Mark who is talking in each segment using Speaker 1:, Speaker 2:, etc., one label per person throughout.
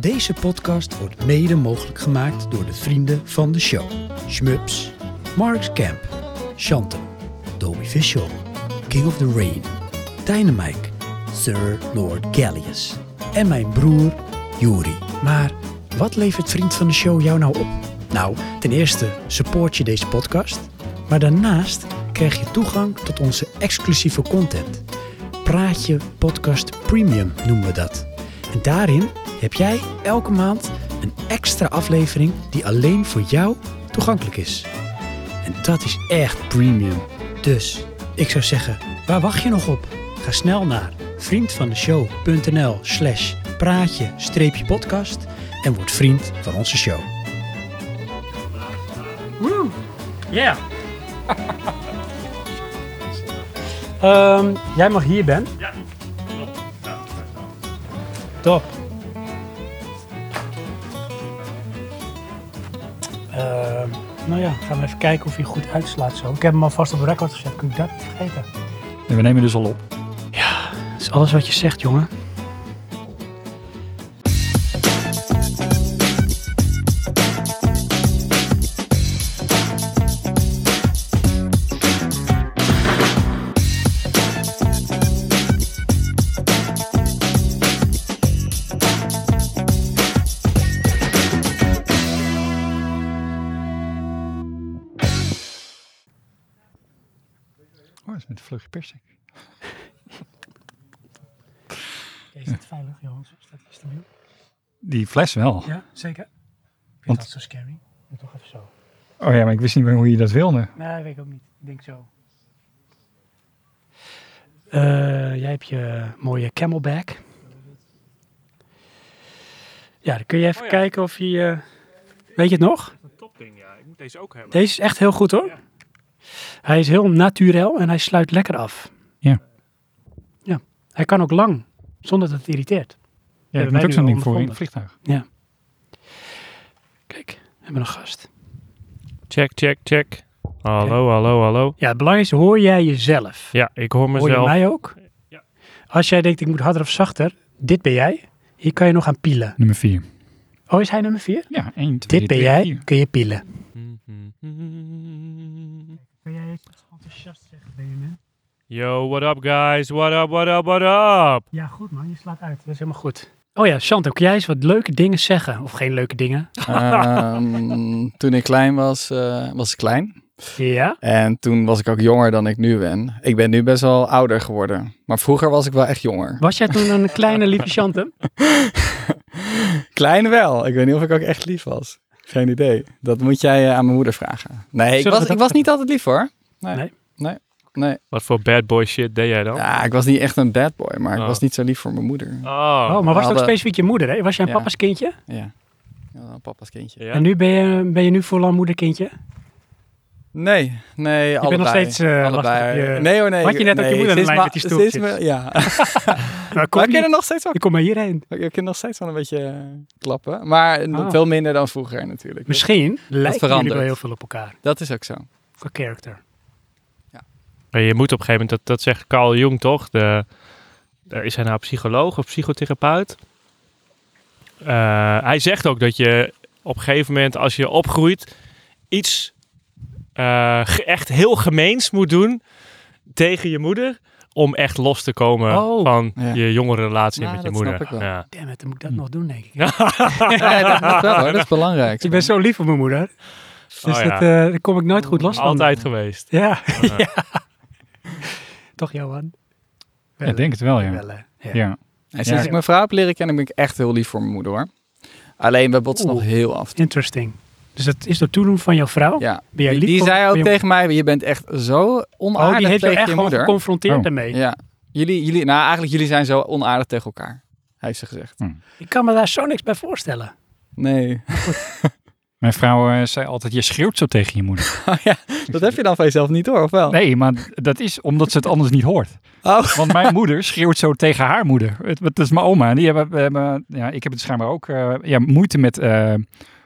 Speaker 1: Deze podcast wordt mede mogelijk gemaakt door de vrienden van de show. Schmups, Marks Camp, Chantem, Dolby Visual, King of the Rain, Dynamite, Sir Lord Gallius en mijn broer Juri. Maar wat levert vriend van de show jou nou op? Nou, ten eerste support je deze podcast, maar daarnaast krijg je toegang tot onze exclusieve content. Praatje Podcast Premium noemen we dat. En daarin heb jij elke maand een extra aflevering die alleen voor jou toegankelijk is. En dat is echt premium. Dus ik zou zeggen, waar wacht je nog op? Ga snel naar vriendvandeshow.nl slash praatje-podcast en word vriend van onze show. Ja. Ehm, jij mag hier, Ben.
Speaker 2: Ja, klopt. Ja, daar staan we.
Speaker 1: Top. Ehm, nou ja, gaan we even kijken of hij goed uitslaat zo. Ik heb hem alvast op record gezet, kun ik dat niet vergeten.
Speaker 3: En we nemen dus al op.
Speaker 1: Dat is alles wat je zegt, jongen.
Speaker 3: Oh, dat is met een vleugje persik.
Speaker 1: Is dit veilig, jongens? Is dat stabiel?
Speaker 3: Die fles wel.
Speaker 1: Ja, zeker. Vind je
Speaker 3: Want-
Speaker 1: dat zo scary? Doe toch even zo.
Speaker 3: Oh ja, maar ik wist niet meer hoe je dat wilde.
Speaker 1: Nee, weet ik ook niet. Ik denk zo. Eh, jij hebt je mooie camelback. Ja, dan kun je even
Speaker 2: Oh ja.
Speaker 1: kijken of hij... eh, weet je het nog?
Speaker 2: Een topding, ja. Ik moet deze ook hebben.
Speaker 1: Deze is echt heel goed hoor.
Speaker 2: Ja.
Speaker 1: Hij is heel naturel en hij sluit lekker af.
Speaker 3: Ja.
Speaker 1: Ja. Hij kan ook lang, zonder dat het irriteert.
Speaker 3: Ja, ik
Speaker 1: wij
Speaker 3: moet ook
Speaker 1: nu
Speaker 3: zo'n ding
Speaker 1: al
Speaker 3: voor in het
Speaker 1: ondervonden.
Speaker 3: vliegtuig.
Speaker 1: Kijk, we hebben een gast.
Speaker 2: Check, check, check. Hallo, hallo, hallo.
Speaker 1: Ja, het belangrijkste, hoor jij jezelf?
Speaker 2: Ja, ik hoor
Speaker 1: Hoor je
Speaker 2: mezelf.
Speaker 1: mij ook?
Speaker 2: Ja.
Speaker 1: Als jij denkt, ik moet harder of zachter, dit ben jij. Hier kan je nog aan pielen.
Speaker 3: Nummer 4.
Speaker 1: Oh, is hij nummer 4?
Speaker 3: Ja, 1, 2,
Speaker 1: Dit ben jij, kun je pielen.
Speaker 2: Mhm.
Speaker 1: Kun jij enthousiast zeggen tegen me?
Speaker 2: Yo, what up guys? What up, what up, what up?
Speaker 1: Ja, goed man, je slaat uit. Dat is helemaal goed. Oh ja, Chantal, kun jij eens wat leuke dingen zeggen? Of geen leuke dingen?
Speaker 4: Ehm, toen ik klein was, eh, was ik klein.
Speaker 1: Ja?
Speaker 4: En toen was ik ook jonger dan ik nu ben. Ik ben nu best wel ouder geworden. Maar vroeger was ik wel echt jonger.
Speaker 1: Was jij toen een kleine lieve Chantem?
Speaker 4: Klein wel. Ik weet niet of ik ook echt lief was. Geen idee. Dat moet jij eh, aan mijn moeder vragen. Nee, ik
Speaker 1: Zullen we
Speaker 4: was,
Speaker 1: dat
Speaker 4: ik was niet altijd lief hoor.
Speaker 1: Nee?
Speaker 4: Nee. Nee. nee.
Speaker 2: Wat voor bad boy shit deed jij dan?
Speaker 4: Ja, ik was niet echt een bad boy, maar ik
Speaker 2: Oh.
Speaker 4: was niet zo lief voor mijn moeder.
Speaker 2: Oh,
Speaker 1: Oh, maar was het ook
Speaker 4: hadden-
Speaker 1: specifiek je moeder, hè? Was jij een
Speaker 4: Ja.
Speaker 1: papa's kindje?
Speaker 4: Ja. ja papa's kindje.
Speaker 2: ja.
Speaker 1: En nu ben je, ben je nu vooral moederkindje?
Speaker 4: Nee, nee,
Speaker 1: Je bent nog steeds eh, lastig op
Speaker 4: allebei.
Speaker 1: je...
Speaker 4: nee hoor, nee.
Speaker 1: Had je
Speaker 4: ik-
Speaker 1: net ook
Speaker 4: nee,
Speaker 1: je moeder aan
Speaker 4: ze is
Speaker 1: de lijn
Speaker 4: ma-
Speaker 1: met die
Speaker 4: ze
Speaker 1: stoeltjes?
Speaker 4: is me- Ja,
Speaker 1: Maar Nou, kom
Speaker 4: maar ik ken
Speaker 1: hier,
Speaker 4: er nog steeds wel
Speaker 1: ik kom maar hierheen.
Speaker 4: Ik ik kan nog steeds wel een beetje eh, klappen. Maar n-
Speaker 1: Ah.
Speaker 4: veel minder dan vroeger natuurlijk.
Speaker 1: Misschien lijken jullie
Speaker 4: verandert.
Speaker 1: wel heel veel op elkaar.
Speaker 4: Dat is ook zo.
Speaker 1: Qua character.
Speaker 2: Maar je moet op een gegeven moment, dat, dat zegt Carl Jung toch? De, eh, is hij nou psycholoog of psychotherapeut? Eh, hij zegt ook dat je op een gegeven moment, als je opgroeit, iets eh, ge- echt heel gemeens moet doen tegen je moeder. Om echt los te komen
Speaker 1: Oh.
Speaker 2: van
Speaker 4: Ja.
Speaker 2: je jongere relatie
Speaker 4: Nou,
Speaker 2: met je
Speaker 4: dat
Speaker 2: moeder.
Speaker 4: snap ik wel.
Speaker 2: Ja.
Speaker 1: Damn it, dan moet ik dat
Speaker 3: Hm.
Speaker 1: nog doen, denk ik.
Speaker 4: Ja, dat, dat wel, hoor. dat is belangrijk.
Speaker 1: Ik ben zo lief op mijn moeder. Dus
Speaker 2: Oh, ja.
Speaker 1: dat, eh, daar kom ik nooit goed los van.
Speaker 2: Altijd geweest.
Speaker 1: Ja.
Speaker 2: Ja.
Speaker 1: ja. Toch, Johan?
Speaker 3: Ja,
Speaker 1: Wel,
Speaker 3: ik denk het wel,
Speaker 1: hè?
Speaker 3: ja.
Speaker 1: Wel, hè? ja.
Speaker 3: Ja,
Speaker 4: En
Speaker 3: Ja.
Speaker 4: sinds ik mijn vrouw heb leren kennen, ben ik echt heel lief voor mijn moeder hoor. Alleen we botsen nog
Speaker 1: Oeh.
Speaker 4: heel af. en toe.
Speaker 1: Interesting. Dus dat is door toedoen van jouw vrouw?
Speaker 4: Ja.
Speaker 1: Ben jij
Speaker 4: Die,
Speaker 1: lief
Speaker 4: die
Speaker 1: voor-
Speaker 4: zei
Speaker 1: voor
Speaker 4: ook
Speaker 1: je-
Speaker 4: tegen mij, je bent echt zo onaardig
Speaker 1: Oh, die heeft jou
Speaker 4: tegen
Speaker 1: echt
Speaker 4: je
Speaker 1: gewoon
Speaker 4: moeder.
Speaker 1: geconfronteerd
Speaker 3: Oh.
Speaker 1: daarmee.
Speaker 4: Ja. Jullie, jullie, nou eigenlijk, jullie zijn zo onaardig tegen elkaar, heeft ze gezegd.
Speaker 1: Ik kan me daar zo niks bij voorstellen.
Speaker 4: Nee,
Speaker 3: mijn vrouw eh, zei altijd, je schreeuwt zo tegen je moeder.
Speaker 4: dat heb je dan van jezelf niet hoor, of wel?
Speaker 3: Nee, maar dat is omdat ze het anders niet hoort.
Speaker 4: Oh.
Speaker 3: Want mijn moeder schreeuwt zo tegen haar moeder. Het, het is mijn oma. en Die hebben, we hebben- ja, ik heb het schijnbaar ook eh, ja, moeite met eh,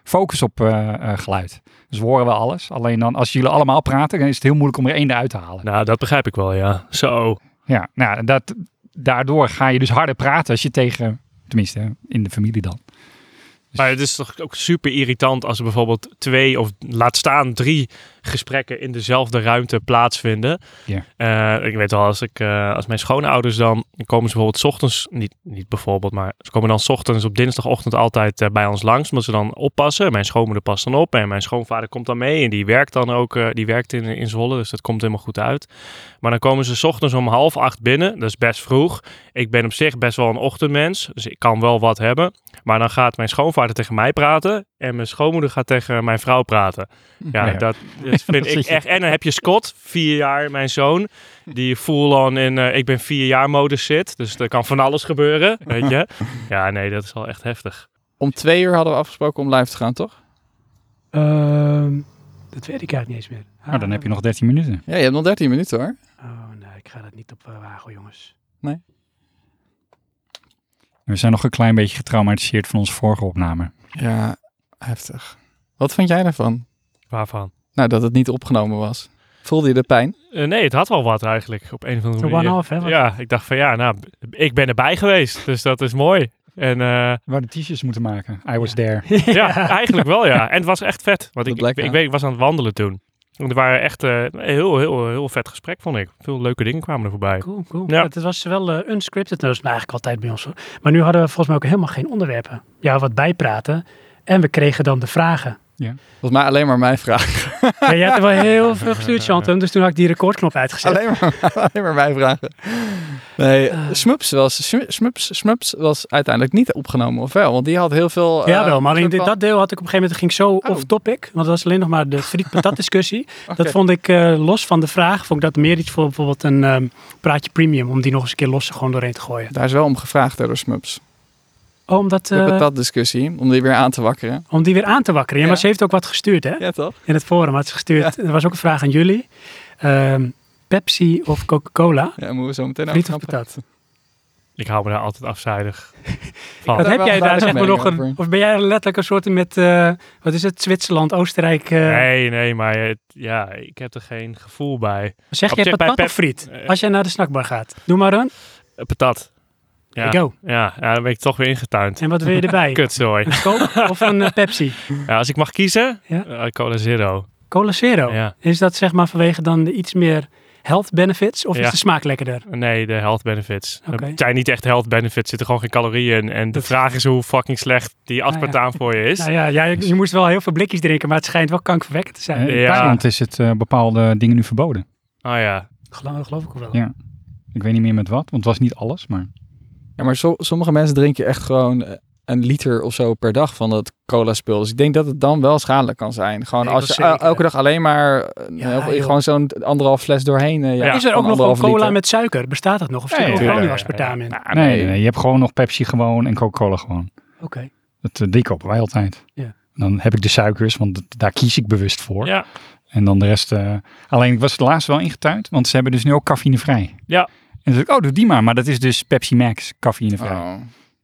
Speaker 3: focus op eh, eh, geluid. Dus we horen wel alles. Alleen dan, als jullie allemaal praten, dan is het heel moeilijk om er één eruit te halen.
Speaker 2: Nou, dat begrijp ik wel, ja. Zo.
Speaker 3: Ja, nou, dat, daardoor ga je dus harder praten als je tegen, tenminste hè, in de familie dan,
Speaker 2: Maar het is toch ook super irritant als er bijvoorbeeld twee of laat staan drie gesprekken in dezelfde ruimte plaatsvinden.
Speaker 3: Ja.
Speaker 2: Eh, ik weet wel, als, ik, eh, als mijn schoonouders dan, dan komen ze bijvoorbeeld 's ochtends, niet, niet bijvoorbeeld, maar ze komen dan 's ochtends op dinsdagochtend altijd eh, bij ons langs, omdat ze dan oppassen. Mijn schoonmoeder past dan op en mijn schoonvader komt dan mee en die werkt dan ook, eh, die werkt in, in Zwolle, dus dat komt helemaal goed uit. Maar dan komen ze 's ochtends om half acht binnen, dat is best vroeg. Ik ben op zich best wel een ochtendmens, dus ik kan wel wat hebben. Maar dan gaat mijn schoonvader tegen mij praten en mijn schoonmoeder gaat tegen mijn vrouw praten. Ja,
Speaker 3: Ja.
Speaker 2: Dat, dat vind
Speaker 3: Dat
Speaker 2: ik
Speaker 3: zit je.
Speaker 2: echt. En dan heb je Scott, vier jaar, mijn zoon, die full-on in eh, ik ben vier jaar modus zit. Dus er kan van alles gebeuren, weet je. Ja, nee, dat is wel echt heftig.
Speaker 4: Om twee uur hadden we afgesproken om live te gaan, toch?
Speaker 1: Ehm, dat weet ik eigenlijk niet eens meer.
Speaker 4: Oh,
Speaker 3: Nou, dan heb je nog 13 minuten.
Speaker 4: Ja, je hebt nog 13 minuten hoor.
Speaker 1: Oh nee, ik ga dat niet op eh, wagen, jongens.
Speaker 3: We zijn nog een klein beetje getraumatiseerd van onze vorige opname.
Speaker 4: Ja, heftig. Wat vond jij daarvan?
Speaker 2: Waarvan?
Speaker 4: Nou, dat het niet opgenomen was. Voelde je de pijn?
Speaker 2: Eh, nee, het had wel wat eigenlijk, op een of andere
Speaker 1: De
Speaker 2: manier.
Speaker 1: one-off, hè? wat-
Speaker 2: Ja, ik dacht van ja, nou, b- ik ben erbij geweest, dus dat is mooi. En eh,
Speaker 3: We hadden t-shirts moeten maken. I was there.
Speaker 2: ja, eigenlijk wel ja. En het was echt vet, want
Speaker 4: Dat
Speaker 2: ik, ik,
Speaker 4: blijkt,
Speaker 2: ik
Speaker 4: ja.
Speaker 2: weet, ik was aan het wandelen toen. En er waren echt eh, een heel, heel, heel vet gesprek, vond ik. Veel leuke dingen kwamen er voorbij.
Speaker 1: Cool, cool.
Speaker 2: Ja.
Speaker 1: Het was wel eh, unscripted, nou, dat is nou eigenlijk altijd bij ons. hoor. Maar nu hadden we volgens mij ook helemaal geen onderwerpen. Ja, wat bijpraten. En we kregen dan de vragen.
Speaker 4: Volgens mij alleen maar mijn vraag.
Speaker 1: Ja, je hebt er wel heel veel gestuurd, Chantem. Dus toen had ik die recordknop uitgezet.
Speaker 4: Alleen maar, alleen maar mijn vragen. Nee, Smups was, Smu- Smups, Smups was uiteindelijk niet opgenomen, of wel? eh, Want die had heel veel...
Speaker 1: Ja, wel, maar in
Speaker 4: dit
Speaker 1: dit, dat deel had ik op een gegeven moment, ging
Speaker 4: Oh.
Speaker 1: zo off-topic. Want dat was alleen nog maar de friet-patat discussie. Dat vond ik eh, los van de vraag, vond ik dat meer iets voor bijvoorbeeld een ehm, praatje premium. Om die nog eens een keer los er gewoon doorheen te gooien.
Speaker 4: Daar is wel om gevraagd hè, door Smups.
Speaker 1: Oh, om, dat,
Speaker 4: De
Speaker 1: eh,
Speaker 4: patatdiscussie, om die weer aan te wakkeren.
Speaker 1: om die weer aan te wakkeren. Ja,
Speaker 4: Ja.
Speaker 1: maar ze heeft ook wat gestuurd hè,
Speaker 4: Ja, toch?
Speaker 1: in het forum. Had ze gestuurd, Er was ook een vraag aan jullie. Ehm, Pepsi of Coca-Cola?
Speaker 4: Ja, moeten we zo meteen
Speaker 1: Friet of
Speaker 4: afknappen.
Speaker 1: patat?
Speaker 2: Ik hou me daar altijd afzijdig van.
Speaker 1: Wat
Speaker 4: daar
Speaker 1: heb
Speaker 4: wel
Speaker 1: jij
Speaker 4: een
Speaker 1: daar zeg maar
Speaker 4: mening
Speaker 1: nog een...
Speaker 4: over.
Speaker 1: Of ben jij letterlijk een soort met... eh, wat is het? Zwitserland, Oostenrijk? eh,
Speaker 2: Nee, nee, maar het, ja, ik heb er geen gevoel bij.
Speaker 1: Zeg
Speaker 2: Op
Speaker 1: jij
Speaker 2: zich bij
Speaker 1: patat
Speaker 2: Pep-
Speaker 1: of friet?
Speaker 2: eh,
Speaker 1: Als jij naar de snackbar gaat. Doe maar een.
Speaker 2: Eh, Patat. Ja,
Speaker 1: Go.
Speaker 2: ja, ja, dan ben ik toch weer ingetuind.
Speaker 1: En wat wil je erbij?
Speaker 2: Kutzooi.
Speaker 1: Een Coke of een eh, Pepsi?
Speaker 2: Ja, als ik mag kiezen,
Speaker 1: Ja. Oh.
Speaker 2: eh, Cola Zero.
Speaker 1: Cola Zero.
Speaker 2: Ja.
Speaker 1: Is dat zeg maar vanwege dan de iets meer health benefits? Of
Speaker 2: Ja.
Speaker 1: is de smaak lekkerder?
Speaker 2: Nee, de health benefits.
Speaker 1: Oké.
Speaker 2: Het zijn niet echt health benefits, zitten gewoon geen calorieën in. En de
Speaker 1: Dat-
Speaker 2: vraag is hoe fucking slecht die
Speaker 1: Nou ja.
Speaker 2: aspartaan voor je is.
Speaker 1: Nou ja, ja, je, je moest wel heel veel blikjes drinken, maar het schijnt wel kankerverwekkend te zijn.
Speaker 3: Eh, In
Speaker 2: Ja.
Speaker 3: Thailand is het eh, bepaalde dingen nu verboden.
Speaker 2: Oh ja.
Speaker 1: Geloof, geloof ik ook wel.
Speaker 3: Ja. Ik weet niet meer met wat, want het was niet alles. Maar
Speaker 4: Ja, maar zo- sommige mensen drinken echt gewoon eh, een liter of zo per dag van dat cola-spul. Dus ik denk dat het dan wel schadelijk kan zijn. Gewoon
Speaker 1: Ik
Speaker 4: als je
Speaker 1: was zeker.
Speaker 4: el- elke dag alleen maar eh,
Speaker 1: Ja,
Speaker 4: elke-
Speaker 1: joh.
Speaker 4: gewoon zo'n anderhalf fles doorheen. eh, ja,
Speaker 2: Ja.
Speaker 1: Is er
Speaker 4: van
Speaker 1: ook nog wel
Speaker 4: anderhalf
Speaker 1: cola
Speaker 4: liter.
Speaker 1: met suiker? Bestaat dat nog? Of zit
Speaker 3: Nee,
Speaker 1: er ook
Speaker 2: tuurlijk.
Speaker 1: gewoon nu
Speaker 2: Ja,
Speaker 1: aspartaan in?
Speaker 4: Nou,
Speaker 3: nee,
Speaker 4: nee.
Speaker 3: nee, nee, je hebt gewoon nog Pepsi gewoon en Coca-Cola gewoon.
Speaker 1: Oké.
Speaker 3: Dat, eh, die kopen wij altijd.
Speaker 1: Ja.
Speaker 3: En Dan heb ik de suikers, want dat- daar kies ik bewust voor.
Speaker 2: ja.
Speaker 3: En dan de rest. eh, alleen ik was het laatst wel ingetuind, want ze hebben dus nu ook cafeïnevrij.
Speaker 2: Ja.
Speaker 3: En dan dacht ik, oh, doe die maar. Maar dat is dus Pepsi Max cafeïnevrij.
Speaker 4: Oh.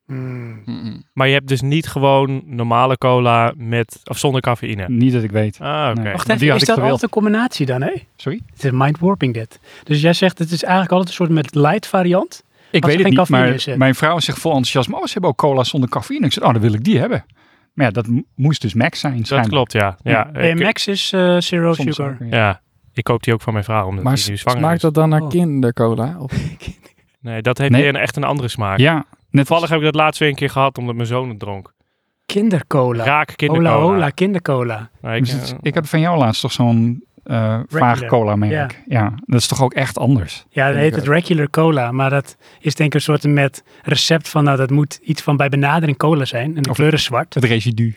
Speaker 1: Mm.
Speaker 4: Mm-mm.
Speaker 2: Maar je hebt dus niet gewoon normale cola met, of zonder cafeïne.
Speaker 3: Niet dat ik weet.
Speaker 2: Ah, oké.
Speaker 3: Nee.
Speaker 1: Wacht
Speaker 3: die
Speaker 1: even,
Speaker 3: had
Speaker 1: is
Speaker 3: ik
Speaker 1: dat
Speaker 3: gewild.
Speaker 1: altijd een combinatie dan, hè?
Speaker 3: Sorry?
Speaker 1: Het is mind-warping dit. Dus jij zegt, het is eigenlijk altijd een soort met light variant.
Speaker 3: Ik
Speaker 1: Als
Speaker 3: weet
Speaker 1: er
Speaker 3: het
Speaker 1: geen
Speaker 3: niet,
Speaker 1: cafeïne
Speaker 3: maar
Speaker 1: is, hè?
Speaker 3: mijn vrouw zegt vol enthousiasme. Oh, ze hebben ook cola zonder cafeïne. Ik zei, oh, dan wil ik die hebben. Maar ja, dat m- moest dus Max zijn.
Speaker 2: Dat
Speaker 3: schijnbaar.
Speaker 2: klopt, ja. ja.
Speaker 1: En
Speaker 2: ik,
Speaker 1: Max is eh, zero
Speaker 3: Soms
Speaker 1: sugar.
Speaker 3: ook, ja.
Speaker 2: ja. Ik koop die ook van mijn vrouw, omdat
Speaker 4: Maar
Speaker 2: die nu
Speaker 4: s-
Speaker 2: zwanger
Speaker 4: smaakt
Speaker 2: is.
Speaker 4: Dus dat dan naar
Speaker 1: Oh.
Speaker 4: kindercola? Of
Speaker 2: Nee, dat heeft
Speaker 3: Nee.
Speaker 2: weer een, echt een andere smaak.
Speaker 3: Ja, net
Speaker 2: Toevallig heb ik dat laatst weer een keer gehad, omdat mijn zoon het dronk.
Speaker 1: Kindercola.
Speaker 2: Raak
Speaker 1: Hola,
Speaker 2: kindercola.
Speaker 1: hola, Dus kindercola.
Speaker 2: Nou,
Speaker 3: Ik,
Speaker 2: ik, eh,
Speaker 3: dus ik had van jou laatst toch zo'n eh vaag
Speaker 1: Regular.
Speaker 3: cola merk. Ja. dat is toch ook echt anders.
Speaker 1: Ja, dat
Speaker 4: Vind
Speaker 1: heet
Speaker 4: ik
Speaker 1: het regular cola, maar dat is denk ik een soort met recept van, nou dat moet iets van bij benadering cola zijn. En de
Speaker 3: Of-
Speaker 1: kleur is zwart.
Speaker 3: Het residu.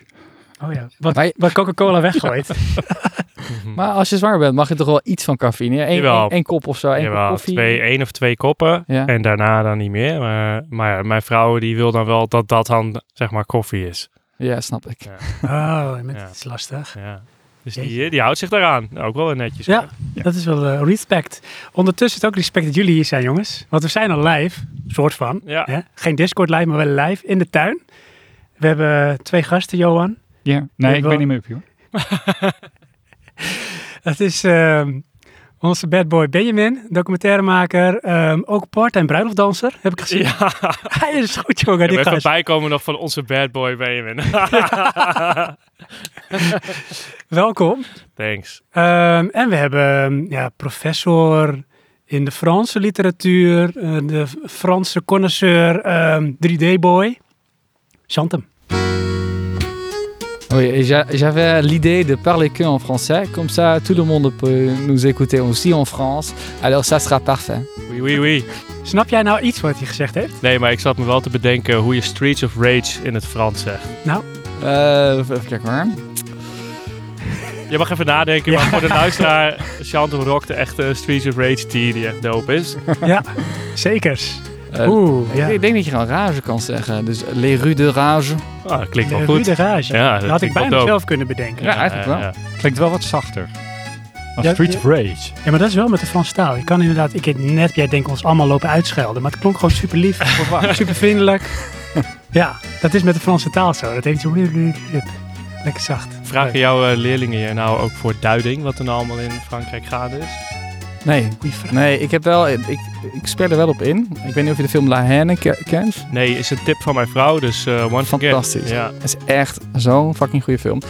Speaker 1: Oh ja, wat,
Speaker 4: Maar je-
Speaker 1: wat Coca-Cola weggooit.
Speaker 2: mhm.
Speaker 4: Maar als je zwaar bent, mag je toch wel iets van cafeïne? Eén
Speaker 2: Jawel.
Speaker 4: één- één kop of zo, één kop
Speaker 2: Jawel,
Speaker 4: koffie.
Speaker 2: twee, één of twee koppen.
Speaker 4: Ja.
Speaker 2: En daarna dan niet meer. Maar, maar ja, mijn vrouw die wil dan wel dat dat dan zeg maar koffie is.
Speaker 4: Ja, snap ik.
Speaker 1: Oh, met,
Speaker 2: Ja.
Speaker 1: dat is lastig.
Speaker 2: Ja. Dus
Speaker 1: Jeetje.
Speaker 2: die, die houdt zich daaraan. Ook wel weer netjes.
Speaker 1: Ja, dat is wel eh, respect. Ondertussen is het ook respect dat jullie hier zijn, jongens. Want we zijn al live, soort van.
Speaker 2: Ja.
Speaker 1: Hè? Geen Discord live, maar wel live in de tuin. We hebben twee gasten, Johan.
Speaker 3: Ja, nee, ik
Speaker 1: wel-
Speaker 3: ben niet meer op, joh.
Speaker 1: Dat is ehm, Onze bad boy Benjamin, documentairemaker, ehm, ook part-time bruiloftdanser, heb ik gezien.
Speaker 2: Ja,
Speaker 1: Hij is goed, jongen.
Speaker 2: we
Speaker 1: die
Speaker 2: gaan
Speaker 1: gast.
Speaker 2: bijkomen nog van onze bad boy Benjamin.
Speaker 1: Welkom.
Speaker 2: Thanks.
Speaker 1: Ehm, en we hebben ehm, ja, professor in de Franse literatuur, eh, de F- Franse connoisseur, ehm, 3D-boy, Chantem.
Speaker 4: Oui, eh, j'a- j'avais l'idée de parler que en français, comme ça tout le monde peut nous écouter aussi en France. Alors ça sera parfait.
Speaker 2: Oui, oui, oui.
Speaker 1: Snap jij nou iets wat hij gezegd heeft?
Speaker 2: Nee, maar ik zat me wel te bedenken hoe je Streets of Rage in het Frans zegt.
Speaker 4: Eh, even kijken hoor.
Speaker 2: Je mag even nadenken, maar voor de luisteraar, Shantum Rock, de echte eh, Streets of Rage die die echt dope is.
Speaker 1: Zekers.
Speaker 4: Eh,
Speaker 1: Oeh, ja.
Speaker 4: Ik denk dat je gewoon rage kan zeggen. Dus les rues de rage.
Speaker 2: Ah, dat klinkt wel
Speaker 1: De
Speaker 2: goed.
Speaker 1: Rude Rage.
Speaker 2: Ja, dat
Speaker 1: dat had ik
Speaker 2: klinkt wel
Speaker 1: bijna
Speaker 2: dope.
Speaker 1: zelf kunnen bedenken.
Speaker 4: Ja, eigenlijk wel.
Speaker 2: ja.
Speaker 3: Klinkt wel wat zachter. Dan
Speaker 1: Ja,
Speaker 3: Street
Speaker 1: ja.
Speaker 3: of Rage.
Speaker 1: Ja, maar dat is wel met de Franse taal. Je kan inderdaad, ik heb net, jij denkt ons allemaal lopen uitschelden, maar het klonk gewoon super lief, super vriendelijk. Ja, dat is met de Franse taal zo. Dat heeft zo lekker zacht.
Speaker 2: Vragen jouw eh, leerlingen je nou ook voor duiding, wat er nou allemaal in Frankrijk gaande is?
Speaker 4: Nee,
Speaker 1: Goeie vraag.
Speaker 4: nee, ik heb wel. Ik, ik speel er wel op in. Ik weet niet of je de film La Haine ke- kent.
Speaker 2: Nee, is een tip van mijn vrouw, dus eh one forget.
Speaker 4: Fantastisch.
Speaker 2: Ja.
Speaker 4: Het is echt zo'n fucking goede film.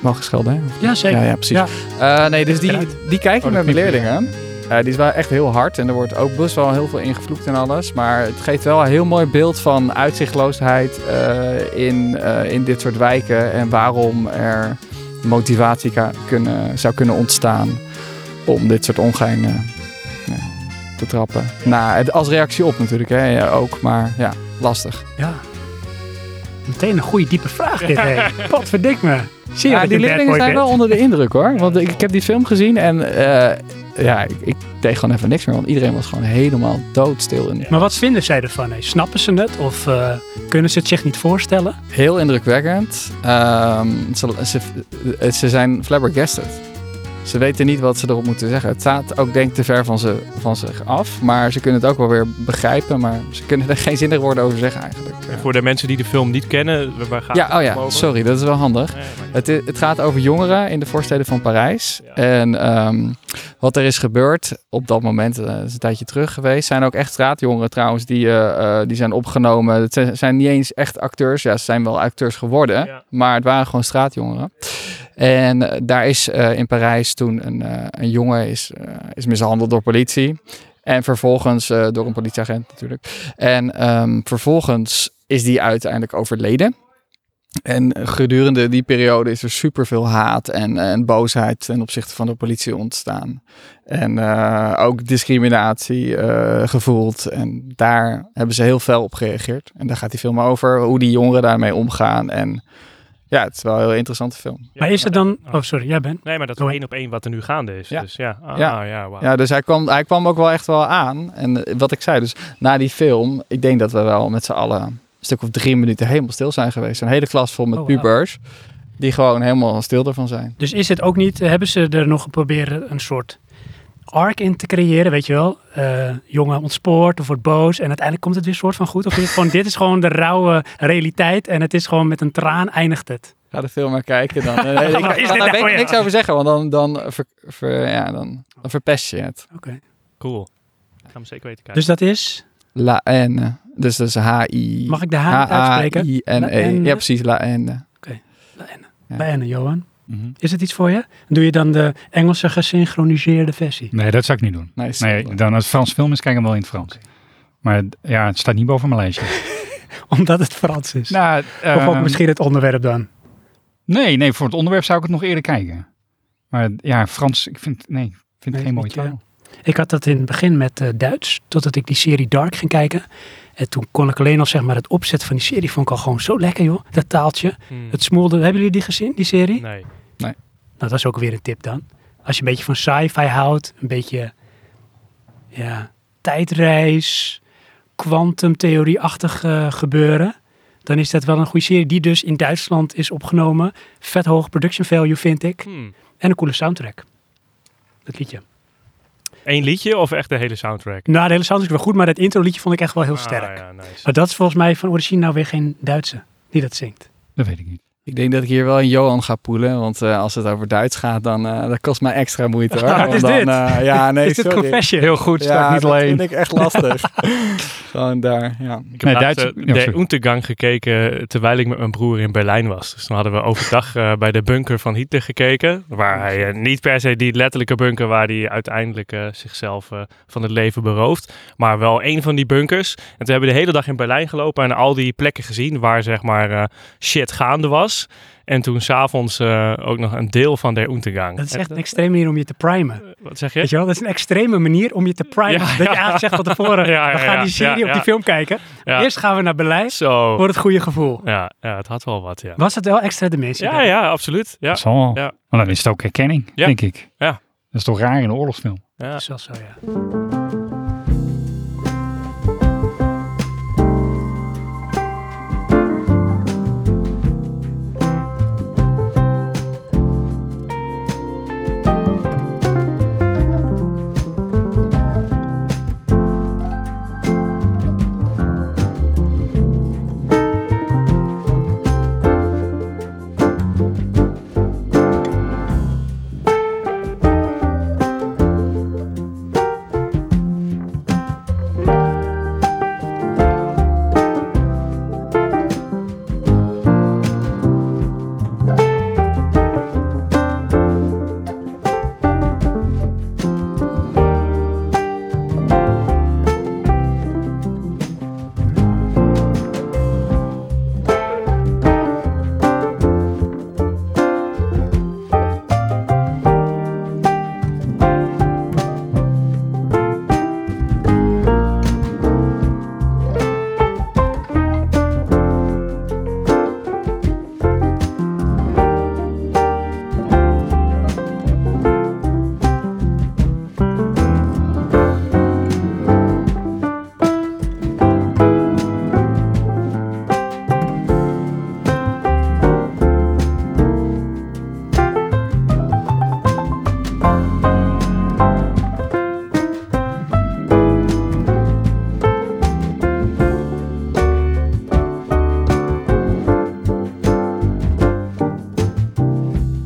Speaker 4: Wel geschelden, hè?
Speaker 1: Ja, zeker.
Speaker 4: Ja, ja, precies.
Speaker 1: Ja.
Speaker 4: Eh, nee, dus die,
Speaker 1: Eruit.
Speaker 4: die kijk ik
Speaker 3: Oh, dat
Speaker 4: met mijn
Speaker 3: klinkt
Speaker 4: leerlingen. Eh, die is wel echt heel hard en er wordt ook best wel heel veel ingevloekt en alles. Maar het geeft wel een heel mooi beeld van uitzichtloosheid eh, in, eh, in dit soort wijken. En waarom er motivatie ka- kunnen, zou kunnen ontstaan om dit soort ongein eh, ja, te trappen. Nou, het- als reactie op natuurlijk hè, ja, ook, maar ja, lastig.
Speaker 1: Ja. Meteen een goede diepe vraag dit, hé. Potverdik me. Zie je
Speaker 4: Ja,
Speaker 1: dat
Speaker 4: die
Speaker 1: je een bad
Speaker 4: leerlingen
Speaker 1: boy
Speaker 4: zijn
Speaker 1: bent?
Speaker 4: wel onder de indruk hoor. Want ik, ik heb die film gezien en eh, ja, ik, ik deed gewoon even niks meer. Want iedereen was gewoon helemaal doodstil. En
Speaker 1: Maar wat vinden zij ervan? hé? Snappen ze het of eh, kunnen ze het zich niet voorstellen?
Speaker 4: Heel indrukwekkend. Ehm, ze, ze, ze zijn flabbergasted. Ze weten niet wat ze erop moeten zeggen. Het staat ook denk ik te ver van, ze, van zich af. Maar ze kunnen het ook wel weer begrijpen. Maar ze kunnen er geen zinnige woorden over zeggen eigenlijk.
Speaker 2: En voor de mensen die de film niet kennen, waar- waar gaat het
Speaker 4: Ja, oh ja,
Speaker 2: over?
Speaker 4: sorry. Dat is wel handig.
Speaker 2: Nee, maar niet.
Speaker 4: Het, i- het gaat over jongeren in de voorsteden van Parijs.
Speaker 2: Ja.
Speaker 4: En ehm, wat er is gebeurd op dat moment, eh, is een tijdje terug geweest, zijn ook echt straatjongeren trouwens die, eh, eh, die zijn opgenomen. Het zijn, zijn niet eens echt acteurs. Ja, ze zijn wel acteurs geworden,
Speaker 2: Ja.
Speaker 4: maar het waren gewoon straatjongeren. En eh, daar is eh, in Parijs toen een, eh, een jongen is, eh, is mishandeld door politie. En vervolgens eh, door een politieagent natuurlijk. En ehm, vervolgens is die uiteindelijk overleden. En gedurende die periode is er superveel haat en, eh, en boosheid ten opzichte van de politie ontstaan. En eh, ook discriminatie eh, gevoeld. En daar hebben ze heel fel op gereageerd. En daar gaat die film over, hoe die jongeren daarmee omgaan. En ja, het is wel een heel interessante film.
Speaker 2: Ja,
Speaker 1: maar is het dan...
Speaker 2: ja.
Speaker 1: Oh, sorry, jij bent.
Speaker 2: Nee, maar dat is
Speaker 1: Doe maar.
Speaker 2: één op één wat er nu gaande is.
Speaker 4: Ja.
Speaker 2: Dus ja, ah, ja.
Speaker 4: Ja.
Speaker 2: wauw.
Speaker 4: Ja, dus hij kwam, hij kwam ook wel echt wel aan. En eh, wat ik zei, dus na die film, ik denk dat we wel met z'n allen een stuk of drie minuten helemaal stil zijn geweest. Een hele klas vol met
Speaker 1: Oh, wauw.
Speaker 4: pubers, die gewoon helemaal stil ervan zijn.
Speaker 1: Dus is het ook niet... Hebben ze er nog proberen een soort arc in te creëren, weet je wel? Eh, jongen ontspoort of wordt boos en uiteindelijk komt het weer soort van goed. Of is het gewoon, dit is gewoon de rauwe realiteit en het is gewoon met een traan eindigt het.
Speaker 4: Ga de film maar kijken dan. Nee, nee, ik
Speaker 1: Is dit
Speaker 4: kan daar
Speaker 1: nou,
Speaker 4: weet ik
Speaker 1: ja.
Speaker 4: niks over zeggen, want dan, dan, ver, ver- ja, dan, dan verpest je het.
Speaker 2: Cool. Ik ga hem zeker weten kijken.
Speaker 1: Dus dat is...
Speaker 4: La Haine. Dus dat is H-I.
Speaker 1: Mag ik de H niet
Speaker 3: ah,
Speaker 1: uitspreken? La E?
Speaker 4: H-A-I-N-E.
Speaker 1: Haine.
Speaker 4: E. Ja, precies, La E. Haine. Ja.
Speaker 1: Bijna, Johan.
Speaker 3: Mhm.
Speaker 1: Is het iets voor je? Doe je dan de Engelse gesynchroniseerde versie?
Speaker 3: Nee, dat zou ik niet doen.
Speaker 4: Nee, is-
Speaker 3: Nee, dan als het Frans film is, kijk hem wel in het Frans. Maar ja, het staat niet boven mijn lijstje.
Speaker 1: Omdat het Frans is.
Speaker 3: Hm. nou,
Speaker 1: of ook
Speaker 3: ehm,
Speaker 1: misschien het onderwerp dan.
Speaker 3: Nee, nee, voor het onderwerp zou ik het nog eerder kijken. Maar ja, Frans, ik vind, nee, ik
Speaker 1: Nee,
Speaker 3: vind het geen mooie
Speaker 1: niet, ja.
Speaker 3: taal.
Speaker 1: Ik had dat in het begin met eh, Duits, totdat ik die serie Dark ging kijken. En toen kon ik alleen al zeg maar het opzet van die serie vond ik al gewoon zo lekker joh. Dat taaltje.
Speaker 2: Hmm.
Speaker 1: Het smoelde. Hebben jullie die gezien, die serie?
Speaker 2: Nee.
Speaker 1: Nou, dat is ook weer een tip dan. Als je een beetje van sci-fi houdt, een beetje ja, tijdreis, kwantumtheorie-achtig eh, gebeuren, dan is dat wel een goede serie die dus in Duitsland is opgenomen. Vet hoog production value vind ik.
Speaker 2: Hmm.
Speaker 1: En een coole soundtrack. Dat liedje.
Speaker 2: Eén liedje of echt de hele soundtrack?
Speaker 1: Nou, de hele soundtrack wel goed, maar dat intro liedje vond ik echt wel heel
Speaker 2: Ah,
Speaker 1: sterk.
Speaker 2: ja, nice.
Speaker 1: Maar dat is volgens mij van origine nou weer geen Duitse die dat zingt.
Speaker 3: Dat weet ik niet.
Speaker 4: Ik denk dat ik hier wel een Johan ga poelen. Want eh, als het over Duits gaat, dan eh, dat kost mij extra moeite hoor.
Speaker 3: Wat is
Speaker 4: Want dan,
Speaker 3: dit?
Speaker 4: eh, ja, nee,
Speaker 1: is dit
Speaker 4: sorry.
Speaker 1: confession?
Speaker 3: Heel goed, staat niet
Speaker 4: dat
Speaker 3: alleen.
Speaker 4: vind ik echt lastig. Gewoon daar, ja.
Speaker 2: Ik heb
Speaker 3: Nee,
Speaker 2: laatst,
Speaker 3: Duits-
Speaker 2: eh,
Speaker 3: ja,
Speaker 2: de
Speaker 3: sorry.
Speaker 2: Untergang gekeken eh, terwijl ik met mijn broer in Berlijn was. Dus dan hadden we overdag eh, bij de bunker van Hitler gekeken.
Speaker 1: Oh,
Speaker 2: Waar hij eh, niet per se die letterlijke bunker waar hij uiteindelijk eh, zichzelf eh, van het leven berooft. Maar wel een van die bunkers. En toen hebben we de hele dag in Berlijn gelopen en al die plekken gezien waar zeg maar eh, shit gaande was. En toen s'avonds eh ook nog een deel van de Untergang.
Speaker 1: Dat is
Speaker 2: En-
Speaker 1: echt een extreme manier om je te primen.
Speaker 2: Wat zeg
Speaker 1: Weet
Speaker 2: je?
Speaker 1: je wel, dat is een extreme manier om je te primen.
Speaker 2: Ja,
Speaker 1: dat je
Speaker 2: ja.
Speaker 1: eigenlijk zegt van tevoren,
Speaker 2: Ja, ja,
Speaker 1: we gaan
Speaker 2: ja,
Speaker 1: die serie
Speaker 2: ja,
Speaker 1: op die
Speaker 2: ja.
Speaker 1: film kijken.
Speaker 2: Ja.
Speaker 1: Eerst gaan we naar Berlijn
Speaker 2: Zo.
Speaker 1: voor het goede gevoel.
Speaker 2: Ja, ja, het had wel wat, ja.
Speaker 1: Was het wel extra dimensie?
Speaker 2: Ja, ja, absoluut. Ja.
Speaker 3: Dat zal.
Speaker 2: Ja.
Speaker 3: Maar dan is het ook herkenning,
Speaker 2: Ja.
Speaker 3: denk ik.
Speaker 2: Ja.
Speaker 3: Dat is toch raar in een oorlogsfilm?
Speaker 2: ja.
Speaker 1: Dat is wel zo, ja.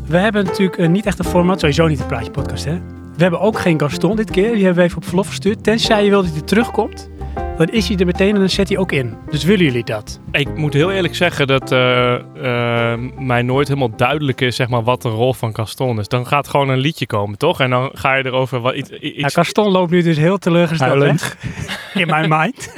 Speaker 1: We hebben natuurlijk eh, niet echt een format, sowieso niet een praatje podcast, hè. We hebben ook geen Gaston dit keer. Die hebben we even op verlof gestuurd. Tenzij je wil dat hij terugkomt, dan is hij er meteen en dan zet hij ook in. Dus willen jullie dat?
Speaker 2: Ik moet heel eerlijk zeggen dat eh, eh, mij nooit helemaal duidelijk is zeg maar, wat de rol van Gaston is. Dan gaat gewoon een liedje komen, toch? En dan ga je erover wat iets. i-
Speaker 1: Ja,
Speaker 2: iets
Speaker 1: Gaston loopt nu dus heel teleurgesteld
Speaker 3: Huilend.
Speaker 1: weg. In my mind.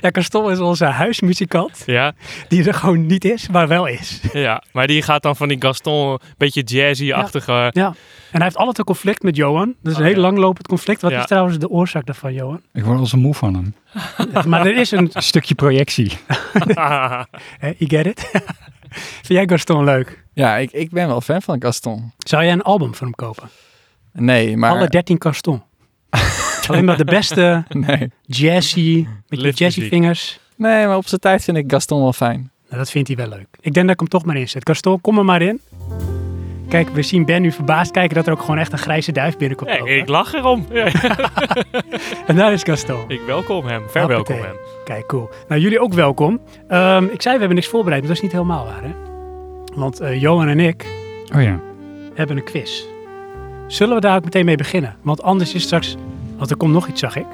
Speaker 1: ja, Gaston is onze huismuzikant.
Speaker 2: ja,
Speaker 1: Die er gewoon niet is, maar wel is.
Speaker 2: ja, maar die gaat dan van die Gaston een beetje jazzy-achtige. Ja.
Speaker 1: Ja. En hij heeft altijd een conflict met Johan. Dat is een
Speaker 2: Oh,
Speaker 1: heel
Speaker 2: ja.
Speaker 1: langlopend conflict. Wat
Speaker 2: Ja.
Speaker 1: is trouwens de oorzaak daarvan, Johan?
Speaker 3: Ik word al zo moe van hem.
Speaker 1: maar er is een...
Speaker 3: Een stukje projectie.
Speaker 1: Hè, you get it? Vind jij Gaston leuk?
Speaker 4: Ja, ik, ik ben wel fan van Gaston.
Speaker 1: Zou jij een album van hem kopen?
Speaker 4: Nee, maar...
Speaker 1: Alle 13 Gaston. Alleen maar de beste
Speaker 4: nee.
Speaker 1: jazzy, met je
Speaker 2: Liftmuziek.
Speaker 1: jazzy vingers.
Speaker 4: nee, maar op zijn tijd vind ik Gaston wel fijn.
Speaker 1: Nou, dat vindt hij wel leuk. Ik denk dat ik hem toch maar inzet. Gaston, kom er maar in. Kijk, we zien Ben nu verbaasd kijken dat er ook gewoon echt een grijze duif binnenkomt. lopen.
Speaker 2: ik lach erom. Ja,
Speaker 1: En daar is Gaston.
Speaker 2: ik welkom hem, verwelkom hem.
Speaker 1: Kijk, cool. Nou, jullie ook welkom. Ehm, ik zei, we hebben niks voorbereid, maar dat is niet helemaal waar, hè? Want eh, Johan en ik
Speaker 3: Oh ja.
Speaker 1: hebben een quiz. Zullen we daar ook meteen mee beginnen? Want anders is straks... Want er komt nog iets, zag ik.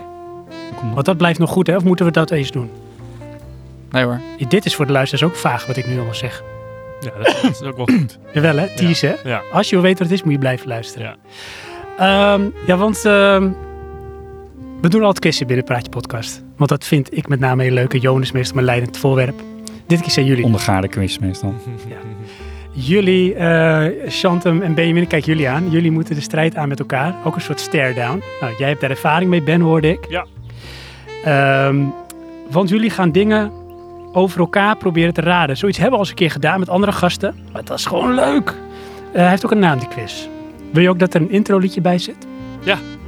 Speaker 3: Kom op.
Speaker 1: Want dat blijft nog goed, hè? Of moeten we dat eens doen?
Speaker 4: Nee hoor.
Speaker 1: Dit is voor de luisteraars ook vaag, wat ik nu allemaal zeg.
Speaker 2: Ja, dat, dat is ook wel goed.
Speaker 1: Jawel, hè? Tease, hè?
Speaker 2: Ja.
Speaker 1: Als je wil weten wat het is, moet je blijven luisteren. Ja, ja want ehm, we doen altijd quizzen binnen Praatje Podcast. Want dat vind ik met name heel leuk. En Johan is meestal mijn leidend voorwerp. Dit keer zijn jullie.
Speaker 3: Ondergaarde quiz meestal.
Speaker 1: Jullie, eh Chantem en Benjamin, kijk jullie aan. Jullie moeten de strijd aan met elkaar. Ook een soort stare-down. Nou, jij hebt daar ervaring mee, Ben, hoorde ik.
Speaker 2: Ja.
Speaker 1: Ehm, want jullie gaan dingen over elkaar proberen te raden. Zoiets hebben we al eens een keer gedaan met andere gasten. Maar dat is gewoon leuk. Eh, hij heeft ook een naam, die quiz. Wil je ook dat er een intro liedje bij zit?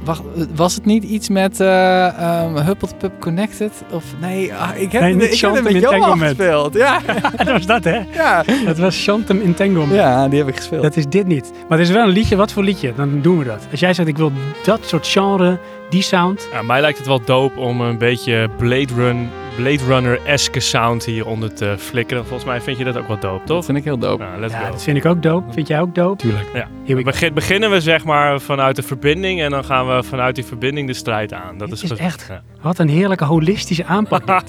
Speaker 4: Wacht, was het niet iets met eh ehm Huppeltpup Connected? Of nee, ah, ik heb,
Speaker 1: Nee, niet
Speaker 4: ik heb
Speaker 1: Chantem
Speaker 4: het met
Speaker 1: in
Speaker 4: Johan
Speaker 1: Entanglement.
Speaker 4: gespeeld. Ja,
Speaker 1: dat was dat, hè?
Speaker 4: ja.
Speaker 1: Dat was Chantem Entanglement.
Speaker 4: ja, die heb ik gespeeld.
Speaker 1: Dat is dit niet. Maar het is wel een liedje. Wat voor liedje? Dan doen we dat. Als jij zegt, ik wil dat soort genre, Die sound.
Speaker 2: Ja, mij lijkt het wel dope om een beetje Blade, Run, Blade Runner-eske sound hieronder te flikkeren. Volgens mij vind je dat ook wel dope,
Speaker 4: Dat
Speaker 2: toch?
Speaker 4: vind ik heel dope.
Speaker 2: Nou, let's
Speaker 1: Ja,
Speaker 2: go.
Speaker 1: dat vind ik ook dope. Vind jij ook dope?
Speaker 3: Tuurlijk.
Speaker 1: Here we
Speaker 2: We
Speaker 1: go.
Speaker 2: begin- beginnen we zeg maar vanuit de verbinding en dan gaan we vanuit die verbinding de strijd aan. Dat
Speaker 1: Dit
Speaker 2: is,
Speaker 1: is
Speaker 2: ge-
Speaker 1: echt-
Speaker 2: Ja.
Speaker 1: Wat een heerlijke holistische aanpak.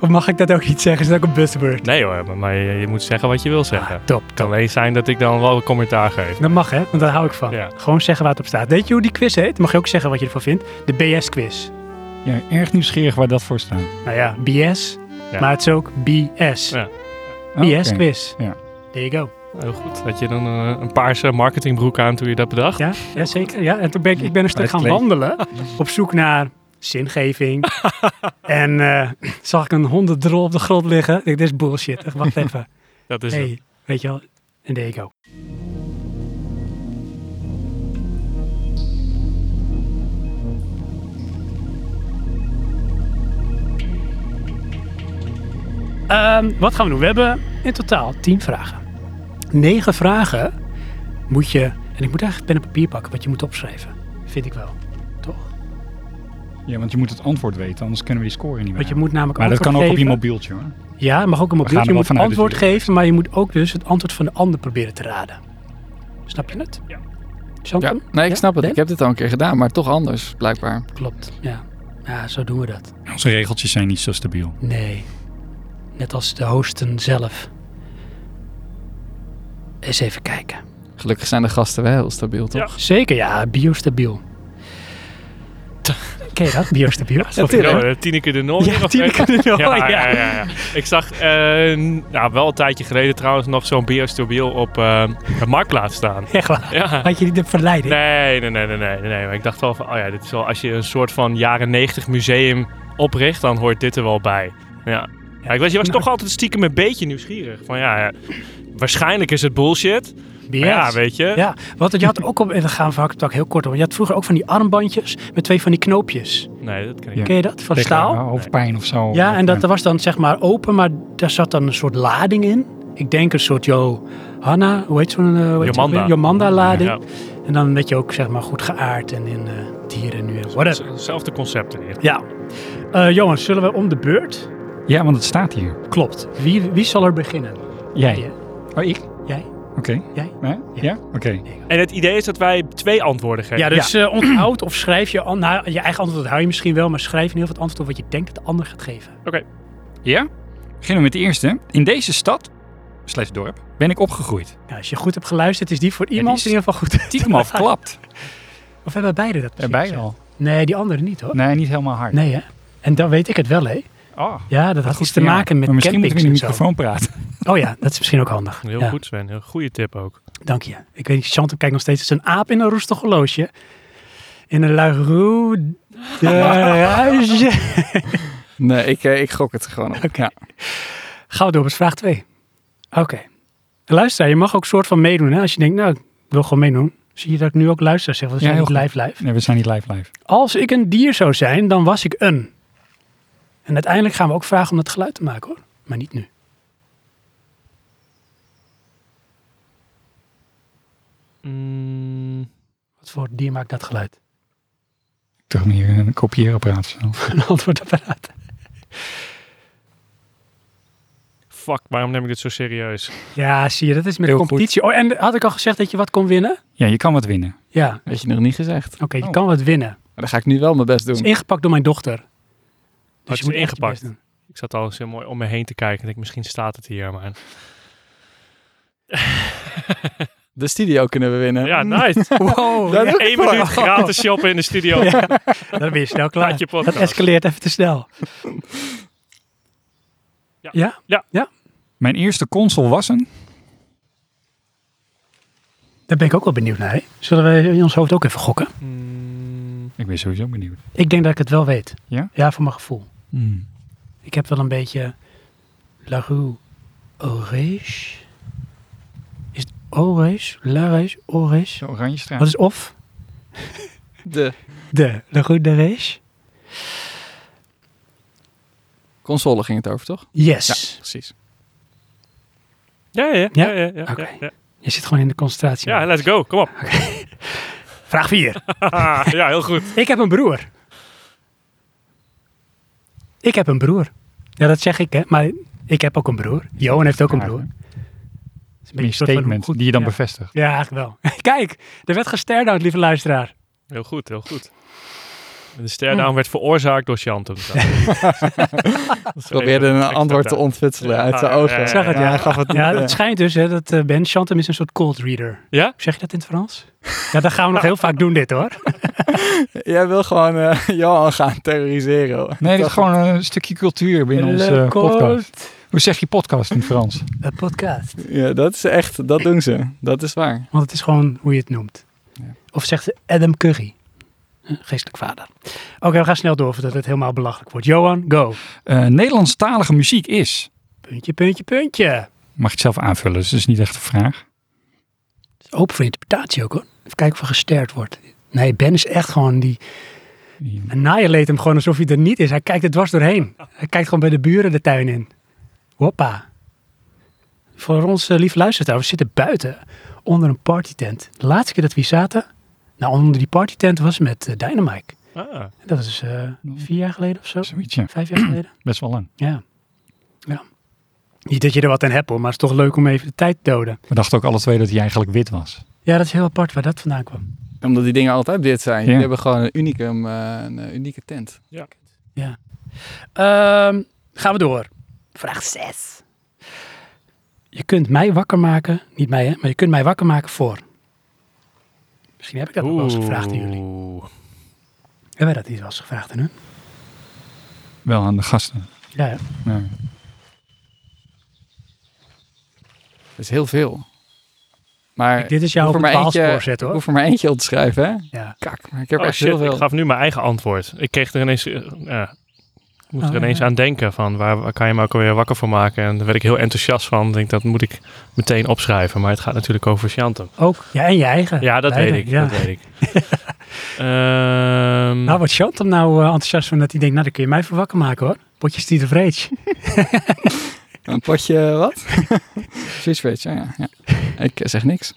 Speaker 1: of mag ik dat ook iets zeggen? Is dat ook een buzzword?
Speaker 2: Nee hoor, maar- maar je, je moet zeggen wat je wil zeggen.
Speaker 1: Ah, top,
Speaker 2: het
Speaker 1: top.
Speaker 2: kan alleen zijn dat ik dan wel een commentaar geef.
Speaker 1: Dat mag, hè? Want daar hou ik van.
Speaker 2: Ja.
Speaker 1: Gewoon zeggen waar het op staat. Weet je hoe die quiz heet? Mag je ook zeggen wat je ervan vindt? De BS-quiz.
Speaker 3: Ja, erg nieuwsgierig waar dat voor staat.
Speaker 1: Nou ja, BS.
Speaker 2: Ja.
Speaker 1: Maar het is ook BS.
Speaker 2: Ja.
Speaker 3: Oh, Oké.
Speaker 1: BS-quiz.
Speaker 3: Ja.
Speaker 1: There you go.
Speaker 2: Heel goed. Had je dan eh, een paarse marketingbroek aan toen je dat bedacht?
Speaker 1: Ja, ja zeker. Ja, en toen ben ik, ik ben een stuk
Speaker 3: dat
Speaker 1: gaan
Speaker 3: klinkt-
Speaker 1: wandelen op zoek naar zingeving. en eh, zag ik een hondendrol op de grond liggen. Ik dacht, dit is bullshit. Echt, Wacht even.
Speaker 2: Dat is het.
Speaker 1: Hey, weet je wel. En there you go. Ehm, wat gaan we doen? We hebben in totaal 10 vragen. 9 vragen moet je. En ik moet eigenlijk pen en papier pakken wat je moet opschrijven. Vind ik wel. Toch?
Speaker 3: Ja, want je moet het antwoord weten, anders kunnen we die score niet meer.
Speaker 1: Want je
Speaker 3: halen.
Speaker 1: moet namelijk
Speaker 3: maar dat kan
Speaker 1: antwoord
Speaker 3: ook op je
Speaker 1: geven.
Speaker 3: mobieltje hoor.
Speaker 1: Ja, mag ook een
Speaker 3: gaan
Speaker 1: mobiel.
Speaker 3: er
Speaker 1: Je
Speaker 3: wel
Speaker 1: moet
Speaker 3: vanuit
Speaker 1: antwoord
Speaker 3: natuurlijk.
Speaker 1: geven, maar je moet ook dus het antwoord van de ander proberen te raden. Snap je het?
Speaker 2: Ja.
Speaker 1: Chantem?
Speaker 4: Ja. Nee, ik
Speaker 1: Ja?
Speaker 4: snap het.
Speaker 1: Ben?
Speaker 4: Ik heb dit al een keer gedaan, maar toch anders, blijkbaar.
Speaker 1: Klopt, ja. Ja, zo doen we dat.
Speaker 3: Onze regeltjes zijn niet zo stabiel.
Speaker 1: Nee. Net als de hosten zelf. Eens even kijken.
Speaker 4: Gelukkig zijn de gasten wel heel stabiel, toch?
Speaker 2: Ja.
Speaker 1: Zeker, ja. Biostabiel. Ken je dat? Biostabiel?
Speaker 2: Of
Speaker 1: is
Speaker 2: nou, eh, Tineke de Noor.
Speaker 1: Ja,
Speaker 2: nog
Speaker 1: Tineke
Speaker 2: even?
Speaker 1: de Noor, ja.
Speaker 2: ja, ja, ja. Ik zag eh, nou, wel een tijdje geleden trouwens nog zo'n biostabiel op eh, de marktplaats staan.
Speaker 1: Echt waar.
Speaker 2: Ja.
Speaker 1: Had je niet de verleiding?
Speaker 2: Nee, nee, nee, nee, nee, nee. Maar ik dacht wel van, oh ja, dit is wel, als je een soort van jaren 90 museum opricht, dan hoort dit er wel bij. Ja. ja ik weet, je
Speaker 1: Nou,
Speaker 2: was toch altijd stiekem een beetje nieuwsgierig. Van ja, ja, waarschijnlijk is het bullshit.
Speaker 1: BS.
Speaker 2: Maar ja, weet je.
Speaker 1: Ja, want je had ook op, en dan gaan we van hak op tak heel kort op. Je had vroeger ook van die armbandjes met twee van die knoopjes.
Speaker 2: Nee, dat kan ik.
Speaker 3: Ja.
Speaker 1: Ken je dat? Van
Speaker 3: Tegen,
Speaker 1: staal?
Speaker 3: eh, hoofdpijn of zo.
Speaker 1: Ja, en dat was dan zeg maar open, maar daar zat dan een soort lading in. Ik denk een soort Johanna, hoe heet zo'n... eh, hoe heet zo'n-
Speaker 2: Jomanda.
Speaker 1: Jomanda-lading.
Speaker 2: Ja.
Speaker 1: En dan werd je ook zeg maar goed geaard en in eh, dieren nu en whatever.
Speaker 2: Hetzelfde concept in ieder geval.
Speaker 1: Ja. Eh jongens, zullen we om de beurt?
Speaker 3: Ja, want het staat hier.
Speaker 1: Klopt. Wie, wie zal er beginnen?
Speaker 3: Jij.
Speaker 1: Jij.
Speaker 3: Oh, ik?
Speaker 1: Jij?
Speaker 3: Oké.
Speaker 1: Jij?
Speaker 3: Hè? Ja? Oké.
Speaker 2: En het idee is dat wij twee antwoorden geven.
Speaker 1: Ja, dus eh, onthoud of schrijf je... an- Nou, je eigen antwoord hou je misschien wel, maar schrijf in heel veel het antwoord op wat je denkt dat de ander gaat geven.
Speaker 3: Ja? Beginnen we met de eerste. In deze stad, slechts dorp, ben ik opgegroeid.
Speaker 1: Nou, als je goed hebt geluisterd, is die voor iemand
Speaker 3: is-
Speaker 1: in ieder geval goed.
Speaker 3: Tiekemaf klapt.
Speaker 1: Of hebben beide dat precies
Speaker 3: Erbij
Speaker 1: gezegd?
Speaker 3: al.
Speaker 1: Nee, die andere niet hoor.
Speaker 3: Nee, niet helemaal hard.
Speaker 1: Nee, hè? En dan weet ik het wel, hè?
Speaker 3: Oh,
Speaker 1: Ja, dat had
Speaker 3: goed
Speaker 1: iets te
Speaker 3: voor jou.
Speaker 1: maken met
Speaker 3: Maar misschien moeten we
Speaker 1: campings
Speaker 3: in de
Speaker 1: en zo.
Speaker 3: microfoon praten.
Speaker 1: Oh ja, dat is misschien ook handig.
Speaker 2: Heel
Speaker 1: Ja,
Speaker 2: goed, Sven. Heel goede tip ook.
Speaker 1: Dank je. Ik weet niet, Chantem kijkt nog steeds. Het is een aap in een roestig horloge. In een luie ruisje.
Speaker 4: Nee, ik, eh, ik gok het gewoon op.
Speaker 1: Oké. Gaan we door met vraag 2. Oké. Luister, je mag ook soort van meedoen. Hè? Als je denkt, nou, ik wil gewoon meedoen. Zie je dat ik nu ook luister zeg. Want we
Speaker 3: Ja,
Speaker 1: zijn
Speaker 3: heel
Speaker 1: niet live live.
Speaker 3: Nee, we zijn niet live live.
Speaker 1: Als ik een dier zou zijn, dan was ik een. En uiteindelijk gaan we ook vragen om dat geluid te maken hoor. Maar niet nu.
Speaker 2: Mm,
Speaker 1: Wat voor dier maakt dat geluid?
Speaker 3: Toch niet een kopieerapparaat. of zo.
Speaker 1: Een antwoordapparaat.
Speaker 2: fuck, waarom neem ik dit zo serieus?
Speaker 1: Ja, zie je, dat is met
Speaker 3: Heel
Speaker 1: competitie. Oh, en had ik al gezegd dat je wat kon winnen?
Speaker 3: Ja, je kan wat winnen.
Speaker 1: Ja, oké,
Speaker 4: Weet je nog niet gezegd.
Speaker 1: je
Speaker 3: Oh.
Speaker 1: kan wat winnen.
Speaker 4: Maar dan ga ik nu wel mijn best
Speaker 1: Het
Speaker 4: doen.
Speaker 1: is ingepakt door mijn dochter. Dus
Speaker 2: het is
Speaker 1: moet echt
Speaker 2: ingepakt.
Speaker 1: je best doen.
Speaker 2: Ik zat al zo mooi om me heen te kijken. Ik denk, misschien staat het hier, maar...
Speaker 4: De studio kunnen we winnen.
Speaker 2: Ja, nou- nice.
Speaker 1: Wow,
Speaker 4: Dat
Speaker 1: ja,
Speaker 4: ook
Speaker 2: Eén
Speaker 4: voor.
Speaker 2: minuut gratis shoppen in de studio.
Speaker 1: Ja. dan ben je snel klaar.
Speaker 2: Laat je
Speaker 1: Dat
Speaker 2: podcast.
Speaker 1: escaleert even te snel.
Speaker 2: Ja.
Speaker 1: Ja?
Speaker 3: Mijn eerste console was een...
Speaker 1: daar ben ik ook wel benieuwd naar. Hè? Zullen we in ons hoofd ook even gokken?
Speaker 2: Mm,
Speaker 3: Ik ben sowieso benieuwd.
Speaker 1: Ik denk dat ik het wel weet.
Speaker 3: Ja?
Speaker 1: Ja, voor mijn gevoel.
Speaker 3: Hmm.
Speaker 1: Ik heb wel een beetje La Rue Orange. Is het Orange? La Rue Orange?
Speaker 3: De Oranje Straat.
Speaker 1: Wat is of?
Speaker 4: De
Speaker 1: De La Rue de Rage?
Speaker 4: console ging het over, toch?
Speaker 1: Yes.
Speaker 4: Precies.
Speaker 2: ja, ja, ja. ja, ja, ja,
Speaker 1: Oké.
Speaker 2: ja.
Speaker 1: Je zit gewoon in de concentratie.
Speaker 2: Ja, let's go. Kom op.
Speaker 1: Vraag 4.
Speaker 2: ja, heel goed.
Speaker 1: Ik heb een broer. Ik heb een broer. Ja, dat zeg ik, hè. Maar ik heb ook een broer. Johan heeft ook een broer. Dat is een beetje
Speaker 3: Een
Speaker 1: een soort van
Speaker 3: statement
Speaker 1: goed-
Speaker 3: die je dan
Speaker 1: ja.
Speaker 3: bevestigt.
Speaker 1: Ja, eigenlijk wel. Kijk, er werd gesterd lieve luisteraar.
Speaker 2: Heel goed, heel goed. De
Speaker 1: Hm.
Speaker 2: sterdaam werd veroorzaakt door Chantem. Ik
Speaker 4: probeerde een antwoord te ontwitselen uit zijn
Speaker 2: Ja,
Speaker 4: ogen.
Speaker 2: ja, ja.
Speaker 1: Zag het,
Speaker 4: Maar
Speaker 1: ja.
Speaker 4: hij gaf het niet.
Speaker 1: Ja,
Speaker 4: eh.
Speaker 1: het schijnt dus hè, dat eh, Ben Chantem is een soort cold reader.
Speaker 2: Ja?
Speaker 1: Zeg je dat in het Frans? Ja, dat gaan we nog heel vaak doen dit hoor.
Speaker 4: Jij wil gewoon eh, Johan gaan terroriseren. hoor.
Speaker 3: Nee, dat is gewoon een stukje cultuur binnen onze eh,
Speaker 1: Le
Speaker 3: podcast.
Speaker 1: cold-
Speaker 3: Hoe zeg je podcast in het Frans?
Speaker 1: Een podcast.
Speaker 4: Ja, dat is echt, dat doen ze. Dat is waar.
Speaker 1: Want het is gewoon hoe je het noemt.
Speaker 4: Ja.
Speaker 1: Of zegt ze Adam Curry. Huh, Geestelijk vader. Oké, we gaan snel door voordat het helemaal belachelijk wordt. Johan, go.
Speaker 3: Eh, Nederlandstalige muziek is.
Speaker 1: Puntje, puntje, puntje.
Speaker 3: Mag je het zelf aanvullen, dus dat is niet echt een vraag.
Speaker 1: Open voor interpretatie ook hoor. Even kijken of er gesterd wordt. Nee, Ben is echt gewoon die... Annihilate hem gewoon alsof hij er niet is. Hij kijkt er dwars doorheen. Hij kijkt gewoon bij de buren de tuin in. Hoppa. Voor ons eh, lieve luisteraar, we zitten buiten onder een partytent. De laatste keer dat we hier zaten, nou onder die partytent was met eh, Dynamite.
Speaker 2: Ah,
Speaker 1: Dat is eh, vier jaar geleden of zo.
Speaker 3: Zoiets, ja.
Speaker 1: Vijf jaar geleden.
Speaker 3: Best wel lang.
Speaker 1: Ja. ja. Niet dat je er wat aan hebt hoor, maar het is toch leuk om even de tijd te doden.
Speaker 3: We dachten ook alle twee dat hij eigenlijk wit was.
Speaker 1: Ja, dat is heel apart waar dat vandaan kwam.
Speaker 4: Omdat die dingen altijd dit zijn.
Speaker 3: Ja.
Speaker 4: Die hebben gewoon een, unicum, eh, een eh, unieke tent.
Speaker 1: Ehm, gaan we door. Vraag 6. Je kunt mij wakker maken, niet mij hè, maar je kunt mij wakker maken voor. Misschien heb ik dat nog wel eens gevraagd aan jullie.
Speaker 2: Oeh.
Speaker 1: Hebben wij dat niet wel eens gevraagd aan hun?
Speaker 3: Wel aan de gasten.
Speaker 1: Ja, ja.
Speaker 3: Ja.
Speaker 4: Dat is heel veel. Maar
Speaker 1: Dit is jouw
Speaker 4: hoef er maar eentje-
Speaker 1: bepaallspoorzet
Speaker 4: ik
Speaker 1: hoor.
Speaker 4: hoef er maar eentje op te schrijven, hè?
Speaker 1: Ja.
Speaker 4: Kak, maar ik heb
Speaker 2: Oh,
Speaker 4: echt heel
Speaker 2: shit,
Speaker 4: veel.
Speaker 2: ik gaf nu mijn eigen antwoord. Ik kreeg er ineens... eh, eh, ik moest
Speaker 1: Oh,
Speaker 2: er ineens
Speaker 1: ja.
Speaker 2: aan denken van waar, waar kan je me ook alweer wakker van maken. En daar werd ik heel enthousiast van. Ik denk dat moet ik meteen opschrijven. Maar het gaat natuurlijk over Chantem.
Speaker 1: Ook. Ja, en je eigen.
Speaker 2: Ja, dat
Speaker 1: Beide,
Speaker 2: weet ik.
Speaker 1: ja.
Speaker 2: Dat weet ik. Ehm,
Speaker 1: Nou, wat Chantam nou eh, enthousiast van dat hij denkt, nou dan kun je mij voor wakker maken hoor. Potjes die de vreedje.
Speaker 4: Een potje wat? Fish rate, ja, ja, ja. Ik eh, zeg niks.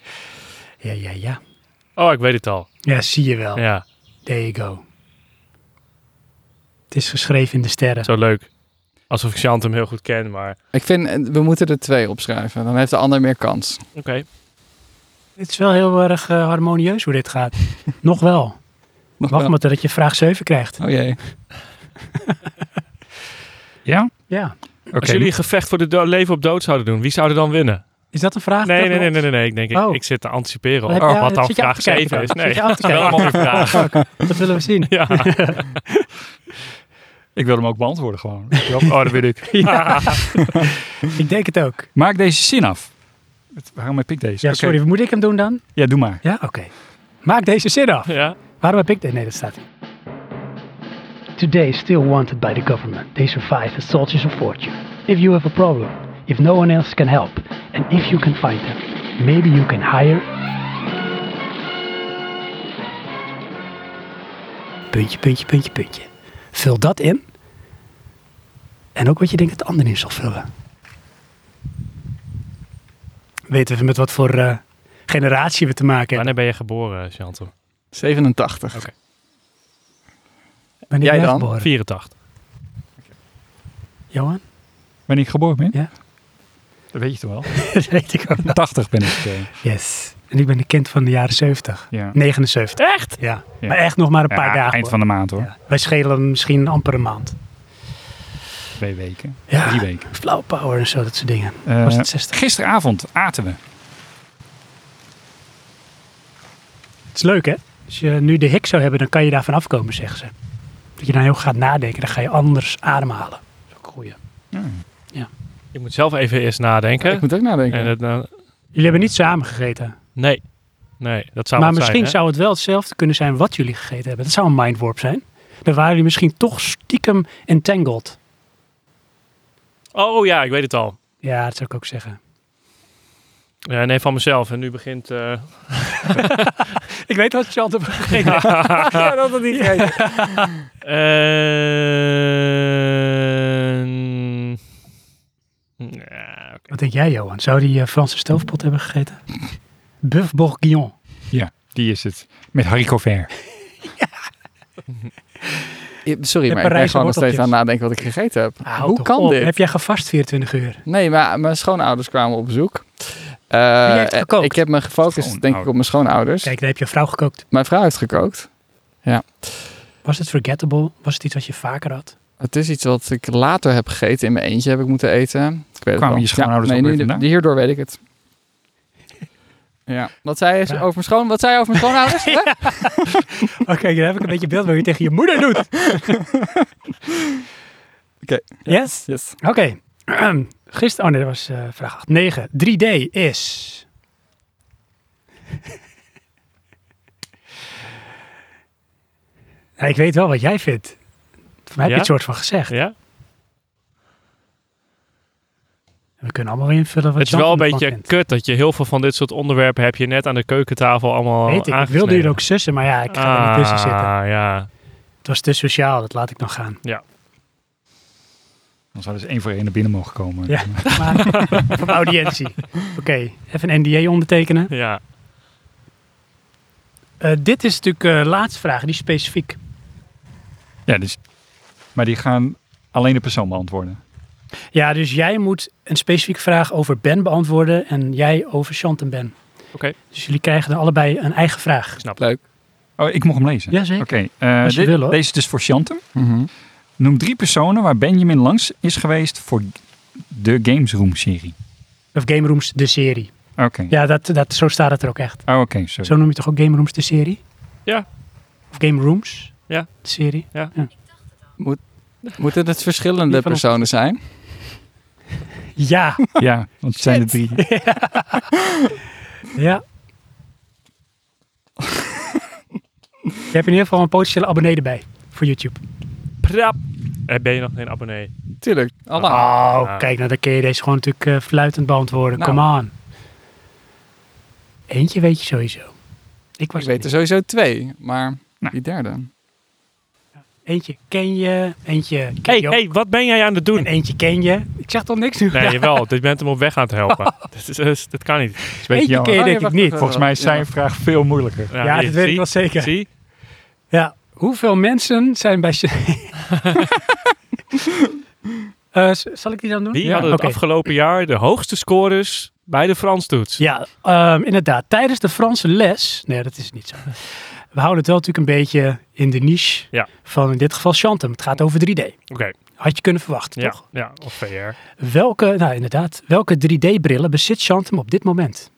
Speaker 1: Ja, ja, ja.
Speaker 2: oh, ik weet het al.
Speaker 1: Ja, zie je wel.
Speaker 2: Ja,
Speaker 1: There you go. Het is geschreven in de sterren.
Speaker 2: zo leuk. Alsof ik Chantem heel goed ken, maar...
Speaker 4: Ik vind, eh, we moeten er twee opschrijven. Dan heeft de ander meer kans.
Speaker 2: Oké.
Speaker 1: Het is wel heel erg eh, harmonieus hoe dit gaat. Nog wel.
Speaker 4: Nog
Speaker 1: Wacht
Speaker 4: wel.
Speaker 1: maar totdat je vraag 7 krijgt.
Speaker 4: Oh jee.
Speaker 3: Ja?
Speaker 1: Ja.
Speaker 3: Oké.
Speaker 2: Als jullie een gevecht voor de do- leven op dood zouden doen, wie zou er dan winnen?
Speaker 1: Is dat een vraag?
Speaker 2: Nee,
Speaker 1: Dat
Speaker 2: nee, nee,
Speaker 1: nog?
Speaker 2: nee, nee, nee. Ik denk, ik,
Speaker 1: Oh.
Speaker 2: ik zit te anticiperen
Speaker 1: Wat
Speaker 2: op
Speaker 1: heb je-
Speaker 2: wat dan
Speaker 1: zit je af
Speaker 2: vraag
Speaker 1: te kijken
Speaker 2: 7 is.
Speaker 1: dan?
Speaker 2: Nee,
Speaker 1: Zit je af
Speaker 2: dat
Speaker 1: te
Speaker 2: is wel een
Speaker 1: kijken?
Speaker 2: mooie vraag.
Speaker 1: Dat willen we zien.
Speaker 2: Ja.
Speaker 3: Ik wil hem ook beantwoorden gewoon. oh, dat weet ik.
Speaker 1: Ja. ik denk het ook.
Speaker 3: Maak deze zin af. Het- Waarom heb ik deze?
Speaker 1: Ja,
Speaker 3: Oké.
Speaker 1: sorry. Moet ik hem doen dan?
Speaker 3: Ja, doe maar.
Speaker 1: Ja, oké. Maak deze zin af.
Speaker 2: ja.
Speaker 1: Waarom heb ik dit? Nee, dat staat hier. Today still wanted by the government. They survive as soldiers of fortune. If you have a problem, if no one else can help, and if you can find them, maybe you can hire... Puntje, puntje, puntje, puntje. Vul dat in. En ook wat je denkt dat de ander in zal vullen. Weten we met wat voor eh, generatie we te maken hebben?
Speaker 2: Wanneer ben je geboren, Chantal?
Speaker 4: 87.
Speaker 2: Oké.
Speaker 1: Wanneer
Speaker 4: jij
Speaker 1: ben
Speaker 4: dan?
Speaker 1: geboren?
Speaker 2: 84.
Speaker 1: Johan?
Speaker 3: Wanneer ik geboren ben?
Speaker 1: Ja.
Speaker 3: Dat weet je toch wel?
Speaker 1: Dat weet ik ook nog.
Speaker 3: 80 ben ik. eh,
Speaker 1: Yes. En ik ben een kind van de jaren 70.
Speaker 3: ja.
Speaker 1: 79. Echt? Ja.
Speaker 3: Ja.
Speaker 1: Maar echt nog maar een paar
Speaker 3: Ja,
Speaker 1: dagen.
Speaker 3: Eind van de maand hoor.
Speaker 1: hoor. Ja. Wij schelen misschien amper een maand.
Speaker 3: Twee weken.
Speaker 1: Ja.
Speaker 3: Drie weken.
Speaker 1: Flauw power en zo, dat soort dingen.
Speaker 3: Eh,
Speaker 1: Was het 60?
Speaker 3: Gisteravond aten we.
Speaker 1: Het is leuk, hè? Als je nu de hik zou hebben, dan kan je daarvan afkomen, zeggen ze. Dat je dan heel goed gaat nadenken, dan ga je anders ademhalen. Dat is ook een goeie.
Speaker 2: Ik moet zelf even eerst nadenken.
Speaker 4: Ik moet ook nadenken.
Speaker 2: en het, nou,
Speaker 1: Jullie hebben niet samen gegeten.
Speaker 2: nee. Nee, dat zou
Speaker 1: maar
Speaker 2: wat
Speaker 1: misschien
Speaker 2: zijn, hè?
Speaker 1: zou het wel hetzelfde kunnen zijn wat jullie gegeten hebben. Dat zou een mindwarp zijn. Dan waren jullie misschien toch stiekem entangled.
Speaker 2: Oh ja, ik weet het al.
Speaker 1: Ja, dat zou ik ook zeggen.
Speaker 2: Ja, nee, van mezelf. En nu begint... eh,
Speaker 1: Ik weet wat je altijd hebt gegeten.
Speaker 4: ja, dat had niet
Speaker 2: Ehm, eh, ja, oké.
Speaker 1: Wat denk jij, Johan? Zou die eh, Franse stoofpot hebben gegeten? Buff bourguignon.
Speaker 3: Ja. Die is het. Met Harry Cover.
Speaker 4: I- Sorry,
Speaker 1: De
Speaker 4: maar ik ben
Speaker 1: Parijse
Speaker 4: gewoon nog
Speaker 1: worteltjes.
Speaker 4: steeds aan het nadenken wat ik gegeten heb.
Speaker 1: Ah, houd
Speaker 4: Hoe
Speaker 1: toch
Speaker 4: kan
Speaker 1: op.
Speaker 4: dit?
Speaker 1: Heb jij gevast 24 uur?
Speaker 4: Nee, maar mijn schoonouders kwamen op bezoek. Eh,
Speaker 1: Wie heeft gekookt?
Speaker 4: ik heb me gefocust, denk ik, op mijn schoonouders.
Speaker 1: Kijk, daar heb je vrouw gekookt.
Speaker 4: Mijn vrouw heeft gekookt.
Speaker 1: Was het forgettable? Was het iets wat je vaker had?
Speaker 4: Het is iets wat ik later heb gegeten. In mijn eentje heb ik moeten eten. Ik weet het
Speaker 3: Kwamen
Speaker 4: wel.
Speaker 3: je schoonouders
Speaker 4: ja,
Speaker 3: ook
Speaker 4: nee,
Speaker 3: weer
Speaker 4: nu-
Speaker 3: vandaan?
Speaker 4: Hierdoor weet ik het. Ja, wat zei je
Speaker 1: Ja.
Speaker 4: over mijn schoon? Wat zei je over mijn schoonouders? Hè?
Speaker 1: Oké, daar heb ik een beetje beeld wat je tegen je moeder doet.
Speaker 4: Oké.
Speaker 1: Yes?
Speaker 4: yes.
Speaker 1: Oké. Gisteren, oh nee, dat was eh, vraag 8. 9. 3D is... Nou, ik weet wel wat jij vindt. Voor mij heb je
Speaker 2: Ja?
Speaker 1: het soort van gezegd.
Speaker 2: Ja?
Speaker 1: We kunnen allemaal weer invullen wat
Speaker 2: Het is
Speaker 1: Jan
Speaker 2: wel een
Speaker 1: van de plank
Speaker 2: beetje
Speaker 1: vindt.
Speaker 2: kut dat je heel veel van dit soort onderwerpen heb je net aan de keukentafel allemaal
Speaker 1: Weet ik, ik
Speaker 2: aangesneden.
Speaker 1: wilde hier ook sussen, maar ja, ik ga er niet tussen zitten.
Speaker 2: Ah, ja.
Speaker 1: Het was te sociaal, dat laat ik nog gaan.
Speaker 3: Dan zou dus één voor één naar binnen mogen komen.
Speaker 1: Ja. Maar op audiëntie. Oké, even een NDA ondertekenen.
Speaker 2: Ja.
Speaker 1: Eh, dit is natuurlijk eh laatste vraag, die is specifiek.
Speaker 3: Ja, dus, maar die gaan alleen de persoon beantwoorden.
Speaker 1: Ja, dus jij moet een specifieke vraag over Ben beantwoorden en jij over Chantem Ben.
Speaker 2: Oké.
Speaker 1: Dus jullie krijgen dan allebei een eigen vraag.
Speaker 4: Leuk.
Speaker 3: Oh, ik mocht hem lezen.
Speaker 1: Jazeker.
Speaker 3: Oké, eh,
Speaker 1: Als je
Speaker 3: dit-
Speaker 1: wil, hoor.
Speaker 3: deze is dus voor Chantem.
Speaker 4: Mhm.
Speaker 3: Noem drie personen waar Benjamin langs is geweest voor de Games Room serie.
Speaker 1: Of Game Rooms, de serie.
Speaker 3: Oké.
Speaker 1: Ja, dat, dat, zo staat het er ook echt.
Speaker 3: Oh, oké, sorry.
Speaker 1: Zo noem je toch ook Game Rooms, de serie?
Speaker 2: Ja.
Speaker 1: Of Game Rooms?
Speaker 2: Ja.
Speaker 1: De serie?
Speaker 4: Moeten het verschillende
Speaker 1: Die van ons.
Speaker 4: personen zijn?
Speaker 1: Ja.
Speaker 3: Ja, want het zijn er drie.
Speaker 1: Ja. Je hebt in ieder geval een potentiële abonnee erbij voor YouTube.
Speaker 2: Prap. Eh, Ben je nog geen abonnee?
Speaker 4: Tuurlijk. Allah.
Speaker 1: Oh,
Speaker 2: Ah.
Speaker 1: kijk, nou dan kun je deze gewoon natuurlijk eh, fluitend beantwoorden.
Speaker 4: Nou.
Speaker 1: Come on. Eentje weet je sowieso. Ik was
Speaker 4: ik
Speaker 1: er
Speaker 4: weet er sowieso twee, maar
Speaker 3: Nou.
Speaker 4: die derde.
Speaker 1: niet. Eentje ken je, eentje ken
Speaker 2: Hey,
Speaker 1: je ook,
Speaker 2: hey, wat ben jij aan het
Speaker 1: en
Speaker 2: doen?
Speaker 1: eentje ken je. Ik zeg toch niks nu?
Speaker 2: Nee, jawel. Dit bent hem op weg aan het helpen. dit, is, is- dit kan niet.
Speaker 3: Dat is een beetje
Speaker 1: eentje
Speaker 3: jammer.
Speaker 1: ken je denk
Speaker 4: Oh, ja,
Speaker 1: ik
Speaker 4: wacht
Speaker 1: niet.
Speaker 4: even.
Speaker 3: Volgens mij is zijn vraag veel moeilijker.
Speaker 1: Ja,
Speaker 2: hier,
Speaker 1: dat weet ik
Speaker 2: zie?
Speaker 1: wel zeker.
Speaker 2: Zie?
Speaker 1: Ja, hoeveel mensen zijn bij... Eh, z- zal ik die dan doen?
Speaker 2: Die
Speaker 3: Ja,
Speaker 2: hadden het
Speaker 1: oké.
Speaker 2: afgelopen jaar de hoogste scores bij de Frans toets.
Speaker 1: Ja, ehm, inderdaad. Tijdens de Franse les. Nee, dat is niet zo. We houden het wel natuurlijk een beetje in de niche
Speaker 2: Ja.
Speaker 1: van in dit geval Chantem. Het gaat over 3D.
Speaker 2: Oké,
Speaker 1: Had je kunnen verwachten,
Speaker 2: ja,
Speaker 1: toch?
Speaker 2: ja, of VR.
Speaker 1: Welke, nou inderdaad, welke 3D-brillen bezit Chantem op dit moment?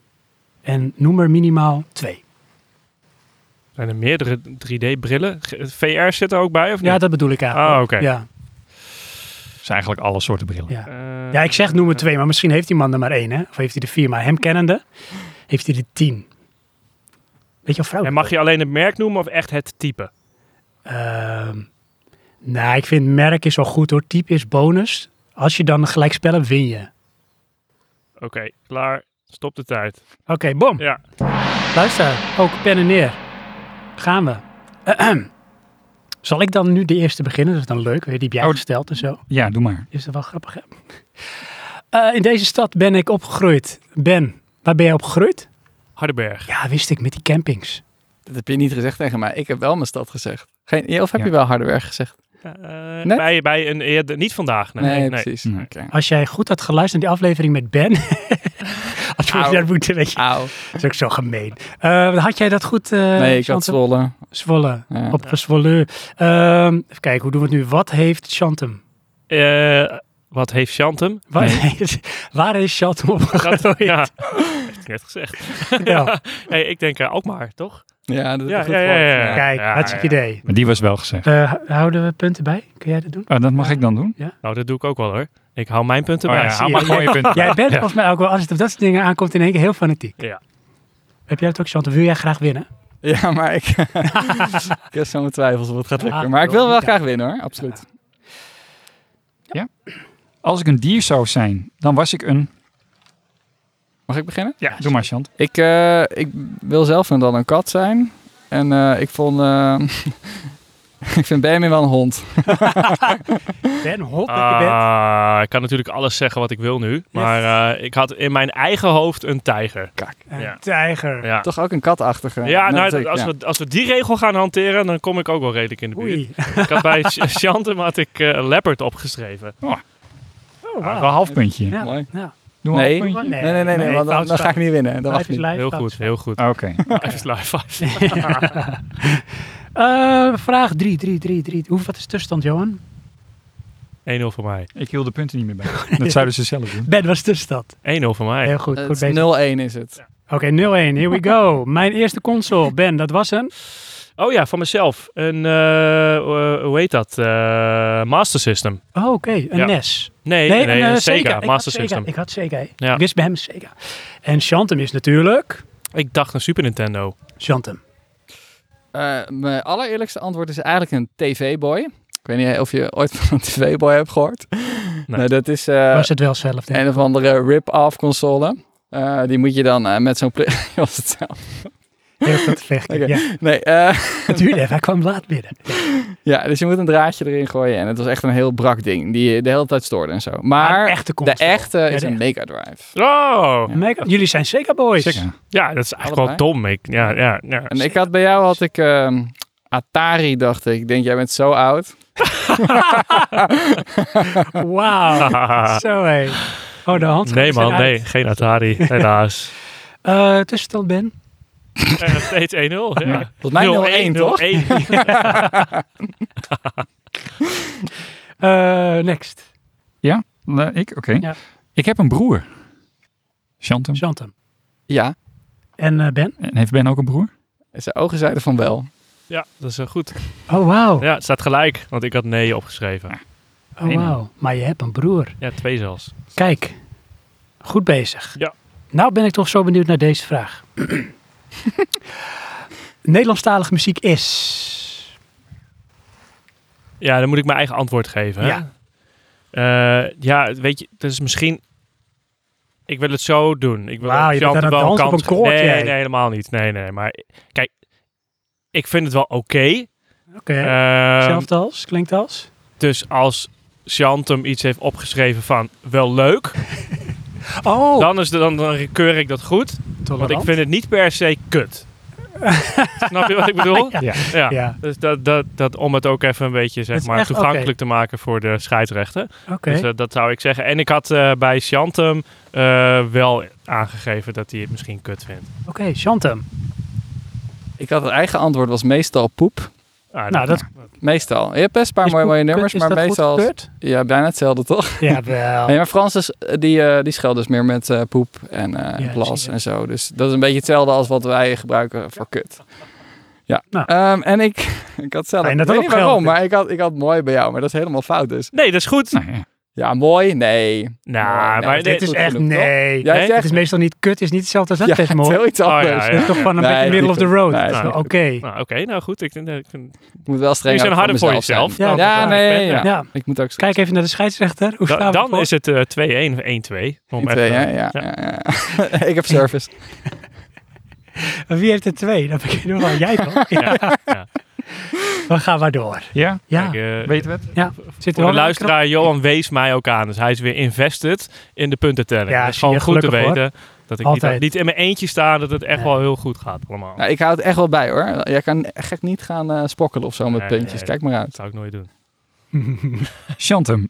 Speaker 1: En noem er minimaal twee.
Speaker 2: Zijn er meerdere 3D-brillen? VR zit er ook bij, of niet?
Speaker 1: Ja, dat bedoel ik eigenlijk.
Speaker 2: Ah, oké.
Speaker 1: ja.
Speaker 3: Dat zijn eigenlijk alle soorten brillen.
Speaker 1: Ja.
Speaker 2: Eh,
Speaker 1: ja, ik zeg noem er twee, maar misschien heeft die man er maar één, hè? Of heeft hij er vier, maar hem kennende heeft hij er tien. Weet je of vrouw?
Speaker 2: En mag je alleen het merk noemen of echt het type?
Speaker 1: Ehm, nou, ik vind merk is wel goed hoor. Type is bonus. Als je dan gelijk spellen, win je.
Speaker 2: Oké, klaar. Stop de tijd.
Speaker 1: Oké, bom.
Speaker 2: Ja.
Speaker 1: Luister, ook pennen neer. Gaan we. Ahem. Zal ik dan nu de eerste beginnen? Dat is dan leuk. Weet, die heb jij
Speaker 3: Oh.
Speaker 1: gesteld en zo.
Speaker 3: Ja, doe maar.
Speaker 1: Is dat wel grappig, hè? Eh, in deze stad ben ik opgegroeid. Ben, waar ben jij opgegroeid?
Speaker 2: Hardenberg.
Speaker 1: Ja, wist ik, met die campings.
Speaker 4: Dat heb je niet gezegd tegen mij. Ik heb wel mijn stad gezegd. Geen, ja, of heb
Speaker 3: Ja.
Speaker 4: je wel Harderweg gezegd?
Speaker 2: Eh,
Speaker 4: Net?
Speaker 2: bij, bij een eerder, niet vandaag. Nee, nee,
Speaker 4: precies.
Speaker 3: Nee.
Speaker 4: Oké.
Speaker 1: Als jij goed had geluisterd naar die aflevering met Ben... had je
Speaker 4: Au.
Speaker 1: dat moeten, weet je.
Speaker 4: Auw.
Speaker 1: Dat is ook zo gemeen. Eh, had jij dat goed... eh,
Speaker 4: Nee, ik had
Speaker 1: Chantem?
Speaker 4: Zwolle.
Speaker 1: Zwolle.
Speaker 4: Ja.
Speaker 1: Op eh, Zwolle. Ehm, even kijken, hoe doen we het nu? Wat heeft Chantem?
Speaker 2: nee. Eh, wat heeft Chantem?
Speaker 1: Waar, heeft- waar is Chantem op
Speaker 2: Dat,
Speaker 1: gegooid?
Speaker 2: ja, heeft ik net gezegd.
Speaker 1: Ja.
Speaker 2: Hey, ik denk ook maar, toch?
Speaker 4: Ja, dat
Speaker 2: Ja,
Speaker 4: heb ik
Speaker 2: ja,
Speaker 4: goed
Speaker 2: ja,
Speaker 4: gehoord.
Speaker 2: ja, ja.
Speaker 1: Kijk, hartstikke
Speaker 2: ja.
Speaker 1: idee.
Speaker 3: Maar die was wel gezegd.
Speaker 1: Eh, h- houden we punten bij? Kun jij dat doen?
Speaker 3: Oh, dat mag ik dan doen?
Speaker 2: Nou, dat doe ik ook wel hoor. Ik hou mijn punten
Speaker 3: Oh ja,
Speaker 2: bij.
Speaker 3: hou
Speaker 1: je.
Speaker 3: maar mooie punten.
Speaker 1: Jij bent
Speaker 3: Ja.
Speaker 1: volgens mij ook wel, als het op dat soort dingen aankomt, in één keer heel fanatiek.
Speaker 2: Ja.
Speaker 1: Heb jij het ook, Chantem? Wil jij graag winnen?
Speaker 4: Ja, maar ik, ik heb zo mijn twijfels of het gaat lukken.
Speaker 1: Ah,
Speaker 4: Maar ik wil wel
Speaker 1: Veronica.
Speaker 4: graag winnen hoor, absoluut.
Speaker 3: Als ik een dier zou zijn, dan was ik een...
Speaker 4: Mag ik beginnen?
Speaker 3: Ja, doe maar, Chant.
Speaker 4: Ik, eh, ik wil zelf dan een kat zijn. En eh, ik vond eh, Ik vind Benjamin wel een hond.
Speaker 1: Ben, hop dat je bent.
Speaker 2: Ah, ik kan natuurlijk alles zeggen wat ik wil nu. Maar eh, ik had in mijn eigen hoofd een tijger.
Speaker 1: Een
Speaker 2: ja.
Speaker 1: tijger.
Speaker 2: Ja,
Speaker 4: Toch ook een katachtige.
Speaker 2: ja
Speaker 4: Net
Speaker 2: nou,
Speaker 4: als ik,
Speaker 2: als,
Speaker 4: ja.
Speaker 2: We, als we die regel gaan hanteren, dan kom ik ook wel redelijk in de buurt.
Speaker 1: Oei.
Speaker 2: Ik had bij Ch- Chantem had ik eh, leopard opgeschreven.
Speaker 1: Oh,
Speaker 3: Ah,
Speaker 1: wauw.
Speaker 3: wel een half puntje.
Speaker 1: Ja, nou.
Speaker 4: Mooi.
Speaker 1: ja.
Speaker 3: Doe een
Speaker 4: Nee.
Speaker 3: half puntje.
Speaker 4: Nee, nee, nee, nee, want dan,
Speaker 1: fout,
Speaker 4: dan ga ik
Speaker 1: fout.
Speaker 4: niet winnen. Dat mag
Speaker 1: Life is
Speaker 4: niet.
Speaker 1: life,
Speaker 2: Heel
Speaker 1: fout
Speaker 2: goed,
Speaker 1: is
Speaker 2: heel goed.
Speaker 3: Oh, Oké.
Speaker 4: Ah.
Speaker 2: Live is live, live.
Speaker 1: Eh, vraag 3, 3, 3, 3. Hoe, wat is de tussenstand, Johan?
Speaker 2: 1-0 voor mij.
Speaker 3: Ik hield de punten niet meer bij. Dat zouden ze zelf doen.
Speaker 1: Ben, wat is de tussenstand?
Speaker 2: 1-0 voor mij.
Speaker 1: Heel goed,
Speaker 4: Het
Speaker 1: goed
Speaker 4: is
Speaker 1: bezig.
Speaker 4: 0-1 is het.
Speaker 1: Oké, 0-1, here we go. Mijn eerste console, Ben, dat was een...
Speaker 2: Oh ja, van mezelf. Een, eh, eh, hoe heet dat? Eh, Master System.
Speaker 1: Oh, oké, een
Speaker 2: Ja.
Speaker 1: NES.
Speaker 2: Nee, nee,
Speaker 1: Nee, een, eh,
Speaker 2: een
Speaker 1: Sega.
Speaker 2: Sega.
Speaker 1: Ik had
Speaker 2: Master
Speaker 1: Sega.
Speaker 2: System.
Speaker 1: Ik had Sega.
Speaker 2: Ja.
Speaker 1: Ik wist bij hem Sega. En Chantem is natuurlijk...
Speaker 2: Ik dacht een Super Nintendo.
Speaker 1: Chantem.
Speaker 4: Eh, mijn allereerlijkste antwoord is eigenlijk een TV-boy. Ik weet niet of je ooit van een TV-boy hebt gehoord. Nou, dat is eh,
Speaker 1: was het wel zelf, denk ik.
Speaker 4: een of andere rip-off console. Eh, die moet je dan eh, met zo'n... pla- Was het zelf?
Speaker 1: Heel veel te vechten.
Speaker 4: Oké.
Speaker 1: Ja,
Speaker 4: nee, eh,
Speaker 1: het duurde even. Hij kwam laat binnen.
Speaker 4: Ja, dus je moet een draadje erin gooien. En het was echt een heel brak ding. Die je de hele tijd stoorde en zo. Maar,
Speaker 1: Maar een echte
Speaker 4: de
Speaker 1: console.
Speaker 4: echte
Speaker 1: Ja,
Speaker 4: is
Speaker 1: de
Speaker 4: een Mega Drive.
Speaker 2: Oh!
Speaker 1: Ja. Mega- Jullie zijn Sega boys.
Speaker 3: Zeker.
Speaker 2: Ja, dat is eigenlijk wel
Speaker 4: Allebei?
Speaker 2: dom. Ik, ja, ja, ja.
Speaker 4: En ik had bij jou had ik ehm, Atari, dacht ik. Ik denk, jij bent zo oud.
Speaker 1: Wauw. Zo hé. Oh, de hand.
Speaker 2: nee man, nee. Geen Atari, helaas.
Speaker 1: Eh tussenstand Ben.
Speaker 2: En nog steeds 1-0. Ja.
Speaker 4: Volgens mij 0-1, toch?
Speaker 2: 0-1.
Speaker 1: Eh, next.
Speaker 3: Nee, Ik? Oké.
Speaker 1: Ja.
Speaker 3: Ik heb een broer. Chantem.
Speaker 1: Chantem.
Speaker 4: Ja,
Speaker 1: En eh, Ben.
Speaker 3: En heeft Ben ook een broer?
Speaker 4: zijn ogen zeiden van wel.
Speaker 2: Ja, dat is eh, goed.
Speaker 1: Oh, wauw.
Speaker 2: Ja, het staat gelijk, want ik had nee opgeschreven.
Speaker 1: Oh, wauw. Maar je hebt een broer.
Speaker 2: Ja, twee zelfs.
Speaker 1: Kijk. Goed bezig.
Speaker 2: Ja.
Speaker 1: Nou ben ik toch zo benieuwd naar deze vraag. Nederlandstalige muziek is...
Speaker 2: Ja, dan moet ik mijn eigen antwoord geven. hè?
Speaker 1: Ja.
Speaker 2: Eh, ja, weet je, dat is misschien... Ik wil het zo doen. Ik wil
Speaker 1: Wauw,
Speaker 2: ook
Speaker 1: je bent
Speaker 2: Jan
Speaker 1: aan het
Speaker 2: wel
Speaker 1: dansen op
Speaker 2: kans-
Speaker 1: een koord,
Speaker 2: Nee,
Speaker 1: jij.
Speaker 2: nee, helemaal niet. Nee, nee, maar... Kijk, ik vind het wel oké.
Speaker 1: Oké.
Speaker 2: Ehm,
Speaker 1: Hetzelfde als? Klinkt als?
Speaker 2: dus als Chantem iets heeft opgeschreven van wel leuk,
Speaker 1: Oh.
Speaker 2: dan, is de, dan, dan keur ik dat goed. Want ik vind het niet per se kut. Snap je wat ik bedoel?
Speaker 1: Ja.
Speaker 2: Ja.
Speaker 1: Ja,
Speaker 2: Dus dat, dat, dat om het ook even een beetje
Speaker 1: Het
Speaker 2: zeg
Speaker 1: is
Speaker 2: maar,
Speaker 1: echt
Speaker 2: toegankelijk
Speaker 1: oké.
Speaker 2: te maken voor de scheidsrechter.
Speaker 1: oké.
Speaker 2: Dus eh, dat zou ik zeggen. En ik had eh, bij Chantem eh, wel aangegeven dat hij het misschien kut vindt.
Speaker 1: Oké, Chantem.
Speaker 4: Ik had het eigen antwoord, was meestal poep.
Speaker 2: Ah,
Speaker 1: Nou, dat
Speaker 4: Meestal. Je hebt best een paar
Speaker 1: is
Speaker 4: mooie,
Speaker 1: goed
Speaker 4: mooie
Speaker 1: gekeurd.
Speaker 4: nummers,
Speaker 1: Is
Speaker 4: maar
Speaker 1: dat goed
Speaker 4: meestal...
Speaker 1: gekeurd?
Speaker 4: Ja, bijna hetzelfde, toch?
Speaker 1: Ja, wel.
Speaker 4: Nee, maar Francis, eh, die, eh die schelt dus meer met eh, poep en eh,
Speaker 1: Ja,
Speaker 4: plas
Speaker 1: zie je.
Speaker 4: en zo. Dus dat is een beetje hetzelfde als wat wij gebruiken voor kut. Ja,
Speaker 1: Nou.
Speaker 4: Ehm, en ik, ik had zelf,
Speaker 1: Fijn
Speaker 4: ik
Speaker 1: dat
Speaker 4: weet
Speaker 1: dat opgehelderd
Speaker 4: niet waarom,
Speaker 1: is.
Speaker 4: maar ik had, ik had mooi bij jou, maar dat is helemaal fout dus.
Speaker 2: nee, dat is goed. Nou,
Speaker 3: Nou ja.
Speaker 4: Ja, mooi? Nee. nee,
Speaker 2: maar
Speaker 4: dit
Speaker 2: nee,
Speaker 1: Het nou, is
Speaker 4: Goed
Speaker 1: echt,
Speaker 4: genoeg, toch?
Speaker 1: nee.
Speaker 4: Jij
Speaker 2: Nee?
Speaker 4: hebt
Speaker 1: Het is
Speaker 4: echt
Speaker 1: meestal niet kut, is niet hetzelfde als dat
Speaker 4: ja,
Speaker 1: best
Speaker 4: het is heel iets
Speaker 2: Oh, ja,
Speaker 4: anders.
Speaker 2: ja.
Speaker 1: Toch van een
Speaker 4: Nee,
Speaker 1: beetje middle of the
Speaker 4: niet
Speaker 1: road.
Speaker 4: goed. Nee,
Speaker 1: Zo,
Speaker 2: niet
Speaker 1: Oké.
Speaker 4: goed.
Speaker 2: Nou, oké, nou goed. Ik, denk dat ik, een-
Speaker 4: Ik moet wel streng
Speaker 2: Je bent
Speaker 4: ook
Speaker 2: harder voor
Speaker 4: mezelf
Speaker 2: jezelf.
Speaker 4: zijn.
Speaker 1: Ja,
Speaker 4: Ja,
Speaker 1: dat is
Speaker 4: nee.
Speaker 2: waar.
Speaker 4: Ja.
Speaker 1: Ja,
Speaker 4: Ik moet ook streng
Speaker 1: Dus kijk even naar de scheidsrechter. Hoe
Speaker 2: dan
Speaker 1: staan we
Speaker 2: dan
Speaker 1: ervoor?
Speaker 2: is het eh, 2-1 of 1-2. Om
Speaker 4: zijn.
Speaker 2: even-
Speaker 4: Ja, ja, ja, ja. ik heb service.
Speaker 1: Wie heeft er twee? Dan begin ik wel. Jij toch? Ja.
Speaker 2: ja.
Speaker 1: We gaan maar door.
Speaker 3: ja?
Speaker 1: Ja,
Speaker 2: Kijk, eh,
Speaker 3: Weten we het?
Speaker 1: ja. Zit er
Speaker 2: Voor
Speaker 1: wel
Speaker 2: de luisteraar, Johan wees mij ook aan. Dus hij is weer invested in de puntentelling.
Speaker 1: Ja,
Speaker 2: dat is
Speaker 1: zie je,
Speaker 2: gewoon goed te
Speaker 1: gelukkig,
Speaker 2: weten. Dat ik niet,
Speaker 1: Altijd.
Speaker 2: dat- niet in mijn eentje sta, dat het echt
Speaker 1: Nee.
Speaker 2: wel heel goed gaat allemaal.
Speaker 4: Nou, ik hou het echt wel bij hoor. Jij kan gek niet gaan eh, spokkelen of zo met
Speaker 2: Nee,
Speaker 4: puntjes.
Speaker 2: nee.
Speaker 4: Kijk maar uit.
Speaker 2: Dat zou ik nooit doen.
Speaker 3: Chantem,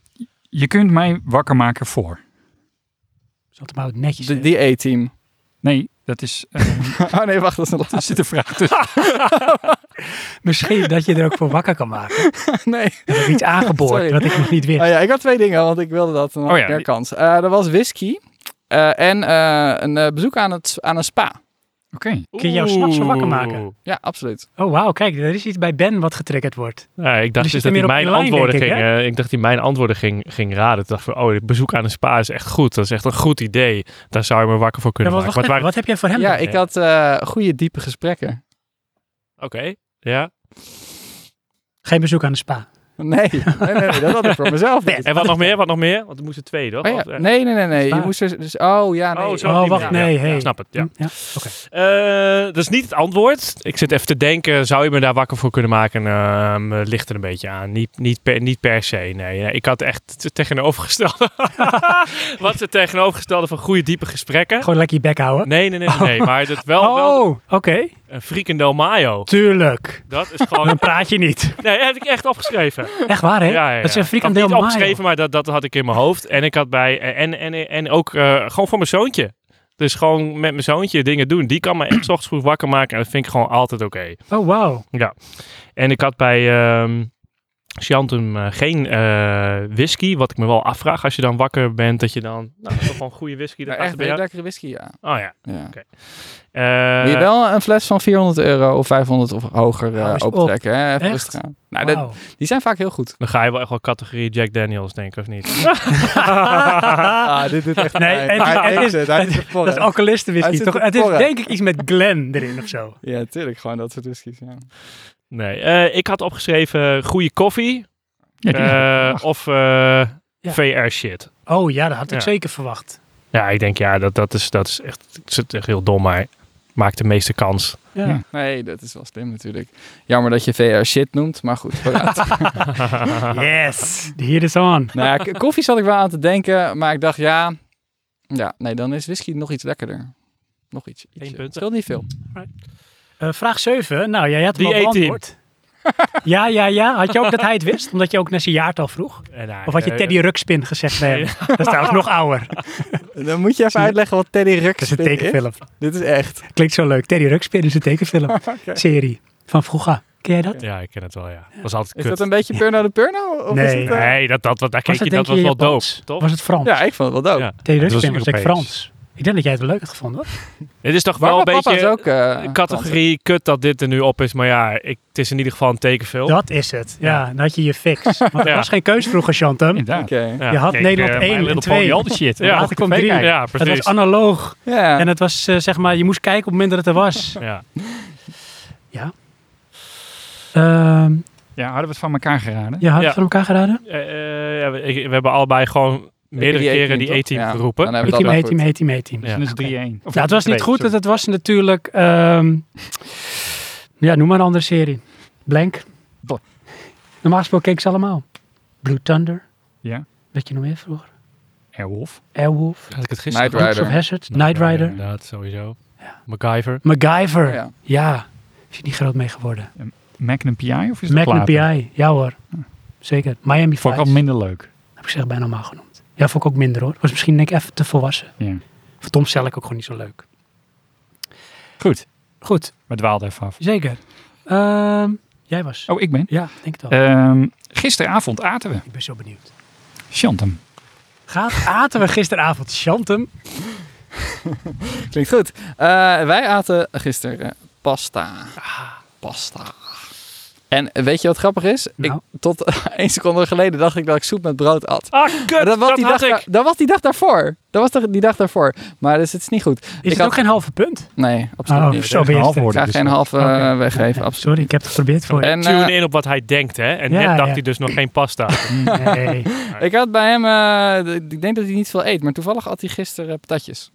Speaker 3: je kunt mij wakker maken voor.
Speaker 1: Zat hem houdt netjes.
Speaker 4: De, die E-team.
Speaker 3: Nee, dat is... eh,
Speaker 4: Oh nee, wacht, dat is een
Speaker 3: er zit een vraag tussen.
Speaker 1: Misschien dat je er ook voor wakker kan maken.
Speaker 4: Nee.
Speaker 1: Ik heb iets aangeboord
Speaker 4: Sorry.
Speaker 1: wat ik nog niet wist.
Speaker 4: Oh ja, ik had twee dingen, want ik wilde dat.
Speaker 3: Oh
Speaker 4: Oh
Speaker 3: ja.
Speaker 4: ja. kans. Eh, er was whisky eh, en eh, een eh, bezoek aan, het, aan een spa.
Speaker 3: Oké.
Speaker 1: Kun je jou s'nachts zo wakker maken?
Speaker 2: Oeh.
Speaker 4: Ja, absoluut.
Speaker 1: Oh, wauw. Kijk, er is iets bij Ben wat getriggerd wordt.
Speaker 2: Ja, ik
Speaker 1: Jullie
Speaker 2: dacht dus
Speaker 1: zitten
Speaker 2: dat
Speaker 1: meer
Speaker 2: hij
Speaker 1: op
Speaker 2: mijn
Speaker 1: één lijn,
Speaker 2: antwoorden
Speaker 1: denk ik,
Speaker 2: ging. eh, ik dacht hij mijn antwoorden ging, ging raden. Ik dacht van, oh, dit bezoek aan een spa is echt goed. Dat is echt een goed idee. Daar zou je me wakker voor
Speaker 1: Ja,
Speaker 2: kunnen
Speaker 1: wat,
Speaker 2: maken.
Speaker 1: wacht even,
Speaker 2: Maar
Speaker 1: wat
Speaker 2: het
Speaker 1: heb jij voor hem?
Speaker 4: Ja,
Speaker 1: dan?
Speaker 4: ik had eh, goede diepe gesprekken.
Speaker 2: waren- Oké, ja.
Speaker 1: Geen bezoek aan de spa.
Speaker 4: Nee, nee, nee, nee, dat had ik voor mezelf niet.
Speaker 2: En wat nog meer, wat nog meer? Want er moesten twee, toch?
Speaker 4: Oh ja,
Speaker 2: Of, eh,
Speaker 4: nee, nee, nee, nee. Je
Speaker 1: Zwaar.
Speaker 4: moest dus, dus- oh ja, nee.
Speaker 2: Oh, zo.
Speaker 1: Oh,
Speaker 2: die
Speaker 1: wacht,
Speaker 2: manier.
Speaker 1: nee,
Speaker 2: Ja,
Speaker 1: hey.
Speaker 2: ik snap het, ja.
Speaker 1: Hm, ja.
Speaker 2: Eh, dat is niet het antwoord. Ik zit even te denken, zou je me daar wakker voor kunnen maken? Ehm, eh, ligt er een beetje aan. Niet, niet, per, niet per se, nee. Ja, Ik had echt het tegenovergestelde. Wat is het tegenovergestelde van goede, diepe gesprekken?
Speaker 1: Gewoon lekker je bek houden.
Speaker 2: Nee, nee, nee, nee. nee. Maar dat wel, wel
Speaker 1: Oh, oké.
Speaker 2: een frikandel mayo.
Speaker 1: Tuurlijk.
Speaker 2: Dat is gewoon...
Speaker 1: Dan praat je niet.
Speaker 2: Nee, dat heb ik echt opgeschreven.
Speaker 1: Echt waar, hè?
Speaker 2: Ja, ja, ja.
Speaker 1: Dat is een
Speaker 2: Ik had
Speaker 1: frikandel
Speaker 2: niet
Speaker 1: mayo.
Speaker 2: opgeschreven, maar dat, dat had ik in mijn hoofd. En ik had bij... En, en, en, en ook eh, gewoon voor mijn zoontje. Dus gewoon met mijn zoontje dingen doen. Die kan me echt 's ochtends goed wakker maken. En dat vind ik gewoon altijd oké.
Speaker 1: Oh, wauw.
Speaker 2: En ik had bij ehm Chantem eh, geen eh, whisky. Wat ik me wel afvraag als je dan wakker bent. Dat je dan... Nou, toch gewoon goede whisky.
Speaker 4: Maar
Speaker 2: Dat
Speaker 4: echt
Speaker 2: achter bij
Speaker 4: een
Speaker 2: jou-
Speaker 4: lekkere whisky, ja.
Speaker 2: Oh ja.
Speaker 4: ja.
Speaker 2: Eh,
Speaker 4: Moet je wel een fles van 400 euro of 500 of hoger eh,
Speaker 1: Hou eens op.
Speaker 4: opentrekken. Hè? Even
Speaker 1: Echt?
Speaker 4: rustig aan. Nou, dat-
Speaker 1: Wauw.
Speaker 4: die zijn vaak heel goed.
Speaker 2: Dan ga je wel echt wel categorie Jack Daniels, denk ik, of niet?
Speaker 4: Ah, dit doet echt
Speaker 1: Nee, en- en- het is- het- Dat is
Speaker 4: Hij
Speaker 1: alcoholistenwhisky,
Speaker 4: zit
Speaker 1: toch?
Speaker 4: te
Speaker 1: Het is
Speaker 4: porren.
Speaker 1: denk ik iets met Glen erin of zo.
Speaker 4: Ja, tuurlijk. Gewoon dat soort whiskies, ja.
Speaker 2: Nee. eh, ik had opgeschreven goede koffie.
Speaker 3: Ja, die-
Speaker 2: Eh, of eh,
Speaker 1: Ja.
Speaker 2: VR shit.
Speaker 1: Oh ja, dat had ik
Speaker 2: Ja.
Speaker 1: zeker verwacht.
Speaker 2: Ja, ik denk ja, dat, dat, is, dat is echt, het is echt heel dom, maar maakt de meeste kans.
Speaker 1: Ja.
Speaker 3: Ja.
Speaker 4: Nee, dat is wel slim natuurlijk. Jammer dat je VR shit noemt, maar goed. vooruit.
Speaker 1: Yes, hier is on.
Speaker 4: nou ja, k- koffie zat ik wel aan te denken, maar ik dacht ja... Ja, nee, dan is whisky nog iets lekkerder. Nog iets. ietsje.
Speaker 2: punten.
Speaker 4: Scheelt niet veel.
Speaker 1: Eh, vraag 7. Nou, jij had hem
Speaker 2: Die
Speaker 1: al
Speaker 2: 18.
Speaker 1: beantwoord. ja, ja, ja. Had je ook dat hij het wist? Omdat je ook naar zijn jaartal vroeg?
Speaker 2: En, nou,
Speaker 1: Of had je
Speaker 2: eh,
Speaker 1: Teddy Ruxpin gezegd bij hem? Dat is trouwens nog ouder. Dat
Speaker 4: Dan moet je even uitleggen wat Teddy Rux
Speaker 1: is een tekenfilm.
Speaker 4: Dit is echt.
Speaker 1: Klinkt zo leuk. Teddy Ruxpin is een tekenfilm. Serie van vroeger. Ken jij dat?
Speaker 2: Ja, ik ken het wel, ja. Dat was altijd
Speaker 4: Is
Speaker 2: kut.
Speaker 4: dat een beetje Purno de Purno? Of
Speaker 1: Nee.
Speaker 4: Is het, eh,
Speaker 2: Nee, dat, dat, wat daar keek
Speaker 1: het
Speaker 2: je, dat was
Speaker 1: denk je
Speaker 2: wel doof.
Speaker 1: Japans?
Speaker 2: Toch?
Speaker 1: Was het Frans?
Speaker 4: Ja, ik vond het wel dope.
Speaker 2: Ja.
Speaker 1: Teddy
Speaker 2: Dat was
Speaker 1: Ruxpin was denk ik
Speaker 2: Europees.
Speaker 1: Frans. Ik denk dat jij het wel leuk had gevonden. hoor.
Speaker 2: Dit is toch wel
Speaker 4: Warme
Speaker 2: een
Speaker 4: papa is
Speaker 2: beetje
Speaker 4: ook... eh,
Speaker 2: categorie kut dat dit er nu op is. Maar ja, ik, het is in ieder geval een tekenfilm.
Speaker 1: Dat is het. Ja, dan had je je fix. Want er
Speaker 2: Ja.
Speaker 1: was geen keus vroeger, Chantem.
Speaker 4: Oké.
Speaker 3: Inderdaad.
Speaker 2: Ja,
Speaker 1: Je had
Speaker 2: kijk,
Speaker 1: Nederland
Speaker 2: eh,
Speaker 1: één
Speaker 2: My
Speaker 1: en
Speaker 2: Little
Speaker 1: twee.
Speaker 2: Pony, al die
Speaker 3: shit.
Speaker 2: Ja,
Speaker 1: Later kwam drie.
Speaker 2: shit. Ja,
Speaker 1: Het
Speaker 2: precies.
Speaker 1: was analoog.
Speaker 4: Ja.
Speaker 1: En het was, eh, zeg maar, je moest kijken op het moment dat het er was.
Speaker 2: ja.
Speaker 1: Ehm
Speaker 3: Ja, hadden we het van elkaar geraden?
Speaker 1: je had
Speaker 2: Ja.
Speaker 1: het van elkaar geraden?
Speaker 2: Eh, eh, ja, we, ik- we hebben allebei gewoon meerdere
Speaker 4: Die
Speaker 2: keren
Speaker 4: 18,
Speaker 2: die
Speaker 4: toch?
Speaker 2: E-team
Speaker 4: Ja,
Speaker 2: geroepen.
Speaker 4: dan hebben we
Speaker 1: E-team,
Speaker 4: het
Speaker 1: E-team,
Speaker 4: allemaal
Speaker 1: E-team, E-team.
Speaker 2: Ja.
Speaker 3: Dus dan is het 3-1. Of
Speaker 1: Nou, het was niet
Speaker 3: twee,
Speaker 1: goed.
Speaker 3: sorry.
Speaker 1: Dat het was natuurlijk, ehm, ja, noem maar een andere serie. Blank.
Speaker 3: Bo-
Speaker 1: Normaal gesproken keek ik ze allemaal. Blue Thunder.
Speaker 3: Ja.
Speaker 1: Weet je nog meer vroeger?
Speaker 3: Airwolf.
Speaker 1: Airwolf.
Speaker 2: Had ik het
Speaker 4: gisteren Knight
Speaker 1: Dukes of
Speaker 4: Rider.
Speaker 1: Hazzard. Knight Rider.
Speaker 2: Inderdaad, sowieso. MacGyver.
Speaker 1: MacGyver.
Speaker 4: Ja.
Speaker 1: Ja. Is je niet groot mee geworden.
Speaker 3: Magnum PI of is het
Speaker 1: Magnum
Speaker 3: later?
Speaker 1: P.I. Ja hoor. Zeker. Miami
Speaker 3: Vond
Speaker 1: Vice.
Speaker 3: ik al minder leuk.
Speaker 1: Heb ik zeg bijna normaal genoemd. Ja, vond ik ook minder hoor. Was misschien denk ik even te volwassen.
Speaker 3: Ja.
Speaker 1: Voor Tom Selleck ook gewoon niet zo leuk.
Speaker 3: Goed.
Speaker 1: Goed,
Speaker 3: We dwaalden even af.
Speaker 1: zeker. Ehm, jij was.
Speaker 3: Oh, ik ben.
Speaker 1: Ja, ik denk het al.
Speaker 3: Ehm, gisteravond aten we.
Speaker 1: ik ben zo benieuwd.
Speaker 3: Chantem.
Speaker 1: Gaat aten we gisteravond Chantem?
Speaker 4: goed. Klinkt goed. Eh, wij aten gisteren eh, pasta. Pasta. En weet je wat grappig is?
Speaker 1: Nou.
Speaker 4: Ik, tot één seconde geleden dacht ik dat ik soep met brood at.
Speaker 2: Ah, kut,
Speaker 4: Maar
Speaker 2: dat,
Speaker 4: dat, was die
Speaker 2: had
Speaker 4: dag,
Speaker 2: ik.
Speaker 4: da- dat was die dag daarvoor. Dat was de- die dag daarvoor. Maar dus het is niet goed.
Speaker 1: Is het
Speaker 4: had-
Speaker 1: ook geen halve punt?
Speaker 4: Nee, absoluut
Speaker 1: Oh,
Speaker 4: niet.
Speaker 1: Zo ben je
Speaker 3: half
Speaker 1: sterk.
Speaker 4: Ik
Speaker 3: worden.
Speaker 4: ga
Speaker 3: dus
Speaker 4: geen
Speaker 3: dat-
Speaker 4: half eh,
Speaker 1: Oké.
Speaker 4: weggeven,
Speaker 1: Nee,
Speaker 4: absoluut.
Speaker 1: Sorry, ik heb het geprobeerd voor je.
Speaker 4: En, eh,
Speaker 2: Tune in op wat hij denkt, hè. En
Speaker 1: Ja,
Speaker 2: net dacht
Speaker 1: ja.
Speaker 2: hij dus nog geen pasta.
Speaker 1: Nee.
Speaker 4: ik had bij hem, eh, d- ik denk dat hij niet veel eet, maar toevallig at hij gisteren eh, patatjes.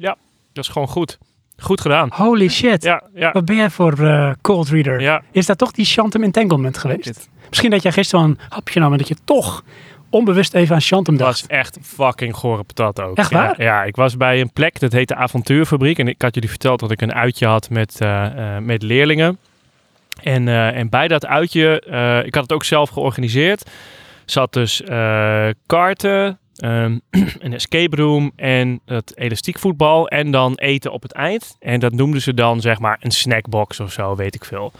Speaker 2: Dat is gewoon goed. Goed gedaan.
Speaker 4: Ah,
Speaker 1: Holy shit.
Speaker 2: Ja, ja,
Speaker 1: Wat ben jij voor eh, cold reader?
Speaker 2: ja.
Speaker 1: Is dat toch die Chantem entanglement geweest? Misschien dat jij gisteren wel een hapje nam en dat je toch onbewust even aan Chantem
Speaker 2: Het
Speaker 1: dacht.
Speaker 2: was echt fucking gore patat ook.
Speaker 1: Echt waar?
Speaker 2: Ja, ja, ik was bij een plek, dat heet de Avontuurfabriek. En ik had jullie verteld dat ik een uitje had met, eh, eh, met leerlingen. En, eh, en bij dat uitje, eh, ik had het ook zelf georganiseerd, zat dus eh, kaarten, ehm, een escape room en het elastiek voetbal. En dan eten op het eind. En dat noemden ze dan zeg maar een snackbox of zo, weet ik veel.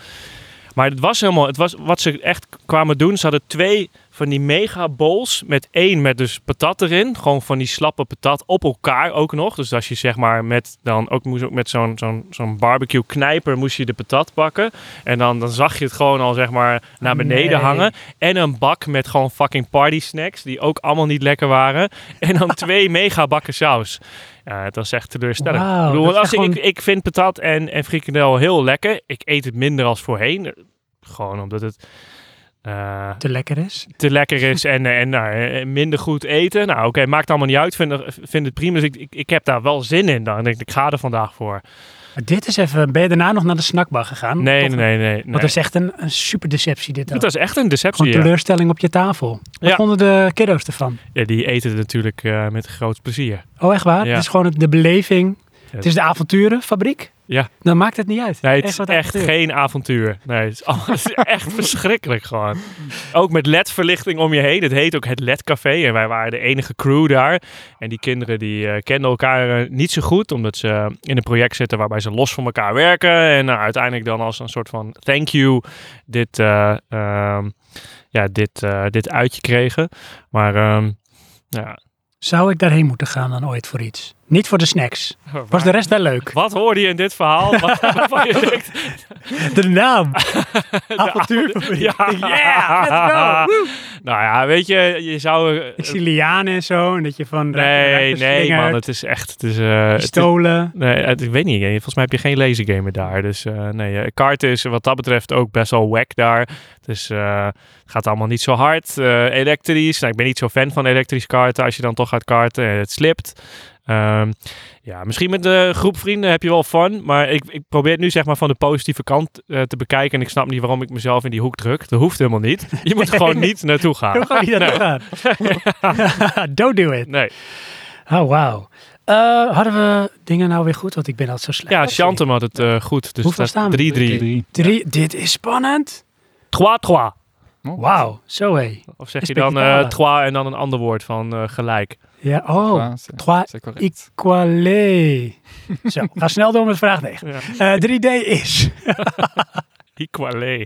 Speaker 2: Maar het was helemaal, het was wat ze echt kwamen doen. Ze hadden twee van die mega bowls met één met dus patat erin. Gewoon van die slappe patat op elkaar ook nog. Dus als je zeg maar met dan ook moest ook met zo'n zo'n zo'n barbecue knijper moest je de patat pakken. En dan, dan zag je het gewoon al zeg maar naar beneden
Speaker 1: Nee.
Speaker 2: hangen. En een bak met gewoon fucking party snacks die ook allemaal niet lekker waren. En dan twee mega bakken saus. Ja, het was echt teleurstellend.
Speaker 1: Wauw,
Speaker 2: ik, bedoel,
Speaker 1: dat is
Speaker 2: als
Speaker 1: echt
Speaker 2: ik,
Speaker 1: gewoon-
Speaker 2: ik, ik vind patat en, en frikandel heel lekker. Ik eet het minder als voorheen. Gewoon omdat het eh,
Speaker 1: te lekker is.
Speaker 2: te lekker is en, eh, en nou, eh, minder goed eten. Nou, oké, maakt allemaal niet uit. Vind, vind het prima. Dus ik, ik, ik heb daar wel zin in dan. Ik denk, ik ga er vandaag voor.
Speaker 1: Maar dit is even, ben je daarna nog naar de snackbar gegaan?
Speaker 2: Nee, nee,
Speaker 1: Hm, Toch?
Speaker 2: nee, nee. nee.
Speaker 1: Want dat is echt een, een super deceptie dit ook.
Speaker 2: Het was echt een
Speaker 1: Gewoon
Speaker 2: deceptie. Ja.
Speaker 1: teleurstelling op je tafel. Wat
Speaker 2: Ja.
Speaker 1: vonden de kiddo's ervan?
Speaker 2: Ja, die eten het natuurlijk eh, met groot plezier.
Speaker 1: Oh, echt waar?
Speaker 2: Ja.
Speaker 1: Het is gewoon het- de beleving. Het is de avonturenfabriek.
Speaker 2: Ja.
Speaker 1: Dan maakt het niet uit.
Speaker 2: Nee, het is
Speaker 1: wat
Speaker 2: echt,
Speaker 1: avontuur.
Speaker 2: geen avontuur. Nee, het is, al- het is echt verschrikkelijk gewoon. Ook met ledverlichting om je heen. Het heet ook het LED-café. En wij waren de enige crew daar. En die kinderen die eh, kenden elkaar eh, niet zo goed. Omdat ze eh, in een project zitten waarbij ze los van elkaar werken. En nou, uiteindelijk dan als een soort van thank you dit, eh, ehm, ja, dit, eh, dit uitje kregen. Maar ehm, ja.
Speaker 1: Zou ik daarheen moeten gaan dan ooit voor iets? Niet voor de snacks. Was de rest wel leuk?
Speaker 2: Wat hoorde je in dit verhaal? Wat- waarvan je denkt,
Speaker 1: De naam. Avontuurfabriek.
Speaker 2: ja,
Speaker 1: Yeah, let's go. Woe.
Speaker 2: Nou ja, weet je, je zou... eh,
Speaker 1: Ik zie lianen en zo. En dat je van
Speaker 2: Nee, nee, man, het is echt. Het is, eh, het is-
Speaker 1: Stolen.
Speaker 2: nee, het- ik weet niet. eh, Volgens mij heb je geen lasergamer daar. Dus eh, nee, eh, kart is wat dat betreft ook best wel wack daar. Dus eh, het gaat allemaal niet zo hard. Eh, elektrisch. Nou, ik ben niet zo fan van elektrisch karten. Als je dan toch gaat karten en het slipt. Ehm, ja, misschien met de groep vrienden heb je wel fun. Maar ik, ik probeer het nu zeg maar van de positieve kant eh, te bekijken. En ik snap niet waarom ik mezelf in die hoek druk. Dat hoeft helemaal niet. Je moet er gewoon niet naartoe gaan.
Speaker 1: Hoe ga je dat gaan? Don't do it.
Speaker 2: Nee.
Speaker 1: Oh, wauw. Eh, hadden we dingen nou weer goed? Want ik ben altijd zo slecht.
Speaker 2: Ja, Chantem had het eh, goed. Dus
Speaker 1: Hoeveel
Speaker 2: dat
Speaker 1: staan we?
Speaker 2: 3-3.
Speaker 3: Drie.
Speaker 1: Drie, dit is spannend.
Speaker 2: 3-3.
Speaker 1: Wauw, zo hé.
Speaker 2: Of zeg
Speaker 1: Is
Speaker 2: je dan
Speaker 1: Pekitala.
Speaker 2: eh trois en dan een ander woord van eh, gelijk?
Speaker 1: Ja, oh.
Speaker 4: Ja, is-
Speaker 1: Trois
Speaker 4: is correct.
Speaker 1: equalé. Zo, ga snel door met vraag 9.
Speaker 2: Ja.
Speaker 1: Eh, 3D is.
Speaker 2: Equalé.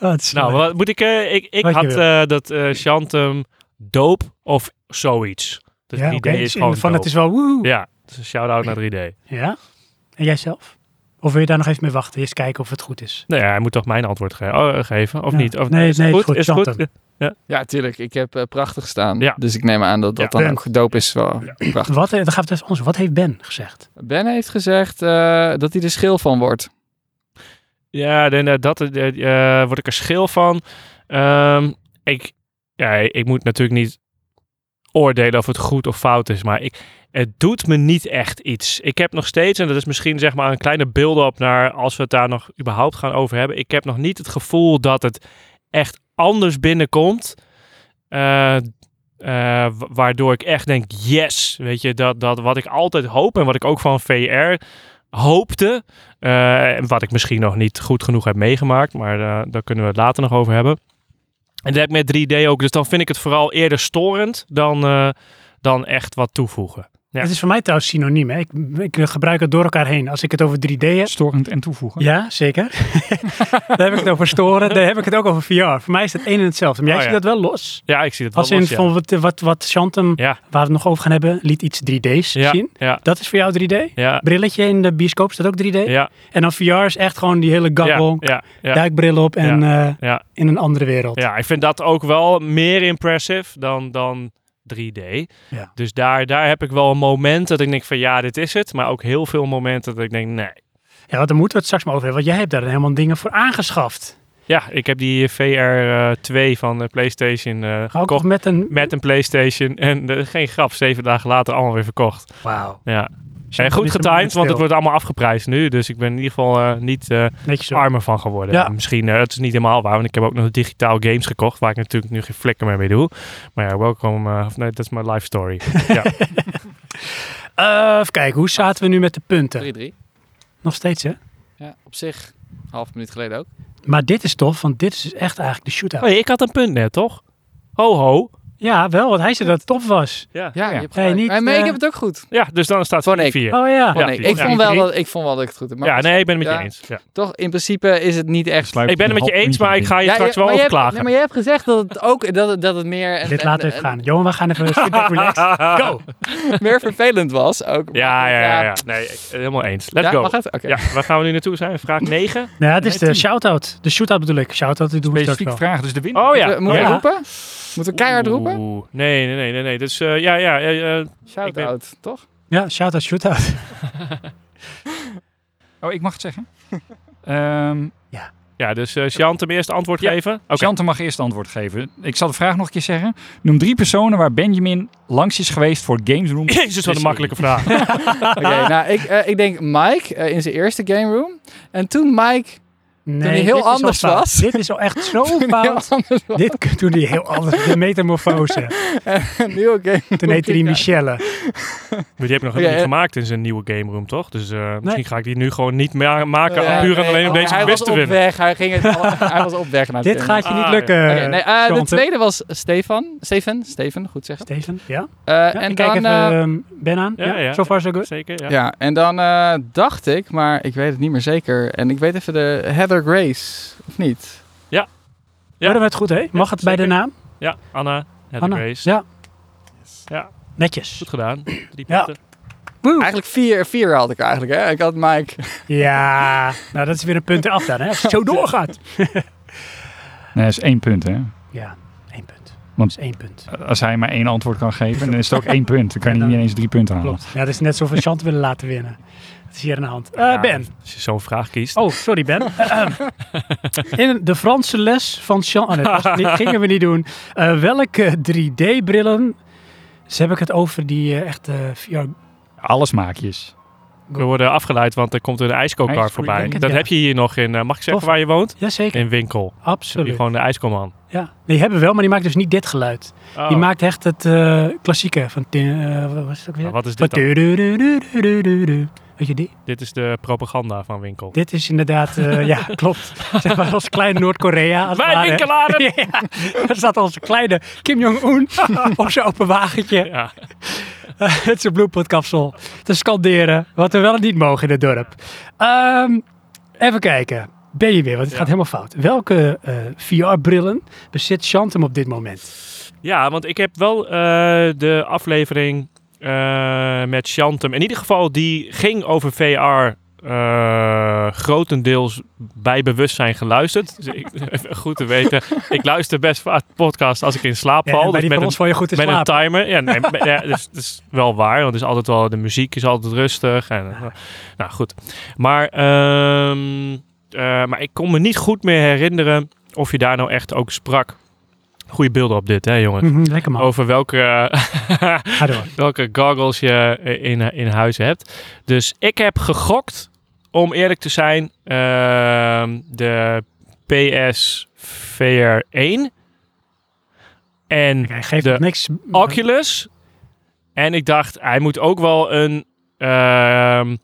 Speaker 1: Oh, het is
Speaker 2: Nou,
Speaker 1: leuk.
Speaker 2: wat moet ik... eh, ik ik
Speaker 1: Wat je
Speaker 2: had
Speaker 1: wil.
Speaker 2: eh, dat eh Chantem doop of zoiets. Dus
Speaker 1: ja,
Speaker 2: 3D
Speaker 1: oké,
Speaker 2: is
Speaker 1: dus in-
Speaker 2: gewoon
Speaker 1: Van het
Speaker 2: doop.
Speaker 1: is wel woe. Ja.
Speaker 2: Ja, dus een shout-out naar 3D.
Speaker 1: En jij zelf? Of wil je daar nog even mee wachten? Eerst kijken of het goed is.
Speaker 2: Nee, Nou ja, hij moet toch mijn antwoord ge- oh, eh, geven? Of
Speaker 1: Ja.
Speaker 2: niet? Of,
Speaker 1: Nee, nee, het is goed,
Speaker 2: Is het goed?
Speaker 1: Chantem.
Speaker 4: Ja, tuurlijk. Ik heb eh, prachtig staan.
Speaker 2: Ja.
Speaker 4: Dus ik neem aan dat dat
Speaker 2: Ja.
Speaker 4: dan ook gedoopt is. Wel prachtig.
Speaker 1: Wat, eh, dan gaat het even anders. Wat heeft Ben gezegd?
Speaker 4: Ben heeft gezegd eh, dat hij er schil van wordt.
Speaker 2: Ja, dan, eh, dat eh, eh, word ik er schil van. Ehm, ik, ja, ik moet natuurlijk niet oordelen of het goed of fout is, maar ik, het doet me niet echt iets. Ik heb nog steeds, en dat is misschien zeg maar een kleine build-up naar als we het daar nog überhaupt gaan over hebben. Ik heb nog niet het gevoel dat het echt anders binnenkomt. eh, eh, wa- waardoor ik echt denk, yes, weet je, dat, dat wat ik altijd hoop en wat ik ook van VR hoopte, eh, wat ik misschien nog niet goed genoeg heb meegemaakt, maar eh, daar kunnen we het later nog over hebben. En dat heb ik met 3D ook, dus dan vind ik het vooral eerder storend dan, eh, dan echt wat toevoegen. Ja.
Speaker 1: Het is voor mij trouwens synoniem. Hè? Ik, ik gebruik het door elkaar heen. Als ik het over 3D heb,
Speaker 3: Storend en toevoegen.
Speaker 1: Ja, zeker. daar heb ik het over storen. Daar heb ik het ook over VR. Voor mij is het een en hetzelfde. Maar jij
Speaker 2: Oh,
Speaker 1: ziet
Speaker 2: ja.
Speaker 1: dat wel los.
Speaker 2: Ja, ik zie het wel.
Speaker 1: Als in
Speaker 2: los, ja.
Speaker 1: van wat, wat, wat Chantem,
Speaker 2: Ja.
Speaker 1: waar we het nog over gaan hebben, liet iets 3D's
Speaker 2: ja,
Speaker 1: zien.
Speaker 2: ja,
Speaker 1: Dat is voor jou 3D?
Speaker 2: ja,
Speaker 1: Brilletje in de bioscoop staat ook 3D.
Speaker 2: ja,
Speaker 1: En dan VR is echt gewoon die hele gabbel,
Speaker 2: ja, ja, ja,
Speaker 1: duikbril op en eh,
Speaker 2: ja,
Speaker 1: in een andere wereld.
Speaker 2: ja. Ik vind dat ook wel meer impressive dan, dan 3D.
Speaker 1: Ja.
Speaker 2: Dus daar, daar heb ik wel een moment dat ik denk van ja, dit is het. Maar ook heel veel momenten dat ik denk nee.
Speaker 1: Ja, want daar moeten we het straks maar over hebben. Want jij hebt daar helemaal dingen voor aangeschaft.
Speaker 2: Ja, ik heb die VR2 van de PlayStation eh,
Speaker 1: Ook
Speaker 2: gekocht.
Speaker 1: met een...
Speaker 2: met een PlayStation. En eh, geen grap, zeven dagen later allemaal weer verkocht.
Speaker 1: Wauw.
Speaker 2: Ja. En goed getimed, want het wordt allemaal afgeprijsd nu. Dus ik ben in ieder geval eh, niet eh,
Speaker 1: Netjes zo.
Speaker 2: armer van geworden.
Speaker 1: Ja.
Speaker 2: Misschien, eh, het is niet helemaal waar, want ik heb ook nog digitaal games gekocht. Waar ik natuurlijk nu geen flikker meer mee doe. Maar ja, welkom. eh, of nee, dat is mijn life story. Ah.
Speaker 1: Eh, even kijken, hoe zaten we nu met de punten?
Speaker 4: 3-3.
Speaker 1: Nog steeds, hè?
Speaker 4: Ja, op zich. Half minuut geleden ook.
Speaker 1: Maar dit is tof, want dit is dus echt eigenlijk de shootout.
Speaker 2: Oh, ik had een punt net, toch? Ho, ho.
Speaker 1: Ja, wel, want hij zei dat het top was.
Speaker 2: Ja, ja.
Speaker 4: Ja, je hebt
Speaker 1: Hey,
Speaker 4: gelijk.
Speaker 1: niet,
Speaker 4: Eh, maar ik
Speaker 1: eh,
Speaker 4: heb het ook goed.
Speaker 2: ja dus dan staat
Speaker 4: Van ik.
Speaker 2: 4-4.
Speaker 1: Oh ja.
Speaker 4: Van
Speaker 2: ja,
Speaker 4: ik.
Speaker 2: precies.
Speaker 4: Ik, vond wel dat, ik vond wel dat ik het goed heb. Maar
Speaker 2: Ja, nee, ik ben het met je
Speaker 4: Ja.
Speaker 2: eens. Ja.
Speaker 4: toch, in principe is het niet echt...
Speaker 3: Sluit
Speaker 2: Ik ben het met je
Speaker 3: half
Speaker 2: eens,
Speaker 3: puntje
Speaker 2: maar ik
Speaker 3: erin.
Speaker 2: ga je
Speaker 4: Ja,
Speaker 2: straks
Speaker 4: je-
Speaker 2: wel
Speaker 4: maar je hebt-
Speaker 2: opklagen.
Speaker 4: nee, maar je hebt gezegd dat het ook dat het, dat het meer een-
Speaker 1: Dit laten we even
Speaker 4: een-
Speaker 1: gaan. Johan, we gaan even feedback relaxed. Go!
Speaker 4: een- meer vervelend was. Ook.
Speaker 2: Ja, ja, ja, ja. Nee, ik- helemaal eens. Let's
Speaker 4: Ja,
Speaker 2: go.
Speaker 4: Mag het? Oké.
Speaker 2: Ja, waar gaan we nu naartoe zijn? Vraag 9.
Speaker 1: Nou, het is de
Speaker 3: Nee, tien.
Speaker 1: shout-out. De shootout bedoel ik. Shout-out, die doen we straks
Speaker 3: Specifieke
Speaker 1: wel.
Speaker 3: vraag, dus de winnaar.
Speaker 2: Oh ja.
Speaker 4: Moeten we- Moeten
Speaker 2: ja.
Speaker 4: we roepen? Moeten we keihard roepen?
Speaker 2: Oeh, Nee, nee, nee, nee. nee. Dus eh, ja, ja. eh, eh, Ik ben-
Speaker 4: Shout-out, toch?
Speaker 1: Ja, shout-out, shootout.
Speaker 3: Oh, ik mag het zeggen? Ehm
Speaker 2: Ja, dus eh Sjant hem eerst antwoord
Speaker 3: Ja.
Speaker 2: geven. Oké.
Speaker 3: Chante mag eerst antwoord geven. Ik zal de vraag nog een keer zeggen. Noem drie personen waar Benjamin langs is geweest voor Dus- Games Room.
Speaker 2: Jezus, wat een makkelijke vraag.
Speaker 4: Oké, nou, ik, eh, ik denk Mike eh, in zijn eerste game room. En toen Mike
Speaker 1: Nee,
Speaker 4: hij heel
Speaker 1: dit is al
Speaker 4: anders
Speaker 1: fout.
Speaker 4: was.
Speaker 1: Dit is al echt zo
Speaker 4: heel
Speaker 1: fout.
Speaker 4: anders was.
Speaker 1: Dit toen hij heel anders. De metamorfose.
Speaker 4: een nieuwe game.
Speaker 1: Toen heette hij Michelle.
Speaker 2: Maar die heb ik
Speaker 4: Oké,
Speaker 2: nog helemaal
Speaker 4: eh.
Speaker 2: niet gemaakt in zijn nieuwe game room, toch? Dus eh, misschien ga ik die nu gewoon niet ma- maken.
Speaker 4: eh,
Speaker 2: puur en alleen om
Speaker 4: nee, oh,
Speaker 2: deze
Speaker 4: hij
Speaker 2: quiz
Speaker 4: was
Speaker 2: te
Speaker 4: op
Speaker 2: winnen.
Speaker 4: Weg, hij, ging het, hij was op weg naar het
Speaker 1: Dit
Speaker 4: game.
Speaker 1: gaat je niet
Speaker 2: Ah,
Speaker 1: lukken.
Speaker 4: Oké, nee, eh, de
Speaker 1: Chante.
Speaker 4: tweede was Stefan. Steven, Steven, goed zeggen.
Speaker 1: Steven, ja?
Speaker 4: Eh,
Speaker 1: Ja,
Speaker 4: en
Speaker 1: ik kijk
Speaker 4: dan,
Speaker 1: even
Speaker 4: eh,
Speaker 1: ehm, Ben aan.
Speaker 2: ja,
Speaker 1: Ja,
Speaker 2: ja.
Speaker 1: So far so good.
Speaker 2: Zeker, ja.
Speaker 4: ja, en dan eh, dacht ik, maar ik weet het niet meer zeker. En ik weet even de Heather Grace, of niet?
Speaker 2: Ja.
Speaker 1: Hadden we het goed, hè? Mag
Speaker 2: Ja,
Speaker 1: het bij de
Speaker 2: zeker.
Speaker 1: naam?
Speaker 2: Ja, Anna, Heather
Speaker 1: Anna.
Speaker 2: Grace.
Speaker 1: Ja.
Speaker 2: Ja.
Speaker 1: Netjes.
Speaker 2: Goed gedaan. Drie
Speaker 1: Ja.
Speaker 2: punten.
Speaker 1: Woe.
Speaker 4: Eigenlijk vier, vier had ik eigenlijk, hè? Ik had Mike.
Speaker 1: Ja, nou dat is weer een punt eraf dan, hè? Als het zo doorgaat.
Speaker 3: Nee, dat is één punt, hè?
Speaker 1: Ja, één punt.
Speaker 3: Want-
Speaker 1: Want is één punt.
Speaker 3: Als hij maar één antwoord kan geven, dan is het ook één punt. Dan kan
Speaker 1: Ja,
Speaker 3: hij niet
Speaker 1: dan-
Speaker 3: eens drie punten halen.
Speaker 1: Klopt. Ja, dat is net zo van Chant willen laten winnen. Dat is hier aan de hand. Eh,
Speaker 2: Ja,
Speaker 1: ben.
Speaker 2: Als je zo'n vraag kiest.
Speaker 1: Oh, sorry Ben. Ahem. In de Franse les van Chant... Oh, nee, dat was niet- gingen we niet doen. Eh, welke 3D-brillen... Dus heb ik het over die eh, echte VR...
Speaker 3: Alles maakjes.
Speaker 2: We worden afgeleid, want er komt een ijskookcar
Speaker 3: IJskook,
Speaker 2: voorbij.
Speaker 1: ik denk het,
Speaker 2: dat
Speaker 1: ja.
Speaker 2: heb je hier nog in, eh, mag ik zeggen
Speaker 1: Tof.
Speaker 2: waar je woont?
Speaker 1: Jazeker,
Speaker 2: In Winkel. Heb je
Speaker 1: absoluut.
Speaker 2: gewoon de ijskoman.
Speaker 1: Ja. Die hebben we wel, maar die maakt dus niet dit geluid.
Speaker 2: Oh.
Speaker 1: Die maakt echt het eh, klassieke van... eh, wat was het ook weer?
Speaker 2: Nou, wat is
Speaker 1: Van
Speaker 2: dit dan?
Speaker 1: du-du-du-du-du-du-du. Weet je die?
Speaker 2: Dit is de propaganda van Winkel.
Speaker 1: Dit is inderdaad, eh, ja, klopt. Zeg maar als klein Noord-Korea. als het
Speaker 2: Wij
Speaker 1: ware.
Speaker 2: winkelaren!
Speaker 1: Ja, daar zat onze kleine Kim Jong-un op zijn open wagentje.
Speaker 2: Ja.
Speaker 1: eh, met zijn bloedpotkapsel te scanderen. Wat we wel en niet mogen in het dorp. Ehm, even kijken. Ben je weer, want het gaat helemaal fout. Welke eh, VR-brillen bezit Chantem op dit moment?
Speaker 2: Ja, want ik heb wel eh, de aflevering eh, met Chantem. In ieder geval, die ging over VR. eh, grotendeels bij bewustzijn geluisterd. Dus ik, even goed te weten. Ik luister best vaak podcasts als ik in slaap
Speaker 1: Ja,
Speaker 2: val.
Speaker 1: en bij
Speaker 2: dus
Speaker 1: die
Speaker 2: met
Speaker 1: van
Speaker 2: een,
Speaker 1: ons val je goed te
Speaker 2: met een
Speaker 1: slapen.
Speaker 2: timer. Ja, nee, maar- ja, dat, is, dat is wel waar. Want het is altijd wel, de muziek is altijd rustig. En, eh, nou goed. Maar, ehm, eh, maar ik kon me niet goed meer herinneren of je daar nou echt ook sprak. Goede beelden op dit, hè, jongen?
Speaker 1: Mhm, lekker man.
Speaker 2: Over welke,
Speaker 1: Ga door.
Speaker 2: welke goggles je eh, in, eh, in huis hebt. Dus ik heb gegokt, om eerlijk te zijn, ehm, de PS VR 1 en
Speaker 1: Oké, geeft
Speaker 2: De
Speaker 1: het niks.
Speaker 2: Oculus. En ik dacht, hij moet ook wel een ehm,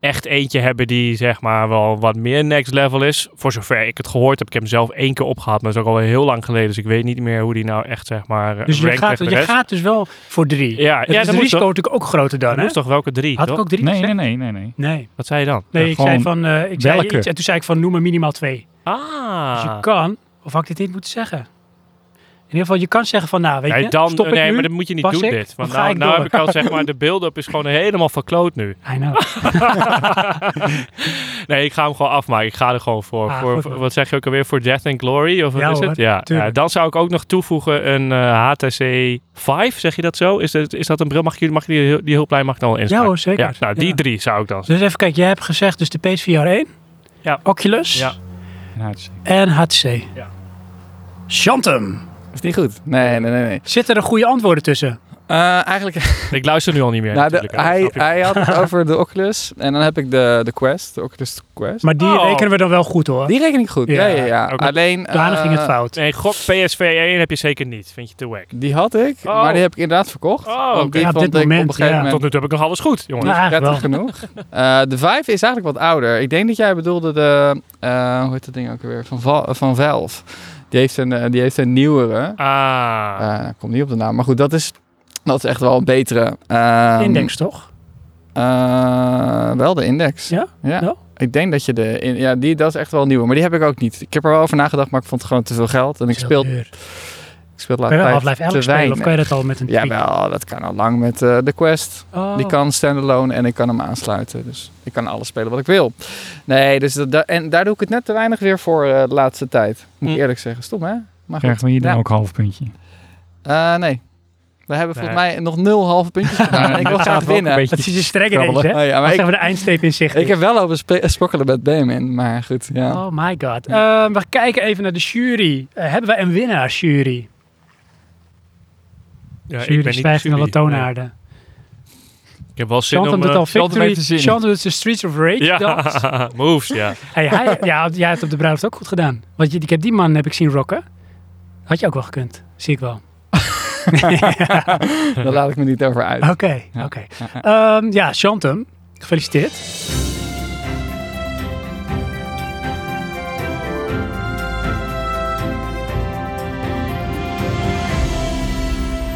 Speaker 2: echt eentje hebben die zeg maar wel wat meer next level is. Voor zover ik het gehoord heb. Ik heb hem zelf één keer opgehaald, maar dat is ook alweer heel lang geleden. Dus ik weet niet meer hoe die nou echt zeg maar eh,
Speaker 1: Dus je
Speaker 2: rankt
Speaker 1: gaat,
Speaker 2: tegen de
Speaker 1: je
Speaker 2: rest.
Speaker 1: gaat dus wel voor drie.
Speaker 2: Ja,
Speaker 1: Het
Speaker 2: ja
Speaker 1: is
Speaker 2: dat
Speaker 1: de
Speaker 2: moest
Speaker 1: risico
Speaker 2: toch,
Speaker 1: natuurlijk ook groter dan,
Speaker 2: dat
Speaker 1: hè?
Speaker 2: moest toch welke drie,
Speaker 1: Had ik
Speaker 2: toch?
Speaker 1: ook drie
Speaker 3: Nee,
Speaker 1: gezegd?
Speaker 3: nee, nee, nee, nee.
Speaker 1: Nee,
Speaker 2: Wat zei je dan?
Speaker 1: nee
Speaker 3: Ja,
Speaker 1: ik zei
Speaker 3: gewoon
Speaker 1: van... eh, ik zei
Speaker 3: welke?
Speaker 1: iets en toen zei ik van noem er minimaal twee. Dus je
Speaker 2: Ah.
Speaker 1: kan, of had ik dit niet moeten zeggen? In ieder geval, je kan zeggen van nou, weet
Speaker 2: Nee,
Speaker 1: je,
Speaker 2: dan,
Speaker 1: stop ik
Speaker 2: nee,
Speaker 1: nu?
Speaker 2: maar dat moet je niet
Speaker 1: Pas
Speaker 2: doen
Speaker 1: ik?
Speaker 2: dit. Want
Speaker 1: Of ga
Speaker 2: nou,
Speaker 1: ik
Speaker 2: nou
Speaker 1: door?
Speaker 2: heb ik al zeg maar, de build-up is gewoon helemaal verkloot nu.
Speaker 1: I know.
Speaker 2: Nee, ik ga hem gewoon afmaken. Ik ga er gewoon voor.
Speaker 1: Ah,
Speaker 2: voor
Speaker 1: goed,
Speaker 2: voor-
Speaker 1: man.
Speaker 2: wat zeg je ook alweer? Voor Death and Glory? Of wat
Speaker 1: Ja,
Speaker 2: is het?
Speaker 1: hoor,
Speaker 2: Ja,
Speaker 1: tuurlijk.
Speaker 2: ja, Dan zou ik ook nog toevoegen een eh, HTC 5. Zeg je dat zo? Is dat, is dat een bril? Mag, ik, mag ik die, die hulplijn mag ik dan wel
Speaker 1: Ja
Speaker 2: inspreken?
Speaker 1: hoor, zeker.
Speaker 2: Ja, nou, die
Speaker 1: Ja.
Speaker 2: drie zou ik dan
Speaker 1: Dus even kijken, jij hebt gezegd dus de PSVR 1,
Speaker 2: Ja.
Speaker 1: Oculus
Speaker 2: Ja.
Speaker 3: En hij is-
Speaker 1: en HTC.
Speaker 2: Ja.
Speaker 1: Chantem,
Speaker 4: Is niet goed? Nee, nee, nee. nee.
Speaker 1: zitten er goede antwoorden tussen?
Speaker 4: Eh, eigenlijk
Speaker 2: Ik luister nu al niet meer.
Speaker 4: Nou, de-
Speaker 2: natuurlijk, hè.
Speaker 4: hij,
Speaker 2: Snap je?
Speaker 4: hij had het over de Oculus. En dan heb ik de, de Quest, de Oculus Quest.
Speaker 1: Maar die
Speaker 2: Oh.
Speaker 1: rekenen we dan wel goed hoor.
Speaker 4: die reken ik goed. Ja,
Speaker 1: Ja,
Speaker 4: ja, ja.
Speaker 2: ook-
Speaker 4: Alleen,
Speaker 1: Daarna
Speaker 4: eh,
Speaker 1: ging het fout.
Speaker 2: Nee, gok PSV 1 heb je zeker niet. Vind je te wack.
Speaker 4: Die had ik,
Speaker 2: Oh.
Speaker 4: maar die heb ik inderdaad verkocht.
Speaker 2: Oh,
Speaker 4: want
Speaker 2: oké.
Speaker 4: die
Speaker 1: Ja, op
Speaker 4: vond
Speaker 1: dit
Speaker 4: ik
Speaker 1: moment,
Speaker 4: op een gegeven
Speaker 1: ja.
Speaker 2: Tot
Speaker 4: moment
Speaker 2: nu toe heb ik nog alles goed, jongens.
Speaker 1: Nou, eigenlijk
Speaker 4: prettig
Speaker 1: wel.
Speaker 4: genoeg. Eh, de 5 is eigenlijk wat ouder. Ik denk dat jij bedoelde de, eh, hoe heet dat ding ook alweer, van, Va- van Valve. Die heeft een, eh, die heeft een nieuwere.
Speaker 2: Ah.
Speaker 4: Eh, komt niet op de naam, maar goed, dat is, dat is echt wel een betere. Ehm,
Speaker 1: Index toch?
Speaker 4: Eh, wel de index.
Speaker 1: Ja?
Speaker 4: ja.
Speaker 1: Wel?
Speaker 4: Ik denk dat je de. in- ja, die, dat is echt wel nieuw. Maar die heb ik ook niet. Ik heb er wel over nagedacht, maar ik vond het gewoon te veel geld. En ik speel, ik
Speaker 1: Kan
Speaker 4: speel
Speaker 1: je
Speaker 4: laatst
Speaker 1: wel
Speaker 4: tijd
Speaker 1: Half-Life
Speaker 4: te
Speaker 1: 11 spelen of kan je
Speaker 4: weinig.
Speaker 1: dat al met een tweak?
Speaker 4: Jawel, dat kan al lang met eh, de Quest.
Speaker 1: Oh.
Speaker 4: Die kan standalone en ik kan hem aansluiten. Dus ik kan alles spelen wat ik wil. Nee, dus dat, da- en daar doe ik het net te weinig weer voor eh, de laatste tijd. Moet ik
Speaker 2: Hm.
Speaker 4: eerlijk zeggen. Stom hè? Maar goed.
Speaker 3: Krijgen we hier dan
Speaker 4: Ja.
Speaker 3: ook een half puntje?
Speaker 4: Eh, nee. We hebben volgens
Speaker 2: Nee.
Speaker 4: mij nog nul halve puntjes gedaan. en ik wil
Speaker 3: dat
Speaker 4: graag
Speaker 3: gaat wel een
Speaker 4: winnen.
Speaker 3: beetje
Speaker 1: Dat is een strekker
Speaker 3: Krabbelen.
Speaker 1: deze, hè?
Speaker 4: Oh ja, maar
Speaker 1: Als
Speaker 4: ik,
Speaker 1: we de eindstreep in zicht
Speaker 4: ik
Speaker 1: is.
Speaker 4: heb wel over spe- sprokkelen met Damon, maar goed. Ja.
Speaker 1: Oh my god. Eh, we kijken even naar de jury. Eh, hebben wij een winnaar, jury?
Speaker 2: Ja,
Speaker 1: jury stijgt naar de toonaarde.
Speaker 2: Ik heb wel zin
Speaker 1: Chantem
Speaker 2: om...
Speaker 1: doet
Speaker 2: eh,
Speaker 1: al
Speaker 3: Chantem
Speaker 1: Victory.
Speaker 3: heeft er zin in.
Speaker 1: Chantem doet de Streets of Rage dans.
Speaker 2: ja, moves, ja.
Speaker 1: Hey, hij, ja, jij hebt op de bruiloft ook goed gedaan. Want je, ik heb die man heb ik zien rocken. Had je ook wel gekund. Zie ik wel.
Speaker 4: Daar laat ik me niet over uit.
Speaker 1: Oké, oké. Ehm, ja, Chantem. Gefeliciteerd.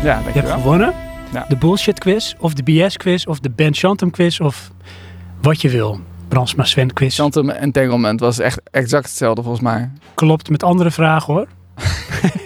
Speaker 4: Ja,
Speaker 1: Je hebt
Speaker 4: dankjewel.
Speaker 1: gewonnen.
Speaker 4: Ja.
Speaker 1: De bullshit quiz. Of de BS quiz. Of de Ben Chantem quiz. Of wat je wil. Bransma Sven quiz.
Speaker 4: Chantum Entanglement was echt exact hetzelfde volgens mij.
Speaker 1: Klopt met andere vragen hoor.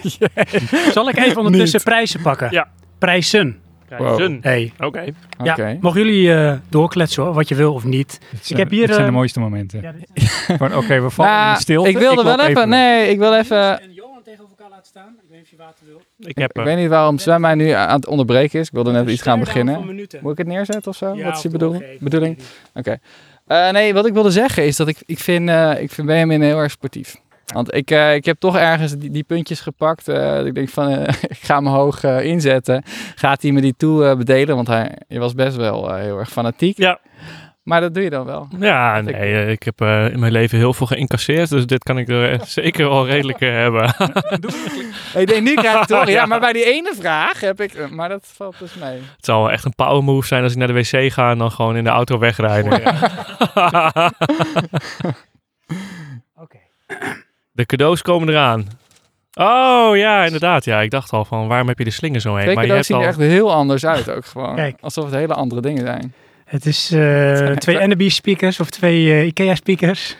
Speaker 1: Zal ik even ondertussen prijzen pakken?
Speaker 2: Ja.
Speaker 1: Prijzen.
Speaker 4: Wow.
Speaker 2: Zin.
Speaker 1: Hey.
Speaker 2: Oké.
Speaker 4: Oké.
Speaker 1: Ja, mogen jullie eh, doorkletsen hoor, wat je wil of niet.
Speaker 3: Ik
Speaker 1: heb hier,
Speaker 3: Dat zijn de
Speaker 1: eh,
Speaker 3: mooiste momenten.
Speaker 1: Ja, dit
Speaker 3: Van, Oké, we vallen in de
Speaker 4: Nou,
Speaker 3: stilte.
Speaker 4: ik wilde
Speaker 3: klop
Speaker 4: wel even, Nee, ik wil even...
Speaker 1: En Johan tegenover elkaar laten staan. Ik weet niet of je water wil.
Speaker 2: Ik heb...
Speaker 4: Ik
Speaker 2: eh,
Speaker 4: weet niet waarom Sven mij nu aan het onderbreken is. Ik wilde net iets gaan beginnen.
Speaker 1: minuten.
Speaker 4: Moet ik het neerzetten of zo? Wat is je bedoeling? bedoeling? Eh, nee, wat ik wilde zeggen is dat ik, ik, vind, eh ik vind Benjamin heel erg sportief. Want ik, eh, ik heb toch ergens die, die puntjes gepakt. eh, dat ik denk van, eh, ik ga me hoog eh, inzetten. Gaat hij me die toe eh, bedelen? Want hij, je was best wel eh, heel erg fanatiek.
Speaker 2: Ja.
Speaker 4: Maar dat doe je dan wel.
Speaker 2: Ja, nee, eh, ik heb eh, in mijn leven heel veel geïncasseerd, dus dit kan ik er eh, zeker wel redelijk eh, hebben.
Speaker 4: Ik denk, nu krijg ik toch. Ja,
Speaker 2: Ja.
Speaker 4: maar bij die ene vraag heb ik... eh, Maar dat valt dus mee.
Speaker 2: Het zal wel echt een power move zijn als ik naar de wc ga en dan gewoon in de auto wegrijden.
Speaker 1: Oké.
Speaker 2: De cadeaus komen eraan. Oh ja, inderdaad. Ja, ik dacht al van waarom heb je de slinger zo heen?
Speaker 4: Twee
Speaker 2: Maar je
Speaker 4: cadeaus
Speaker 2: hebt
Speaker 4: zien
Speaker 2: al...
Speaker 4: er echt heel anders uit ook gewoon.
Speaker 1: Kijk.
Speaker 4: Alsof het hele andere dingen zijn.
Speaker 1: Het is eh, twee NB speakers of twee eh, IKEA speakers.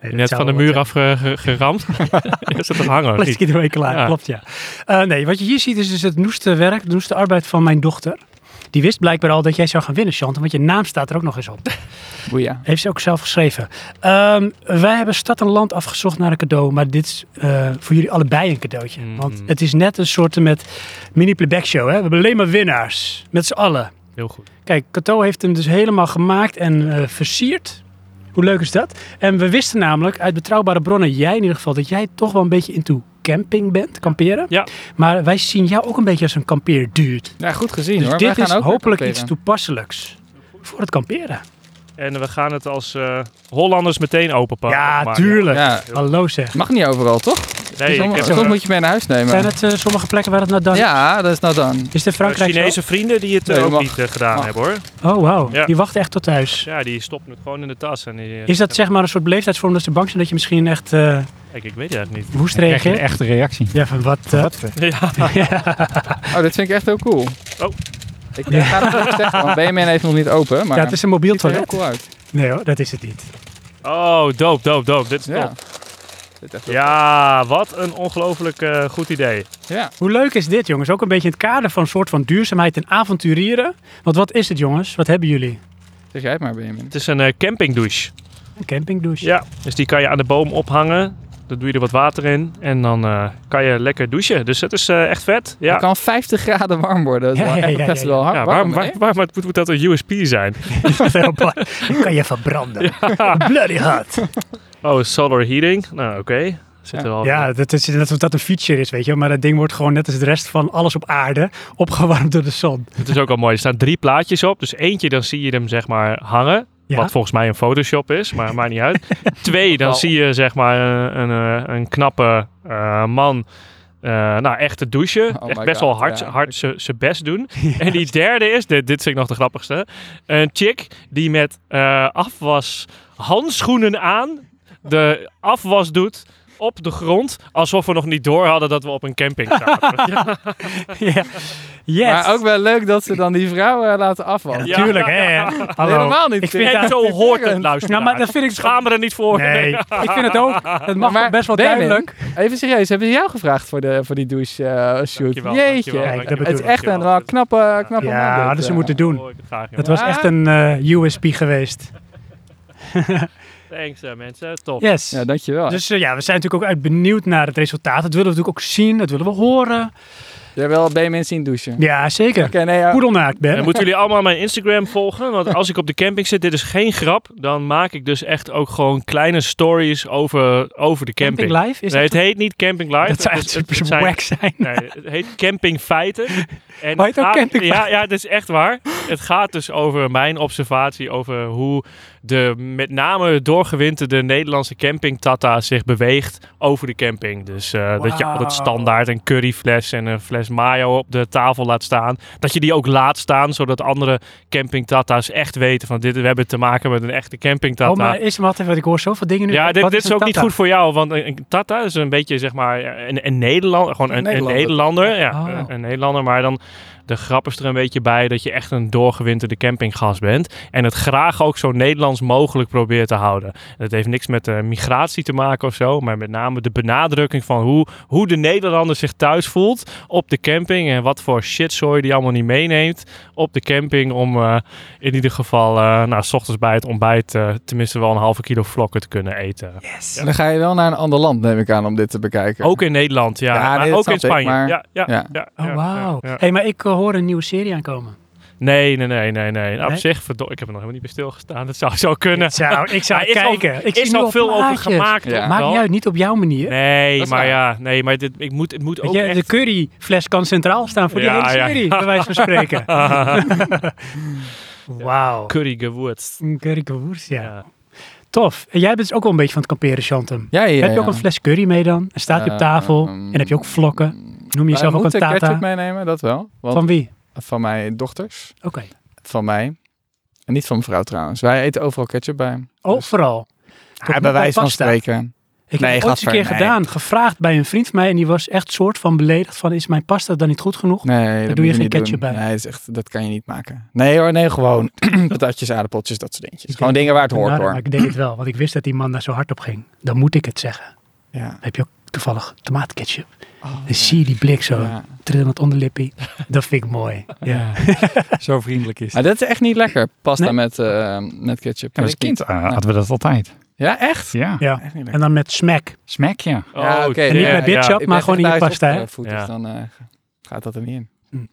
Speaker 1: Nee, dat
Speaker 2: Net
Speaker 1: zou
Speaker 2: van de
Speaker 1: wel
Speaker 2: muur
Speaker 1: wat
Speaker 2: af eh, ge- geramd. Is dat een
Speaker 1: zijn.
Speaker 2: hanger? Niet.
Speaker 1: Plastic ermee klaar,
Speaker 2: Oh, Ja.
Speaker 1: klopt ja. Eh, nee, wat je hier ziet is dus het noeste werk, de noeste arbeid van mijn dochter. Die wist blijkbaar al dat jij zou gaan winnen, Chant, want je naam staat er ook nog eens op.
Speaker 4: Boeia.
Speaker 1: Heeft ze ook zelf geschreven. Ehm, wij hebben stad en land afgezocht naar een cadeau. Maar dit is eh, voor jullie allebei een cadeautje.
Speaker 2: Mm.
Speaker 1: Want het is net een soort met mini playback show. Hè? We hebben alleen maar winnaars. Met z'n allen.
Speaker 2: Heel goed.
Speaker 1: Kijk, Cato heeft hem dus helemaal gemaakt en eh, versierd. Hoe leuk is dat? En we wisten namelijk uit betrouwbare bronnen, jij in ieder geval, dat jij toch wel een beetje into camping bent, kamperen.
Speaker 2: Ja.
Speaker 1: Maar wij zien jou ook een beetje als een kampeerdude.
Speaker 4: Ja, goed gezien
Speaker 1: Dus
Speaker 4: hoor. Wij
Speaker 1: dit
Speaker 4: gaan
Speaker 1: is
Speaker 4: ook weer
Speaker 1: hopelijk
Speaker 4: kamperen.
Speaker 1: iets toepasselijks voor het kamperen.
Speaker 2: En we gaan het als eh, Hollanders meteen openpakken.
Speaker 1: ja,
Speaker 2: Maar-
Speaker 1: tuurlijk.
Speaker 4: Ja,
Speaker 1: Hallo zeg.
Speaker 4: mag niet overal toch?
Speaker 2: Nee, ik
Speaker 4: Sommige-
Speaker 2: heb
Speaker 4: soms
Speaker 2: eh,
Speaker 4: moet je mee naar huis nemen.
Speaker 1: Zijn het eh, sommige plekken waar het nou dan
Speaker 4: Ja, dat is nou dan.
Speaker 1: Is de Frankrijk zo?
Speaker 2: eh, Chinese vrienden die het eh,
Speaker 4: Nee,
Speaker 2: ook
Speaker 4: mag.
Speaker 2: niet eh, gedaan
Speaker 4: Mag.
Speaker 2: hebben hoor.
Speaker 1: Oh, wauw.
Speaker 2: Ja.
Speaker 1: Die wachten echt tot thuis.
Speaker 2: Ja, die stoppen het gewoon in de tas. En die, eh,
Speaker 1: Is dat zeg maar een soort beleefdheidsvorm dat ze bang zijn dat je misschien echt eh,
Speaker 2: Kijk, ik weet het eigenlijk niet.
Speaker 1: woest
Speaker 3: Krijg je een
Speaker 1: reageert?
Speaker 3: echte reactie.
Speaker 1: Ja, van wat? eh,
Speaker 2: Ja,
Speaker 4: Oh, dit vind ik echt heel cool.
Speaker 2: Oh.
Speaker 4: Ik ga het niet zeggen, want BMN heeft nog niet open. Maar
Speaker 1: ja, het is een mobiel
Speaker 4: ziet er heel
Speaker 1: toilet.
Speaker 4: cool uit.
Speaker 1: Nee hoor, dat is het niet.
Speaker 2: Oh, doop, doop, doop. Dit is
Speaker 4: Ja.
Speaker 2: top.
Speaker 4: Dit is echt heel
Speaker 2: Ja, wat een ongelooflijk eh, goed idee.
Speaker 4: cool. ja.
Speaker 1: Hoe leuk is dit, jongens? Ook een beetje in het kader van een soort van duurzaamheid en avonturieren. Want wat is het, jongens? Wat hebben jullie?
Speaker 4: Zeg jij het maar, BMN.
Speaker 2: Het is een eh, campingdouche.
Speaker 1: Een campingdouche.
Speaker 2: Ja, dus die kan je aan de boom ophangen. Dan doe je er wat water in en dan eh, kan je lekker douchen. Dus dat is eh, echt vet.
Speaker 4: Het
Speaker 2: Ja,
Speaker 4: kan 50 graden warm worden. Dat is
Speaker 1: Ja,
Speaker 4: wel
Speaker 1: ja,
Speaker 4: echt
Speaker 1: ja,
Speaker 4: best
Speaker 1: ja,
Speaker 4: wel hard.
Speaker 2: ja
Speaker 4: warm,
Speaker 2: waarom, waar,
Speaker 4: hè?
Speaker 2: waarom moet, moet dat een USP zijn?
Speaker 1: Heel belangrijk. Die kan je verbranden. Bloody hot.
Speaker 2: Oh, solar heating. Nou, oké. Zit er wel.
Speaker 1: Ja, dat is net alsof dat een feature is, weet je. wel. Maar dat ding wordt gewoon net als de rest van alles op aarde opgewarmd door de zon.
Speaker 2: Het is ook al mooi. Er staan drie plaatjes op. Dus eentje, dan zie je hem zeg maar hangen.
Speaker 1: Ja.
Speaker 2: Wat volgens mij een Photoshop is, maar maakt niet uit. Twee, dan
Speaker 4: Wel.
Speaker 2: zie je zeg maar een, een, eh, een knappe eh, man. eh, nou, echt te douchen.
Speaker 4: Oh
Speaker 2: echt
Speaker 4: my
Speaker 2: best
Speaker 4: God,
Speaker 2: wel hard,
Speaker 4: ja.
Speaker 2: hard zijn best doen. En die derde is, dit, dit vind ik nog de grappigste. Een chick die met eh, afwas handschoenen aan de afwas doet op de grond. Alsof we nog niet door hadden dat we op een camping zaten. ja,
Speaker 1: ja. Yes.
Speaker 4: Maar ook wel leuk dat ze dan die vrouwen eh, laten afvallen.
Speaker 2: Ja.
Speaker 1: Tuurlijk, hè. Hallo.
Speaker 4: Helemaal niet.
Speaker 1: Ik vind
Speaker 2: en
Speaker 1: dat-
Speaker 2: zo hoort het,
Speaker 1: Ja,
Speaker 2: luisteraar.
Speaker 1: maar dat vind ik
Speaker 2: Schaam me er niet voor.
Speaker 1: Nee, ik vind het ook. Het mag
Speaker 4: Maar
Speaker 1: toch best wel
Speaker 4: Damon,
Speaker 1: duidelijk.
Speaker 4: Even serieus, hebben ze jou gevraagd voor, de, voor die douche eh, shoot?
Speaker 2: Dankjewel,
Speaker 4: Jeetje.
Speaker 2: dankjewel,
Speaker 1: Kijk, dat
Speaker 2: dankjewel,
Speaker 1: bedoel
Speaker 4: Het is
Speaker 1: ik.
Speaker 4: echt een wel knappe, knappe
Speaker 1: Ja,
Speaker 4: man, dit,
Speaker 1: hadden ze
Speaker 4: eh.
Speaker 1: moeten doen.
Speaker 2: Oh, ik graag, jongen.
Speaker 1: Het was echt een eh, USP geweest.
Speaker 2: Thanks eh, mensen, top.
Speaker 1: Yes.
Speaker 4: Ja,
Speaker 2: Oh.
Speaker 4: dankjewel.
Speaker 1: Dus eh, ja, we zijn natuurlijk ook uit benieuwd naar het resultaat. Dat willen we natuurlijk ook zien, dat willen we horen.
Speaker 4: Jij wil bij mensen zien douchen.
Speaker 1: Ja, zeker.
Speaker 4: Oké, nee, ja.
Speaker 1: Poedelnaakt
Speaker 2: En
Speaker 1: ben.
Speaker 2: moeten jullie allemaal mijn Instagram volgen. Want als ik op de camping zit, dit is geen grap. Dan maak ik dus echt ook gewoon kleine stories over, over de camping.
Speaker 1: Camping live? Is
Speaker 2: nee,
Speaker 1: het
Speaker 2: het heet niet Camping Live.
Speaker 1: dat zou
Speaker 2: Het
Speaker 1: echt
Speaker 2: is- het-
Speaker 1: super
Speaker 2: het zijn-
Speaker 1: wack zijn.
Speaker 2: Nee, het heet Camping Feiten. En
Speaker 1: Maar het ook
Speaker 2: gaat-
Speaker 1: Camping
Speaker 2: ja, ja, dat is echt waar. Het gaat dus over mijn observatie over hoe de met name doorgewinterde Nederlandse campingtata zich beweegt over de camping. Dus eh, dat je
Speaker 1: Wauw.
Speaker 2: altijd standaard een curryfles en een fles mayo op de tafel laat staan. Dat je die ook laat staan, zodat andere campingtata's echt weten van dit, we hebben te maken met een echte campingtata.
Speaker 1: Oh, maar is wat even, want ik hoor zoveel dingen nu.
Speaker 2: Ja, dit,
Speaker 1: Wat
Speaker 2: dit is,
Speaker 1: een
Speaker 2: ook niet
Speaker 1: tata?
Speaker 2: goed voor jou, want een, een Tata is een beetje zeg maar een, een Nederlander, gewoon een, een Nederlander.
Speaker 4: Nederlander.
Speaker 2: ja,
Speaker 1: Oh.
Speaker 2: een, een Nederlander, maar dan de grap is er een beetje bij dat je echt een doorgewinterde campinggast bent en het graag ook zo Nederlands mogelijk probeert te houden. Dat heeft niks met eh, migratie te maken of zo, maar met name de benadrukking van hoe, hoe de Nederlander zich thuis voelt op de camping en wat voor shitzooi die allemaal niet meeneemt op de camping om eh, in ieder geval, eh nou, s ochtends bij het ontbijt eh, tenminste wel een halve kilo vlokken te kunnen eten.
Speaker 4: En Dan ga je wel naar een ander land, neem ik aan, om dit te bekijken.
Speaker 2: Ook in Nederland, ja.
Speaker 4: Ja,
Speaker 2: maar
Speaker 4: nee, dat
Speaker 2: ook in
Speaker 4: snap ik,
Speaker 2: Spanje.
Speaker 4: maar-
Speaker 2: Ja, ja, ja.
Speaker 4: ja.
Speaker 2: ja,
Speaker 1: Oh, wauw.
Speaker 2: ja, ja.
Speaker 1: hey, maar ik eh, hoor een nieuwe serie aankomen.
Speaker 2: Nee, nee, nee, nee, nee. Op
Speaker 1: Nee?
Speaker 2: zich, verdo- ik heb er nog helemaal niet bij stilgestaan. Dat zou zo kunnen.
Speaker 1: Ik zou, ik zou
Speaker 2: Maar is al-
Speaker 1: kijken. ik zie
Speaker 2: is
Speaker 1: nu
Speaker 2: al
Speaker 1: al
Speaker 2: veel over
Speaker 1: plaatjes.
Speaker 2: gemaakt.
Speaker 4: Ja.
Speaker 2: toch
Speaker 1: Maakt
Speaker 2: wel?
Speaker 1: niet uit, niet op jouw manier.
Speaker 2: Nee,
Speaker 4: Dat is
Speaker 2: maar
Speaker 4: waar.
Speaker 2: ja, nee, maar dit, ik moet, het moet
Speaker 1: Weet
Speaker 2: ook
Speaker 1: je,
Speaker 2: echt...
Speaker 1: de curryfles kan centraal staan voor
Speaker 2: Ja,
Speaker 1: die hele
Speaker 2: ja.
Speaker 1: serie, bij wijze van spreken. Wauw.
Speaker 2: Ah, curry gewoerd.
Speaker 1: Een Currygewoers, ja.
Speaker 2: Ja.
Speaker 1: Tof. En jij bent dus ook wel een beetje van het kamperen, Chantem.
Speaker 4: Ja, ja,
Speaker 1: heb je ook
Speaker 4: ja.
Speaker 1: een fles curry mee dan? En staat je op tafel?
Speaker 4: Ehm,
Speaker 1: en heb je ook vlokken? Noem je
Speaker 4: Wij
Speaker 1: jezelf ook een
Speaker 4: moeten
Speaker 1: tata?
Speaker 4: ketchup meenemen, dat wel. Want Dus-
Speaker 1: Van
Speaker 4: van,
Speaker 1: wie?
Speaker 4: mijn dochters,
Speaker 1: Oké.
Speaker 4: van mij. En niet van mevrouw trouwens. Wij eten overal ketchup bij.
Speaker 1: Overal. Toch
Speaker 4: Ja,
Speaker 1: niet bij
Speaker 4: bij wijze van
Speaker 1: pasta.
Speaker 4: spreken.
Speaker 1: Ik
Speaker 4: Nee,
Speaker 1: heb het ooit eens een
Speaker 4: gadver,
Speaker 1: keer
Speaker 4: nee.
Speaker 1: gedaan, gevraagd bij een vriend van mij. En die was echt soort van beledigd van, is mijn pasta dan niet goed genoeg?
Speaker 4: Nee, dat
Speaker 1: doe je geen
Speaker 4: moet niet
Speaker 1: ketchup
Speaker 4: doen.
Speaker 1: bij.
Speaker 4: Nee, dat, is echt, dat kan je niet maken. Nee hoor, nee, gewoon patatjes, aardappeltjes, dat soort dingetjes. Gewoon dingen waar het hoort
Speaker 1: Nou,
Speaker 4: hoor.
Speaker 1: Maar ik deed het wel, want ik wist dat die man daar zo hard op ging. Dan moet ik het zeggen.
Speaker 4: Ja. Oh,
Speaker 1: Heb je ook toevallig tomaatketchup? Dan zie je die blik zo,
Speaker 4: Ja.
Speaker 1: trillend onderlippie. Dat vind ik mooi. Ja.
Speaker 3: Zo vriendelijk is.
Speaker 4: Maar dat is echt niet lekker, pasta
Speaker 1: Nee?
Speaker 4: met, eh, met ketchup.
Speaker 3: Ja,
Speaker 4: Dat
Speaker 3: als
Speaker 4: is niet-
Speaker 3: kind eh, hadden we dat altijd.
Speaker 4: Ja, echt?
Speaker 3: Ja.
Speaker 1: ja.
Speaker 4: Echt niet lekker.
Speaker 1: En dan met smack.
Speaker 3: Smack, ja.
Speaker 2: Oh,
Speaker 4: Ja, oké.
Speaker 1: En niet
Speaker 4: Ja,
Speaker 1: bij
Speaker 4: ja.
Speaker 1: Bitchap,
Speaker 4: Ik
Speaker 1: maar
Speaker 4: ben
Speaker 1: gewoon in je
Speaker 4: vegetarisch
Speaker 1: pasta. hè?
Speaker 4: opgevoed,
Speaker 2: Ja.
Speaker 4: Dus dan eh, gaat dat er niet in.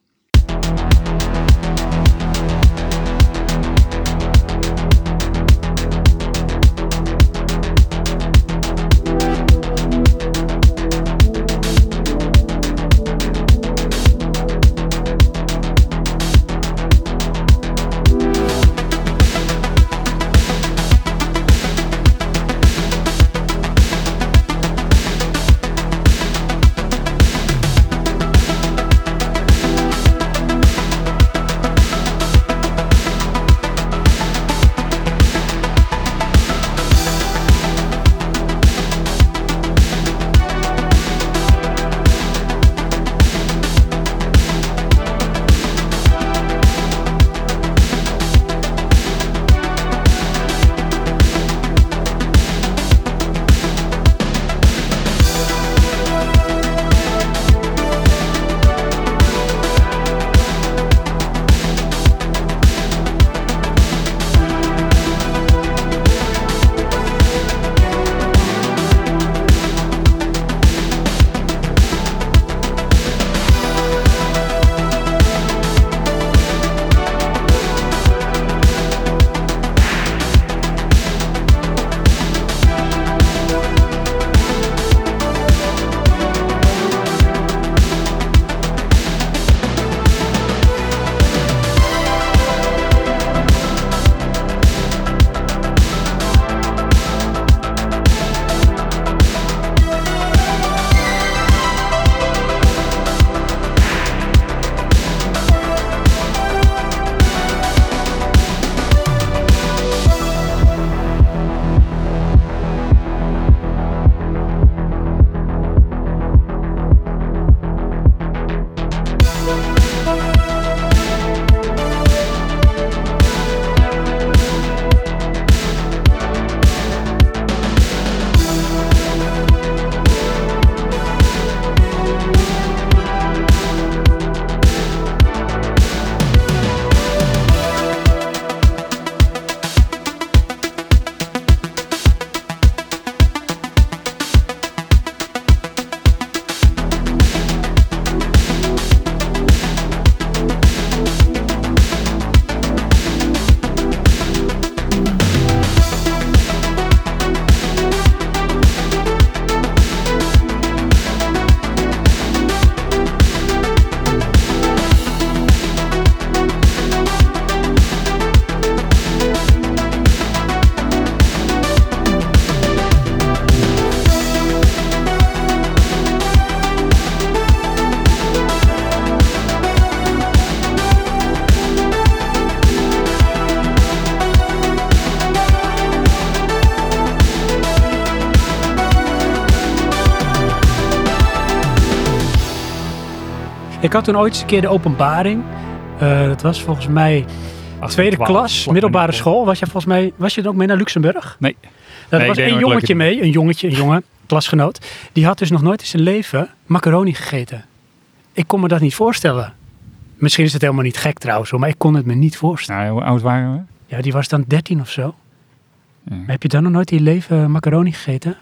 Speaker 1: Ik had toen ooit eens een keer de openbaring. Eh, dat was volgens mij tweede klas, middelbare school. Was je volgens mij, was je dan ook mee naar Luxemburg?
Speaker 3: Nee.
Speaker 1: Daar
Speaker 3: Nee, ik
Speaker 1: was
Speaker 3: deed
Speaker 1: een
Speaker 3: nooit leuke
Speaker 1: jongetje mee, een jongetje, een jongen, klasgenoot. Die had dus nog nooit in zijn leven macaroni gegeten. Ik kon me dat niet voorstellen. Misschien is het helemaal niet gek trouwens, hoor, maar ik kon het me niet voorstellen.
Speaker 3: Nou, hoe oud waren we?
Speaker 1: Ja, die was dan 13 of zo.
Speaker 3: Ja.
Speaker 1: Maar heb je dan nog nooit in je leven macaroni gegeten?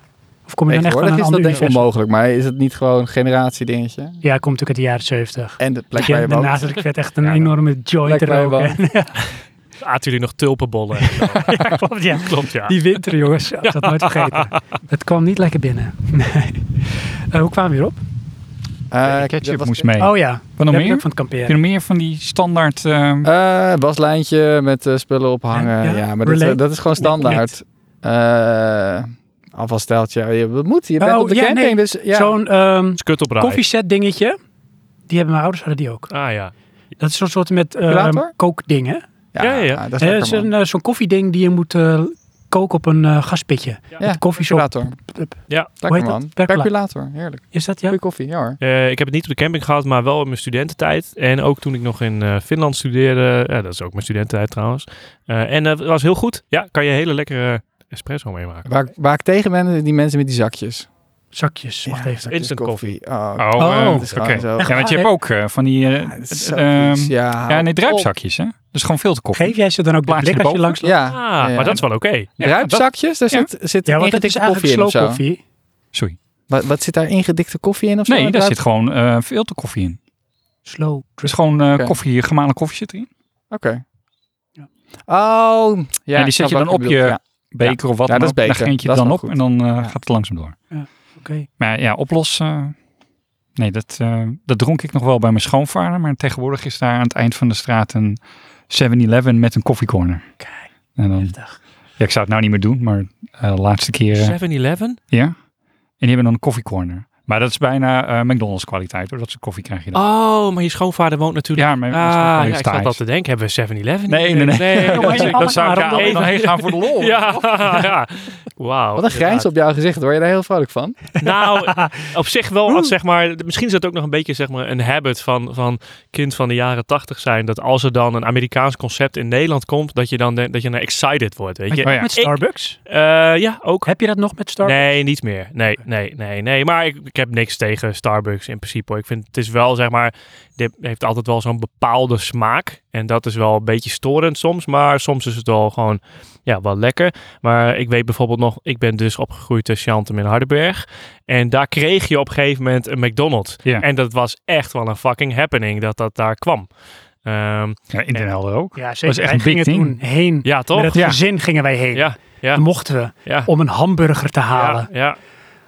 Speaker 1: Of kom je dan echt van
Speaker 4: Tegenwoordig
Speaker 1: een
Speaker 4: is dat
Speaker 1: ander
Speaker 4: denk ik
Speaker 1: universum?
Speaker 4: onmogelijk, maar is het niet gewoon een generatie dingetje?
Speaker 1: Ja, komt natuurlijk uit de jaren 70.
Speaker 4: En de plek
Speaker 1: Ja,
Speaker 4: waar je woont.
Speaker 1: daarnaast had ik vet echt een
Speaker 4: Ja,
Speaker 1: enorme joint
Speaker 4: plek waar je
Speaker 1: roken.
Speaker 4: woont.
Speaker 2: Aten jullie nog tulpenbollen? en zo?
Speaker 1: Ja, klopt, ja.
Speaker 2: Klopt, ja.
Speaker 1: Die winter, jongens. Ik dat nooit vergeten. Het kwam niet lekker binnen. Nee. Eh, hoe kwamen we hierop?
Speaker 4: Eh,
Speaker 3: Uh,
Speaker 4: dat
Speaker 3: ketchup
Speaker 4: was-
Speaker 3: moest mee.
Speaker 1: Oh ja,
Speaker 3: Wat nog
Speaker 1: dat heb ik
Speaker 3: meer?
Speaker 1: ook van het
Speaker 3: Heb
Speaker 1: kamperen.
Speaker 3: je nog meer van die standaard... ehm,
Speaker 4: Eh, waslijntje met eh, spullen
Speaker 1: Ja,
Speaker 4: ophangen. Ja,
Speaker 1: ja.
Speaker 4: maar dat,
Speaker 1: Relate.
Speaker 4: eh, dat is gewoon standaard. Eh afvalsteltje. Je, wat moet? Je bent
Speaker 1: Oh,
Speaker 4: op de
Speaker 1: ja,
Speaker 4: camping,
Speaker 1: nee.
Speaker 4: dus ja.
Speaker 1: Zo'n ehm
Speaker 2: Skut op raai.
Speaker 1: koffiezet dingetje. Die hebben mijn ouders hadden die ook.
Speaker 2: Ah ja.
Speaker 1: Dat is zo'n soort met ehm
Speaker 4: Curator?
Speaker 1: kookding. Hè?
Speaker 2: Ja, ja, ja.
Speaker 4: Dat is
Speaker 1: Eh,
Speaker 4: lekker,
Speaker 1: het is een,
Speaker 4: man.
Speaker 1: eh, zo'n koffieding die je moet eh, koken op een eh, gaspitje.
Speaker 4: Ja,
Speaker 1: Met koffie zo.
Speaker 4: percolator.
Speaker 2: Ja.
Speaker 1: Hoe heet
Speaker 4: Lekker
Speaker 1: dat?
Speaker 4: man.
Speaker 1: Percola-
Speaker 4: Percolator. Heerlijk.
Speaker 1: Is dat ja?
Speaker 4: Goeie koffie. Ja hoor.
Speaker 2: Eh, ik heb het niet op de camping gehad, maar wel in mijn studententijd. En ook toen ik nog in eh, Finland studeerde. Ja, dat is ook mijn studententijd trouwens. Eh, en dat was heel goed. Ja, kan je hele lekkere espresso meemaken.
Speaker 4: Waar, ik- waar ik tegen ben, die mensen met die zakjes.
Speaker 1: Zakjes. Wacht
Speaker 4: Ja,
Speaker 1: even.
Speaker 2: Instant koffie.
Speaker 4: Oh,
Speaker 3: Oh,
Speaker 1: Oh,
Speaker 3: eh,
Speaker 1: dat
Speaker 4: is
Speaker 3: oké.
Speaker 4: gewoon zo.
Speaker 3: Ja, want je hebt ook eh, van die... eh,
Speaker 4: het is zo
Speaker 3: ehm,
Speaker 4: vies. ja, Oh.
Speaker 3: ja, nee,
Speaker 4: op.
Speaker 3: druipzakjes, hè? Dus gewoon veel te koffie.
Speaker 1: Geef jij ze dan ook de
Speaker 3: Plaatje
Speaker 1: blik als je
Speaker 3: erboven?
Speaker 1: langs loopt?
Speaker 4: Ja,
Speaker 2: Ah,
Speaker 4: ja, ja.
Speaker 2: maar dat is wel oké.
Speaker 3: Ja,
Speaker 4: Druipzakjes, daar
Speaker 3: ja.
Speaker 4: zit, zit
Speaker 1: Ja, want dat is
Speaker 4: ingedikte
Speaker 1: eigenlijk
Speaker 4: koffie in of
Speaker 1: slow
Speaker 4: zo.
Speaker 1: koffie.
Speaker 3: Sorry.
Speaker 4: Wat, wat zit daar ingedikte koffie in of zo?
Speaker 3: Nee,
Speaker 4: Een
Speaker 3: daar
Speaker 4: druip-
Speaker 3: zit gewoon eh, veel te koffie in.
Speaker 1: Slow.
Speaker 3: Dus gewoon eh,
Speaker 4: Oké.
Speaker 3: koffie, gemalen koffie zit erin.
Speaker 4: Oké. Oh, ja.
Speaker 3: die
Speaker 4: ik
Speaker 3: zet
Speaker 4: snap
Speaker 3: je
Speaker 4: wat
Speaker 3: dan op
Speaker 4: bedoelt,
Speaker 3: je-
Speaker 4: ja.
Speaker 3: Beker of wat
Speaker 4: Ja,
Speaker 3: dan
Speaker 4: dat is
Speaker 3: ook. Dan
Speaker 4: beter.
Speaker 3: geent je
Speaker 4: Dat
Speaker 3: het
Speaker 4: is
Speaker 3: dan
Speaker 4: nog
Speaker 3: op en dan eh, gaat het langzaam door.
Speaker 1: Oké.
Speaker 3: Maar ja, oplos. eh, nee, dat, eh, dat dronk ik nog wel bij mijn schoonvader. Maar tegenwoordig is daar aan het eind van de straat een 7-Eleven met een koffiecorner.
Speaker 1: Kijk,
Speaker 3: En dan,
Speaker 1: heftig.
Speaker 3: ja, ik zou het nou niet meer doen, maar eh, de laatste keer. eh,
Speaker 2: 7-Eleven?
Speaker 3: ja. En die hebben dan een koffiecorner. Maar dat is bijna eh, McDonald's kwaliteit hoor. Dat soort koffie krijg je dan.
Speaker 2: Oh, maar je schoonvader woont natuurlijk...
Speaker 3: Ja, mijn
Speaker 2: Ah,
Speaker 3: mijn schoonvader
Speaker 2: ja,
Speaker 3: heeft
Speaker 2: ik zat
Speaker 3: thuis.
Speaker 2: dat te denken. Hebben we 7-Eleven?
Speaker 3: Nee, nee, nee.
Speaker 1: jongens,
Speaker 2: dat-
Speaker 1: allemaal
Speaker 3: dat zou ik
Speaker 1: waarom
Speaker 3: daar
Speaker 1: dan?
Speaker 3: even heen gaan voor de Oh, lol.
Speaker 2: Ja, ja. Wauw.
Speaker 4: Wat een grijns op jouw gezicht, word je daar heel vrolijk van?
Speaker 2: Nou, op zich wel, als, zeg maar, misschien is dat ook nog een beetje zeg maar, een habit van, van kind van de jaren tachtig zijn. Dat als er dan een Amerikaans concept in Nederland komt, dat je dan denkt- dat je dan excited wordt, weet je.
Speaker 3: Oh ja.
Speaker 1: Met Starbucks?
Speaker 2: Eh, ja, ook.
Speaker 1: Heb je dat nog met Starbucks?
Speaker 2: Nee, niet meer. Nee, nee, nee, nee. Maar ik, ik heb niks tegen Starbucks in principe. hoor. Ik vind het is wel, zeg maar, dit heeft altijd wel zo'n bepaalde smaak. En dat is wel een beetje storend soms. Maar soms is het wel gewoon, ja, wel lekker. Maar ik weet bijvoorbeeld nog, ik ben dus opgegroeid in Chantem in Hardenberg. En daar kreeg je op een gegeven moment een McDonald's.
Speaker 3: Ja.
Speaker 2: En dat was echt wel een fucking happening dat dat daar kwam. Ehm,
Speaker 3: Ja, in Den Helder ook.
Speaker 1: Ja, zeker.
Speaker 3: Dat is echt
Speaker 1: wij
Speaker 3: een
Speaker 1: gingen
Speaker 3: big thing.
Speaker 1: toen heen.
Speaker 2: ja, toch?
Speaker 1: Met het
Speaker 3: Ja.
Speaker 1: gezin gingen wij heen.
Speaker 2: Ja, ja.
Speaker 1: Mochten we.
Speaker 2: ja.
Speaker 1: Om een hamburger te halen.
Speaker 2: Ja, ja,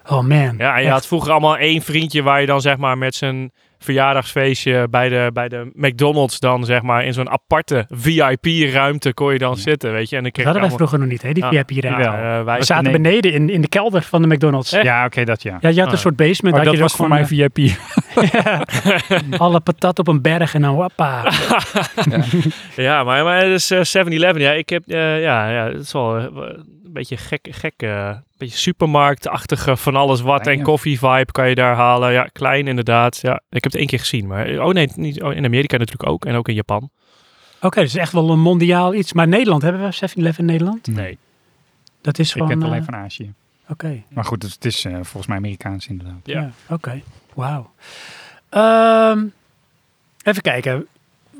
Speaker 1: Oh man.
Speaker 2: Ja, en je
Speaker 1: Echt.
Speaker 2: had vroeger allemaal één vriendje waar je dan zeg maar met zijn verjaardagsfeestje bij de, bij de McDonald's dan zeg maar in zo'n aparte VIP-ruimte kon je dan zitten, weet je. En dan
Speaker 1: Dat
Speaker 2: kreeg
Speaker 1: hadden wij
Speaker 2: je
Speaker 1: vroeger nog niet, hè? Die
Speaker 2: allemaal-
Speaker 1: vip hier.
Speaker 2: Ja,
Speaker 3: wel.
Speaker 2: ja, eh, wij-
Speaker 1: we zaten
Speaker 3: nee.
Speaker 1: beneden in, in de kelder van de McDonald's.
Speaker 2: Echt?
Speaker 3: Ja, oké, dat ja.
Speaker 1: Ja, je had
Speaker 2: Ah.
Speaker 1: een soort basement.
Speaker 3: Oh,
Speaker 1: had
Speaker 3: dat
Speaker 1: je
Speaker 3: was
Speaker 1: dus
Speaker 3: voor mij
Speaker 1: gewoon,
Speaker 3: VIP.
Speaker 1: eh, alle patat op een berg en dan wappa.
Speaker 2: Ja, maar, maar het is eh, 7-Eleven. Ja, ik heb, eh, ja, ja, het is wel eh, een beetje gek, gek, eh, beetje supermarktachtige van alles wat
Speaker 3: Klein,
Speaker 2: en
Speaker 3: ja.
Speaker 2: koffie-vibe kan je daar halen. Ja, klein inderdaad. Ja, ik heb het één keer gezien, maar oh nee, niet, oh, in Amerika natuurlijk ook en ook in Japan.
Speaker 1: Oké, dat is echt wel een mondiaal iets. Maar Nederland, hebben we 7-Eleven in Nederland?
Speaker 3: Nee,
Speaker 1: Dat is
Speaker 3: ik
Speaker 1: gewoon...
Speaker 3: ken het
Speaker 1: eh,
Speaker 3: alleen van Azië.
Speaker 1: Oké,
Speaker 3: Maar goed, het, het is eh, volgens mij Amerikaans inderdaad.
Speaker 2: Ja.
Speaker 1: ja. Oké, wauw. Ehm, even kijken.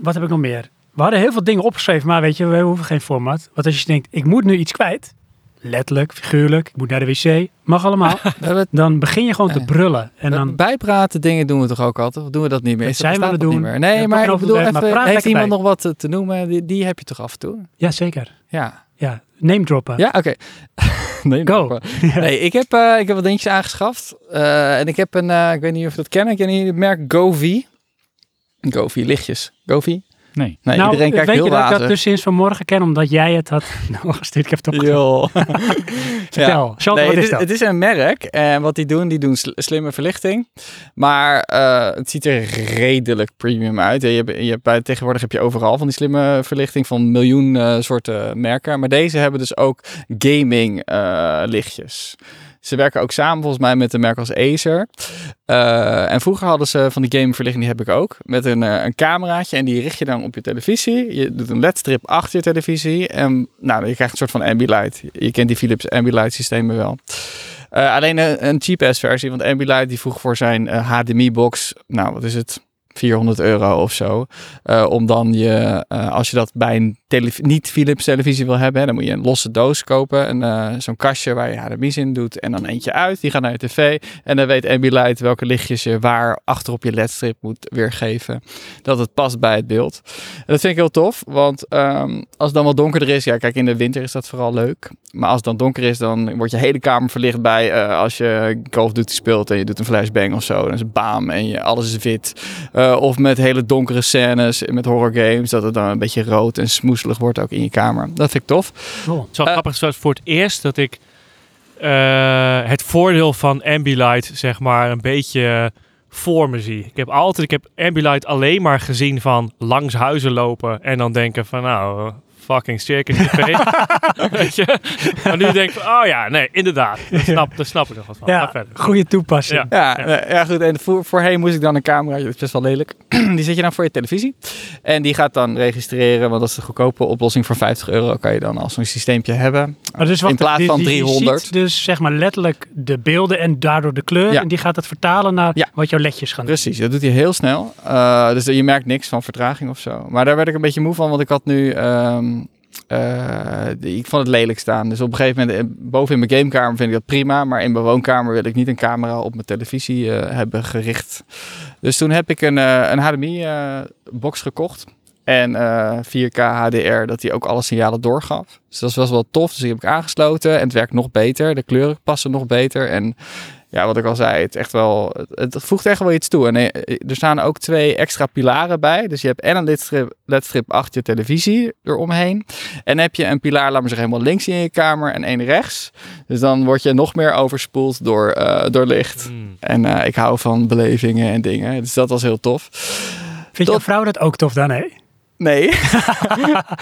Speaker 1: Wat heb ik nog meer? We hadden heel veel dingen opgeschreven, maar weet je, we hoeven geen format. Want als je denkt, ik moet nu iets kwijt. Letterlijk, figuurlijk, ik moet naar de wc. Mag allemaal.
Speaker 4: We hebben
Speaker 1: Dan begin je gewoon te
Speaker 4: Ja.
Speaker 1: brullen. En
Speaker 4: het-
Speaker 1: dan,
Speaker 4: Bijpraten dingen doen we toch ook altijd? Of doen we dat niet meer?
Speaker 1: Dat
Speaker 4: Is dat
Speaker 1: zijn we
Speaker 4: bestaat
Speaker 1: aan het
Speaker 4: dat
Speaker 1: doen.
Speaker 4: niet meer? Nee,
Speaker 1: Ja,
Speaker 4: maar
Speaker 1: toch
Speaker 4: ik
Speaker 1: een
Speaker 4: bedoel,
Speaker 1: overweg, maar
Speaker 4: even,
Speaker 1: praat
Speaker 4: heeft
Speaker 1: lekker
Speaker 4: iemand
Speaker 1: bij.
Speaker 4: nog wat eh, te noemen? Die, die heb je toch af en toe?
Speaker 1: ja, zeker.
Speaker 4: Ja,
Speaker 1: Ja, name droppen.
Speaker 4: ja oké. Nee,
Speaker 1: Go.
Speaker 4: maar- Nee, ik heb, eh, ik heb wat dingetjes aangeschaft. Eh, en ik heb een, eh, ik weet niet of je dat kennen, kennen jullie het merk Govi? Govi, lichtjes. Govi?
Speaker 3: Nee.
Speaker 4: Nee,
Speaker 1: nou,
Speaker 4: iedereen kijkt
Speaker 1: weet
Speaker 4: heel
Speaker 1: je dat ik dat
Speaker 4: wazig.
Speaker 1: dus sinds vanmorgen ken, omdat jij het had doorgestuurd. Ik heb het opgezocht.
Speaker 4: Joh.
Speaker 1: dus- Vertel, Chantal,
Speaker 4: Nee,
Speaker 1: wat
Speaker 4: het
Speaker 1: is dat?
Speaker 4: Het is een merk en wat die doen, die doen sl- slimme verlichting. Maar eh, het ziet er redelijk premium uit. Je hebt, je hebt, bij, tegenwoordig heb je overal van die slimme verlichting van miljoen eh, soorten merken. Maar deze hebben dus ook gaming eh, lichtjes. Ze werken ook samen volgens mij met een merk als Acer. Eh, en vroeger hadden ze van die gameverlichting, die heb ik ook, met een, eh, een cameraatje en die richt je dan op je televisie. Je doet een ledstrip achter je televisie en nou, je krijgt een soort van ambilight. Je kent die Philips ambilight systemen wel. Eh, alleen een, een cheap-ass versie, want ambilight die vroeg voor zijn eh, HDMI-box, nou wat is het, 400 euro of zo. Eh, om dan je, eh, als je dat bij een televi- niet Philips televisie wil hebben, hè, dan moet je een losse doos kopen. En, eh, Zo'n kastje waar je HDMI's in doet en dan eentje uit. Die gaat naar je tv. En dan weet Ambilight welke lichtjes je waar achter op je ledstrip moet weergeven. Dat het past bij het beeld. En dat vind ik heel tof, want ehm, als het dan wat donkerder is, ja kijk in de winter is dat vooral leuk. Maar als het dan donker is, dan wordt je hele kamer verlicht bij eh, als je Call of Duty speelt en je doet een flashbang of zo. Dan is het baam en je, alles is wit. Eh, of met hele donkere scènes, met horror games, dat het dan een beetje rood en smoeselig wordt ook in je kamer. Dat vind ik tof.
Speaker 1: Oh,
Speaker 2: Het is wel
Speaker 4: Eh.
Speaker 2: grappig, het was voor het eerst dat ik eh, het voordeel van Ambilight, zeg maar, een beetje eh, voor me zie. Ik heb altijd, ik heb Ambilight alleen maar gezien van langs huizen lopen en dan denken van, nou, eh, fucking circus tv. Weet je? Maar nu denk ik van, oh ja, nee, inderdaad. Dat snap, daar snap ik nog wat van. Ga
Speaker 1: ja,
Speaker 2: verder.
Speaker 1: goede toepassing.
Speaker 2: Ja.
Speaker 4: Ja, eh, ja goed. En voor, voorheen moest ik dan een camera, dat is best wel lelijk. die zet je dan voor je televisie. En die gaat dan registreren, want dat is de goedkope oplossing voor 50 euro. Kan je dan al zo'n systeempje hebben.
Speaker 1: Maar dus wat
Speaker 4: In plaats van 300.
Speaker 1: Je ziet dus zeg maar letterlijk de beelden en daardoor de kleur.
Speaker 4: Ja.
Speaker 1: En die gaat dat vertalen naar
Speaker 4: Ja.
Speaker 1: wat jouw ledjes gaan doen.
Speaker 4: Precies, dat doet hij heel snel. Eh, dus je merkt niks van vertraging of zo. Maar daar werd ik een beetje moe van, want ik had nu... ehm, eh, ik vond het lelijk staan. Dus op een gegeven moment, eh, boven in mijn gamekamer vind ik dat prima. Maar in mijn woonkamer wil ik niet een camera op mijn televisie eh, hebben gericht. Dus toen heb ik een, eh, een HDMI-box gekocht. En eh, 4K HDR, dat hij ook alle signalen doorgaf. Dus dat was wel tof. Dus die heb ik aangesloten. En het werkt nog beter. De kleuren passen nog beter. En ja, wat ik al zei, het, is echt wel, het, het voegt echt wel iets toe. En eh, er staan ook twee extra pilaren bij. Dus je hebt en een ledstrip, ledstrip achter je televisie eromheen. En heb je een pilaar, laat maar zeggen, helemaal links in je kamer en één rechts. Dus dan word je nog meer overspoeld door, eh, door licht.
Speaker 2: Hmm.
Speaker 4: En eh, ik hou van belevingen en dingen. Dus dat was heel tof.
Speaker 1: Vindt jouw
Speaker 4: Tot-
Speaker 1: vrouw dat ook tof dan, hè?
Speaker 4: Nee.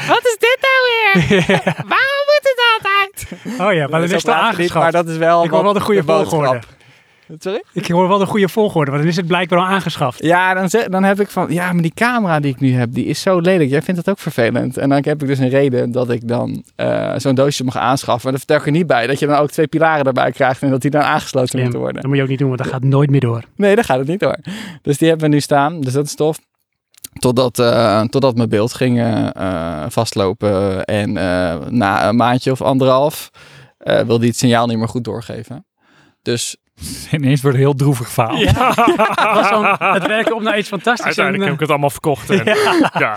Speaker 5: Wat is dit nou weer? Waarom moet het nou altijd?
Speaker 1: Oh ja, Oh maar dan is het al
Speaker 4: later niet,
Speaker 1: aangeschaft.
Speaker 4: Maar dat is wel.
Speaker 1: Ik hoor wel de goede
Speaker 4: boodschap.
Speaker 1: volgorde.
Speaker 4: Sorry?
Speaker 1: Ik hoor wel de goede volgorde, want dan is het blijkbaar al aangeschaft.
Speaker 4: Ja, dan, ze- dan heb ik van, ja, maar die camera die ik nu heb, die is zo lelijk. Jij vindt dat ook vervelend. En dan heb ik dus een reden dat ik dan eh, zo'n doosje mag aanschaffen. Maar dat vertel ik er niet bij, dat je dan ook twee pilaren erbij krijgt en dat die dan aangesloten
Speaker 1: Slim.
Speaker 4: moeten worden.
Speaker 1: Dat moet je ook niet doen, want dat gaat nooit meer door.
Speaker 4: Nee, daar gaat het niet hoor. Dus die hebben we nu staan, dus dat is tof. Totdat, eh, totdat mijn beeld ging eh, eh, vastlopen en eh, na een maandje of anderhalf eh, wilde hij het signaal niet meer goed doorgeven. Dus
Speaker 3: Ineens wordt het heel droevig verhaal.
Speaker 2: Ja,
Speaker 1: Het, was dan, het werken op naar iets fantastisch. en, eh,
Speaker 2: uiteindelijk heb ik het allemaal verkocht. En, ja.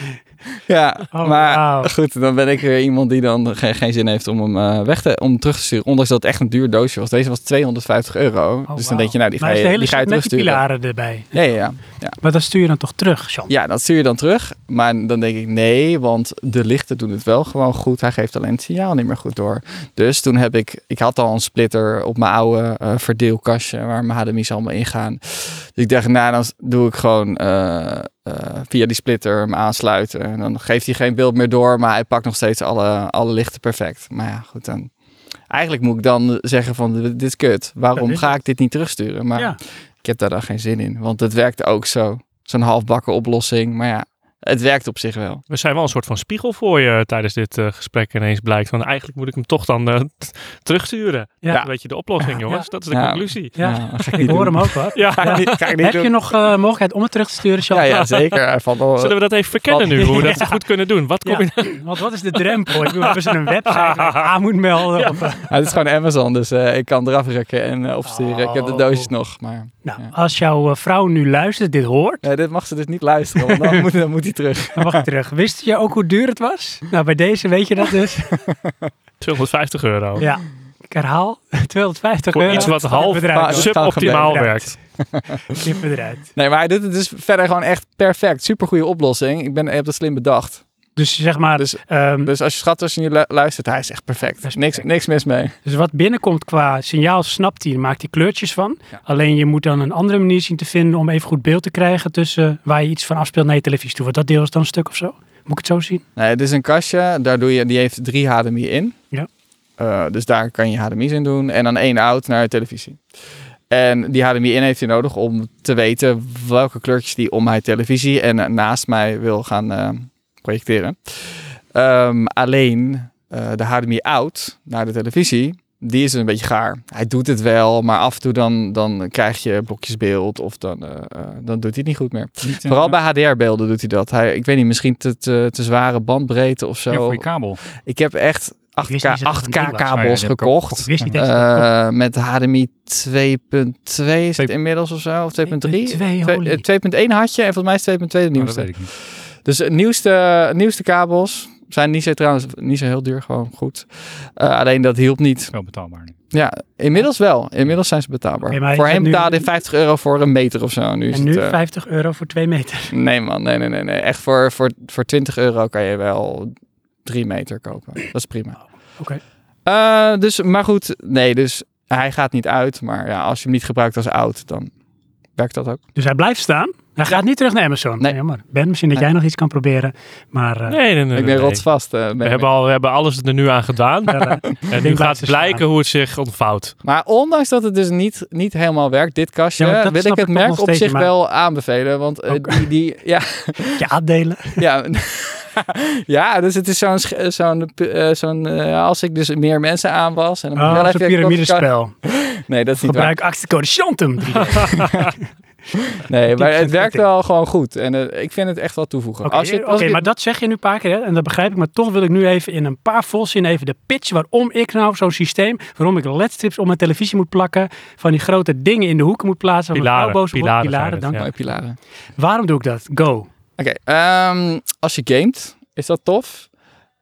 Speaker 4: Ja,
Speaker 1: Oh,
Speaker 4: maar
Speaker 1: wauw.
Speaker 4: goed, dan ben ik weer iemand die dan geen, geen zin heeft om hem eh, weg te, om terug te sturen. Ondanks dat het echt een duur doosje was. Deze was 250 euro.
Speaker 1: eh,
Speaker 4: dus dan
Speaker 1: oh,
Speaker 4: denk je, nou, die
Speaker 1: maar
Speaker 4: ga
Speaker 1: is
Speaker 4: je,
Speaker 1: de hele
Speaker 4: die ga je
Speaker 1: set met die
Speaker 4: terugsturen.
Speaker 1: pilaren erbij.
Speaker 4: Ja, ja, ja.
Speaker 1: Maar dat stuur je dan toch terug, Sean?
Speaker 4: ja, dat stuur je dan terug. Maar dan denk ik, nee, want de lichten doen het wel gewoon goed. Hij geeft alleen het signaal niet meer goed door. Dus toen heb ik, ik had al een splitter op mijn oude eh, verdeelkastje waar mijn HDMI's allemaal in gaan. Dus ik dacht, nou, dan doe ik gewoon eh, eh, via die splitter hem aansluiten. En dan geeft hij geen beeld meer door, maar hij pakt nog steeds alle, alle lichten perfect. Maar ja, goed, dan... Eigenlijk moet ik dan zeggen van, dit is kut.
Speaker 1: Dat
Speaker 4: Waarom
Speaker 1: is
Speaker 4: ga ik dit niet terugsturen? Maar
Speaker 1: Ja.
Speaker 4: ik heb daar dan geen zin in, want het werkt ook zo. Zo'n halfbakken oplossing, maar ja, het werkt op zich wel.
Speaker 2: We zijn wel een soort van spiegel voor je tijdens dit eh, gesprek ineens blijkt. Want eigenlijk moet ik hem toch dan eh, t- terugsturen.
Speaker 1: Ja.
Speaker 2: Dat is een beetje de oplossing, jongens. Dat is de
Speaker 4: Ja.
Speaker 2: conclusie.
Speaker 1: Ja.
Speaker 4: Nou, dat ga ik
Speaker 1: Ik
Speaker 4: niet
Speaker 1: hoor
Speaker 4: doen.
Speaker 1: hem ook, hoor.
Speaker 2: Ja.
Speaker 4: Ga ik niet, ga ik niet
Speaker 1: Heb je
Speaker 4: doen.
Speaker 1: nog eh, mogelijkheid om het terug te sturen, Sean?
Speaker 4: Ja, ja, zeker. Hij valt al-
Speaker 2: Zullen we dat even verkennen nu, hoe we dat
Speaker 1: Ja.
Speaker 2: goed kunnen doen? Wat kom je...
Speaker 1: Ja, Want wat is de drempel? Ik bedoel, hebben ze een website waar je aan moet melden? Of, eh,
Speaker 4: Ja, het is gewoon Amazon, dus eh, ik kan eraf rukken en eh, opsturen. Ik heb de
Speaker 1: Oh.
Speaker 4: doosjes nog, maar
Speaker 1: nou,
Speaker 4: Ja.
Speaker 1: als jouw eh, vrouw nu luistert, dit hoort,
Speaker 4: Nee, dit mag ze dus niet luisteren, want dan moet, dan moet hij terug.
Speaker 1: dan mag ik terug. Wist je ook hoe duur het was? Nou, bij deze weet je dat dus.
Speaker 2: 250 euro.
Speaker 1: Ja, ik herhaal, 250
Speaker 2: Voor
Speaker 1: euro.
Speaker 2: iets wat half
Speaker 1: Bedrijf,
Speaker 4: dat is
Speaker 2: suboptimaal
Speaker 1: gewoon
Speaker 2: werkt.
Speaker 1: knippen eruit.
Speaker 4: Nee, maar hij doet het dus verder gewoon echt perfect. Super goede oplossing. Ik, ben, ik heb dat slim bedacht.
Speaker 1: Dus zeg maar,
Speaker 4: Dus-
Speaker 1: ehm,
Speaker 4: Dus als je schat tussen je lu- luistert, hij is echt perfect.
Speaker 1: Dat is
Speaker 4: Niks,
Speaker 1: perfect.
Speaker 4: niks mis mee.
Speaker 1: Dus wat binnenkomt qua signaal, snapt hij, en maakt hij kleurtjes van.
Speaker 4: Ja.
Speaker 1: Alleen je moet dan een andere manier zien te vinden om even goed beeld te krijgen tussen waar je iets van afspeelt naar je televisie toe. Wordt dat deel is dan een stuk of zo? Moet ik het zo zien?
Speaker 4: Nee, het is een kastje. Daar doe je, die heeft drie HDMI in.
Speaker 1: Ja.
Speaker 4: Eh, dus daar kan je HDMI's in doen. En dan één out naar de televisie. En die HDMI in heeft hij nodig om te weten welke kleurtjes die om mijn televisie en eh, naast mij wil gaan eh, projecteren. Ehm, alleen eh, de HDMI out naar de televisie, die is dus een beetje gaar. Hij doet het wel, maar af en toe dan, dan krijg je blokjes beeld of dan, eh, eh, dan doet hij het niet goed meer.
Speaker 3: Niet, eh,
Speaker 4: Vooral bij HDR-beelden doet hij dat. Hij, ik weet niet, misschien te, te, te zware bandbreedte of zo.
Speaker 3: ja, voor je kabel.
Speaker 4: Ik heb echt
Speaker 1: wist niet
Speaker 4: 8K,
Speaker 1: eens dat het een ding was.
Speaker 4: 8K
Speaker 3: Oh ja,
Speaker 4: kabels
Speaker 3: die heb ik ook
Speaker 4: gekocht.
Speaker 1: Ik wist niet eens. dat het kon.
Speaker 4: Eh, met HDMI 2.2 is het
Speaker 3: Twee-
Speaker 4: inmiddels of zo, of 2.3?
Speaker 1: 2.2, holy.
Speaker 4: Twee- eh, 2.1 had je en volgens mij is 2.2 de
Speaker 3: Nou, dat
Speaker 4: nieuwste.
Speaker 3: weet ik niet.
Speaker 4: dus de nieuwste, nieuwste kabels zijn niet zo, trouwens, niet zo heel duur, gewoon goed. Eh, alleen dat hielp niet.
Speaker 3: Wel betaalbaar nu.
Speaker 4: Ja, inmiddels wel. Inmiddels zijn ze betaalbaar.
Speaker 1: Oké, maar is
Speaker 4: Voorheen
Speaker 1: het nu-
Speaker 4: betaalde je 50 euro voor een meter of zo. Nu is
Speaker 1: en nu
Speaker 4: het, eh,
Speaker 1: 50 euro voor 2 meter.
Speaker 4: Nee man, nee, nee, nee. nee. Echt voor, voor, voor 20 euro kan je wel 3 meter kopen. Dat is prima.
Speaker 1: Oké.
Speaker 4: Eh, dus, maar goed, nee, dus hij gaat niet uit. Maar ja, als je hem niet gebruikt als oud, dan werkt dat ook.
Speaker 1: Dus hij blijft staan. Hij gaat niet terug naar Amazon.
Speaker 4: Nee.
Speaker 1: Jammer. Ben, misschien dat
Speaker 4: Nee.
Speaker 1: jij nog iets kan proberen. Maar eh,
Speaker 2: Nee, nee, nee.
Speaker 4: ik ben
Speaker 2: nee.
Speaker 4: rotsvast. eh, ben
Speaker 2: We
Speaker 4: ik.
Speaker 2: hebben, al, we hebben alles er nu aan gedaan.
Speaker 1: daar, eh,
Speaker 2: en nu
Speaker 1: ding
Speaker 2: gaat
Speaker 1: blijft
Speaker 2: blijken hoe het zich ontvouwt.
Speaker 4: Maar ondanks dat het dus niet, niet helemaal werkt, dit kastje,
Speaker 1: Ja, maar dat
Speaker 4: wil
Speaker 1: snap
Speaker 4: ik het
Speaker 1: ik ook
Speaker 4: merk
Speaker 1: nog
Speaker 4: op
Speaker 1: steeds,
Speaker 4: zich
Speaker 1: maar-
Speaker 4: wel aanbevelen. Want eh, die, die, ja,
Speaker 1: je aandelen.
Speaker 4: Ja, ja dus het is zo'n... sch- eh, zo'n pu- eh, zo'n, eh, als ik dus meer mensen aan was... En dan moet ik
Speaker 1: Oh,
Speaker 4: wel
Speaker 1: dat is een
Speaker 4: even-
Speaker 1: piramidespel.
Speaker 4: Nee, dat is niet
Speaker 1: Gebruik actiecode Chantum.
Speaker 4: waar. Nee, maar het
Speaker 1: 10%
Speaker 4: werkt
Speaker 1: korting.
Speaker 4: wel gewoon goed. En eh, ik vind het echt wel toevoegen.
Speaker 1: Oké,
Speaker 4: als je,
Speaker 1: oké,
Speaker 4: als je-
Speaker 1: maar dat zeg je nu een paar keer hè, en dat begrijp ik. Maar toch wil ik nu even in een paar volzinnen even de pitch waarom ik nou zo'n systeem, waarom ik ledstrips om mijn televisie moet plakken, van die grote dingen in de hoeken moet plaatsen, van
Speaker 2: Pilaren,
Speaker 1: mijn elbows,
Speaker 2: pilaren
Speaker 1: pilaren,
Speaker 2: zijn het,
Speaker 1: dank.
Speaker 2: ja.
Speaker 4: Mooie pilaren.
Speaker 1: Waarom doe ik dat? Go.
Speaker 4: Oké, ehm, als je gamet, is dat tof?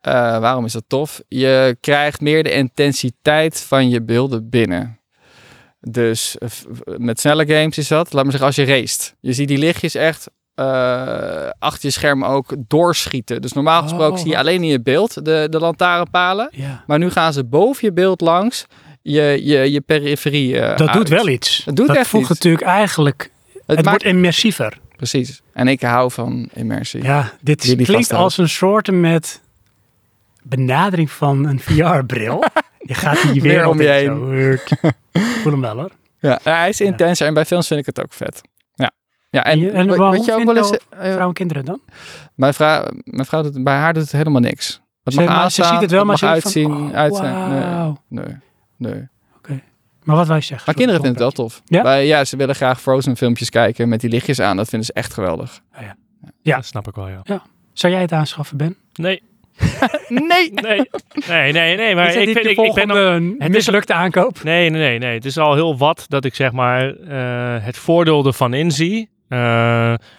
Speaker 4: Eh, waarom is dat tof? Je krijgt meer de intensiteit van je beelden binnen. Dus eh, f- met snelle games is dat, laat maar zeggen, als je racet. Je ziet die lichtjes echt eh, achter je scherm ook doorschieten. Dus normaal gesproken
Speaker 1: Oh.
Speaker 4: zie je alleen in je beeld de, de lantaarnpalen.
Speaker 1: Ja.
Speaker 4: Maar nu gaan ze boven je beeld langs je, je, je periferie eh,
Speaker 1: Dat doet
Speaker 4: uit.
Speaker 1: wel iets.
Speaker 4: Het doet
Speaker 1: dat
Speaker 4: echt
Speaker 1: voegt
Speaker 4: iets.
Speaker 1: natuurlijk eigenlijk,
Speaker 4: Het,
Speaker 1: het,
Speaker 4: maakt...
Speaker 1: wordt immersiever.
Speaker 4: Precies. En ik hou van immersie.
Speaker 1: Ja, dit is-
Speaker 4: Jullie
Speaker 1: klinkt
Speaker 4: vasthouden.
Speaker 1: als een soort met benadering van een VR-bril. je gaat hier
Speaker 4: Weer
Speaker 1: weer
Speaker 4: om je heen.
Speaker 1: Voel hem wel hoor.
Speaker 4: Ja, hij is intenser en bij films vind ik het ook vet. Ja, ja
Speaker 1: En je- nou-
Speaker 4: en,
Speaker 1: en
Speaker 4: wat-
Speaker 1: waarom
Speaker 4: wat je ook
Speaker 1: vindt
Speaker 4: wel eens...
Speaker 1: dat
Speaker 4: eh,
Speaker 1: Vrouwen en kinderen dan?
Speaker 4: mijn, vrouw, mijn vrouw, doet, bij haar doet het helemaal niks. Het
Speaker 1: Ze-
Speaker 4: mag
Speaker 1: maar ze
Speaker 4: aanstaan,
Speaker 1: ziet het wel, maar ze
Speaker 4: mag
Speaker 1: denkt van,
Speaker 4: uitzien.
Speaker 1: oh,
Speaker 4: uitzien. eh.
Speaker 1: wauw.
Speaker 4: Nee, nee, nee.
Speaker 1: Maar wat wij zeggen.
Speaker 4: Maar
Speaker 1: sorry,
Speaker 4: kinderen vinden het wel tof.
Speaker 1: Ja?
Speaker 4: Wij- ja, ze willen graag Frozen filmpjes kijken met die lichtjes aan. Dat vinden ze echt geweldig.
Speaker 1: Ja.
Speaker 2: Dat snap ik wel, ja.
Speaker 1: Zou jij het aanschaffen, Ben?
Speaker 2: Nee,
Speaker 4: Nee!
Speaker 2: nee, nee, nee. nee maar
Speaker 1: Is dat
Speaker 2: ik,
Speaker 1: niet
Speaker 2: vind,
Speaker 1: de
Speaker 2: ik, ik ben nog-
Speaker 1: volgende
Speaker 2: is-
Speaker 1: mislukte aankoop?
Speaker 2: Nee, nee, nee, nee. Het is al heel wat dat ik zeg maar eh, het voordeel ervan inzie. Eh,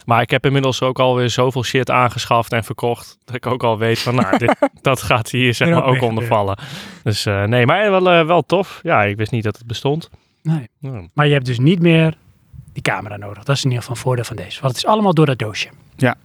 Speaker 2: maar ik heb inmiddels ook alweer zoveel shit aangeschaft en verkocht. Dat ik ook al weet van, nou, dit, dat gaat hier zeg
Speaker 1: Hier
Speaker 2: maar
Speaker 1: ook
Speaker 2: ook
Speaker 1: weer
Speaker 2: onder
Speaker 1: gebeuren.
Speaker 2: vallen. Dus eh, nee, maar wel, eh, wel tof. Ja, ik wist niet dat het bestond.
Speaker 1: Nee.
Speaker 2: Ja.
Speaker 1: Maar je hebt dus niet meer die camera nodig. Dat is in ieder geval een voordeel van deze. Want het is allemaal door dat doosje.
Speaker 4: Ja.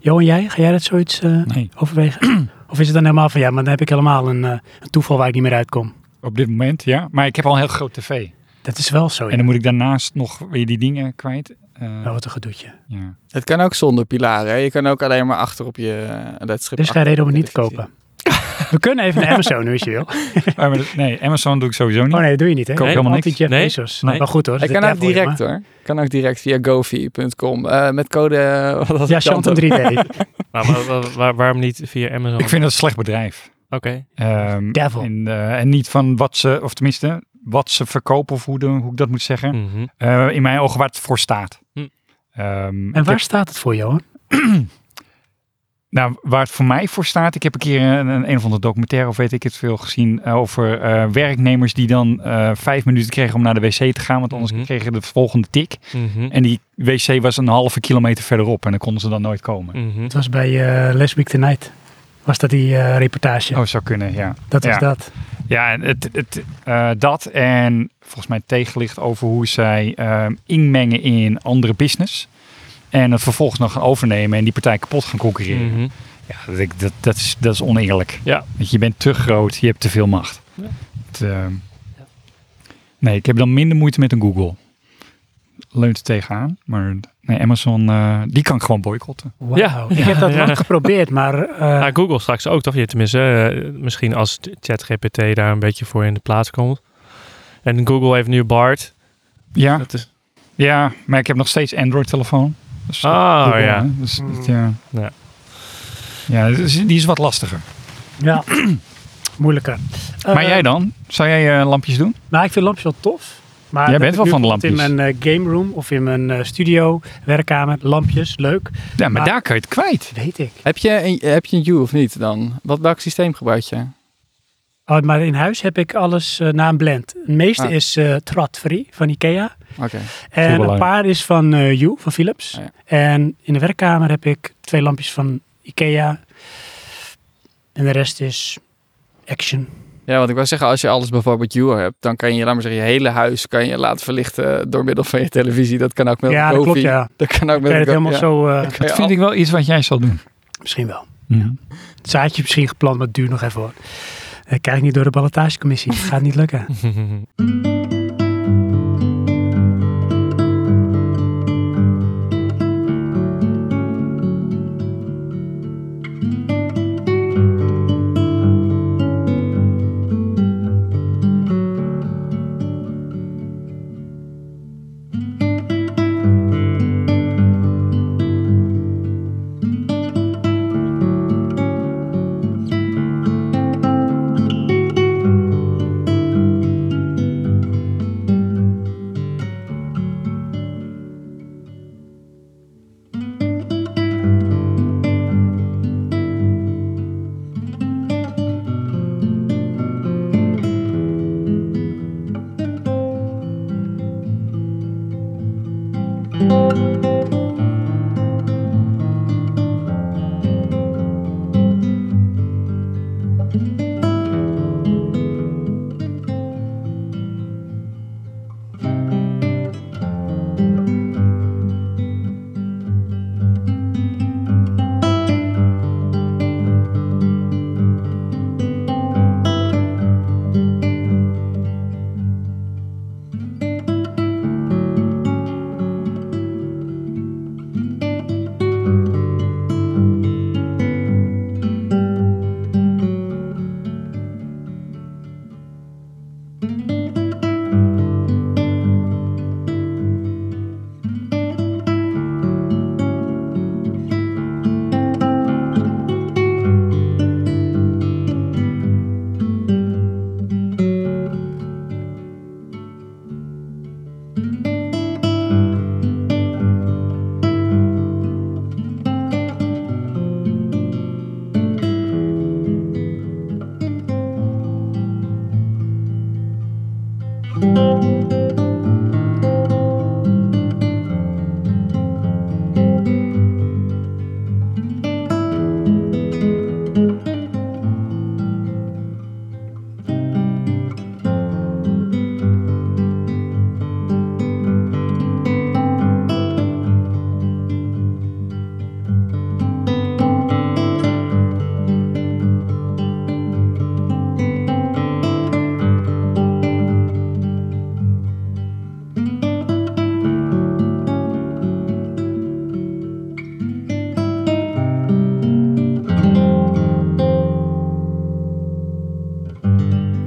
Speaker 1: Johan, jij? Ga jij dat zoiets eh,
Speaker 3: Nee,
Speaker 1: overwegen? of is het dan helemaal van, ja, maar dan heb ik helemaal een, eh, een toeval waar ik niet meer uitkom.
Speaker 3: op dit moment ja. Maar ik heb al een heel groot tv.
Speaker 1: Dat is wel zo, ja.
Speaker 3: En dan moet ik daarnaast nog weer die dingen kwijt. Eh,
Speaker 1: Nou, wat een gedoetje.
Speaker 3: ja.
Speaker 4: Het kan ook zonder pilaren. hè. Je kan ook alleen maar achter op je eh, ledstrip.
Speaker 1: Er is geen
Speaker 4: achter
Speaker 1: reden om het
Speaker 4: op je
Speaker 1: niet te
Speaker 4: televisie.
Speaker 1: kopen. We kunnen even naar Amazon nu als je wil.
Speaker 3: Ah, maar dat- nee, Amazon doe ik sowieso niet.
Speaker 1: Oh nee, dat doe je niet, hè?
Speaker 3: Koop
Speaker 2: Nee,
Speaker 3: helemaal niks.
Speaker 1: Anti-Jeff
Speaker 2: Nee,
Speaker 1: Bezos.
Speaker 2: nee.
Speaker 1: Maar goed hoor. dat
Speaker 4: Ik
Speaker 1: is
Speaker 4: kan
Speaker 1: de
Speaker 4: ook
Speaker 1: devil,
Speaker 4: direct
Speaker 1: maar-
Speaker 4: hoor. Kan ook direct via gofi.com. eh, met code... eh, wat was het?
Speaker 1: Ja, Chantum 3D.
Speaker 2: Maar wa- wa- wa- waarom niet via Amazon?
Speaker 3: Ik
Speaker 2: Oké.
Speaker 3: vind dat een slecht bedrijf. Ehm,
Speaker 1: Devil.
Speaker 3: En, eh, en niet van wat ze, of tenminste, wat ze verkopen of hoe, de- hoe ik dat moet zeggen.
Speaker 2: Mhm.
Speaker 3: Eh, in mijn ogen waar het voor staat.
Speaker 2: Hm.
Speaker 3: Ehm,
Speaker 1: En
Speaker 3: ik
Speaker 1: waar
Speaker 3: heb-
Speaker 1: staat het voor, Johan?
Speaker 3: nou, waar het voor mij voor staat, ik heb een keer een, een, een of andere documentaire of weet ik het veel gezien eh, over eh, werknemers die dan eh, vijf minuten kregen om naar de wc te gaan, want anders
Speaker 2: Mhm.
Speaker 3: kregen ze de volgende tik.
Speaker 2: Mhm.
Speaker 3: En die wc was een halve kilometer verderop en dan konden ze dan nooit komen.
Speaker 2: Mhm.
Speaker 1: Het was bij eh, Last Week Tonight. Was dat die eh,
Speaker 2: Hm.
Speaker 1: reportage?
Speaker 3: Oh, zou kunnen, ja.
Speaker 1: dat was
Speaker 3: ja.
Speaker 1: dat.
Speaker 3: Ja, en het, het, eh, dat en volgens mij tegenlicht over hoe zij ehm, inmengen in andere business. En het vervolgens nog gaan overnemen en die partij kapot gaan concurreren.
Speaker 2: Mhm.
Speaker 3: Ja, dat, ik- dat, dat, is, dat is oneerlijk.
Speaker 2: Ja.
Speaker 3: Want je bent te groot, je hebt te veel macht.
Speaker 2: Ja.
Speaker 3: Het, ehm, nee, ik heb dan minder moeite met een Google. Leunt er tegenaan, maar Nee, Amazon, eh, die kan ik gewoon boycotten.
Speaker 1: Wauw.
Speaker 2: Ja.
Speaker 1: Ik heb dat
Speaker 2: Ja.
Speaker 1: lang geprobeerd, maar eh,
Speaker 2: Ja, Nou, Google straks ook, toch? Je, tenminste, eh, misschien als t- ChatGPT daar een beetje voor in de plaats komt. En Google heeft nu Bart.
Speaker 3: Ja,
Speaker 2: Dat is,
Speaker 3: ja maar ik heb nog steeds Android-telefoon. Dus,
Speaker 2: Ah, ja.
Speaker 3: hè, Dus,
Speaker 1: Hmm.
Speaker 3: dat, ja.
Speaker 2: Ja.
Speaker 3: Ja, dus die is wat lastiger.
Speaker 1: ja, moeilijker.
Speaker 3: maar
Speaker 1: Eh,
Speaker 3: jij dan? Zou jij eh, lampjes doen?
Speaker 1: Nou, ik vind lampjes wel tof. Maar
Speaker 3: Jij
Speaker 1: dat
Speaker 3: bent
Speaker 1: ik
Speaker 3: wel
Speaker 1: nu
Speaker 3: van de
Speaker 1: bijvoorbeeld
Speaker 3: lampjes.
Speaker 1: In mijn eh, game room of in mijn eh, studio, werkkamer, lampjes, leuk.
Speaker 3: Ja, maar
Speaker 1: Ah.
Speaker 3: daar kan je het kwijt.
Speaker 1: Weet ik.
Speaker 4: Heb je een, heb je een U of niet dan? Wat, welk systeem gebruik je?
Speaker 1: Oh, maar in huis heb ik alles eh, na een blend. Het meeste
Speaker 4: Ah.
Speaker 1: is eh Trad Free van Ikea.
Speaker 4: Oké.
Speaker 1: En een
Speaker 3: belangrijk.
Speaker 1: paar is van eh You van Philips.
Speaker 4: Ah, ja.
Speaker 1: En in de werkkamer heb ik twee lampjes van Ikea. En de rest is Action.
Speaker 4: Ja, want ik wou zeggen, als je alles bijvoorbeeld U hebt, dan kan je, laat maar zeggen, je hele huis kan je laten verlichten door middel van je televisie. Dat kan ook met
Speaker 1: ja,
Speaker 4: een
Speaker 1: dat klopt,
Speaker 4: koffie.
Speaker 1: ja.
Speaker 4: Dat kan ook
Speaker 1: Ik weet
Speaker 4: met een
Speaker 1: het helemaal
Speaker 4: ja.
Speaker 1: zo... eh,
Speaker 4: Kan
Speaker 3: Dat
Speaker 4: je
Speaker 3: vind ik wel iets wat jij zal doen.
Speaker 1: misschien wel.
Speaker 3: Ja.
Speaker 1: Het zaadje misschien geplant, maar het duurt nog even hoor. Eh, kijk niet door de ballotagecommissie. Het gaat niet lukken.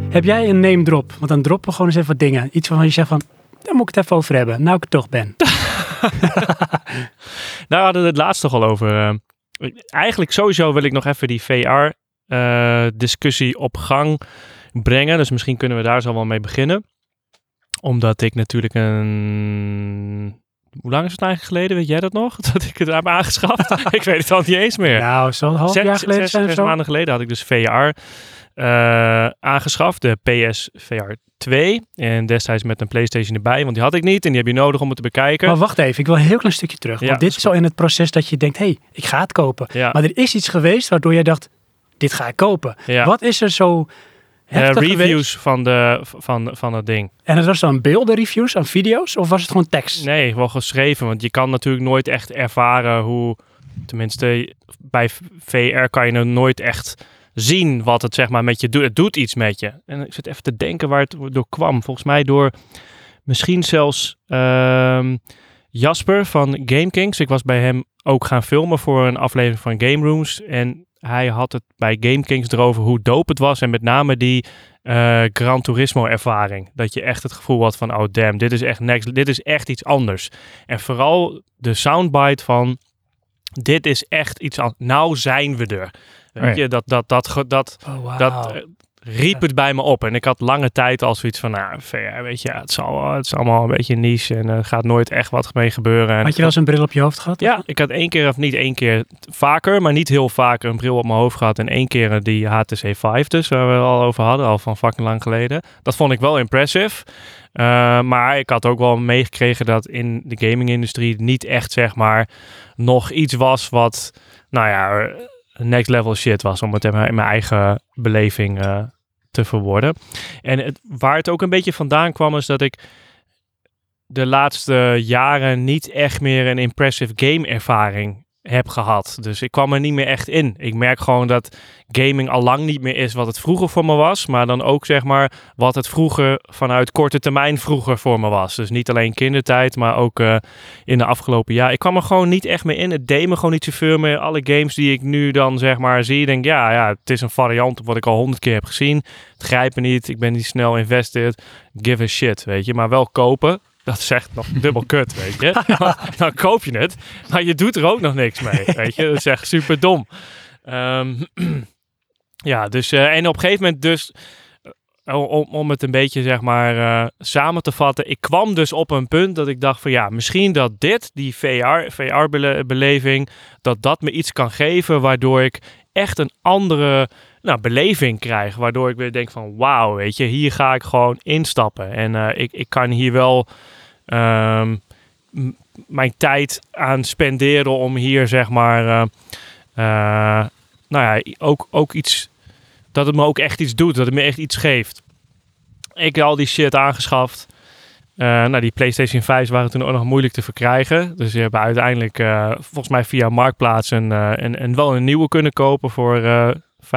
Speaker 1: Heb jij een name drop? Want dan droppen we gewoon eens even wat dingen. Iets waarvan je zegt van, daar moet ik het even over hebben. Nou ik er toch ben.
Speaker 2: Daar hadden Nou, we het laatst toch al over. eh. eigenlijk sowieso wil ik nog even die VR-discussie op gang brengen. Dus misschien kunnen we daar zo wel mee beginnen. Omdat ik natuurlijk een... Hoe lang is het eigenlijk geleden? Weet jij dat nog? Dat ik het heb aangeschaft? ik weet het al niet eens meer.
Speaker 1: Nou, zo een half
Speaker 2: Zes-
Speaker 1: jaar geleden
Speaker 2: zes-
Speaker 1: zijn of
Speaker 2: zes
Speaker 1: zo.
Speaker 2: maanden geleden had ik dus VR eh, aangeschaft, de PS VR 2. En destijds met een PlayStation erbij, want die had ik niet en die heb je nodig om het te bekijken.
Speaker 1: Maar wacht even, ik wil een heel klein stukje terug.
Speaker 2: Ja,
Speaker 1: want dit
Speaker 2: is
Speaker 1: is al in het proces dat je denkt, hé, hey, ik ga het kopen.
Speaker 2: ja,
Speaker 1: Maar er is iets geweest waardoor jij dacht, dit ga ik kopen.
Speaker 2: ja.
Speaker 1: Wat is er zo
Speaker 2: Eh,
Speaker 1: heftig
Speaker 2: reviews
Speaker 1: geweest?
Speaker 2: van de van van dat ding.
Speaker 1: En het was dan beelden reviews aan video's of was het gewoon tekst?
Speaker 2: Nee, wel geschreven, want je kan natuurlijk nooit echt ervaren hoe, tenminste bij v- VR kan je nou nooit echt zien wat het zeg maar met je doet. Het doet iets met je. En ik zit even te denken waar het door kwam. Volgens mij door misschien zelfs ehm, Jasper van Game Kings. Ik was bij hem ook gaan filmen voor een aflevering van Game Rooms. En hij had het bij Game Kings erover hoe dope het was. En met name die eh Gran Turismo ervaring. Dat je echt het gevoel had van, oh damn, dit is echt next, dit is echt iets anders. En vooral de soundbite van, dit is echt iets anders. Nou zijn we er.
Speaker 3: Oh
Speaker 2: Weet
Speaker 3: ja.
Speaker 2: je, dat, dat, dat, ge- dat,
Speaker 1: Oh,
Speaker 2: dat
Speaker 1: wauw.
Speaker 2: eh, riep het bij me op. En ik had lange tijd al zoiets van, nou, VR, weet je, ja, het, zal, wel- het is allemaal een beetje niche en er gaat nooit echt wat mee gebeuren. En
Speaker 1: Had je wel eens een bril op je hoofd gehad?
Speaker 2: Ja, ik had één keer, of niet één keer, t- vaker, maar niet heel vaak een bril op mijn hoofd gehad. En één keer eh, die HTC 5 dus, waar we het al over hadden, al van fucking lang geleden. Dat vond ik wel impressive. Eh, maar ik had ook wel meegekregen dat in de gaming-industrie niet echt, zeg maar, nog iets was wat, nou ja, eh, next level shit was. Om het in mijn in mijn eigen beleving eh, te verwoorden. En het, waar het ook een beetje vandaan kwam, is dat ik de laatste jaren niet echt meer een impressive game ervaring heb gehad. Dus ik kwam er niet meer echt in. Ik merk gewoon dat gaming al lang niet meer is wat het vroeger voor me was, maar dan ook zeg maar wat het vroeger vanuit korte termijn vroeger voor me was. Dus niet alleen kindertijd, maar ook eh, in de afgelopen jaar. Ik kwam er gewoon niet echt meer in. Het deed me gewoon niet zoveel meer. Alle games die ik nu dan zeg maar zie, denk ik, ja, ja, het is een variant op wat ik al honderd keer heb gezien. Het grijpt me niet. Ik ben niet snel invested. Give a shit, weet je. Maar wel kopen. Dat zegt nog dubbel kut, weet je. Want Dan koop je het, maar je doet er ook nog niks mee, weet je. Dat is echt super dom. Ehm, ja, dus eh, en op een gegeven moment dus, eh, om, om het een beetje zeg maar eh, samen te vatten. Ik kwam dus op een punt dat ik dacht van ja, misschien dat dit, die VR, VR-beleving, dat dat me iets kan geven waardoor ik echt een andere nou, beleving krijg. Waardoor ik weer denk van wauw, weet je, hier ga ik gewoon instappen. En eh, ik, ik kan hier wel ehm, m- mijn tijd aan spenderen om hier zeg maar, eh, eh, nou ja, i- ook, ook iets, dat het me ook echt iets doet, dat het me echt iets geeft. Ik heb al die shit aangeschaft. Eh, nou, die PlayStation 5 waren toen ook nog moeilijk te verkrijgen. Dus we hebben uiteindelijk eh, volgens mij via Marktplaats een, eh, een, een, wel een nieuwe kunnen kopen voor eh 5,5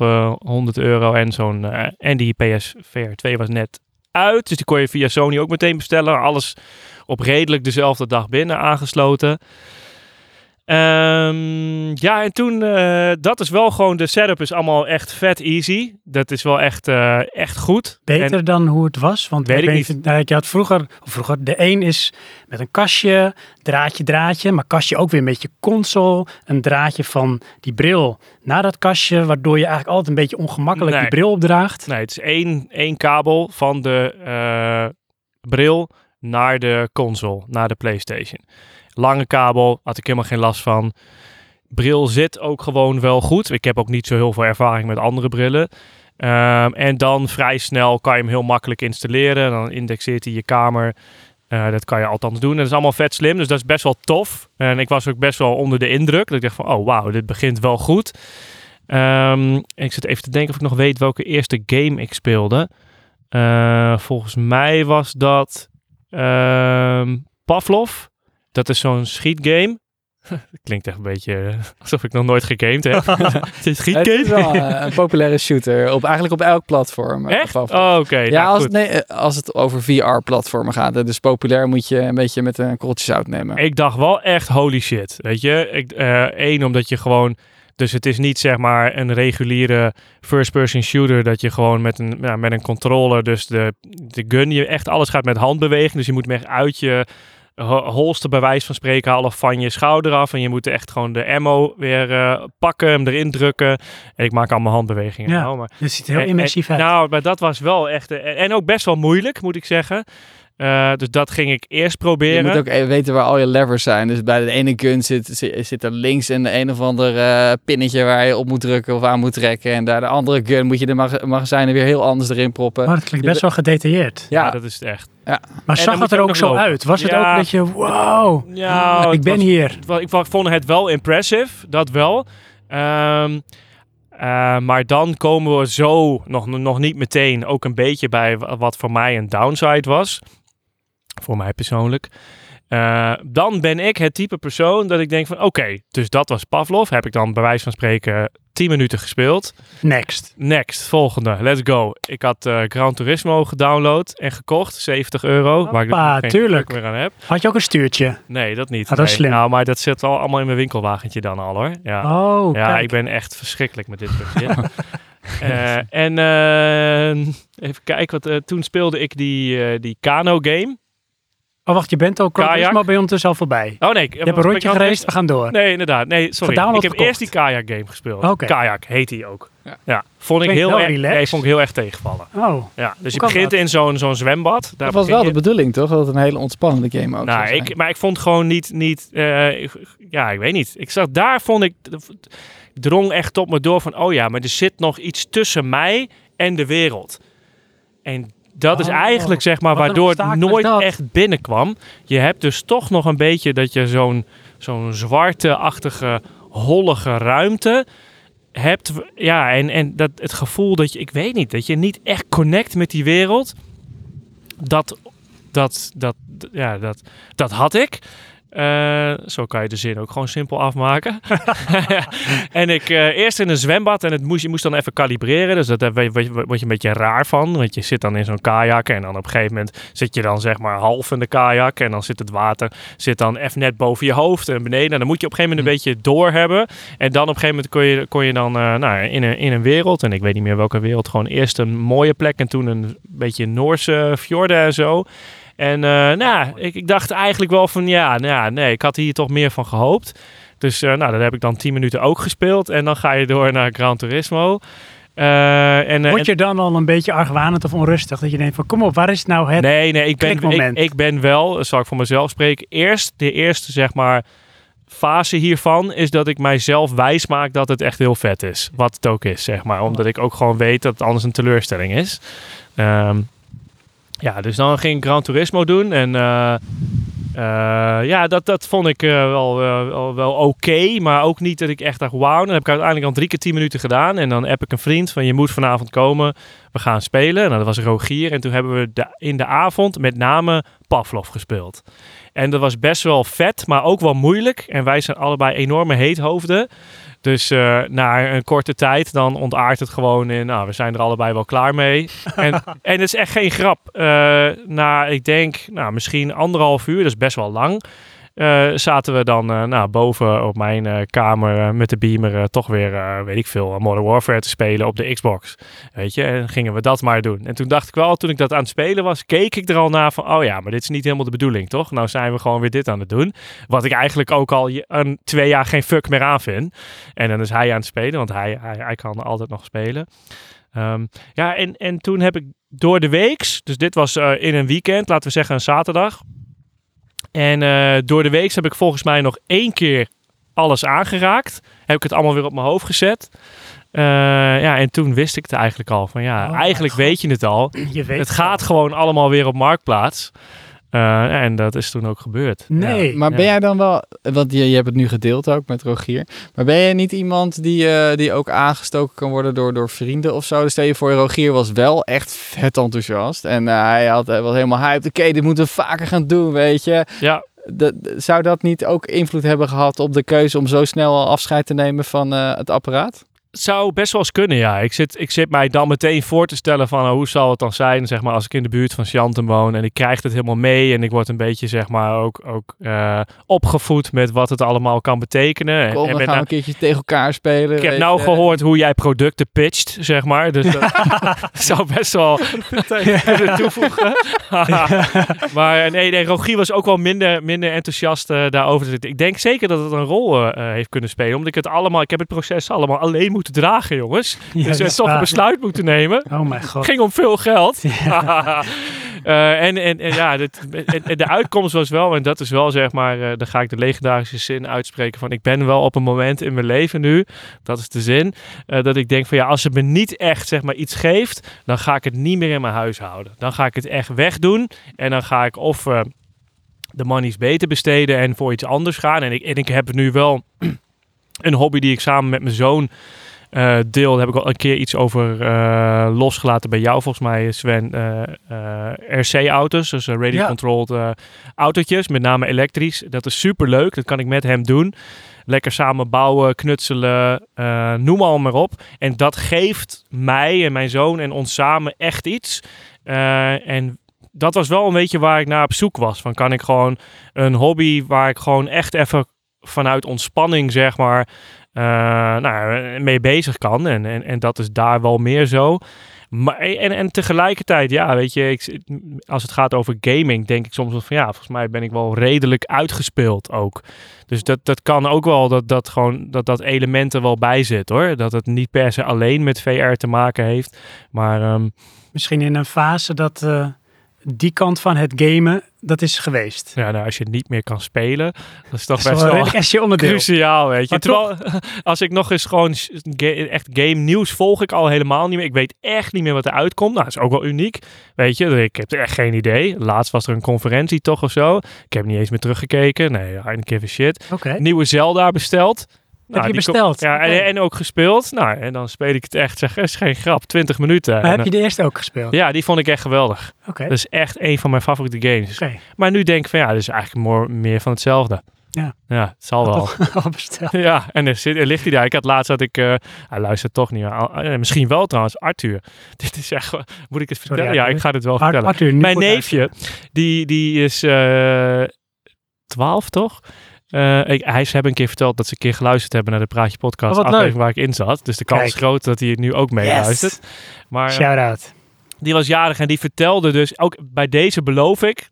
Speaker 2: eh, 100 euro. En, zo'n, eh, en die PSVR 2 was net uit. Dus die kon je via Sony ook meteen bestellen. Alles op redelijk dezelfde dag binnen aangesloten. Ehm, ja, en toen, eh, dat is wel gewoon, de setup is allemaal echt vet easy. Dat is wel echt, eh, echt goed. En-
Speaker 1: Beter dan hoe het was, want
Speaker 2: Weet ik
Speaker 1: weet niet. nou, je had vroeger, of vroeger, de een is met een kastje, draadje, draadje, maar kastje ook weer met je console, een draadje van die bril naar dat kastje, waardoor je eigenlijk altijd een beetje ongemakkelijk
Speaker 2: Nee.
Speaker 1: die bril opdraagt.
Speaker 2: Nee, het is één, één kabel van de eh, bril naar de console, naar de PlayStation. Lange kabel, had ik helemaal geen last van. Bril zit ook gewoon wel goed. Ik heb ook niet zo heel veel ervaring met andere brillen. Ehm, en dan vrij snel kan je hem heel makkelijk installeren. Dan indexeert hij je kamer. Eh, dat kan je althans doen. En dat is allemaal vet slim, dus dat is best wel tof. En ik was ook best wel onder de indruk. Dat ik dacht van, oh wauw, dit begint wel goed. Ehm, ik zit even te denken of ik nog weet welke eerste game ik speelde. Eh, volgens mij was dat ehm, Pavlov. Dat is zo'n schietgame. Dat klinkt echt een beetje eh, alsof ik nog nooit gegamed heb. Het is
Speaker 4: Het is
Speaker 2: schietgame?
Speaker 4: wel eh, een populaire shooter. Op, eigenlijk op elk platform. eh,
Speaker 2: Echt?
Speaker 4: op-
Speaker 2: Oh, oké.
Speaker 4: ja,
Speaker 2: nou,
Speaker 4: als, het,
Speaker 2: goed.
Speaker 4: nee, eh, als het over VR-platformen gaat. eh, Dus populair moet je een beetje met een korreltje zout nemen.
Speaker 2: Ik dacht wel echt holy shit, weet je. Ik, eh, één, omdat je gewoon... Dus het is niet zeg maar een reguliere first-person shooter... dat je gewoon met een, ja, met een controller, dus de, de gun... je echt alles gaat met handbeweging. Dus je moet hem echt uit je ho- holster bij wijze van spreken halen... of van je schouder af. En je moet echt gewoon de ammo weer eh, pakken, hem erin drukken. En ik maak allemaal handbewegingen.
Speaker 1: Ja.
Speaker 2: nou, maar
Speaker 1: Dus het ziet er heel
Speaker 2: en-
Speaker 1: immersief
Speaker 2: en-
Speaker 1: uit.
Speaker 2: Nou, maar dat was wel echt... eh, en- en ook best wel moeilijk, moet ik zeggen. Eh, dus dat ging ik eerst proberen.
Speaker 4: Je moet ook eh, weten waar al je levers zijn. Dus bij de ene gun zit, zit, zit er links een, een of ander eh, pinnetje waar je op moet drukken of aan moet trekken. En daar de andere gun moet je de mag- magazijnen weer heel anders erin proppen.
Speaker 1: maar het klinkt best wel gedetailleerd.
Speaker 2: Ja, dus
Speaker 4: ja,
Speaker 2: dat is het echt.
Speaker 1: Maar
Speaker 2: En dan
Speaker 1: zag
Speaker 2: moet
Speaker 1: het
Speaker 2: je
Speaker 1: er
Speaker 2: ook
Speaker 1: ook zo
Speaker 2: nog lopen.
Speaker 1: uit? Was het
Speaker 2: Ja.
Speaker 1: ook dat je, wow,
Speaker 2: Ja,
Speaker 1: Ah, ik ben
Speaker 2: was-
Speaker 1: hier.
Speaker 2: het wa- ik wa- vond het wel impressive, dat wel. Ehm, eh, maar dan komen we zo, nog, nog niet meteen, ook een beetje bij wa- wat voor mij een downside was. Voor mij persoonlijk. Eh, eh, dan ben ik het type persoon dat ik denk van oké, dus dat was Pavlov. Heb ik dan bij wijze van spreken 10 minuten gespeeld.
Speaker 1: Next.
Speaker 2: Next, volgende, let's go. Ik had eh Gran Turismo gedownload en gekocht, 70 euro. waar ik
Speaker 1: Hoppa,
Speaker 2: nog geen
Speaker 1: tuurlijk.
Speaker 2: fuck meer aan heb.
Speaker 1: Had je ook een stuurtje?
Speaker 2: Nee, dat niet.
Speaker 1: Ah, dat is
Speaker 2: Nee.
Speaker 1: slim.
Speaker 2: Nou, maar dat zit al allemaal in mijn winkelwagentje dan al hoor. Ja,
Speaker 1: Oh,
Speaker 2: ja
Speaker 1: kijk.
Speaker 2: ik ben echt verschrikkelijk met dit soort shit. Eh, en eh, even kijken, wat, eh, toen speelde ik die, eh, die Kano game.
Speaker 1: Oh, wacht, je bent al
Speaker 2: Kajak.
Speaker 1: Kajak. maar bij ondertussen al voorbij.
Speaker 2: Oh nee, ik
Speaker 1: je hebt een rondje gereisd, we gaan door.
Speaker 2: Nee, inderdaad. Nee, sorry.
Speaker 1: Gedownload
Speaker 2: Ik heb
Speaker 1: gekocht.
Speaker 2: eerst die kajak game gespeeld.
Speaker 1: Oké.
Speaker 2: Kajak heet die ook. Ja. Vond ik
Speaker 1: Klinkt
Speaker 2: heel
Speaker 1: wel
Speaker 2: erg.
Speaker 1: relaxed.
Speaker 2: Nee, vond ik heel erg tegenvallen.
Speaker 1: Oh,
Speaker 2: Ja, dus je
Speaker 1: kan
Speaker 2: begint
Speaker 1: dat?
Speaker 2: in zo'n zo'n zwembad. Daar
Speaker 4: Dat was
Speaker 2: begin
Speaker 4: wel
Speaker 2: je.
Speaker 4: de bedoeling, toch? Dat het een hele ontspannende game ook zou
Speaker 2: Nou,
Speaker 4: zijn.
Speaker 2: ik, maar ik vond gewoon niet, niet eh, ik- ja, ik weet niet. Ik zag daar, vond ik, drong echt op me door van, oh ja, maar er zit nog iets tussen mij en de wereld. En dat is
Speaker 1: Oh,
Speaker 2: eigenlijk, zeg maar,
Speaker 1: wat een
Speaker 2: waardoor het
Speaker 1: obstakel is
Speaker 2: nooit
Speaker 1: dat.
Speaker 2: echt binnenkwam. Je hebt dus toch nog een beetje dat je zo'n zo'n zwarte-achtige, hollige ruimte hebt. Ja, en, en dat, het gevoel dat je, ik weet niet, dat je niet echt connect met die wereld. Dat, dat, dat, ja, dat, dat had ik. Eh, zo kan je de zin ook gewoon simpel afmaken. en ik eh, eerst in een zwembad en het moest, je moest dan even kalibreren. Dus daar word je, word je een beetje raar van. Want je zit dan in zo'n kajak en dan op een gegeven moment zit je dan zeg maar half in de kajak. En dan zit het water zit dan even net boven je hoofd en beneden. En dan moet je op een gegeven moment een beetje doorhebben. En dan op een gegeven moment kon je, kon je dan eh, nou, in, een, in een wereld. En ik weet niet meer welke wereld. Gewoon eerst een mooie plek en toen een beetje Noorse fjorden en zo. En eh, nou, ik, ik dacht eigenlijk wel van ja, nou, ja, nee, ik had hier toch meer van gehoopt. Dus eh, nou, dat heb ik dan 10 minuten ook gespeeld. En dan ga je door naar Gran Turismo. Eh, en, eh,
Speaker 1: word je dan al een beetje argwanend of onrustig? Dat je denkt van, kom op, waar is nou het?
Speaker 2: nee, nee, ik ben, ik,
Speaker 1: klikmoment.
Speaker 2: ik ben wel, eh, zal ik voor mezelf spreken, eerst de eerste zeg maar fase hiervan is dat ik mijzelf wijs maak dat het echt heel vet is. Wat het ook is, zeg maar. Omdat ik ook gewoon weet dat het anders een teleurstelling is. Ehm, ja, dus dan ging ik Gran Turismo doen en... eh, eh, ja, dat, dat vond ik eh, wel, eh, wel, wel oké, maar ook niet dat ik echt dacht, wauw. Dan heb ik uiteindelijk al drie keer tien minuten gedaan. En dan app ik een vriend van, je moet vanavond komen we gaan spelen. Nou, dat was Rogier. En toen hebben we de- in de avond met name Pavlov gespeeld. En dat was best wel vet, maar ook wel moeilijk. En wij zijn allebei enorme heethoofden. Dus eh, na een korte tijd, dan ontaart het gewoon in... Nou, we zijn er allebei wel klaar mee. En, en het is echt geen grap. Eh, na, ik denk, nou, misschien anderhalf uur, dat is best wel lang... eh, zaten we dan eh, nou, boven op mijn eh, kamer eh, met de beamer eh, toch weer, eh, weet ik veel, Modern Warfare te spelen op de Xbox. Weet je, en gingen we dat maar doen. En toen dacht ik wel, toen ik dat aan het spelen was, keek ik er al naar van, oh ja, maar dit is niet helemaal de bedoeling, toch? Nou zijn we gewoon weer dit aan het doen. Wat ik eigenlijk ook al je- een, twee jaar geen fuck meer aan vind. En dan is hij aan het spelen, want hij, hij, hij kan altijd nog spelen. Ehm, ja, en, en toen heb ik door de weeks, dus dit was eh, in een weekend, laten we zeggen een zaterdag. En eh, door de weeks heb ik volgens mij nog één keer alles aangeraakt. Heb ik het allemaal weer op mijn hoofd gezet. Eh, ja, en toen wist ik het eigenlijk al. Van ja,
Speaker 1: Oh mijn
Speaker 2: eigenlijk weet je het al.
Speaker 1: Je weet
Speaker 2: Het gaat gewoon allemaal weer op marktplaats. Eh, en dat is toen ook gebeurd.
Speaker 1: Nee.
Speaker 4: Maar ben
Speaker 2: Ja.
Speaker 4: jij dan wel, want je, je hebt het nu gedeeld ook met Rogier, maar ben jij niet iemand die, eh, die ook aangestoken kan worden door, door vrienden of zo? Dus stel je voor, Rogier was wel echt vet enthousiast en eh, hij had, hij was helemaal hyped. Oké, dit moeten we vaker gaan doen, weet je.
Speaker 2: Ja, ja
Speaker 4: Dat- zou dat niet ook invloed hebben gehad op de keuze om zo snel al afscheid te nemen van eh, het apparaat?
Speaker 2: het zou best wel eens kunnen, ja. Ik zit, ik zit mij dan meteen voor te stellen van... oh, hoe zal het dan zijn, zeg maar, als ik in de buurt van Chantem woon... en ik krijg het helemaal mee en ik word een beetje, zeg maar, ook, ook eh, opgevoed... met wat het allemaal kan betekenen. En-
Speaker 4: Kom,
Speaker 2: en
Speaker 4: dan
Speaker 2: met
Speaker 4: gaan eh, we een keertje tegen elkaar spelen.
Speaker 2: Ik heb
Speaker 4: weet
Speaker 2: nou
Speaker 4: je.
Speaker 2: gehoord hoe jij producten pitcht, zeg maar. Dus dat zou best wel kunnen toevoegen. maar eh, nee, nee, Rogier was ook wel minder, minder enthousiast eh, daarover. Dus ik- Ik denk zeker dat het een rol eh, eh, heeft kunnen spelen. Omdat ik het allemaal, ik heb het proces allemaal alleen moeten dragen, jongens.
Speaker 1: Ja,
Speaker 2: dus
Speaker 1: dat
Speaker 2: we
Speaker 1: is
Speaker 2: toch een
Speaker 1: waar.
Speaker 2: besluit moeten nemen.
Speaker 1: Oh mijn god.
Speaker 2: Ging om veel geld. Eh, en, en, en ja, dit- en- en de uitkomst was wel, en dat is wel zeg maar, eh dan ga ik de legendarische zin uitspreken van ik ben wel op een moment in mijn leven nu, dat is de zin, eh, dat ik denk van ja, als het me niet echt zeg maar iets geeft, dan ga ik het niet meer in mijn huis houden. Dan ga ik het echt wegdoen en dan ga ik of eh, de money's beter besteden en voor iets anders gaan. En ik, en ik heb nu wel een hobby die ik samen met mijn zoon eh, eh, deel, daar heb ik al een keer iets over eh, losgelaten bij jou, volgens mij, Sven. eh, eh, RC-auto's, dus eh, radio-controlled eh, autootjes, met name elektrisch. Dat is super leuk, dat kan ik met hem doen. Lekker samen bouwen, knutselen, eh, noem al maar op. En dat geeft mij en mijn zoon en ons samen echt iets. Eh, en dat was wel een beetje waar ik naar op zoek was. Van kan ik gewoon een hobby waar ik gewoon echt even vanuit ontspanning, zeg maar, eh, nou, ja, mee bezig kan. En, en, en dat is daar wel meer zo. Maar, en, en tegelijkertijd, ja, weet je, ik, als het gaat over gaming, denk ik soms wel van ja, volgens mij ben ik wel redelijk uitgespeeld ook. Dus dat, dat kan ook wel, dat dat, gewoon, dat dat element er wel bij zit hoor. Dat het niet per se alleen met VR te maken heeft. Maar ehm,
Speaker 1: Misschien in een fase dat eh, die kant van het gamen, dat is geweest.
Speaker 2: ja, nou, als je niet meer kan spelen, dat is toch
Speaker 1: Dat is wel
Speaker 2: best
Speaker 1: een
Speaker 2: wel Dus-
Speaker 1: redelijk SJ onderdeel.
Speaker 2: Cruciaal, weet je.
Speaker 1: Maar
Speaker 2: Terwijl, als ik nog eens gewoon s- ga- echt game nieuws volg ik al helemaal niet meer. Ik weet echt niet meer wat er uitkomt. Nou, dat is ook wel uniek, weet je. Ik heb er echt geen idee. Laatst was er een conferentie toch of zo. Ik heb niet eens meer teruggekeken. Nee, I don't give a shit.
Speaker 1: Oké.
Speaker 2: Nieuwe Zelda besteld. Nou,
Speaker 1: je
Speaker 2: die ko-
Speaker 1: besteld?
Speaker 2: Ja,
Speaker 1: Oké.
Speaker 2: en, en ook gespeeld. Nou, en dan speel ik het echt. Zeg, is geen grap. 20 minuten.
Speaker 1: Maar
Speaker 2: En,
Speaker 1: heb je de eerste ook gespeeld?
Speaker 2: eh, Ja, Dus- die vond ik echt geweldig.
Speaker 1: Oké.
Speaker 2: Dat is echt een van mijn favoriete games.
Speaker 1: Oké.
Speaker 2: Maar nu denk ik van ja, dat is eigenlijk more- meer van hetzelfde.
Speaker 1: Ja.
Speaker 2: Ja, het zal wel.
Speaker 1: Al besteld.
Speaker 2: Ja, en er, zit, er ligt hij daar. Ik had laatst dat ik... eh, hij luistert toch niet. Al- eh, misschien wel trouwens, Arthur. Dit is echt... wel- Moet ik het vertellen? ja,
Speaker 1: Arthur.
Speaker 2: ik ga dit wel
Speaker 1: Ar-
Speaker 2: vertellen.
Speaker 1: Arthur, nu
Speaker 2: Mijn
Speaker 1: goed
Speaker 2: neefje, die, die is eh 12 toch? Eh, ik, hij ze hebben een keer verteld dat ze een keer geluisterd hebben naar de Praatje Podcast.
Speaker 1: Oh, wat
Speaker 2: aflevering
Speaker 1: leuk.
Speaker 2: waar ik in zat. Dus de kans
Speaker 1: Kijk.
Speaker 2: is groot dat hij het nu ook mee
Speaker 1: Yes.
Speaker 2: luistert. Maar eh,
Speaker 1: Shout out.
Speaker 2: die was jarig en die vertelde dus, ook bij deze beloof ik,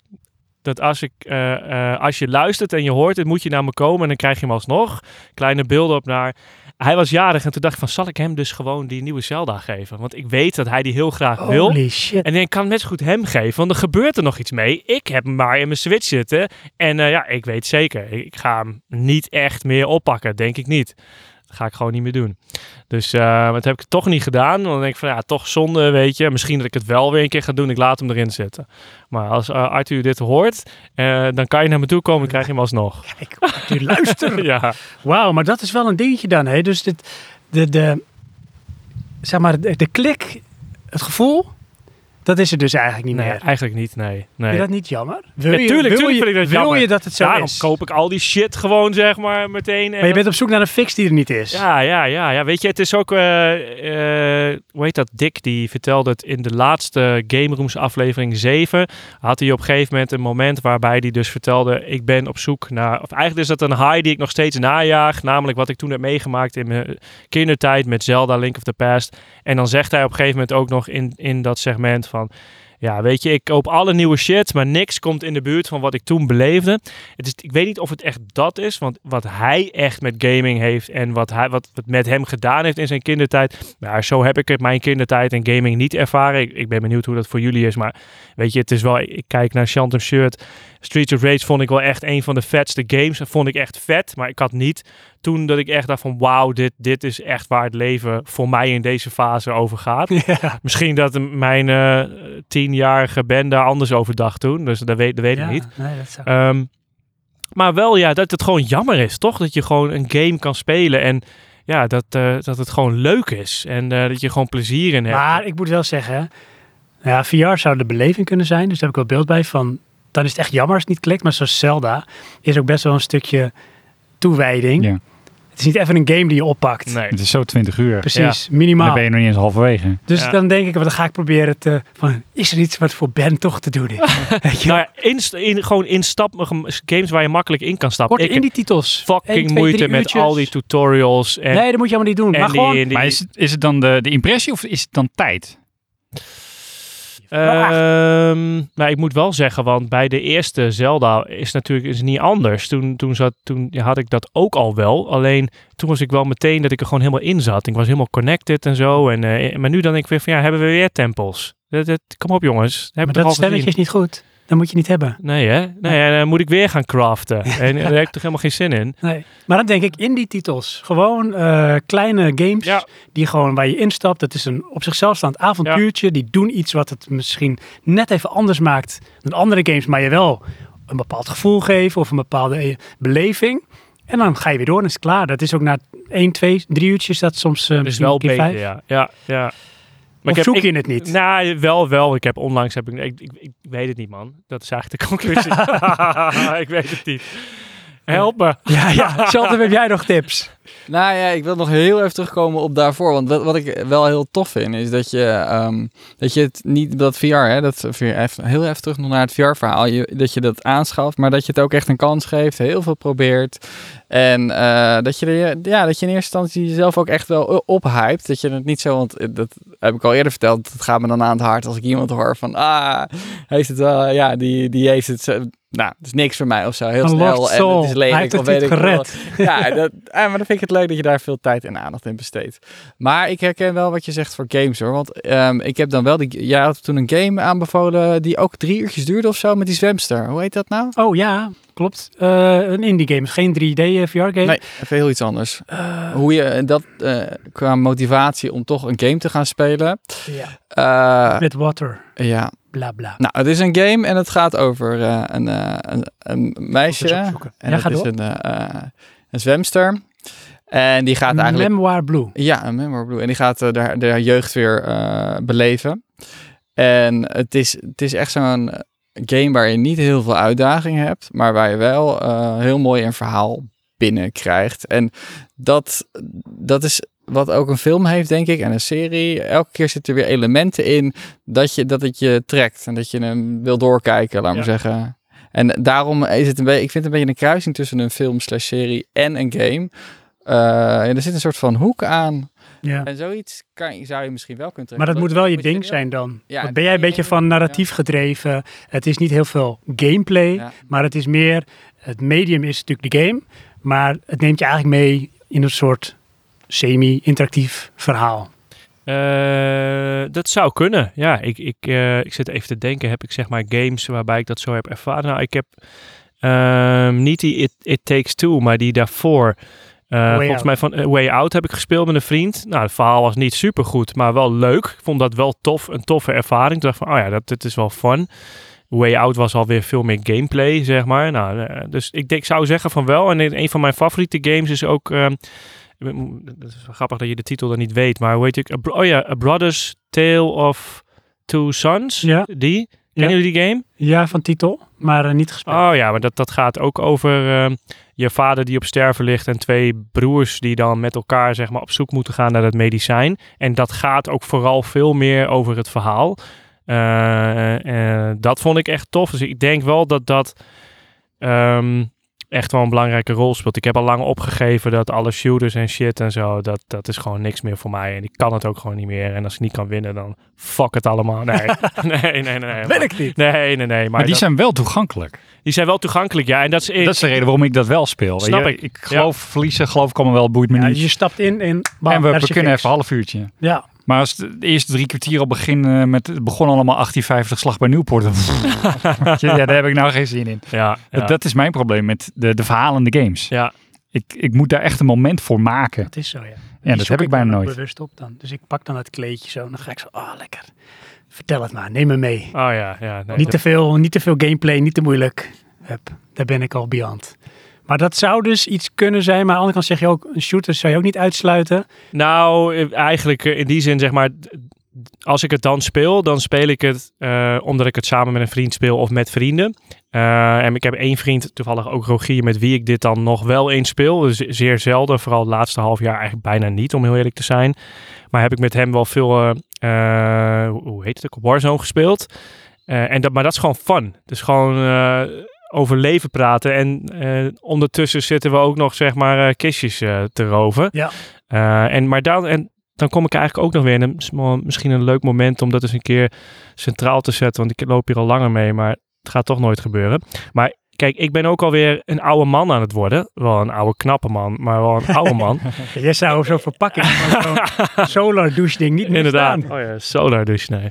Speaker 2: dat als, ik, eh, eh, als je luistert en je hoort het, moet je naar me komen en dan krijg je hem alsnog. Kleine beelden op naar. Hij was jarig en toen dacht ik van, zal ik hem dus gewoon die nieuwe Zelda geven? Want ik weet dat hij die heel graag wil.
Speaker 1: Holy shit.
Speaker 2: En ik kan net zo goed hem geven, want er gebeurt er nog iets mee. Ik heb hem maar in mijn Switch zitten. En eh, ja, ik weet zeker, ik ga hem niet echt meer oppakken. Denk ik niet. Dat ga ik gewoon niet meer doen. Dus eh, maar dat heb ik toch niet gedaan. Want dan denk ik van, ja, toch zonde, weet je. Misschien dat ik het wel weer een keer ga doen. Ik laat hem erin zitten. Maar als eh, Arthur dit hoort, eh, dan kan je naar me toe komen. Dan krijg je hem alsnog.
Speaker 1: Kijk, Arthur, luister.
Speaker 2: ja,
Speaker 1: Wauw, maar dat is wel een dingetje dan. Hè? Dus dit, de, de, zeg maar, de, de klik, het gevoel, dat is er dus eigenlijk niet
Speaker 2: nee,
Speaker 1: meer.
Speaker 2: eigenlijk niet, nee. nee.
Speaker 1: Vind je dat niet jammer? Wil
Speaker 2: Ja,
Speaker 1: je,
Speaker 2: tuurlijk,
Speaker 1: wil
Speaker 2: tuurlijk
Speaker 1: je,
Speaker 2: vind ik dat
Speaker 1: wil
Speaker 2: jammer.
Speaker 1: je dat het zo
Speaker 2: Daarom
Speaker 1: is?
Speaker 2: koop ik al die shit gewoon, zeg maar, meteen. En
Speaker 1: Maar je
Speaker 2: dan-
Speaker 1: bent op zoek naar een fix die er niet is.
Speaker 2: Ja, ja, ja, ja. Weet je, het is ook. eh, eh, hoe heet dat? Dick, die vertelde het in de laatste Game Rooms aflevering 7. Had hij op een gegeven moment een moment waarbij hij dus vertelde: Ik ben op zoek naar. Of eigenlijk is dat een high die ik nog steeds najaag. Namelijk wat ik toen heb meegemaakt in mijn kindertijd met Zelda Link of the Past. En dan zegt hij op een gegeven moment ook nog in, in dat segment van. Ja, weet je, ik koop alle nieuwe shit, maar niks komt in de buurt van wat ik toen beleefde. Het is, ik weet niet of het echt dat is, want wat hij echt met gaming heeft en wat, hij, wat het met hem gedaan heeft in zijn kindertijd. Nou, zo heb ik het mijn kindertijd en gaming niet ervaren. Ik, ik ben benieuwd hoe dat voor jullie is, maar weet je, het is wel, ik, ik kijk naar Shantum Shirt. Streets of Rage vond ik wel echt een van de vetste games. Dat vond ik echt vet, maar ik had niet toen dat ik echt dacht van wauw, dit, dit is echt waar het leven voor mij in deze fase over gaat. Misschien dat mijn eh, tienjarige Ben daar anders over dacht toen, dus dat weet, dat weet
Speaker 1: Ja,
Speaker 2: ik niet.
Speaker 1: Nee, dat zou...
Speaker 2: Ehm, maar wel ja, dat het gewoon jammer is, toch? Dat je gewoon een game kan spelen en ja, dat, eh, dat het gewoon leuk is. En eh, dat je gewoon plezier in hebt.
Speaker 1: Maar ik moet wel zeggen, nou ja, VR zou de beleving kunnen zijn, dus daar heb ik wel beeld bij van. Dan is het echt jammer als het niet klikt, maar zoals Zelda is ook best wel een stukje toewijding.
Speaker 3: Ja.
Speaker 1: Het is niet even een game die je oppakt.
Speaker 2: nee.
Speaker 3: Het is zo 20 uur.
Speaker 1: Precies,
Speaker 3: En
Speaker 1: minimaal.
Speaker 3: Dan ben je nog niet eens halverwege.
Speaker 1: Dus
Speaker 2: Ja.
Speaker 1: dan denk ik, wat dan ga ik proberen te... Van, is er iets wat voor Ben toch te doen is? Weet je?
Speaker 2: Nou ja, inst- in, gewoon instap, games waar je makkelijk in kan stappen.
Speaker 1: Kort
Speaker 2: Ik
Speaker 1: in
Speaker 2: heb
Speaker 1: die titels.
Speaker 2: fucking
Speaker 1: Eén, twee,
Speaker 2: moeite
Speaker 1: drie
Speaker 2: met
Speaker 1: uurtjes.
Speaker 2: al die tutorials en,
Speaker 1: Nee, dat moet je helemaal niet doen.
Speaker 2: en
Speaker 1: maar
Speaker 2: die-
Speaker 1: gewoon,
Speaker 2: en die-
Speaker 3: Maar is het, is het dan de, de impressie of is het dan tijd?
Speaker 1: vraag.
Speaker 2: Ehm, maar ik moet wel zeggen, want bij de eerste Zelda is natuurlijk is niet anders. Toen, toen, zat, toen had ik dat ook al wel. Alleen toen was ik wel meteen dat ik er gewoon helemaal in zat. Ik was helemaal connected en zo. En, eh, maar nu dan denk ik weer van ja, hebben we weer tempels? Dat, dat, kom op jongens. Heb
Speaker 1: maar
Speaker 2: ik toch
Speaker 1: dat
Speaker 2: al gezien?
Speaker 1: stemmetje is niet goed. Dat moet je niet hebben.
Speaker 2: Nee hè? Nee, en dan moet ik weer gaan craften. en eh, daar heb ik toch helemaal geen zin in?
Speaker 1: Nee. Maar dan denk ik, in die titels. Gewoon eh, kleine games
Speaker 2: Ja.
Speaker 1: die gewoon waar je instapt. Dat is een op zichzelf staand avontuurtje. Die doen iets wat het misschien net even anders maakt dan andere games. Maar je wel een bepaald gevoel geven of een bepaalde eh, beleving. En dan ga je weer door en is het klaar. Dat is ook na één, twee, drie uurtjes dat soms eh,
Speaker 2: Dat is
Speaker 1: misschien
Speaker 2: wel
Speaker 1: een keer
Speaker 2: beter,
Speaker 1: vijf.
Speaker 2: ja. ja, ja.
Speaker 1: Maar
Speaker 2: heb-
Speaker 1: zoek je het niet?
Speaker 2: Nou, wel, wel. Ik heb onlangs, heb ik, ik, ik, ik weet het niet man. Dat is eigenlijk de conclusie. ik weet het niet. Help me.
Speaker 1: Ja, ja. Shelter, heb jij nog tips?
Speaker 4: Nou ja, ik wil nog heel even terugkomen op daarvoor. Want wat, wat ik wel heel tof vind, is dat je, ehm, dat je het niet, dat VR, hè, dat VR, even- heel even terug nog naar het VR-verhaal, je, dat je dat aanschaft, maar dat je het ook echt een kans geeft, heel veel probeert. En eh, dat, je er, ja, dat je in eerste instantie jezelf ook echt wel u- ophypt. Dat je het niet zo, want eh, dat heb ik al eerder verteld, dat gaat me dan aan het hart als ik iemand hoor van, ah, heeft het wel, ja, die, die heeft het, zo- nou, het is niks voor mij of zo, heel
Speaker 1: Een
Speaker 4: snel.
Speaker 1: lost
Speaker 4: En
Speaker 1: soul.
Speaker 4: het is lelijk,
Speaker 1: Hij heeft
Speaker 4: of
Speaker 1: het
Speaker 4: weet
Speaker 1: niet
Speaker 4: ik wel.
Speaker 1: gered.
Speaker 4: Ja, dat, eh, maar dan vind ik het leuk dat je daar veel tijd en aandacht in besteedt. Maar ik herken wel wat je zegt voor games hoor. Want ehm, ik heb dan wel, die, jij had toen een game aanbevolen die ook drie uurtjes duurde of zo met die zwemster. Hoe heet dat nou?
Speaker 1: Oh ja, klopt. Eh, een indie game, is geen 3D VR game.
Speaker 4: Nee, even heel iets anders. Hoe je eh, dat eh, qua motivatie om toch een game te gaan spelen.
Speaker 1: Ja.
Speaker 4: Eh,
Speaker 1: Met water,
Speaker 4: ja,
Speaker 1: bla bla.
Speaker 4: nou het is een game en het gaat over eh, een, eh, een, een meisje.
Speaker 1: Moet eens opzoeken.
Speaker 4: En
Speaker 1: Ja,
Speaker 4: dat
Speaker 1: ga
Speaker 4: is
Speaker 1: door.
Speaker 4: een, eh, eh, een zwemster. En die gaat eigenlijk
Speaker 1: Memoir Blue.
Speaker 4: Ja, een Memoir Blue. En die gaat eh, de, haar- de haar jeugd weer eh, beleven. En het is, het is echt zo'n game waar je niet heel veel uitdaging hebt, maar waar je wel eh, heel mooi een verhaal binnen krijgt. En dat, dat is wat ook een film heeft, denk ik, en een serie. Elke keer zitten er weer elementen in dat, je, dat het je trekt en dat je hem wil doorkijken, laat maar
Speaker 2: Ja.
Speaker 4: zeggen. En daarom is het een beetje, ik vind het een beetje een kruising tussen een film slash serie en een game. Eh, en er zit een soort van hoek aan.
Speaker 1: Ja.
Speaker 4: En zoiets kan, je- zou je misschien wel kunnen
Speaker 1: Maar
Speaker 4: trekken.
Speaker 1: dat moet wel je ding
Speaker 4: heel-
Speaker 1: zijn dan.
Speaker 4: Ja,
Speaker 1: Want
Speaker 4: dat
Speaker 1: ben jij een
Speaker 4: moet je
Speaker 1: beetje
Speaker 4: heel-
Speaker 1: van narratief gedreven? Het is niet heel veel gameplay,
Speaker 4: Ja.
Speaker 1: maar het is meer... Het medium is natuurlijk de game, maar het neemt je eigenlijk mee in een soort semi-interactief verhaal.
Speaker 2: Eh, dat zou kunnen. Ja, ik, ik, eh, ik zit even te denken. Heb ik zeg maar games waarbij ik dat zo heb ervaren? Nou, ik heb ehm, niet die It, It Takes Two, maar die daarvoor. Eh, volgens
Speaker 1: Out.
Speaker 2: mij van eh, Way Out heb ik gespeeld met een vriend. Nou, het verhaal was niet supergoed, maar wel leuk. Ik vond dat wel tof, een toffe ervaring. Ik dacht van, oh ja, dat, dit is wel fun. Way Out was alweer veel meer gameplay, zeg maar. Nou, eh, dus ik, denk- ik zou zeggen van wel. En een een van mijn favoriete games is ook... ehm, ik ben- dat is wel grappig dat je de titel dan niet weet, maar hoe heet ik? Oh ja, A Brother's Tale of Two Sons.
Speaker 1: Ja.
Speaker 2: Die.
Speaker 1: Ja.
Speaker 2: Kennen jullie die game?
Speaker 1: Ja, van titel, maar eh, niet gespeeld.
Speaker 2: Oh ja, maar dat, dat gaat ook over ehm, je vader die op sterven ligt en twee broers die dan met elkaar zeg maar, op zoek moeten gaan naar dat medicijn. En dat gaat ook vooral veel meer over het verhaal. Eh, eh, dat vond ik echt tof. Dus ik denk wel dat dat ehm, echt wel een belangrijke rol speelt. Ik heb al lang opgegeven dat alle shooters en shit en zo, dat, dat is gewoon niks meer voor mij. En ik kan het ook gewoon niet meer. En als ik niet kan winnen, dan fuck het allemaal. Nee, nee, nee, nee. nee.
Speaker 1: Weet ik niet.
Speaker 2: Nee, nee, nee. Maar,
Speaker 3: Maar die
Speaker 2: dat-
Speaker 3: zijn wel toegankelijk.
Speaker 2: die zijn wel toegankelijk, ja. En dat is,
Speaker 3: dat is de reden waarom ik dat wel speel. weet
Speaker 2: Snap
Speaker 3: je.
Speaker 2: ik.
Speaker 3: Ik geloof verliezen, geloof ik allemaal wel, boeit me
Speaker 1: Ja,
Speaker 3: niet.
Speaker 1: je stapt in en... bam,
Speaker 3: en we,
Speaker 1: daar is
Speaker 3: we
Speaker 1: je
Speaker 3: kunnen
Speaker 1: fix.
Speaker 3: even een half uurtje.
Speaker 1: Ja,
Speaker 3: Maar als de de eerste drie kwartier al beginnen met, het begon allemaal 1850 slag bij Nieuwpoort. dan- Weet je, ja, daar heb ik nou geen zin in.
Speaker 2: Ja, ja.
Speaker 3: Dat, dat is mijn probleem met de, de verhalende games.
Speaker 2: ja.
Speaker 3: Ik, ik moet daar echt een moment voor maken.
Speaker 1: dat is zo, ja.
Speaker 3: Ja,
Speaker 1: Die
Speaker 3: dat
Speaker 1: zoek
Speaker 3: heb ik bijna
Speaker 1: dan ook
Speaker 3: nooit.
Speaker 1: bewust op dan. Dus ik pak dan dat kleedje zo en dan ga ik zo, oh lekker. Vertel het maar, neem me mee.
Speaker 2: Oh ja, ja. nee,
Speaker 1: Niet te
Speaker 2: dat-
Speaker 1: veel, niet te veel gameplay, niet te moeilijk. Hup, daar ben ik al beyond. Maar dat zou dus iets kunnen zijn. Maar aan de andere kant zeg je ook, een shooter zou je ook niet uitsluiten.
Speaker 2: Nou, eh, eigenlijk eh, in die zin zeg maar... d- d- Als ik het dan speel, dan speel ik het eh, omdat ik het samen met een vriend speel of met vrienden. Eh, en ik heb één vriend, toevallig ook Rogier, met wie ik dit dan nog wel eens speel. Dus zeer zelden, vooral het laatste half jaar eigenlijk bijna niet, om heel eerlijk te zijn. Maar heb ik met hem wel veel, eh, eh, hoe- hoe heet het ook, Warzone gespeeld. Eh, en dat, maar dat is gewoon fun. Het is gewoon eh, over leven praten. En eh, ondertussen zitten we ook nog, zeg maar, eh, kistjes eh, te roven.
Speaker 1: Ja.
Speaker 2: Eh, en, maar dan, en dan kom ik eigenlijk ook nog weer in een, sm- misschien een leuk moment om dat eens een keer centraal te zetten. Want ik loop hier al langer mee, maar het gaat toch nooit gebeuren. Maar kijk, ik ben ook alweer een oude man aan het worden. Wel een oude knappe man, maar wel een oude man.
Speaker 1: Jij zou zo'n verpakking van zo'n solar douche ding niet meer
Speaker 2: Inderdaad.
Speaker 1: staan.
Speaker 2: Oh ja, solar douche, nee.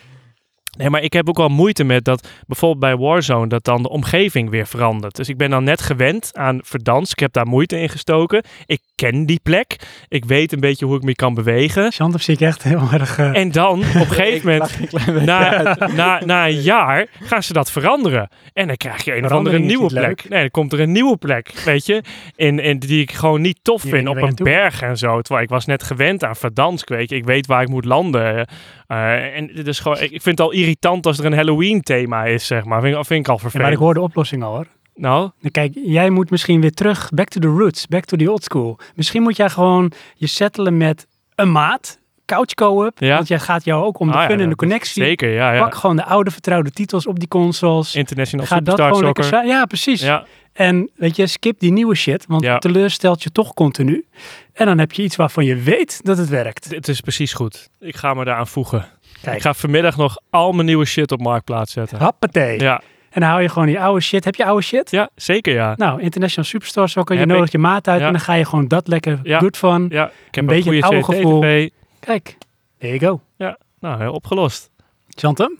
Speaker 2: Nee, maar ik heb ook wel moeite met dat bijvoorbeeld bij Warzone dat dan de omgeving weer verandert. Dus ik ben dan net gewend aan verdans. Ik heb daar moeite in gestoken. Ik ken die plek. Ik weet een beetje hoe ik me kan bewegen.
Speaker 1: Chant of zie ik echt heel erg... eh,
Speaker 2: En dan op een gegeven moment, na, na, na een jaar, gaan ze dat veranderen. En dan krijg je een of andere
Speaker 1: Verandering is
Speaker 2: nieuwe
Speaker 1: niet
Speaker 2: plek.
Speaker 1: leuk.
Speaker 2: Nee, dan komt er een nieuwe plek, weet je. En, en die ik gewoon niet tof
Speaker 1: Die
Speaker 2: vind
Speaker 1: ben
Speaker 2: op
Speaker 1: je
Speaker 2: een
Speaker 1: naartoe.
Speaker 2: berg en zo. Terwijl ik was net gewend aan Verdansk, weet je. Ik weet waar ik moet landen. Eh, en dit is gewoon, ik ik vind het al irritant als er een Halloween thema is, zeg maar. Vind, ik- vind ik al
Speaker 1: ja, maar
Speaker 2: vervelend.
Speaker 1: ik hoor de oplossing al hoor.
Speaker 2: Nou,
Speaker 1: Nou, Kijk, jij moet misschien weer terug, back to the roots, back to the old school. Misschien moet jij gewoon je settelen met een maat, couch co-op.
Speaker 2: Ja.
Speaker 1: Want jij gaat jou ook om de
Speaker 2: Ah, ja,
Speaker 1: fun en de
Speaker 2: dat-
Speaker 1: connectie.
Speaker 2: zeker, ja, ja.
Speaker 1: Pak gewoon de oude vertrouwde titels op die consoles.
Speaker 2: International
Speaker 1: Ga dat
Speaker 2: Superstar
Speaker 1: gewoon
Speaker 2: Soccer.
Speaker 1: lekker sa- Ja, precies.
Speaker 2: ja,
Speaker 1: En weet je, skip die nieuwe shit, want
Speaker 2: Ja.
Speaker 1: het teleurstelt je toch continu. En dan heb je iets waarvan je weet dat het werkt.
Speaker 2: het is precies goed. Ik ga me daaraan voegen.
Speaker 1: Kijk.
Speaker 2: Ik ga vanmiddag nog al mijn nieuwe shit op Marktplaats zetten.
Speaker 1: Happatee.
Speaker 2: Ja,
Speaker 1: En dan hou je gewoon die oude shit. Heb je oude shit?
Speaker 2: Ja, zeker ja.
Speaker 1: Nou, International Superstar Soccer, je
Speaker 2: Heb
Speaker 1: nodig je maat uit
Speaker 2: Ja.
Speaker 1: en dan ga je gewoon dat lekker
Speaker 2: Ja.
Speaker 1: good van.
Speaker 2: ja ik heb een,
Speaker 1: beetje
Speaker 2: goede
Speaker 1: het oude
Speaker 2: CTTV.
Speaker 1: Kijk, there you go.
Speaker 2: Nou, heel opgelost.
Speaker 1: Chantem,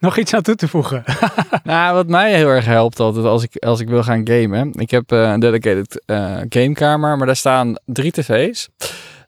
Speaker 1: nog iets aan toe te voegen?
Speaker 4: Nou, wat mij heel erg helpt altijd als ik, als ik wil gaan gamen. Ik heb eh, een dedicated eh, gamekamer, maar daar staan drie tv's.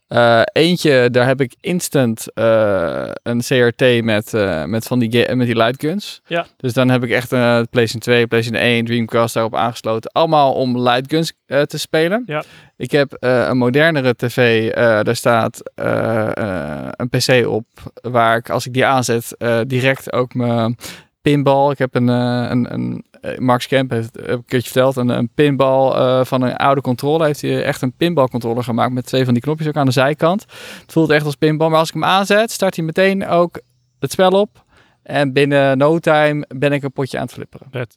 Speaker 4: Eh, eentje, daar heb ik instant eh, een CRT met, eh, met, van die, ga- met die lightguns.
Speaker 2: Ja.
Speaker 4: Dus dan heb ik echt een PlayStation 2, PlayStation 1, Dreamcast daarop aangesloten. Allemaal om lightguns eh, te spelen.
Speaker 2: Ja.
Speaker 4: Ik heb eh, een modernere tv, eh, daar staat eh, eh, een pc op. Waar ik, als ik die aanzet, eh, direct ook mijn pinball. Ik heb een, eh, een, een eh, Max Kemp heeft, heb ik een keertje verteld, een, een pinball eh, van een oude controller. Heeft hij echt een pinballcontroller gemaakt met twee van die knopjes ook aan de zijkant. Het voelt echt als pinball, maar als ik hem aanzet, start hij meteen ook het spel op. En binnen no time ben ik een potje aan het flipperen.
Speaker 2: Vet.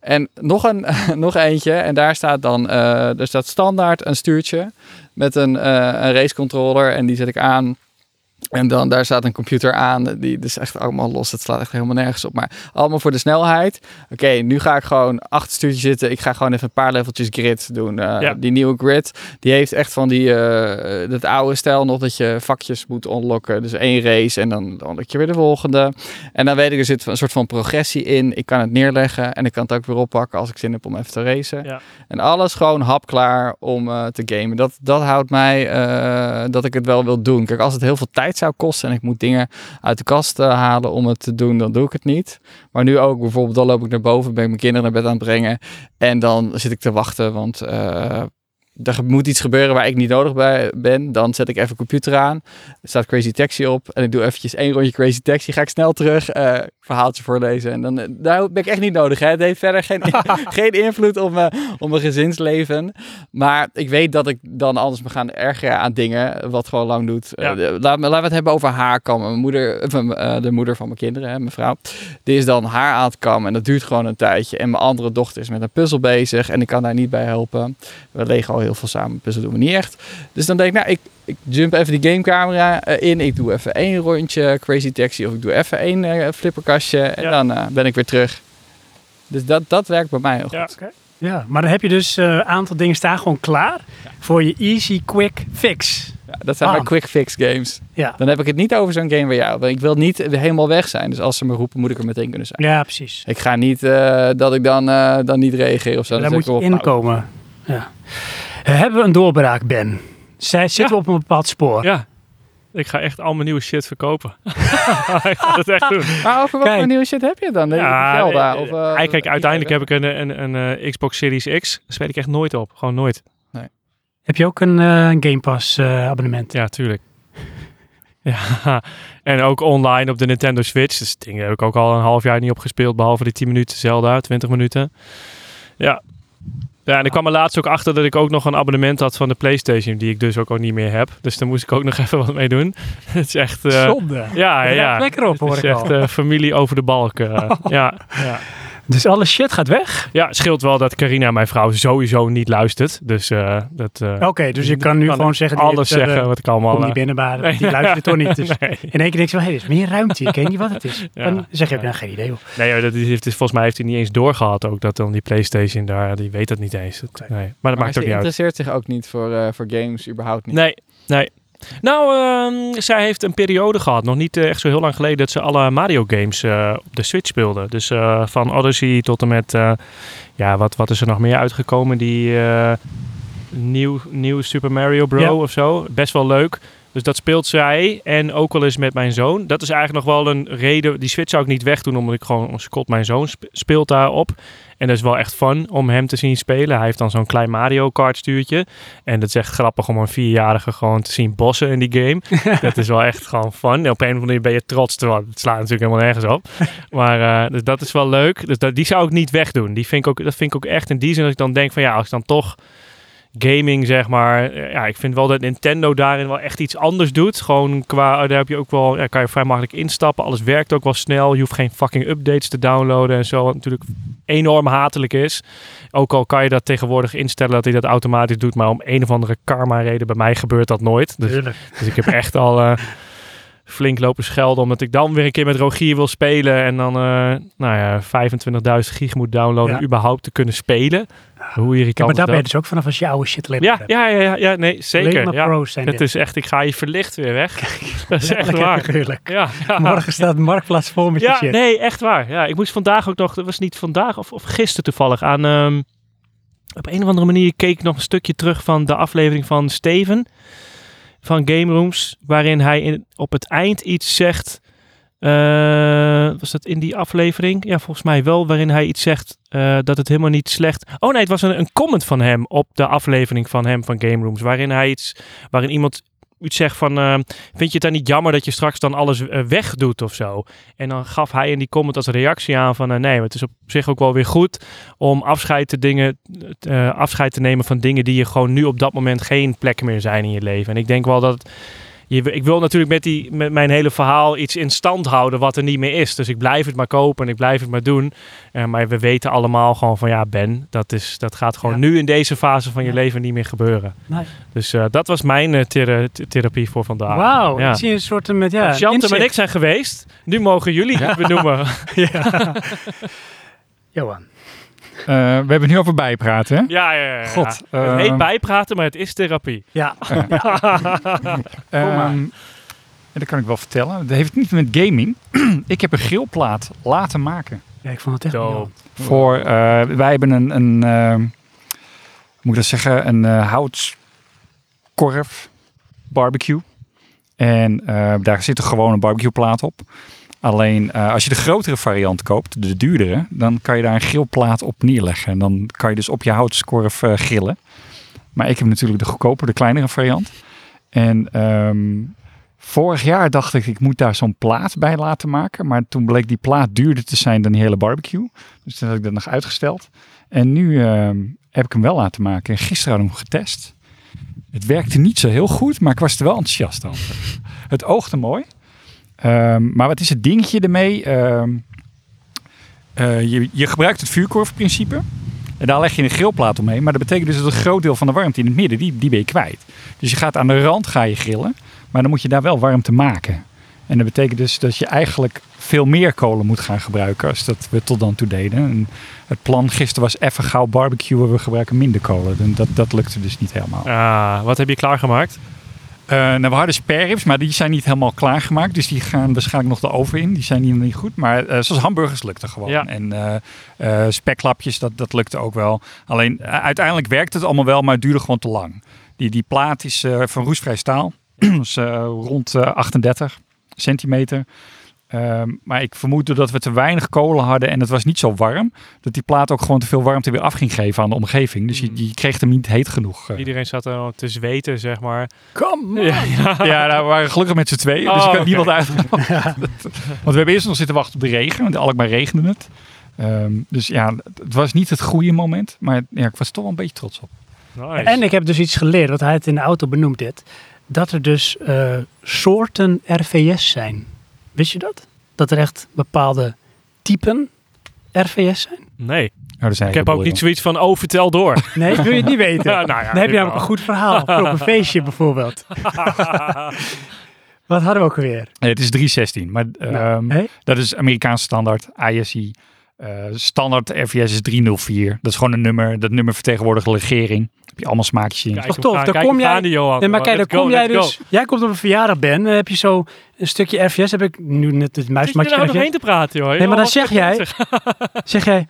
Speaker 4: En nog, een, nog eentje, en daar staat dan eh er staat standaard een stuurtje met een, eh, een racecontroller en die zet ik aan. En dan daar staat een computer aan, die dus echt allemaal los. Het slaat echt helemaal nergens op, maar allemaal voor de snelheid. Oké, nu ga ik gewoon achter het stuurtje zitten. Ik ga gewoon even een paar leveltjes grid doen. Eh,
Speaker 2: Ja.
Speaker 4: Die nieuwe grid, die heeft echt van die, eh, dat oude stijl nog dat je vakjes moet unlocken. Dus één race en dan unlock je weer de volgende. En dan weet ik, er zit een soort van progressie in. Ik kan het neerleggen en ik kan het ook weer oppakken als ik zin heb om even te racen.
Speaker 2: Ja.
Speaker 4: En alles gewoon hapklaar om eh, te gamen. Dat, dat houdt mij eh, dat ik het wel wil doen. Kijk, als het heel veel tijd zou kosten en ik moet dingen uit de kast eh, halen om het te doen, dan doe ik het niet. Maar nu ook bijvoorbeeld, dan loop ik naar boven, ben ik mijn kinderen naar bed aan het brengen. En dan zit ik te wachten, want eh, er moet iets gebeuren waar ik niet nodig bij ben. Dan zet ik even computer aan. Er staat Crazy Taxi op. En ik doe eventjes één rondje Crazy Taxi. Ga ik snel terug. eh, verhaaltje voorlezen. En dan eh, daar ben ik echt niet nodig. Hè. Het heeft verder geen, geen invloed op mijn, op mijn gezinsleven. Maar ik weet dat ik dan anders me gaan ergeren aan dingen. Wat gewoon lang doet. Eh,
Speaker 2: Ja.
Speaker 4: de- laat, me- laten we het hebben over haarkammen. Mijn moeder, of, eh, de moeder van mijn kinderen, hè, mijn vrouw. Die is dan haar aan het kammen. En dat duurt gewoon een tijdje. En mijn andere dochter is met een puzzel bezig. En ik kan daar niet bij helpen. We legen al heel veel samen. Puzzel doen we niet echt. Dus dan denk ik, nou, ik, ik jump even die gamecamera eh, in. Ik doe even één rondje Crazy Taxi of ik doe even één eh, flipperkastje. En
Speaker 2: Ja.
Speaker 4: dan eh, ben ik weer terug. Dus dat, dat werkt bij mij. heel goed.
Speaker 2: Ja.
Speaker 1: Ja, maar dan heb je dus eh, een aantal dingen staan gewoon klaar voor je easy, quick fix.
Speaker 4: Ja, dat zijn
Speaker 1: Bam.
Speaker 4: mijn quick fix games.
Speaker 1: Ja,
Speaker 4: Dan heb ik het niet over zo'n game waar jou. Want ik wil niet helemaal weg zijn. Dus als ze me roepen, moet ik er meteen kunnen zijn.
Speaker 1: ja precies.
Speaker 4: Ik ga niet eh, dat ik dan, eh, dan niet reageer of zo.
Speaker 1: Daar
Speaker 4: Dan
Speaker 1: moet
Speaker 4: zet ik
Speaker 1: je
Speaker 4: hem op pauze.
Speaker 1: inkomen. Ja. Eh, Hebben we een doorbraak, Ben? Zij, zitten we op een bepaald spoor?
Speaker 2: Ja. Ik ga echt al mijn nieuwe shit verkopen. ik ga dat echt doen.
Speaker 4: Maar over wat
Speaker 1: Kijk.
Speaker 4: voor nieuwe shit heb je dan?
Speaker 2: Ja,
Speaker 4: Zelda,
Speaker 2: eh,
Speaker 4: of, eh,
Speaker 2: eh, kijk, uiteindelijk heb ik een, eh, een, een, eh, Xbox Series X. Daar speel ik echt nooit op. Gewoon nooit.
Speaker 1: Heb je ook een eh, een Game Pass eh, abonnement?
Speaker 2: Ja, tuurlijk. ja. En ook online op de Nintendo Switch. Dus dingen heb ik ook al een half jaar niet op gespeeld. Behalve die 10 minuten Zelda, 20 minuten. Ja. Ja, en ik kwam er laatst ook achter dat ik ook nog een abonnement had van de PlayStation. Die ik dus ook al niet meer heb. Dus daar moest ik ook nog even wat mee doen. Het is echt... eh,
Speaker 1: Zonde.
Speaker 2: ja,
Speaker 1: Het
Speaker 2: ja.
Speaker 1: raakt lekker op, hoor
Speaker 2: Het
Speaker 1: ik
Speaker 2: is echt
Speaker 1: al.
Speaker 2: eh, familie over de balk.
Speaker 1: Oh.
Speaker 2: eh. ja. ja.
Speaker 1: Dus alle shit gaat weg?
Speaker 2: Ja, het scheelt wel dat Carina, mijn vrouw, sowieso niet luistert. Dus eh, dat... eh,
Speaker 1: Oké, dus je kan nu
Speaker 2: kan
Speaker 1: gewoon zeggen... die
Speaker 2: alles
Speaker 1: heeft er,
Speaker 2: zeggen wat ik allemaal...
Speaker 1: Kom
Speaker 2: eh,
Speaker 1: niet binnen, maar
Speaker 2: nee.
Speaker 1: die luisteren toch niet. Dus
Speaker 2: nee.
Speaker 1: in één keer denk je wel, hé, er is meer ruimte. Ik weet niet wat het is.
Speaker 2: Ja.
Speaker 1: Dan zeg je ook, nou, geen idee. Hoor.
Speaker 2: Nee, joh, dat is, heeft, is- volgens mij heeft hij niet eens doorgehad ook dat dan die PlayStation daar, die weet dat niet eens. Dat-
Speaker 1: Oké.
Speaker 2: nee. Maar dat
Speaker 4: Maar
Speaker 2: maakt ook
Speaker 4: ze
Speaker 2: niet uit.
Speaker 4: interesseert zich ook niet voor, eh, voor games, überhaupt niet.
Speaker 2: Nee, nee. Nou, ehm, zij heeft een periode gehad, nog niet eh, echt zo heel lang geleden, dat ze alle Mario games eh, op de Switch speelde. Dus eh, van Odyssey tot en met, eh, ja, wat, wat is er nog meer uitgekomen? Die eh, nieuw, nieuw Super Mario Bro
Speaker 1: Ja.
Speaker 2: of zo. Best wel leuk. Dus dat speelt zij en ook wel eens met mijn zoon. Dat is eigenlijk nog wel een reden. Die Switch zou ik niet wegdoen, omdat ik gewoon, Scott, mijn zoon sp- speelt daarop. En dat is wel echt fun om hem te zien spelen. Hij heeft dan zo'n klein Mario Kart stuurtje. En dat is echt grappig om een vierjarige gewoon te zien bossen in die game. dat is wel echt gewoon fun. En op een of andere manier ben je trots, terwijl het slaat natuurlijk helemaal nergens op. Maar eh, dus dat is wel leuk. Dus dat, die zou ik niet wegdoen. Die vind ik ook, dat vind ik ook echt in die zin dat ik dan denk van ja, als ik dan toch gaming zeg maar. eh, Ja, ik vind wel dat Nintendo daarin wel echt iets anders doet. Gewoon qua, eh, daar heb je ook wel, ja, kan je vrij makkelijk instappen. Alles werkt ook wel snel. Je hoeft geen fucking updates te downloaden en zo. Wat natuurlijk enorm hatelijk is. Ook al kan je dat tegenwoordig instellen dat hij dat automatisch doet. Maar om een of andere karma reden bij mij gebeurt dat nooit. Dus
Speaker 1: Tuurlijk.
Speaker 2: dus ik heb echt al eh, flink lopen schelden. Omdat ik dan weer een keer met Rogier wil spelen. En dan eh, nou ja, 25.000 gig moet downloaden.
Speaker 1: Ja.
Speaker 2: om überhaupt te kunnen spelen. Hoe irritant
Speaker 1: Ja, maar daar
Speaker 2: is
Speaker 1: ben je
Speaker 2: dat?
Speaker 1: dus ook vanaf als je oude shit alleen maar
Speaker 2: Ja,
Speaker 1: hebt.
Speaker 2: ja, ja, ja, ja, nee,
Speaker 1: Alleen
Speaker 2: zeker.
Speaker 1: maar
Speaker 2: Ja.
Speaker 1: pro's zijn
Speaker 2: Het
Speaker 1: dit.
Speaker 2: is echt, ik ga je verlicht weer weg. dat is echt
Speaker 1: Letterlijk en
Speaker 2: waar.
Speaker 1: figuurlijk.
Speaker 2: Ja, ja.
Speaker 1: Morgen staat Marktplaats vol met je
Speaker 2: Ja,
Speaker 1: shit.
Speaker 2: nee, echt waar. Ja, ik moest vandaag ook nog, dat was niet vandaag of, of gisteren toevallig, aan... ehm, op een of andere manier keek ik nog een stukje terug van de aflevering van Steven van Game Rooms, waarin hij in, op het eind iets zegt. eh, was dat in die aflevering? Ja, volgens mij wel, waarin hij iets zegt eh, dat het helemaal niet slecht. Oh nee, het was een, een comment van hem op de aflevering van hem van Game Rooms, waarin hij iets, waarin iemand iets zegt van, eh, vind je het dan niet jammer dat je straks dan alles eh, wegdoet of zo? En dan gaf hij in die comment als reactie aan van, eh, nee, maar het is op zich ook wel weer goed om afscheid te, dingen, eh, afscheid te nemen van dingen die je gewoon nu op dat moment geen plek meer zijn in je leven. En ik denk wel dat je, ik wil natuurlijk met, die, met mijn hele verhaal iets in stand houden wat er niet meer is. Dus ik blijf het maar kopen en ik blijf het maar doen. Eh, maar we weten allemaal gewoon van ja, Ben, dat, is, dat gaat gewoon
Speaker 1: Ja.
Speaker 2: nu in deze fase van je
Speaker 1: Ja.
Speaker 2: leven niet meer gebeuren.
Speaker 1: Nee.
Speaker 2: Dus eh, dat was mijn eh, thera- therapie voor vandaag.
Speaker 1: Wauw,
Speaker 2: Ah, Ja.
Speaker 1: ik zie een soort eh, met ja,
Speaker 2: Als Chantem en
Speaker 1: inzicht.
Speaker 2: ik zijn geweest. Nu mogen jullie het benoemen.
Speaker 1: Ja. Johan.
Speaker 3: Eh, we hebben het nu over bijpraten, hè?
Speaker 2: Ja, ja, ja. ja.
Speaker 3: God.
Speaker 2: Het
Speaker 3: eh,
Speaker 2: heet bijpraten, maar het is therapie.
Speaker 1: Ja,
Speaker 3: ehm,
Speaker 1: maar.
Speaker 3: en dat kan ik wel vertellen. Dat heeft niet met gaming. ik heb een grillplaat laten maken.
Speaker 1: Ja, ik vond het echt
Speaker 2: Zo.
Speaker 1: mooi.
Speaker 3: Voor, eh, wij hebben een, een eh, hoe moet ik dat zeggen, een eh, houtskorf barbecue. En eh, daar zit er gewoon een barbecueplaat op. Alleen eh, als je de grotere variant koopt, de duurdere, dan kan je daar een grillplaat op neerleggen. En dan kan je dus op je houtskorf eh, grillen. Maar ik heb natuurlijk de goedkoper, de kleinere variant. En ehm, vorig jaar dacht ik, ik moet daar zo'n plaat bij laten maken. Maar toen bleek die plaat duurder te zijn dan die hele barbecue. Dus toen heb ik dat nog uitgesteld. En nu ehm, heb ik hem wel laten maken. En gisteren hadden we hem getest. Het werkte niet zo heel goed, maar ik was er wel enthousiast over. het oogde mooi. Ehm, maar wat is het dingetje ermee? Ehm, eh, je, je gebruikt het vuurkorfprincipe. En daar leg je een grillplaat omheen. Maar dat betekent dus dat een groot deel van de warmte in het midden, die, die ben je kwijt. Dus je gaat aan de rand ga je grillen. Maar dan moet je daar wel warmte maken. En dat betekent dus dat je eigenlijk veel meer kolen moet gaan gebruiken als dat we tot dan toe deden. En het plan gisteren was even gauw barbecuen, we gebruiken minder kolen. En dat, dat lukte dus niet helemaal.
Speaker 2: Ah, wat heb je klaargemaakt?
Speaker 3: Eh, nou, we hadden spareribs, maar die zijn niet helemaal klaargemaakt. Dus die gaan waarschijnlijk nog de oven in. Die zijn hier nog niet goed. Maar eh, zoals hamburgers lukte gewoon.
Speaker 2: Ja.
Speaker 3: En eh, eh, speklapjes, dat, dat lukte ook wel. Alleen eh, uiteindelijk werkte het allemaal wel, maar het duurde gewoon te lang. Die, die plaat is eh, van roestvrij staal. dus eh, rond eh, 38 centimeter. Ehm, maar ik vermoed doordat we te weinig kolen hadden en het was niet zo warm, dat die plaat ook gewoon te veel warmte weer af ging geven aan de omgeving. Dus je,
Speaker 2: Mm.
Speaker 3: je kreeg hem niet heet genoeg. eh.
Speaker 2: Iedereen zat er al te zweten, zeg maar.
Speaker 3: Kom ja, ja, nou, we waren gelukkig met z'n tweeën. Dus
Speaker 2: Oh,
Speaker 3: ik had
Speaker 2: oké.
Speaker 3: niemand uitgenodigd. Want we hebben eerst nog zitten wachten op de regen. Want in Alkmaar regende het. Ehm, dus ja, het was niet het goede moment. Maar ja, ik was toch wel een beetje trots op.
Speaker 2: Nice.
Speaker 1: En ik heb dus iets geleerd, want hij had in de auto benoemd dit. Dat er dus eh, soorten RVS zijn. Wist je dat? Dat er echt bepaalde typen RVS zijn?
Speaker 2: nee,
Speaker 3: Nou, er zijn
Speaker 2: ik heb ook niet zoiets van, oh, vertel door.
Speaker 1: Nee, wil je het niet weten.
Speaker 2: Ja, nou ja,
Speaker 1: Dan heb
Speaker 2: ik
Speaker 1: je namelijk
Speaker 2: wel.
Speaker 1: een goed verhaal voor op een feestje bijvoorbeeld. Wat hadden we ook weer?
Speaker 3: Nee, het is 316. Maar ehm,
Speaker 1: hè?
Speaker 3: dat is Amerikaanse standaard. ISI. eh, standaard RVS is 304. Dat is gewoon een nummer. Dat nummer vertegenwoordigt de regering. Daar heb je allemaal smaakjes in.
Speaker 2: Kijk
Speaker 1: toch
Speaker 2: hem
Speaker 1: tof,
Speaker 2: gaan,
Speaker 1: daar
Speaker 2: kijk
Speaker 1: kom
Speaker 2: hem
Speaker 1: jij-
Speaker 2: aan, die Johan.
Speaker 1: Nee, maar kijk, dan
Speaker 2: Let's
Speaker 1: kom
Speaker 2: go,
Speaker 1: jij
Speaker 2: let's
Speaker 1: dus.
Speaker 2: go.
Speaker 1: Jij komt op een verjaardag, Ben. Dan heb je zo een stukje RVS. Heb ik nu net het
Speaker 2: Zit je
Speaker 1: muismatje.
Speaker 2: er nou nog
Speaker 1: gereageerd.
Speaker 2: heen te praten, joh?
Speaker 1: Nee, maar dan zeg jij. Zeg jij.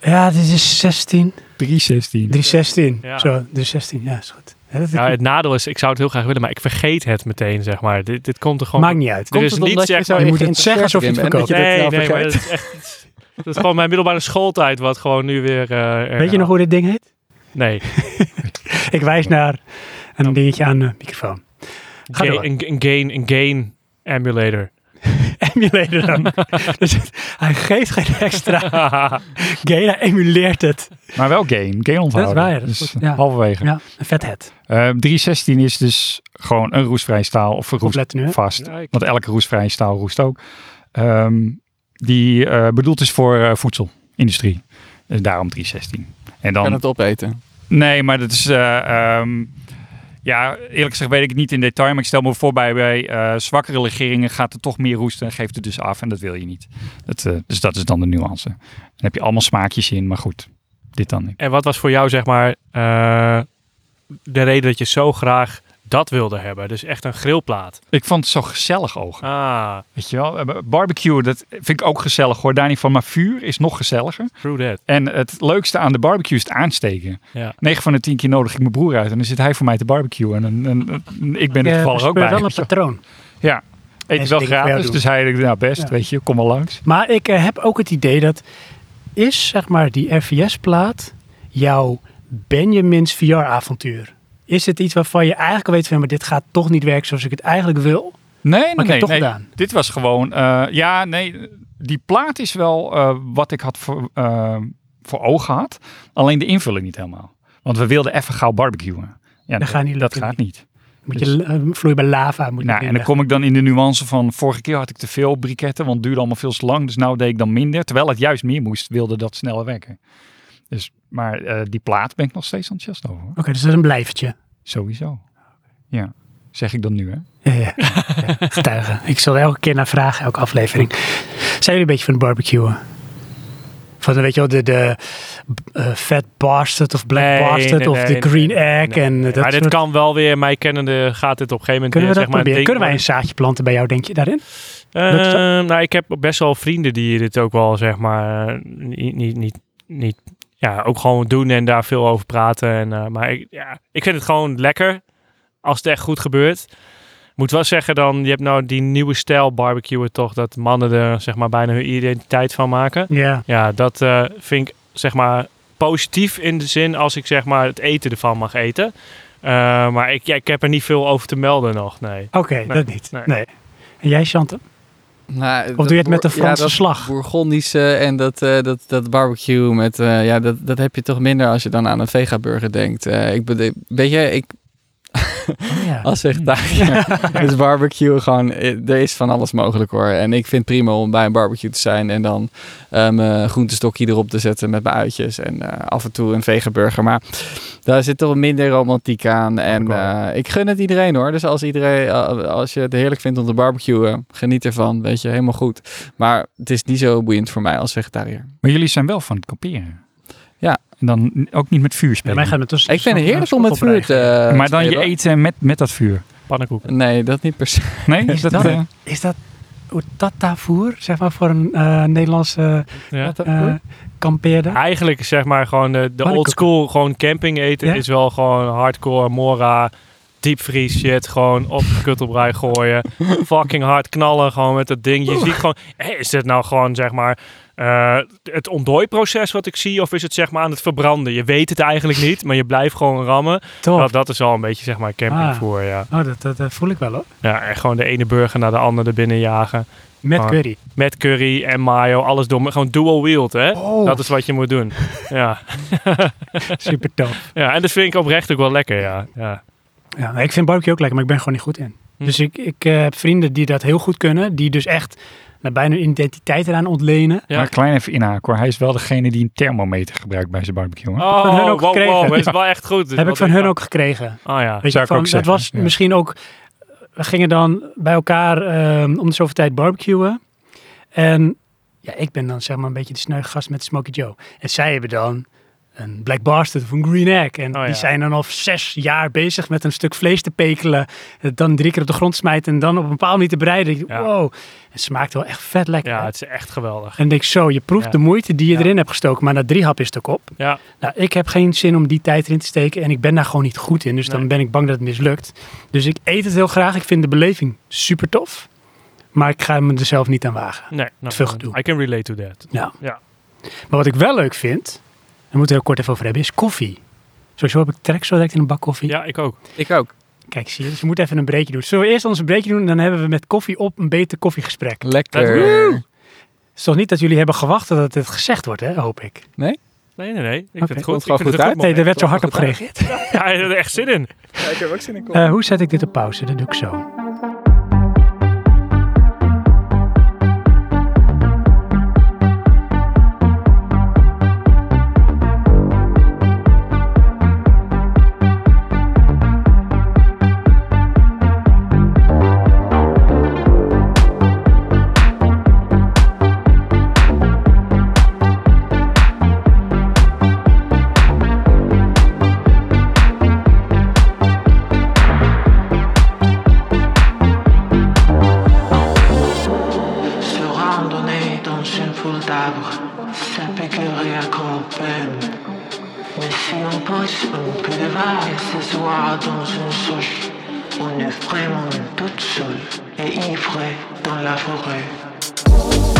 Speaker 1: Ja, dit is 16.
Speaker 3: 316.
Speaker 1: 316.
Speaker 2: Ja.
Speaker 1: Zo, 316. Ja, is goed. Ja, dat-
Speaker 2: Ja, het nadeel is, ik zou het heel graag willen, maar ik vergeet het meteen, zeg maar. Dit, dit komt er gewoon...
Speaker 1: Maakt niet uit.
Speaker 2: Er is niet, zeg maar...
Speaker 1: je moet het zeggen alsof je het verkoopt.
Speaker 4: Nee,
Speaker 2: Nee, nee, maar dat is echt... Dat is gewoon mijn middelbare schooltijd, wat gewoon nu weer... eh,
Speaker 1: Weet je nog hoe dit ding heet?
Speaker 2: Nee,
Speaker 1: Ik wijs naar een dingetje aan de microfoon. Ga
Speaker 2: Ga-
Speaker 1: door.
Speaker 2: een, een gain, een gain emulator.
Speaker 1: Emulator dan. dus het- hij geeft geen extra gain, hij emuleert het.
Speaker 3: Maar wel gain. Gain onthouden.
Speaker 1: waar, ja, dat is
Speaker 3: Dus
Speaker 1: goed. Ja.
Speaker 3: halverwege.
Speaker 1: Ja, een vet het.
Speaker 3: Eh, 316 is dus gewoon een roestvrij staal of een roest
Speaker 1: Opletten nu. hè?
Speaker 3: vast.
Speaker 2: Ja, ik-
Speaker 3: Want elke roestvrije staal roest ook. Ehm, die eh, bedoeld is voor eh, voedselindustrie. Dus daarom 316. En dan
Speaker 4: kan het opeten.
Speaker 3: Nee, maar dat is. eh, ehm, ja, eerlijk gezegd weet ik het niet in detail. Maar ik stel me voor bij, bij eh, zwakkere legeringen gaat er toch meer roest en geeft het dus af. En dat wil je niet. Dat, eh, dus dat is dan de nuance. Dan heb je allemaal smaakjes in, maar goed. Dit dan niet.
Speaker 2: En wat was voor jou, zeg maar, eh, de reden dat je zo graag dat wilde hebben? Dus echt een grillplaat.
Speaker 3: Ik vond het zo gezellig ogen.
Speaker 2: Ah,
Speaker 3: Weet je wel? Eh, Barbecue, dat vind ik ook gezellig hoor. Daar niet van. Maar vuur is nog gezelliger.
Speaker 2: true that.
Speaker 3: En het leukste aan de barbecue is het aansteken.
Speaker 2: Ja.
Speaker 3: 9 van de 10 keer nodig ik mijn broer uit. En dan zit hij voor mij te barbecuen. En, en, en- en ik ben er
Speaker 1: Eh,
Speaker 3: toevallig ook
Speaker 1: bespeur
Speaker 3: bij.
Speaker 1: wel een patroon.
Speaker 3: Eet
Speaker 1: Deze
Speaker 3: wel
Speaker 1: dingen voor jou
Speaker 3: gratis,
Speaker 1: doen.
Speaker 3: dus hij denkt, nou best,
Speaker 1: Ja.
Speaker 3: weet je, kom maar langs.
Speaker 1: Maar ik eh, heb ook het idee dat is zeg maar die RVS-plaat jouw Benjamin's VR-avontuur? Is het iets waarvan je eigenlijk al weet van, maar dit gaat toch niet werken zoals ik het eigenlijk wil?
Speaker 3: Nee, nee,
Speaker 1: Maar ik heb
Speaker 3: nee,
Speaker 1: het toch
Speaker 3: nee.
Speaker 1: gedaan.
Speaker 3: Dit was gewoon, eh, ja, nee, die plaat is wel eh, wat ik had voor, eh, voor ogen had. Alleen de invulling niet helemaal. Want we wilden even gauw barbecuen. Ja, dat,
Speaker 1: gaat niet
Speaker 3: dat
Speaker 1: lukken.
Speaker 3: gaat niet.
Speaker 1: Moet je eh, vloeibaar lava moet je
Speaker 3: Dus- Nou, en dan
Speaker 1: inleggen.
Speaker 3: kom ik dan in de nuance van vorige keer had ik te veel briketten, want het duurde allemaal veel te lang. Dus nou deed ik dan minder. Terwijl het juist meer moest, wilde dat sneller werken. Dus, maar eh, die plaat ben ik nog steeds enthousiast over. hoor.
Speaker 1: Oké, dus dat is een blijvertje.
Speaker 3: Sowieso. Ja, zeg ik dan nu hè.
Speaker 1: Ja, ja. Ja, Getuigen. Ik zal er elke keer naar vragen, elke aflevering. Zijn jullie een beetje van het barbecuen? Van, weet je wel, de, de eh, Fat Bastard of Black
Speaker 2: Nee,
Speaker 1: Bastard
Speaker 2: nee,
Speaker 1: of
Speaker 2: nee,
Speaker 1: de
Speaker 2: nee,
Speaker 1: Green
Speaker 2: nee,
Speaker 1: Egg
Speaker 2: nee,
Speaker 1: en eh, dat
Speaker 2: maar dit
Speaker 1: soort...
Speaker 2: kan wel weer, mij kennende gaat dit op een gegeven moment
Speaker 1: Kunnen we
Speaker 2: weer,
Speaker 1: dat
Speaker 2: zeg maar,
Speaker 1: proberen?
Speaker 2: een
Speaker 1: Kunnen wij een
Speaker 2: ding
Speaker 1: zaadje planten bij jou, denk je, daarin?
Speaker 2: worden. Ehm, nou, ik heb best wel vrienden die dit ook wel, zeg maar, eh, niet, niet, niet, niet ja, ook gewoon doen en daar veel over praten. En, eh, maar ik, ja, ik vind het gewoon lekker als het echt goed gebeurt. Moet wel zeggen dan, je hebt nou die nieuwe stijl barbecue toch, dat mannen er zeg maar bijna hun identiteit van maken.
Speaker 1: Ja.
Speaker 2: Ja, dat eh, vind ik zeg maar positief in de zin als ik zeg maar het eten ervan mag eten. Eh, maar ik, ja, ik heb er niet veel over te melden nog, nee.
Speaker 1: Oké,
Speaker 2: Nee,
Speaker 1: dat niet.
Speaker 2: nee.
Speaker 1: Nee. En jij, Chante?
Speaker 4: Nou,
Speaker 1: Of
Speaker 4: dat
Speaker 1: doe je het met de
Speaker 4: boer- ja,
Speaker 1: Franse
Speaker 4: dat
Speaker 1: slag?
Speaker 4: Bourgondische en dat, eh, dat, dat barbecue met, eh, ja, dat, dat heb je toch minder als je dan aan een vegaburger denkt. Eh, ik bedoel, weet je, ik Oh,
Speaker 1: Ja.
Speaker 4: als vegetariër is barbecue gewoon, eh, er is van alles mogelijk hoor. En ik vind prima om bij een barbecue te zijn en dan eh, mijn groentestokje erop te zetten met mijn uitjes en eh, af en toe een vegenburger. Maar daar zit toch minder romantiek aan. En eh, ik gun het iedereen hoor. Dus als iedereen, eh, als je het heerlijk vindt om te barbecuen, geniet ervan. Weet je, helemaal goed. Maar het is niet zo boeiend voor mij als vegetariër.
Speaker 3: Maar jullie zijn wel van het kamperen.
Speaker 4: Ja.
Speaker 3: En dan n- ook niet met vuur
Speaker 1: Ja,
Speaker 3: spelen.
Speaker 1: wij gaan het dus
Speaker 4: Ik vind het heerlijk om met vuur te.
Speaker 3: maar dan je
Speaker 4: eh, spelen.
Speaker 3: eten met, met dat vuur.
Speaker 2: Pannenkoek.
Speaker 4: Nee, dat niet per se.
Speaker 3: Nee? Is dat,
Speaker 1: dat-
Speaker 3: eh,
Speaker 1: Is dat oetatavoer, zeg maar, voor een eh, Nederlandse
Speaker 2: Ja.
Speaker 1: eh kampeerder?
Speaker 2: Eigenlijk is, zeg maar gewoon de, de
Speaker 1: Pannenkoeken.
Speaker 2: old school, gewoon camping eten
Speaker 1: Ja?
Speaker 2: is wel gewoon hardcore mora, diepvries shit, gewoon op de kuttelbrei gooien, fucking hard knallen gewoon met dat ding. Je ziet gewoon, hé, is dit nou gewoon zeg maar eh, het ontdooiproces wat ik zie of is het zeg maar aan het verbranden? Je weet het eigenlijk niet, maar je blijft gewoon rammen.
Speaker 1: Toch?
Speaker 2: Nou, dat is al een beetje zeg maar campingvoer, ja.
Speaker 1: Oh, dat, dat, eh, voel ik wel hoor.
Speaker 2: Ja, en gewoon de ene burger naar de andere binnen jagen.
Speaker 1: Met
Speaker 2: Ah.
Speaker 1: curry.
Speaker 2: Met curry en mayo, alles door. Gewoon dual wield, hè?
Speaker 1: Oh.
Speaker 2: Dat is wat je moet doen. Ja.
Speaker 1: Super tof.
Speaker 2: ja, en dat vind ik oprecht ook wel lekker, ja. ja.
Speaker 1: Ja, maar ik vind barbecue ook lekker, maar ik ben er gewoon niet goed in.
Speaker 2: Hm.
Speaker 1: Dus ik, ik eh, heb vrienden die dat heel goed kunnen. Die dus echt nou, bijna hun identiteit eraan ontlenen.
Speaker 2: Ja.
Speaker 3: Maar klein even inhaken hoor. Hij is wel degene die een thermometer gebruikt bij zijn barbecue. hoor.
Speaker 2: Oh,
Speaker 1: van hun
Speaker 2: wow,
Speaker 1: ook gekregen.
Speaker 2: wow, dat is wel echt goed.
Speaker 1: heb
Speaker 2: Dat is
Speaker 1: ik
Speaker 2: wel
Speaker 1: van hun
Speaker 2: leuk.
Speaker 1: ook gekregen.
Speaker 2: Ah ja.
Speaker 1: Weet
Speaker 3: Zou
Speaker 1: je,
Speaker 3: ik
Speaker 1: van,
Speaker 3: ook
Speaker 1: dat
Speaker 3: zeggen,
Speaker 1: was
Speaker 3: ja.
Speaker 1: misschien ook... We gingen dan bij elkaar ehm, om de zoveel tijd barbecuen. En Ja, ik ben dan zeg maar een beetje de sneu gast met Smokey Joe. En zij hebben dan een Black Bastard of een Green Egg. En
Speaker 2: Oh, ja.
Speaker 1: die zijn dan al zes jaar bezig met een stuk vlees te pekelen. Het dan drie keer op de grond smijten en dan op een paal niet te breiden. Ik denk,
Speaker 2: Ja.
Speaker 1: Wow. Het smaakt wel echt vet lekker.
Speaker 2: Ja,
Speaker 1: hè?
Speaker 2: het is echt geweldig.
Speaker 1: En ik denk zo, je proeft
Speaker 2: Ja.
Speaker 1: de moeite die je
Speaker 2: Ja.
Speaker 1: erin hebt gestoken. Maar na drie hap is het ook op.
Speaker 2: Ja,
Speaker 1: Nou, ik heb geen zin om die tijd erin te steken en ik ben daar gewoon niet goed in. Dus dan
Speaker 2: Nee.
Speaker 1: ben ik bang dat het mislukt. Dus ik eet het heel graag. Ik vind de beleving super tof. Maar ik ga me er zelf niet aan wagen.
Speaker 2: nee. Nou,
Speaker 1: Veel gedoe.
Speaker 2: I can relate to that.
Speaker 1: Nou.
Speaker 2: Ja.
Speaker 1: Maar wat ik wel leuk vind, en we moeten er heel kort even over hebben, is koffie. Sowieso heb ik trek zo direct in een bak koffie.
Speaker 2: Ja, ik ook.
Speaker 4: Ik ook.
Speaker 1: Kijk, zie je, dus we moeten even een breekje doen. Zullen we eerst ons een breekje doen en dan hebben we met koffie op een beter koffiegesprek.
Speaker 4: Lekker.
Speaker 1: Het is toch niet dat jullie hebben gewacht dat het gezegd wordt, hè? hoop ik.
Speaker 2: Nee, nee, nee. Ik vind
Speaker 1: Oké.
Speaker 4: Komt
Speaker 2: het goed. Ik
Speaker 4: gewoon
Speaker 2: vind
Speaker 4: goed
Speaker 2: het
Speaker 4: uit.
Speaker 2: een
Speaker 1: Nee, daar werd zo hard op
Speaker 4: Goed gedaan.
Speaker 1: gereageerd.
Speaker 2: moment. Ja, ik heb er echt zin in.
Speaker 4: Ja, ik heb ook zin in koffie.
Speaker 1: Eh, hoe zet ik dit op pauze? Dat doe ik zo.
Speaker 6: Se randonner dans une foule d'arbres, ça piquerait à grand peine. Mais si on pousse un peu de vin et s'asseoir dans une souche, on est vraiment toute seule et ivre dans la forêt.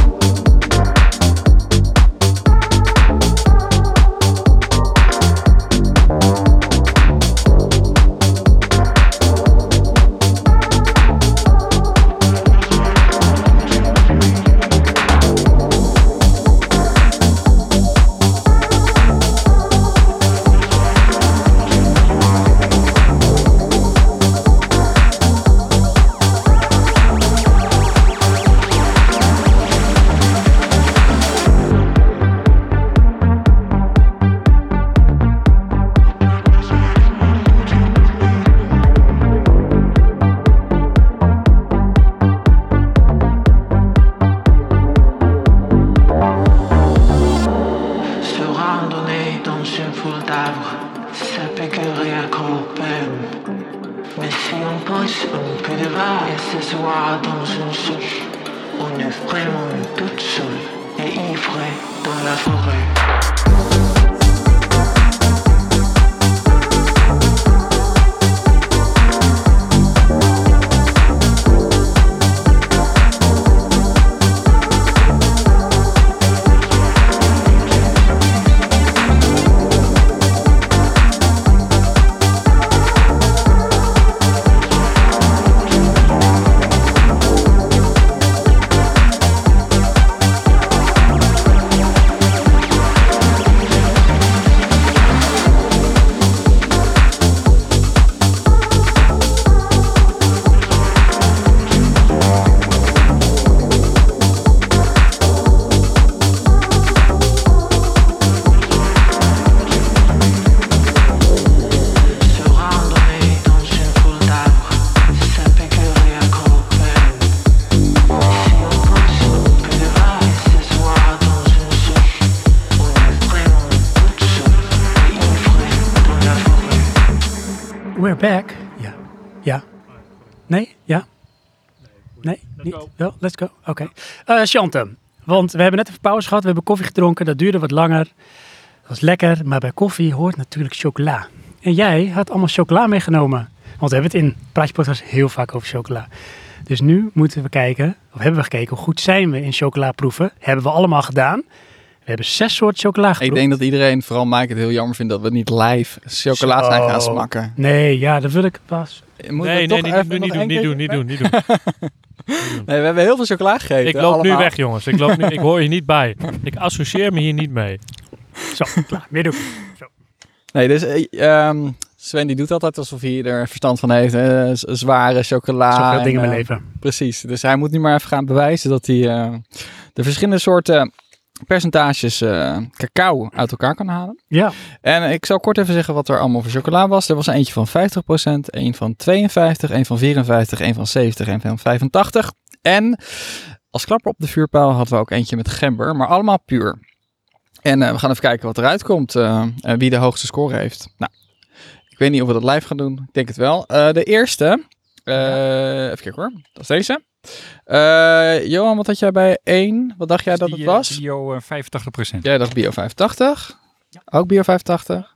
Speaker 6: Se randonner dans une foule d'arbres, ça piquerait à grand peine. Mais si on pousse un peu de vin et s'asseoir dans une souche, on est vraiment toute seule et ivre dans la forêt. Se randonner dans une foule d'arbres, ça piquerait à grand peine. Si on pousse un peu de vin et s'asseoir dans une souche, on est vraiment toute seule et ivre dans la forêt.
Speaker 1: We're back. Ja. Ja. Nee? Ja? Nee? Niet? Wel? Let's go. Oké. Eh, Chantem, want we hebben net even pauze gehad. We hebben koffie gedronken. Dat duurde wat langer. Dat was lekker. Maar bij koffie hoort natuurlijk chocola. En jij had allemaal chocola meegenomen. Want we hebben het in Praatje Podcast heel vaak over chocola. Dus nu moeten we kijken, of hebben we gekeken, hoe goed zijn we in chocola proeven. Hebben we allemaal gedaan. We hebben zes soorten chocola geproefd.
Speaker 4: Ik denk dat iedereen, vooral Mike, het heel jammer vindt dat we niet live chocola zijn gaan
Speaker 1: Zo.
Speaker 4: smakken.
Speaker 1: Nee, ja, dat wil ik pas.
Speaker 4: Moeten we
Speaker 2: Nee,
Speaker 4: toch
Speaker 2: nee, nee,
Speaker 4: even nog
Speaker 2: niet, niet, doen,
Speaker 4: één
Speaker 2: niet
Speaker 4: keer-
Speaker 2: doen, niet doen, niet doen.
Speaker 4: Nee, we hebben heel veel chocola gegeten.
Speaker 2: Ik loop nu
Speaker 4: allemaal.
Speaker 2: weg, jongens. Ik, loop nu, ik hoor je niet bij. Ik associeer me hier niet mee.
Speaker 1: Zo, klaar. Meer doen.
Speaker 4: Nee, dus eh, ehm, Sven die doet altijd alsof hij er verstand van heeft. eh, z- zware chocola.
Speaker 1: Zoveel
Speaker 4: en,
Speaker 1: dingen in mijn
Speaker 4: eh,
Speaker 1: leven.
Speaker 4: Precies. Dus hij moet nu maar even gaan bewijzen dat hij eh, de verschillende soorten percentages eh, cacao uit elkaar kan halen.
Speaker 1: Ja.
Speaker 4: En ik zal kort even zeggen wat er allemaal voor chocola was. Er was er eentje van 50%, een van 52, een van 54, een van 70 en van 85. En Als klapper op de vuurpijl hadden we ook eentje met gember, maar allemaal puur. En eh, we gaan even kijken wat eruit komt, eh, eh, wie de hoogste score heeft. Nou, ik weet niet of we dat live gaan doen. Ik denk het wel. Eh, de eerste, eh, even kijken hoor, dat is deze. Eh, Johan, wat had jij bij 1? Wat dacht jij dat
Speaker 3: Die,
Speaker 4: het
Speaker 3: eh,
Speaker 4: was?
Speaker 3: Bio eh, 85%.
Speaker 4: Jij dacht Bio 580. Ook Bio 580.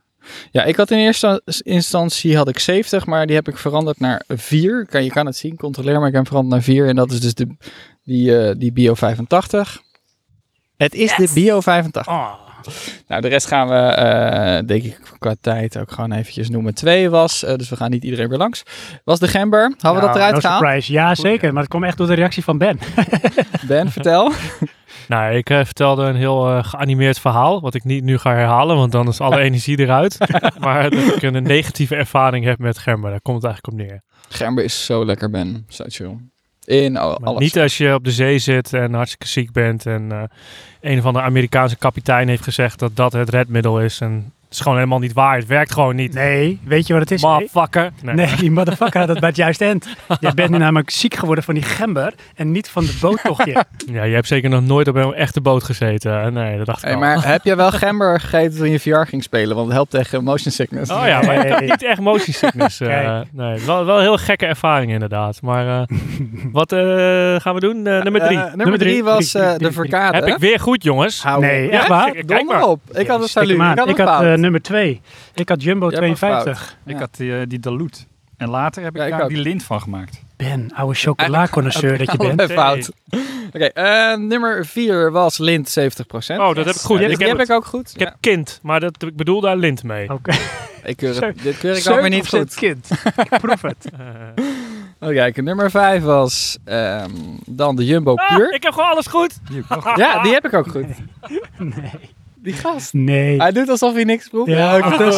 Speaker 4: Ja, ik had in eerste instantie had ik 70, maar die heb ik veranderd naar 4. Kan, je kan het zien, controleer, maar ik heb hem veranderd naar 4. En dat is dus de, die, eh, die Bio 85. Het is de Bio 85.
Speaker 2: Ah.
Speaker 4: Nou, de rest gaan we, eh, denk ik, qua tijd ook gewoon eventjes noemen. 2 was, eh, dus we gaan niet iedereen weer langs. Was de Gember. Hadden we
Speaker 1: Nou,
Speaker 4: dat eruit
Speaker 1: no
Speaker 4: gehaald?
Speaker 1: surprise. Ja, zeker. Maar het kwam echt door de reactie van Ben.
Speaker 4: Ben, vertel.
Speaker 2: Nou, ik eh, vertelde een heel eh, geanimeerd verhaal, wat ik niet nu ga herhalen, want dan is alle energie eruit. maar dat ik een negatieve ervaring heb met Gerben, daar komt het eigenlijk op neer.
Speaker 4: Gember is zo lekker, Ben. Zo chill. In al-
Speaker 2: Maar
Speaker 4: alles.
Speaker 2: Niet als je op de zee zit en hartstikke ziek bent en eh, een van de Amerikaanse kapitein heeft gezegd dat dat het redmiddel is. En het is gewoon helemaal niet waar, het werkt gewoon niet.
Speaker 1: Nee, weet je wat het is? Nee.
Speaker 2: Motherfucker. Nee.
Speaker 1: Nee, die motherfucker had het bij het juiste end. Je bent nu namelijk ziek geworden van die gember en niet van de boottochtje.
Speaker 2: Ja, je hebt zeker nog nooit op een echte boot gezeten. Eh, Nee, dat dacht ik
Speaker 4: Hey,
Speaker 2: al.
Speaker 4: maar heb je wel gember gegeten toen je VR ging spelen? Want het helpt tegen motion sickness.
Speaker 2: Oh ja, maar ik had
Speaker 1: Nee.
Speaker 2: niet echt motion sickness. eh,
Speaker 1: Kijk.
Speaker 2: nee, wel, wel een heel gekke ervaring inderdaad. Maar eh, wat eh, gaan we doen? Eh, nummer drie.
Speaker 4: Eh, nummer drie was eh,
Speaker 1: drie,
Speaker 4: de verkade.
Speaker 2: Heb ik weer goed, jongens.
Speaker 4: Hou
Speaker 1: Nee,
Speaker 4: op.
Speaker 1: echt waar?
Speaker 2: Kijk, kijk
Speaker 4: Donder
Speaker 2: maar.
Speaker 4: op. Ik had het
Speaker 1: Stik
Speaker 4: salu.
Speaker 1: hem aan.
Speaker 4: Ik had
Speaker 1: Ik
Speaker 4: het
Speaker 1: had eh,
Speaker 4: fout.
Speaker 1: nummer 2. Ik had Jumbo
Speaker 4: Jij hebt een
Speaker 1: 52.
Speaker 3: Ik
Speaker 4: Ja.
Speaker 3: had die, eh, die Daloot. En later heb ik
Speaker 4: Ja, ik
Speaker 3: daar
Speaker 4: ook.
Speaker 3: die lint van gemaakt.
Speaker 1: Ben, oude chocola-connoisseur dat je bent.
Speaker 4: Allebei fout. Oké, eh, nummer vier was lint 70%.
Speaker 2: Oh, dat heb ik goed.
Speaker 4: Ja,
Speaker 2: ik
Speaker 4: dit
Speaker 2: heb,
Speaker 4: heb
Speaker 2: het.
Speaker 4: ik ook goed.
Speaker 2: Ik heb kind, maar dat, ik bedoel daar lint mee.
Speaker 1: Oké.
Speaker 4: Ja, ik keur het, dit keur ik
Speaker 1: Zeuk
Speaker 4: ook weer
Speaker 1: op
Speaker 4: niet
Speaker 1: zijn
Speaker 4: goed.
Speaker 1: kind. Ik proef het.
Speaker 2: Eh,
Speaker 4: Oh, kijk, nummer vijf was ehm, dan de Jumbo
Speaker 2: Ah,
Speaker 4: Puur.
Speaker 2: ik heb gewoon alles goed.
Speaker 3: Die heb ik ook
Speaker 4: Ja, die heb ik ook goed.
Speaker 1: Nee.
Speaker 4: Die gast.
Speaker 1: Nee.
Speaker 4: Hij doet alsof hij niks proeft.
Speaker 1: Ja,
Speaker 4: Ja,
Speaker 1: wat
Speaker 4: ik-
Speaker 1: is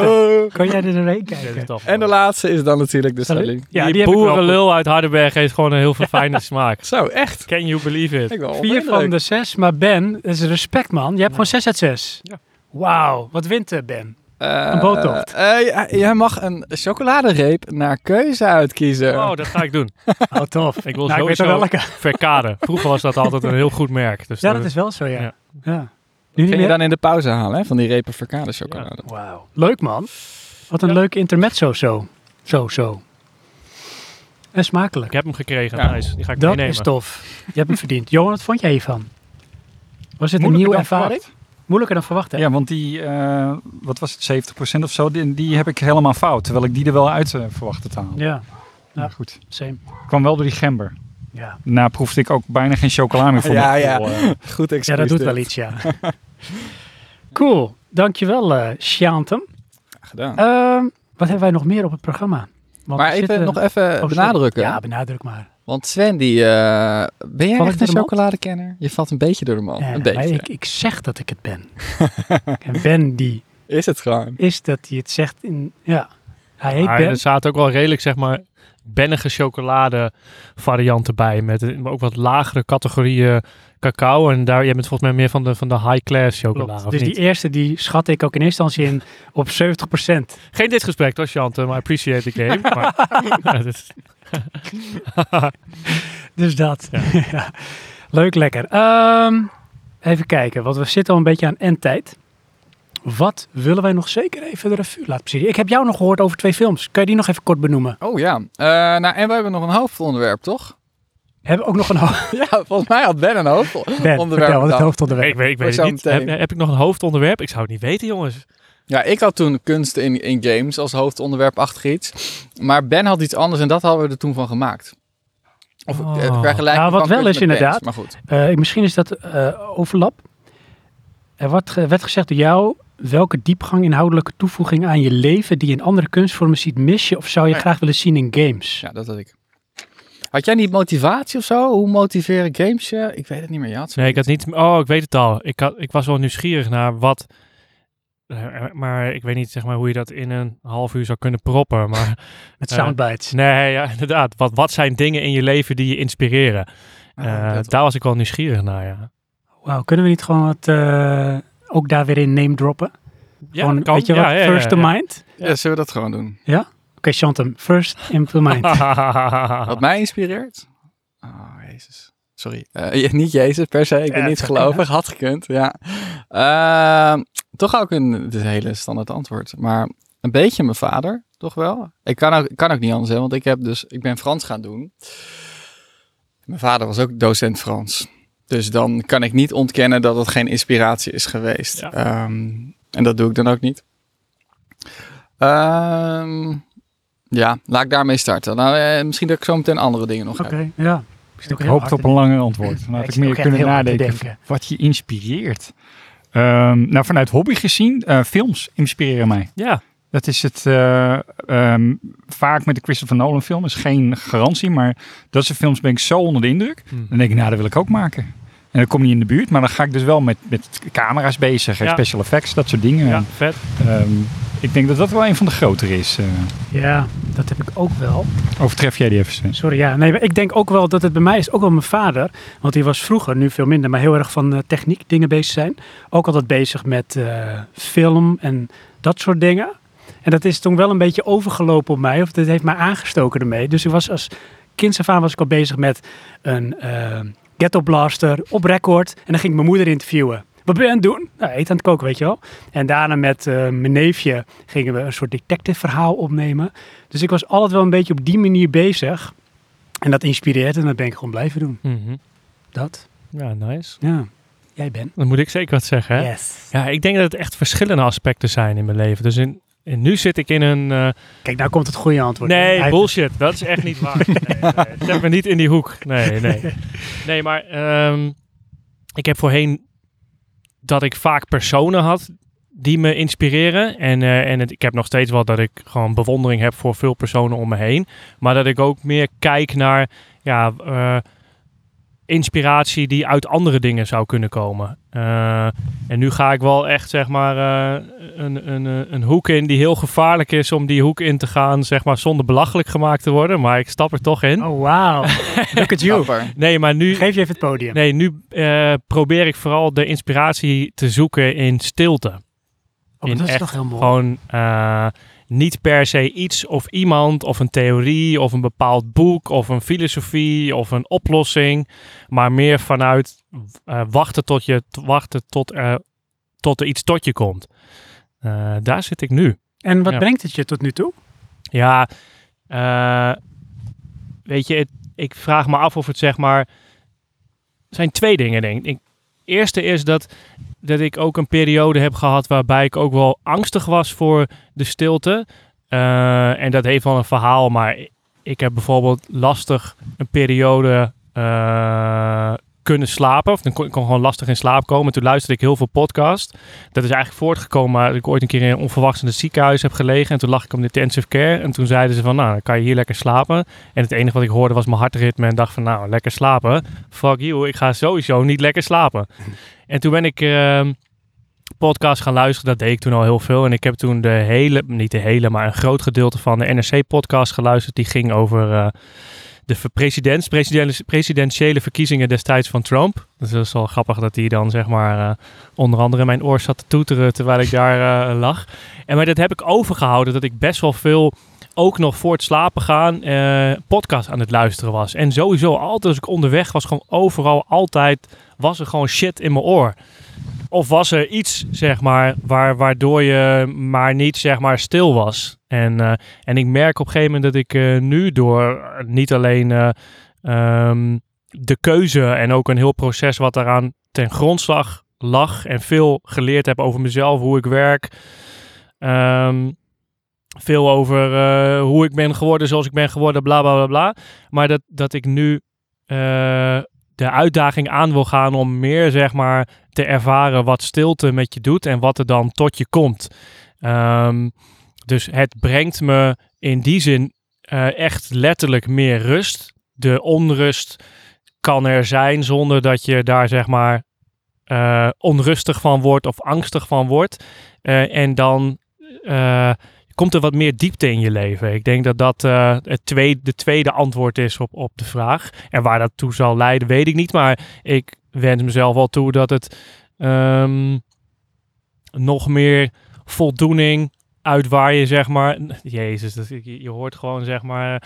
Speaker 1: Kan jij er doorheen kijken?
Speaker 4: En de laatste is dan natuurlijk de
Speaker 1: Salut.
Speaker 4: salu.
Speaker 1: Ja,
Speaker 2: die
Speaker 1: die, heb ik wel.
Speaker 2: boerenlul uit Hardenberg heeft gewoon een heel verfijnde smaak.
Speaker 4: Zo, echt.
Speaker 2: Can you believe it?
Speaker 4: Ik wel
Speaker 1: Vier
Speaker 4: onder
Speaker 1: van
Speaker 4: indruk.
Speaker 1: de zes, maar Ben, dat is respect man. Je hebt gewoon 6 uit 6.
Speaker 2: Ja.
Speaker 1: Wauw, wat wint eh, Ben?
Speaker 4: Eh,
Speaker 1: een boottocht.
Speaker 4: eh, ja, jij mag een chocoladereep naar keuze uitkiezen.
Speaker 2: Oh, dat ga ik doen.
Speaker 1: Oh, tof.
Speaker 2: Ik wil
Speaker 1: nou, ik weet
Speaker 2: sowieso
Speaker 1: er wel lekker.
Speaker 2: verkaden. Vroeger was dat altijd een heel goed merk. Dus
Speaker 1: Ja,
Speaker 2: dat-
Speaker 1: dat is wel zo, ja.
Speaker 2: Ja.
Speaker 1: ja. Nu niet
Speaker 4: Kun je
Speaker 1: meer?
Speaker 4: dan in de pauze halen, hè? Van die repen verkade chocolade.
Speaker 1: Wauw. Leuk man. Wat een
Speaker 2: Ja.
Speaker 1: leuk intermezzo zo. Zo, zo. En smakelijk.
Speaker 2: Ik heb hem gekregen.
Speaker 4: Ja.
Speaker 2: Nice. Die ga ik
Speaker 1: dat
Speaker 2: meenemen.
Speaker 1: is tof. Je hebt hem verdiend. Johan, wat vond jij hiervan? Was dit een
Speaker 3: Moeilijker
Speaker 1: nieuwe
Speaker 3: dan
Speaker 1: ervaring? Moeilijker dan verwacht, hè?
Speaker 3: Ja, want die, eh, wat was het, 70% of zo, die, die heb ik helemaal fout. Terwijl ik die er wel uit eh, verwachtte te halen.
Speaker 1: Ja,
Speaker 3: Maar goed.
Speaker 1: same.
Speaker 3: kwam wel door die gember.
Speaker 1: Ja,
Speaker 3: Daarna proefde ik ook bijna geen chocola meer voor
Speaker 4: Ja,
Speaker 3: mijn
Speaker 4: ja.
Speaker 3: gevoel, eh.
Speaker 4: Goed excuus.
Speaker 1: ja dat doet
Speaker 4: dit.
Speaker 1: wel iets, ja. cool. Dankjewel, eh Shantum.
Speaker 4: Gedaan.
Speaker 1: Ehm, wat hebben wij nog meer op het programma? Want
Speaker 4: maar
Speaker 1: we
Speaker 4: even,
Speaker 1: zitten-
Speaker 4: nog even
Speaker 1: Oh, sorry.
Speaker 4: benadrukken.
Speaker 1: Ja, benadruk maar.
Speaker 4: Want Sven, die, eh,
Speaker 1: Val
Speaker 4: ben jij
Speaker 1: ik
Speaker 4: echt
Speaker 1: door
Speaker 4: een
Speaker 1: de mand?
Speaker 4: chocoladekenner? Je valt een beetje door de man.
Speaker 1: Ja,
Speaker 4: een
Speaker 1: maar
Speaker 4: beetje.
Speaker 1: ik, ik zeg dat ik het ben. en Ben die
Speaker 4: Is het gewoon.
Speaker 1: is dat hij het zegt in... Ja, hij heet
Speaker 2: Maar
Speaker 1: Ben.
Speaker 2: er zaten ook wel redelijk, zeg maar, bennige chocolade varianten bij. Met eh, maar ook wat lagere categorieën cacao. En daar, jij bent volgens mij meer van de, van de high-class chocola,
Speaker 1: Klopt.
Speaker 2: of
Speaker 1: Dus
Speaker 2: niet?
Speaker 1: die eerste die schatte ik ook in eerste instantie in op 70%.
Speaker 2: Geen dit gesprek, hoor, Chante. Maar appreciate the game. maar, Ja, dat is-
Speaker 1: Dus dat. Ja. Leuk, lekker. Ehm, even kijken, want we zitten al een beetje aan endtijd. Wat willen wij nog zeker even de revue laten zien? Ik heb jou nog gehoord over twee films. Kan je die nog even kort benoemen?
Speaker 4: Oh ja. Eh, nou, en we hebben nog een hoofdonderwerp, toch?
Speaker 1: Hebben we ook nog een hoofd?
Speaker 4: ja, volgens mij had Ben een hoofdonderwerp.
Speaker 1: Ben, vertel, wat het
Speaker 4: bedacht.
Speaker 1: hoofdonderwerp.
Speaker 2: ik weet, ik weet het
Speaker 4: Voor
Speaker 2: niet. Heb,
Speaker 4: zometeen.
Speaker 2: heb ik nog een hoofdonderwerp? Ik zou het niet weten, jongens.
Speaker 4: Ja, ik had toen kunst in, in games als hoofdonderwerp achter iets. Maar Ben had iets anders en dat hadden we er toen van gemaakt. Of
Speaker 2: Oh.
Speaker 4: eh, vergelijking
Speaker 1: Nou, wat
Speaker 4: van
Speaker 1: wel
Speaker 4: kunst
Speaker 1: is
Speaker 4: met
Speaker 1: inderdaad-
Speaker 4: bands, maar goed.
Speaker 1: Eh, misschien is dat eh, overlap. Er werd, ge- werd gezegd door jou, welke diepgang inhoudelijke toevoeging aan je leven die je in andere kunstvormen ziet, mis je of zou je
Speaker 4: Ja.
Speaker 1: graag willen zien in games?
Speaker 4: Ja, dat had ik. Had jij niet motivatie of zo? Hoe motiveren games je? Ik weet het niet meer. Ja,
Speaker 2: Nee, ik had niet... Oh, ik weet het al. Ik, had, ik was wel nieuwsgierig naar wat... eh, Maar ik weet niet zeg maar, hoe je dat in een half uur zou kunnen proppen. Maar
Speaker 1: Met
Speaker 2: Eh,
Speaker 1: soundbites.
Speaker 2: Nee, ja, inderdaad. Wat, wat zijn dingen in je leven die je inspireren?
Speaker 1: Ah,
Speaker 2: Eh, daar was ik wel nieuwsgierig naar, ja.
Speaker 1: Wauw, kunnen we niet gewoon wat, eh, ook daar weer in name droppen?
Speaker 2: ja
Speaker 1: gewoon,
Speaker 2: dat kan.
Speaker 1: weet je
Speaker 2: Ja,
Speaker 1: wat,
Speaker 2: ja, ja,
Speaker 1: first
Speaker 2: ja.
Speaker 1: in mind?
Speaker 4: Ja, zullen we dat gewoon doen?
Speaker 1: Oké, Chantem, first in mind.
Speaker 4: Wat mij inspireert? Oh, jezus. Sorry. Eh, je- niet Jezus per se. Ik ben
Speaker 2: Ja,
Speaker 4: niet
Speaker 2: het-
Speaker 4: gelovig. Had gekund, ja. Ehm, toch ook een het is een hele standaard antwoord. Maar een beetje mijn vader, toch wel? Ik kan ook, ik kan ook niet anders, hè, want ik, heb dus, ik ben Frans gaan doen. Mijn vader was ook docent Frans. Dus dan kan ik niet ontkennen dat het geen inspiratie is geweest.
Speaker 2: Ja.
Speaker 4: Ehm, en dat doe ik dan ook niet. Ehm, ja, laat ik daarmee starten. Nou, eh, misschien dat ik zo meteen andere dingen nog
Speaker 1: Oké,
Speaker 4: heb.
Speaker 1: ja.
Speaker 3: Ik hoopte op een langer antwoord.
Speaker 1: Ja,
Speaker 3: Dan had
Speaker 1: ik
Speaker 3: ik
Speaker 1: zit
Speaker 3: meer
Speaker 1: ook echt
Speaker 3: kunnen
Speaker 1: heel hard te
Speaker 3: nadenken
Speaker 1: denken.
Speaker 3: wat je inspireert. Ehm, nou, vanuit hobby gezien, eh, films inspireren mij.
Speaker 2: Ja,
Speaker 3: Dat is het eh, ehm, vaak met de Christopher Nolan film. is geen garantie, maar dat soort films ben ik zo onder de indruk.
Speaker 2: Hmm.
Speaker 3: Dan denk ik, nou, dat wil ik ook maken. En dat komt niet in de buurt, maar dan ga ik dus wel met, met camera's bezig. en
Speaker 2: Ja.
Speaker 3: Special effects, dat soort dingen.
Speaker 2: ja vet.
Speaker 3: Ehm, ik denk dat dat wel een van de grotere is. eh.
Speaker 1: Ja, dat heb ik ook wel.
Speaker 3: overtref jij die even? Sven?
Speaker 1: Sorry, ja. Nee, maar ik denk ook wel dat het bij mij is, ook wel mijn vader. Want die was vroeger, nu veel minder, maar heel erg van eh, techniek dingen bezig zijn. Ook altijd bezig met eh, film en dat soort dingen. En dat is toen wel een beetje overgelopen op mij. Of dat heeft mij aangestoken ermee. Dus ik was als kind af aan was ik al bezig met een eh, ghetto blaster op record. En dan ging ik mijn moeder interviewen. Wat ben je aan het doen? Nou, eten aan het koken, weet je wel. En daarna met eh, mijn neefje gingen we een soort detective verhaal opnemen. Dus ik was altijd wel een beetje op die manier bezig. En dat inspireert en dat ben ik gewoon blijven doen.
Speaker 2: Mhm.
Speaker 1: Dat.
Speaker 2: Ja, nice.
Speaker 1: Ja. Jij bent.
Speaker 2: Dan moet ik zeker wat zeggen, hè?
Speaker 1: Yes.
Speaker 2: Ja, ik denk dat het echt verschillende aspecten zijn in mijn leven. Dus in, in- nu zit ik in een... eh,
Speaker 1: Kijk, nou komt het goede antwoord.
Speaker 2: nee,
Speaker 1: Hij-
Speaker 2: bullshit. Dat is echt niet waar. Nee, nee, zet me niet in die hoek. Nee, nee. Nee, maar ehm, ik heb voorheen dat ik vaak personen had die me inspireren. En, eh, en het, ik heb nog steeds wel dat ik gewoon bewondering heb voor veel personen om me heen. Maar dat ik ook meer kijk naar ja, eh, inspiratie die uit andere dingen zou kunnen komen. Eh, en nu ga ik wel echt zeg maar eh, een, een, eh, een hoek in die heel gevaarlijk is om die hoek in te gaan, zeg maar zonder belachelijk gemaakt te worden. Maar ik stap er toch in.
Speaker 1: Oh, wauw. Look at you.
Speaker 4: Dapper.
Speaker 2: Nee, maar nu,
Speaker 1: Geef je even het podium.
Speaker 2: nee, nu eh, probeer ik vooral de inspiratie te zoeken in stilte.
Speaker 1: oh, dat is
Speaker 2: echt
Speaker 1: toch heel mooi.
Speaker 2: Gewoon eh, niet per se iets of iemand of een theorie of een bepaald boek of een filosofie of een oplossing. Maar meer vanuit eh, wachten tot, je, t- wachten tot, eh, tot er iets tot je komt. Eh, daar zit ik nu.
Speaker 1: En wat
Speaker 2: Ja.
Speaker 1: brengt het je tot nu toe?
Speaker 2: Ja, eh, weet je, het- ik vraag me af of het zeg maar. er zijn twee dingen, denk ik. Eerste is dat, dat ik ook een periode heb gehad waarbij ik ook wel angstig was voor de stilte. Eh, en dat heeft wel een verhaal, maar ik heb bijvoorbeeld lastig een periode eh, kunnen slapen. Of dan kon ik kon gewoon lastig in slaap komen. Toen luisterde ik heel veel podcast. Dat is eigenlijk voortgekomen uit dat ik ooit een keer in een onverwachts in het ziekenhuis heb gelegen. En toen lag ik op de intensive care. En toen zeiden ze van, nou, dan kan je hier lekker slapen. En het enige wat ik hoorde was mijn hartritme. En dacht van, nou, lekker slapen. Fuck you, ik ga sowieso niet lekker slapen. En toen ben ik... ehm, podcast gaan luisteren, dat deed ik toen al heel veel. En ik heb toen de hele, niet de hele, maar een groot gedeelte van de NRC-podcast geluisterd. Die ging over eh, de ver- presidents, presidents- presidentiële verkiezingen destijds van Trump. Dus dat is wel grappig dat die dan zeg maar eh, onder andere in mijn oor zat te toeteren terwijl ik daar eh, lag. En maar dat heb ik overgehouden dat ik best wel veel ook nog voor het slapen gaan eh, podcast aan het luisteren was. En sowieso altijd als ik onderweg was, gewoon overal altijd was er gewoon shit in mijn oor. Of was er iets, zeg maar, waar, waardoor je maar niet, zeg maar, stil was. En, eh, en ik merk op een gegeven moment dat ik eh, nu door eh, niet alleen eh, ehm, de keuze en ook een heel proces wat daaraan ten grondslag lag en veel geleerd heb over mezelf, hoe ik werk, ehm, veel over eh, hoe ik ben geworden zoals ik ben geworden, bla bla bla bla. Maar dat, dat ik nu eh, de uitdaging aan wil gaan om meer, zeg maar, te ervaren wat stilte met je doet en wat er dan tot je komt. Ehm, dus het brengt me in die zin eh, echt letterlijk meer rust. De onrust kan er zijn zonder dat je daar zeg maar eh, onrustig van wordt of angstig van wordt. Eh, en dan eh, komt er wat meer diepte in je leven. Ik denk dat dat eh, het tweede, de tweede antwoord is op, op de vraag. En waar dat toe zal leiden, weet ik niet. Maar ik wens mezelf wel toe dat het ehm, nog meer voldoening uit waar je zeg maar... Jezus, dat, je, je hoort gewoon zeg maar...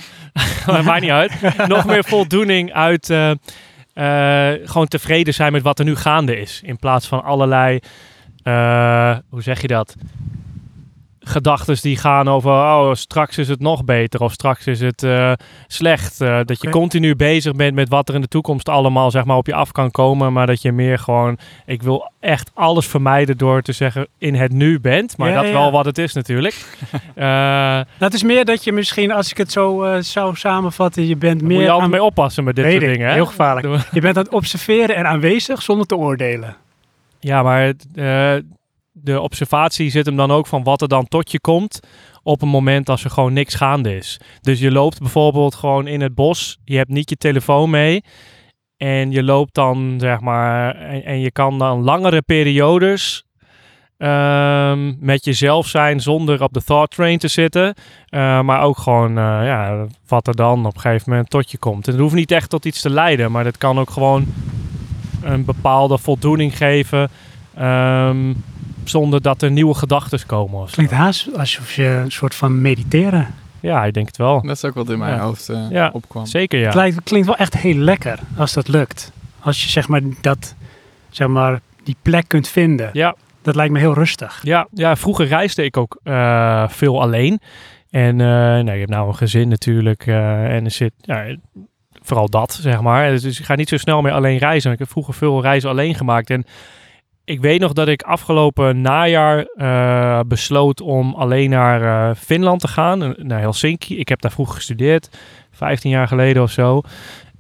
Speaker 2: maar maakt niet uit. Nog meer voldoening uit... eh, eh, gewoon tevreden zijn met wat er nu gaande is. In plaats van allerlei, eh, hoe zeg je dat? Gedachten die gaan over, oh, straks is het nog beter of straks is het eh, slecht. Eh, dat je
Speaker 1: Oké.
Speaker 2: continu bezig bent met wat er in de toekomst allemaal zeg maar, op je af kan komen. Maar dat je meer gewoon, ik wil echt alles vermijden door te zeggen in het nu bent. Maar
Speaker 1: Ja,
Speaker 2: dat
Speaker 1: ja, ja.
Speaker 2: wel wat het is natuurlijk. Eh
Speaker 1: Dat is meer dat je misschien, als ik het zo eh, zou samenvatten, je bent
Speaker 2: moet
Speaker 1: meer
Speaker 2: je altijd
Speaker 1: aan-
Speaker 2: mee oppassen met dit
Speaker 1: Weet
Speaker 2: soort
Speaker 1: ik,
Speaker 2: dingen. hè?
Speaker 1: Heel gevaarlijk.
Speaker 2: Doe-
Speaker 1: Je bent aan het observeren en aanwezig zonder te oordelen.
Speaker 2: Ja, maar het, eh, de observatie zit hem dan ook van wat er dan tot je komt op een moment als er gewoon niks gaande is. Dus je loopt bijvoorbeeld gewoon in het bos, je hebt niet je telefoon mee en je loopt dan zeg maar en, en je kan dan langere periodes ehm, met jezelf zijn zonder op de thought train te zitten, Eh, maar ook gewoon eh, ja, wat er dan op een gegeven moment tot je komt. En het hoeft niet echt tot iets te leiden, maar dat kan ook gewoon een bepaalde voldoening geven. ehm, zonder dat er nieuwe gedachten komen. of zo.
Speaker 1: Klinkt haast alsof je een soort van mediteren.
Speaker 2: Ja, ik denk het wel.
Speaker 4: Dat is ook wat in mijn
Speaker 2: Ja.
Speaker 4: hoofd eh,
Speaker 2: Ja.
Speaker 4: opkwam.
Speaker 2: Zeker
Speaker 1: Het
Speaker 2: ja.
Speaker 1: lijkt, het klinkt wel echt heel lekker als dat lukt. Als je zeg maar dat, zeg maar, die plek kunt vinden.
Speaker 2: Ja,
Speaker 1: Dat lijkt me heel rustig.
Speaker 2: ja, ja, vroeger reisde ik ook eh, veel alleen. En eh nou, je hebt nou een gezin natuurlijk. eh, en er zit ja, vooral dat, zeg maar. Dus ik ga niet zo snel meer alleen reizen. Ik heb vroeger veel reizen alleen gemaakt. En ik weet nog dat ik afgelopen najaar eh, besloot om alleen naar eh, Finland te gaan, eh, naar Helsinki. Ik heb daar vroeger gestudeerd, 15 jaar geleden of zo.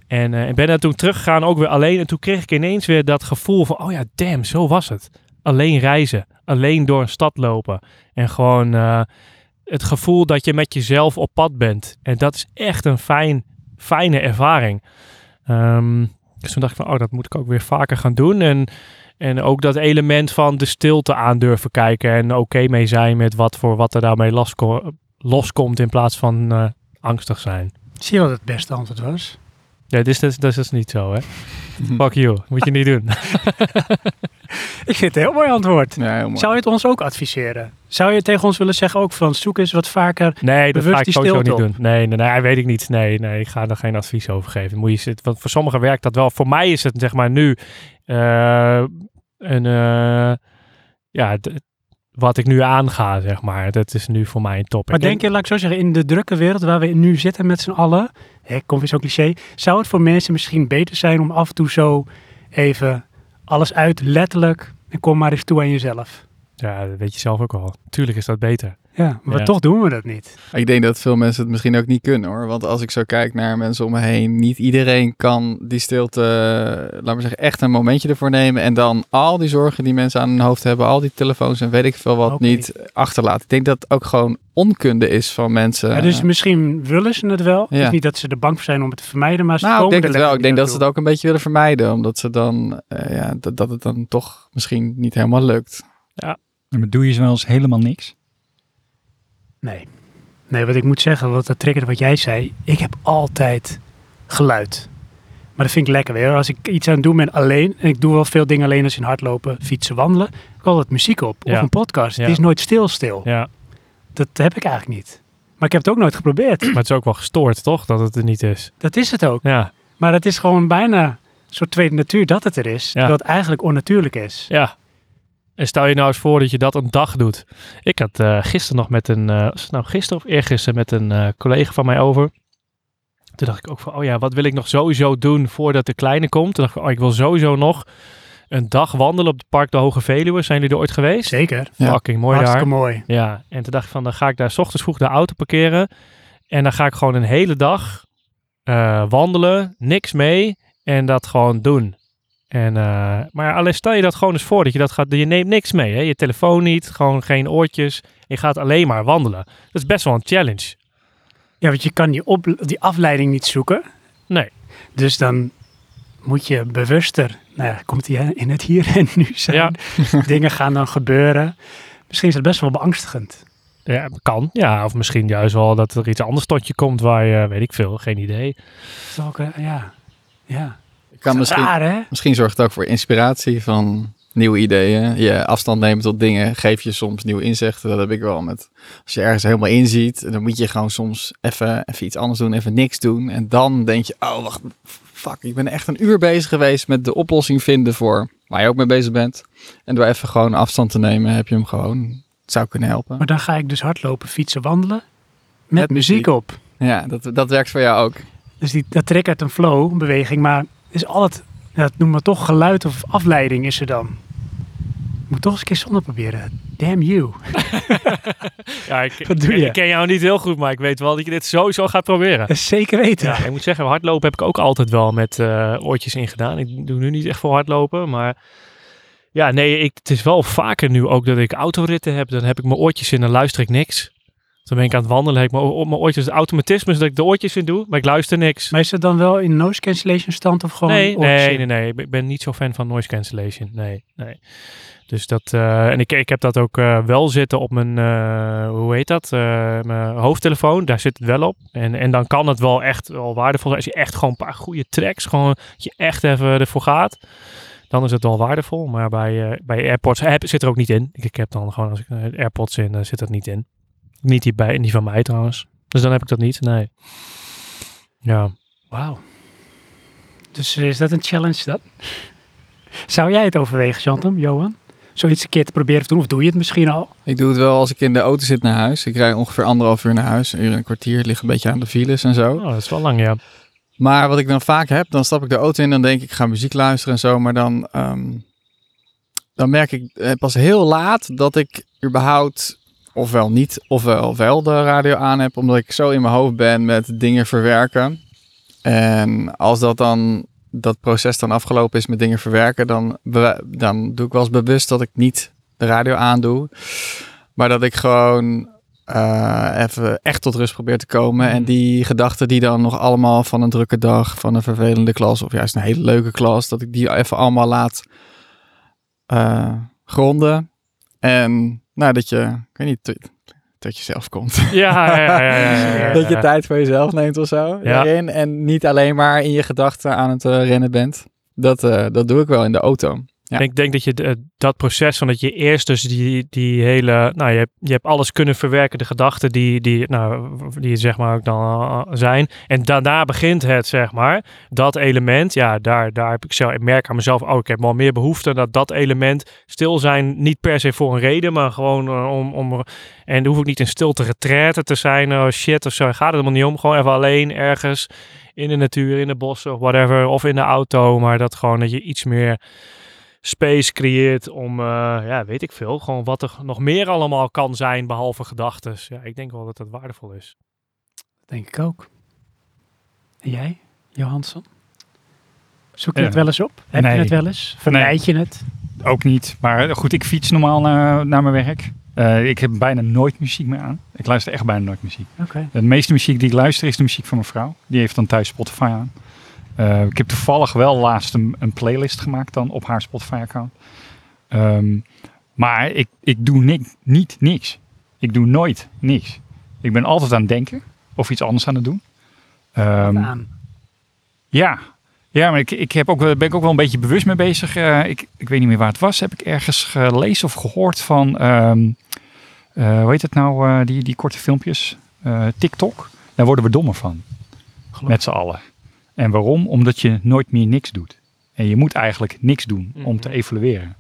Speaker 2: En eh, ik ben daar toen teruggegaan, ook weer alleen. En toen kreeg ik ineens weer dat gevoel van, oh ja, damn, zo was het. Alleen reizen, alleen door een stad lopen. En gewoon eh, het gevoel dat je met jezelf op pad bent. En dat is echt een fijn, fijne ervaring. Ehm, dus toen dacht ik van, oh, dat moet ik ook weer vaker gaan doen. En, en ook dat element van de stilte aan durven kijken. En oké mee zijn met wat, voor, wat er daarmee lasko- loskomt in plaats van eh, angstig zijn.
Speaker 1: Zie je wat het beste antwoord was?
Speaker 2: Ja, dit is, dit is- dit is niet zo, hè? Fuck you. Moet je niet doen.
Speaker 1: Ik vind het een heel mooi antwoord.
Speaker 4: Ja, heel mooi.
Speaker 1: Zou je het ons ook adviseren? Zou je tegen ons willen zeggen ook van zoek eens wat vaker?
Speaker 2: Nee, dat
Speaker 1: Bewust
Speaker 2: ga ik
Speaker 1: die
Speaker 2: sowieso niet
Speaker 1: stilte
Speaker 2: doen. Nee, nee, nee, weet ik niet. Nee, nee, ik ga er geen advies over geven. Moet je zitten, want voor sommigen werkt dat wel. Voor mij is het, zeg maar, nu eh, een... eh, ja, d- wat ik nu aanga, zeg maar. Dat is nu voor mij een topic.
Speaker 1: Maar denk je, laat ik zo zeggen, in de drukke wereld waar we nu zitten met z'n allen, hè, kom weer zo'n cliché, zou het voor mensen misschien beter zijn om af en toe zo even alles uit, letterlijk, en kom maar eens toe aan jezelf.
Speaker 2: Ja, dat weet je zelf ook al. Tuurlijk is dat beter.
Speaker 1: Ja, maar
Speaker 2: Ja.
Speaker 1: toch doen we dat niet.
Speaker 4: Ik denk dat veel mensen het misschien ook niet kunnen hoor. Want als ik zo kijk naar mensen om me heen, niet iedereen kan die stilte, eh, laat maar zeggen, echt een momentje ervoor nemen. En dan al die zorgen die mensen aan hun hoofd hebben, al die telefoons en weet ik veel wat
Speaker 1: Ook
Speaker 4: niet achterlaten. Ik denk dat het ook gewoon onkunde is van mensen.
Speaker 1: Ja, dus misschien willen ze het wel. Het is
Speaker 4: Ja.
Speaker 1: niet dat ze er bang voor zijn om het te vermijden, maar ze
Speaker 4: nou, ik
Speaker 1: komen
Speaker 4: denk
Speaker 1: er
Speaker 4: het wel. Ik
Speaker 1: letterlijk
Speaker 4: denk
Speaker 1: niet
Speaker 4: dat ze het ook een beetje willen vermijden. Omdat ze dan, eh, ja, dat, dat het dan toch misschien niet helemaal lukt.
Speaker 3: Maar doe je wel eens helemaal niks?
Speaker 1: naartoe. Nee. Nee, wat ik moet zeggen, wat dat triggerde wat jij zei. Ik heb altijd geluid. Maar dat vind ik lekker weer. Als ik iets aan het doen ben alleen, en ik doe wel veel dingen alleen als in hardlopen, fietsen, wandelen, ik heb altijd muziek op
Speaker 2: Ja.
Speaker 1: of een podcast.
Speaker 2: Ja.
Speaker 1: Het is nooit stil stil.
Speaker 2: Ja,
Speaker 1: Dat heb ik eigenlijk niet. Maar ik heb het ook nooit geprobeerd.
Speaker 2: maar het is ook wel gestoord, toch? Dat het er niet is.
Speaker 1: Dat is het ook.
Speaker 2: Ja,
Speaker 1: Maar het is gewoon bijna een soort tweede natuur dat het er is. Terwijl het eigenlijk onnatuurlijk is.
Speaker 2: ja. En stel je nou eens voor dat je dat een dag doet. Ik had eh, gisteren nog met een, eh, was het nou gisteren of eergisteren met een eh, collega van mij over. Toen dacht ik ook van, oh ja, wat wil ik nog sowieso doen voordat de kleine komt? Toen dacht ik, oh, ik wil sowieso nog een dag wandelen op het park de Hoge Veluwe. Zijn jullie er ooit geweest?
Speaker 1: Zeker.
Speaker 4: Ja.
Speaker 2: Fucking mooi daar.
Speaker 1: Hartstikke mooi.
Speaker 2: Ja, en toen dacht ik van, dan ga ik daar 's ochtends vroeg de auto parkeren. En dan ga ik gewoon een hele dag eh, wandelen, niks mee en dat gewoon doen. En, eh, maar alleen stel je dat gewoon eens voor, dat je dat gaat, je neemt niks mee. Hè? Je telefoon niet, gewoon geen oortjes. Je gaat alleen maar wandelen. Dat is best wel een challenge.
Speaker 1: Ja, want je kan die, op, die afleiding niet zoeken.
Speaker 2: Nee.
Speaker 1: Dus dan moet je bewuster, nou ja, komt hij in het hier en nu zijn. Dingen gaan dan gebeuren. Misschien is dat best wel beangstigend.
Speaker 2: Ja, kan. Ja, of misschien juist wel dat er iets anders tot je komt waar je, weet ik veel, geen idee.
Speaker 1: Dat is ook, eh, ja, ja.
Speaker 4: Ik kan misschien,
Speaker 1: Raar, hè?
Speaker 4: Misschien zorgt het ook voor inspiratie van nieuwe ideeën. Je afstand nemen tot dingen geeft je soms nieuwe inzichten. Dat heb ik wel met. Als je ergens helemaal in ziet, dan moet je gewoon soms even, even iets anders doen, even niks doen. En dan denk je, oh, wacht, fuck, ik ben echt een uur bezig geweest met de oplossing vinden voor waar je ook mee bezig bent. En door even gewoon afstand te nemen, heb je hem gewoon, het zou kunnen helpen.
Speaker 1: Maar dan ga ik dus hardlopen, fietsen, wandelen. Met,
Speaker 4: Met
Speaker 1: muziek.
Speaker 4: muziek.
Speaker 1: op.
Speaker 4: Ja, dat, dat werkt voor jou ook.
Speaker 1: Dus die, dat trekt uit een flow, een beweging. Maar het is altijd, ja, dat noemen we toch geluid of afleiding is er dan. Ik moet toch eens een keer zonder proberen. Damn you.
Speaker 2: Ja, ik,
Speaker 1: Wat doe
Speaker 2: ik-
Speaker 1: je?
Speaker 2: ik ken jou niet heel goed, maar ik weet wel dat je dit sowieso gaat proberen.
Speaker 1: Dat is zeker weten.
Speaker 2: Ja, ik moet zeggen, hardlopen heb ik ook altijd wel met eh, oortjes in gedaan. Ik doe nu niet echt veel hardlopen, maar ja, nee, ik, het is wel vaker nu ook dat ik autoritten heb. Dan heb ik mijn oortjes in, dan luister ik niks. Dan ben ik aan het wandelen, heb ik mijn, oor- mijn oortjes, het automatisme is dat ik de oortjes in doe, maar ik luister niks.
Speaker 1: Maar is dat dan wel in noise cancellation stand of gewoon
Speaker 2: Nee,
Speaker 1: oortjes in?
Speaker 2: nee, nee, nee. Ik ben- ik ben niet zo fan van noise cancellation. Nee, nee. Dus dat, eh, en ik, ik heb dat ook eh, wel zitten op mijn, eh, hoe heet dat? Eh, mijn hoofdtelefoon. Daar zit het wel op. En, en dan kan het wel echt wel waardevol zijn. Als je echt gewoon een paar goede tracks, gewoon dat je echt even ervoor gaat. Dan is het wel waardevol. Maar bij, eh, bij AirPods heb, zit er ook niet in. Ik, ik heb dan gewoon, als ik eh, AirPods in, eh, zit dat niet in. Niet die, bij, die van mij trouwens. Dus dan heb ik dat niet. Nee. Ja.
Speaker 1: Wauw. Dus eh, is dat een challenge dan? Zou jij het overwegen, Chantem, Johan? Zoiets een keer te proberen te doen? Of doe je het misschien al?
Speaker 4: Ik doe het wel als ik in de auto zit naar huis. Ik rij ongeveer anderhalf uur naar huis, een uur en een kwartier. Het ligt een beetje aan de files en zo.
Speaker 2: Oh, dat is wel lang, ja.
Speaker 4: Maar wat ik dan vaak heb, dan stap ik de auto in, dan denk ik, ik ga muziek luisteren en zo. Maar dan, ehm, dan merk ik eh, pas heel laat dat ik überhaupt ofwel niet, ofwel wel de radio aan heb. Omdat ik zo in mijn hoofd ben met dingen verwerken. En als dat dan, dat proces dan afgelopen is met dingen verwerken, dan, bewe- dan doe ik wel eens bewust dat ik niet de radio aandoe. Maar dat ik gewoon eh, even echt tot rust probeer te komen. En die gedachten die dan nog allemaal van een drukke dag, van een vervelende klas of juist een hele leuke klas, dat ik die even allemaal laat eh, gronden. En nou, dat je, ik weet niet, tot- tot jezelf komt.
Speaker 2: Ja, ja, ja, ja, ja, ja, ja.
Speaker 4: dat je tijd voor jezelf neemt of zo.
Speaker 2: Ja.
Speaker 4: Daarin. En niet alleen maar in je gedachten aan het eh, rennen bent. Dat, eh, dat doe ik wel in de auto. Ja.
Speaker 2: Ik denk, denk dat je eh, dat proces van dat je eerst dus die, die hele, nou je hebt, je hebt alles kunnen verwerken, de gedachten die, die, nou, die zeg maar ook dan eh, zijn. En daarna begint het zeg maar, dat element, ja daar, daar heb ik zelf, ik merk aan mezelf, oh ik heb wel meer behoefte dat dat element stil zijn, niet per se voor een reden, maar gewoon eh, om, om en dan hoef ik niet in stilte retraite te zijn, oh shit of zo, gaat het helemaal niet om, gewoon even alleen ergens in de natuur, in de bossen, whatever, of in de auto, maar dat gewoon dat je iets meer space creëert om, eh, ja, weet ik veel, gewoon wat er nog meer allemaal kan zijn behalve gedachten. Ja, ik denk wel dat dat waardevol is.
Speaker 1: Denk ik ook. En jij, Johansson? Zoek je
Speaker 3: Eh,
Speaker 1: het wel eens op? Heb
Speaker 3: nee.
Speaker 1: je het wel eens? Vermijd je het?
Speaker 3: Ook niet. Maar eh, goed, ik fiets normaal naar, naar mijn werk. Eh, ik heb bijna nooit muziek meer aan. Ik luister echt bijna nooit muziek.
Speaker 1: Oké.
Speaker 3: De meeste muziek die ik luister is de muziek van mijn vrouw. Die heeft dan thuis Spotify aan. Eh, ik heb toevallig wel laatst een, een playlist gemaakt dan op haar Spotify-account. Ehm, maar ik, ik doe ni- niet niks. Ik doe nooit niks. Ik ben altijd aan het denken of iets anders aan het doen. Ehm,
Speaker 1: Aan.
Speaker 3: ja, ja maar ik, ik heb ook, wel- ben ik ook wel een beetje bewust mee bezig. Eh, ik, ik weet niet meer waar het was. Heb ik ergens gelezen of gehoord van, ehm, eh, hoe heet het nou, eh, die, die korte filmpjes? Eh, TikTok. Daar worden we dommer van. Met z'n allen. En waarom? Omdat je nooit meer niks doet. En je moet eigenlijk niks doen om te evalueren.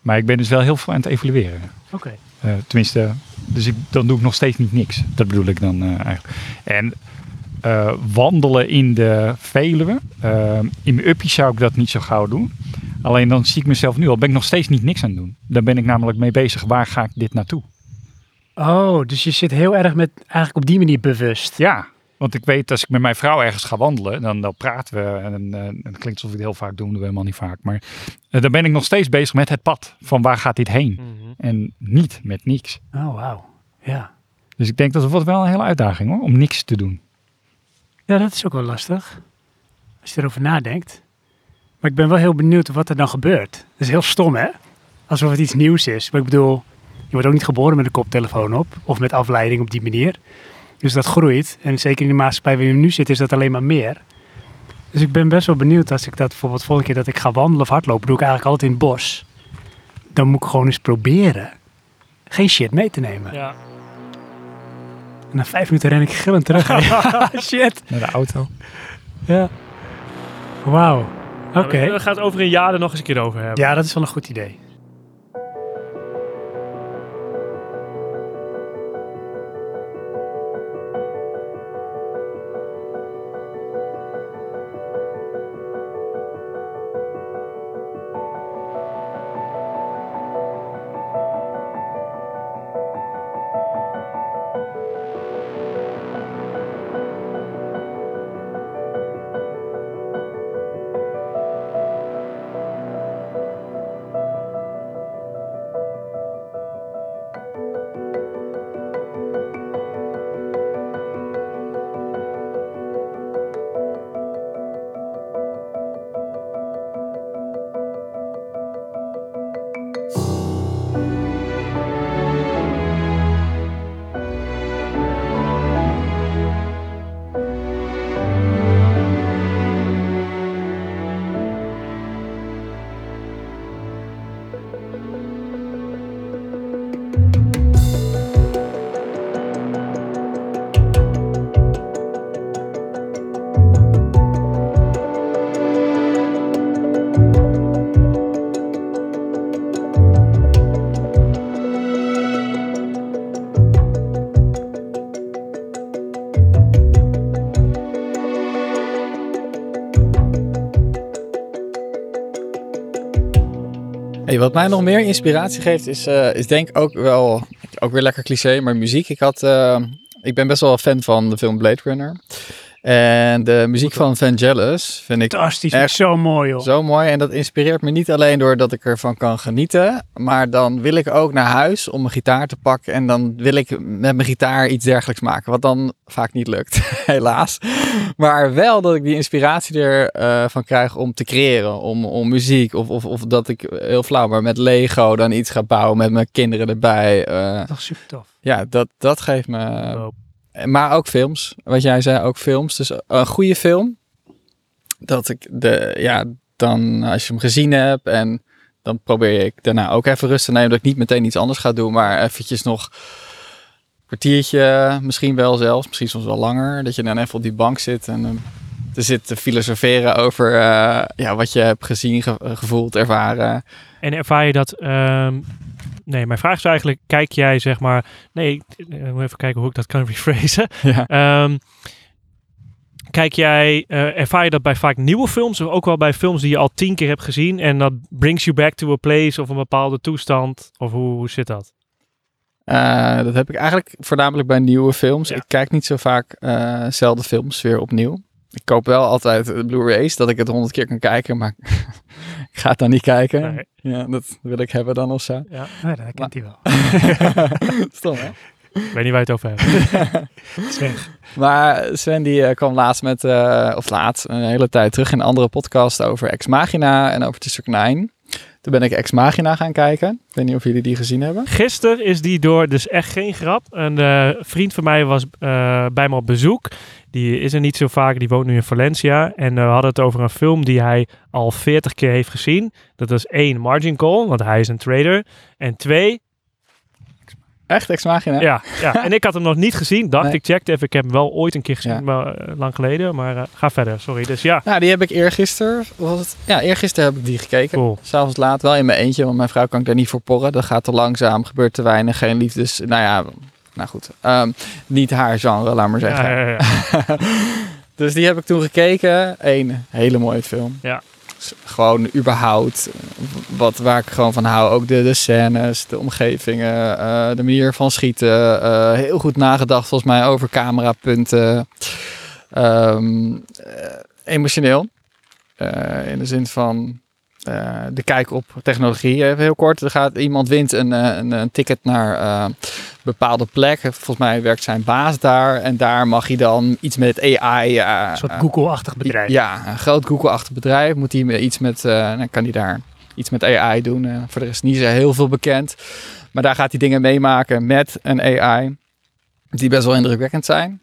Speaker 3: Maar ik ben dus wel heel veel aan het evalueren.
Speaker 1: Oké.
Speaker 3: Eh, tenminste, dus ik, dan doe ik nog steeds niet niks. Dat bedoel ik dan eh, eigenlijk. En eh, wandelen in de Veluwe. eh, in mijn uppie zou ik dat niet zo gauw doen. Alleen dan zie ik mezelf nu al, ben ik nog steeds niet niks aan het doen. Daar ben ik namelijk mee bezig, waar ga ik dit naartoe?
Speaker 1: Oh, dus je zit heel erg met, eigenlijk op die manier bewust.
Speaker 3: Ja, want ik weet als ik met mijn vrouw ergens ga wandelen, dan, dan praten we. En, eh, het klinkt alsof ik het heel vaak doe, doen we helemaal niet vaak. Maar eh, dan ben ik nog steeds bezig met het pad. Van waar gaat dit heen? En niet met niks.
Speaker 1: Oh, wauw. Ja.
Speaker 3: Dus ik denk dat het wordt wel een hele uitdaging hoor, om niks te doen.
Speaker 1: Ja, dat is ook wel lastig. Als je erover nadenkt. Maar ik ben wel heel benieuwd wat er dan gebeurt. Dat is heel stom, hè? Alsof het iets nieuws is. Maar ik bedoel, je wordt ook niet geboren met een koptelefoon op. Of met afleiding op die manier. Dus dat groeit. En zeker in de maatschappij waar je nu zit, is dat alleen maar meer. Dus ik ben best wel benieuwd als ik dat bijvoorbeeld volgende keer dat ik ga wandelen of hardlopen, doe ik eigenlijk altijd in het bos. Dan moet ik gewoon eens proberen geen shit mee te nemen.
Speaker 2: Ja.
Speaker 1: En na vijf minuten ren ik gillend terug. shit.
Speaker 3: Naar de auto.
Speaker 1: Ja. Wauw. Oké.
Speaker 2: We gaan het over een jaar er nog eens een keer over hebben.
Speaker 1: Ja, dat is wel een goed idee.
Speaker 4: Hey, wat mij nog meer inspiratie geeft is, eh, is denk ik ook wel, ook weer lekker cliché, maar muziek. Ik, had, eh, ik ben best wel een fan van de film Blade Runner. En de muziek van Vangelis vind ik
Speaker 1: Fantastisch.
Speaker 4: Echt.
Speaker 1: Zo mooi, joh.
Speaker 4: zo mooi. En dat inspireert me niet alleen doordat ik ervan kan genieten, maar dan wil ik ook naar huis om mijn gitaar te pakken. En dan wil ik met mijn gitaar iets dergelijks maken, wat dan vaak niet lukt, helaas. Maar wel dat ik die inspiratie ervan van krijg om te creëren, om, om muziek. Of, of, of dat ik, eh, heel flauw, maar met Lego dan iets ga bouwen met mijn kinderen erbij. eh.
Speaker 1: Dat is super tof.
Speaker 4: ja, dat, dat geeft me
Speaker 2: Dope.
Speaker 4: maar ook films. Wat jij zei, ook films. Dus een goede film. Dat ik de, ja, dan als je hem gezien hebt en dan probeer ik daarna ook even rust te nemen. Dat ik niet meteen iets anders ga doen, maar eventjes nog een kwartiertje, misschien wel zelfs, misschien soms wel langer. Dat je dan even op die bank zit en eh, er zit te filosoferen over eh, ja, wat je hebt gezien, ge- gevoeld, ervaren.
Speaker 2: En ervaar je dat... ehm, nee, mijn vraag is eigenlijk, kijk jij zeg maar... Nee, ik eh, moet even kijken hoe ik dat kan rephrasen.
Speaker 4: Ja.
Speaker 2: Ehm, kijk jij, eh, ervaar je dat bij vaak nieuwe films... of ook wel bij films die je al tien keer hebt gezien... en dat brings you back to a place of een bepaalde toestand? Of hoe, hoe zit dat?
Speaker 4: Eh, dat heb ik eigenlijk voornamelijk bij nieuwe films.
Speaker 2: Ja.
Speaker 4: Ik kijk niet zo vaak eh zelden films weer opnieuw. Ik koop wel altijd de Blu-rays, dat ik het honderd keer kan kijken, maar ik ga het dan niet kijken.
Speaker 2: Nee.
Speaker 4: Ja, dat wil ik hebben dan of zo.
Speaker 1: Ja, dat kent hij wel.
Speaker 4: Stom, hè?
Speaker 2: Ik weet niet waar je het over hebt.
Speaker 1: Zeg.
Speaker 4: Maar Sven die eh, kwam laatst met, eh, of laatst, een hele tijd terug in een andere podcast over Ex Machina en over District 9. Toen ben ik Ex Machina gaan kijken. Ik weet niet of jullie die gezien hebben.
Speaker 2: Gisteren is die door, dus echt geen grap. Een eh, vriend van mij was eh, bij me op bezoek. Die is er niet zo vaak, die woont nu in Valencia. En eh, we hadden het over een film die hij al 40 keer heeft gezien. Dat was één, Margin Call, want hij is een trader. En twee,
Speaker 4: Echt, Ex Machina?
Speaker 2: ja, ja. en ik had hem nog niet gezien. Dacht
Speaker 4: Nee.
Speaker 2: ik, checkte even. Ik heb hem wel ooit een keer gezien,
Speaker 4: Ja.
Speaker 2: maar eh, lang geleden. Maar eh, ga verder, sorry. Dus ja,
Speaker 4: Nou, die heb ik eergisteren, was het? Ja, eergisteren heb ik die gekeken.
Speaker 2: cool.
Speaker 4: S'avonds laat, wel in mijn eentje, want mijn vrouw kan ik daar niet voor porren. Dat gaat te langzaam, gebeurt te weinig, geen liefdes. Nou ja, nou goed. Ehm, niet haar genre, laat maar zeggen.
Speaker 2: Ja, ja, ja.
Speaker 4: Dus die heb ik toen gekeken. Eén hele mooie film.
Speaker 2: Ja.
Speaker 4: S- Gewoon überhaupt, eh, wat, waar ik gewoon van hou. Ook de, de scènes, de omgevingen, eh, de manier van schieten. eh, heel goed nagedacht volgens mij over camerapunten. Ehm, eh, emotioneel. Eh, in de zin van eh, de kijk op technologie. Even heel kort, er gaat, iemand wint een, eh, een, een ticket naar... eh, bepaalde plek. Volgens mij werkt zijn baas daar. En daar mag hij dan iets met AI. eh,
Speaker 1: Een soort
Speaker 4: eh,
Speaker 1: Google-achtig bedrijf.
Speaker 4: Ja, een groot Google-achtig bedrijf. Moet hij iets met. eh, dan kan hij daar iets met AI doen. Eh, voor de rest niet zo heel veel bekend. Maar daar gaat hij dingen meemaken met een AI. Die best wel indrukwekkend zijn.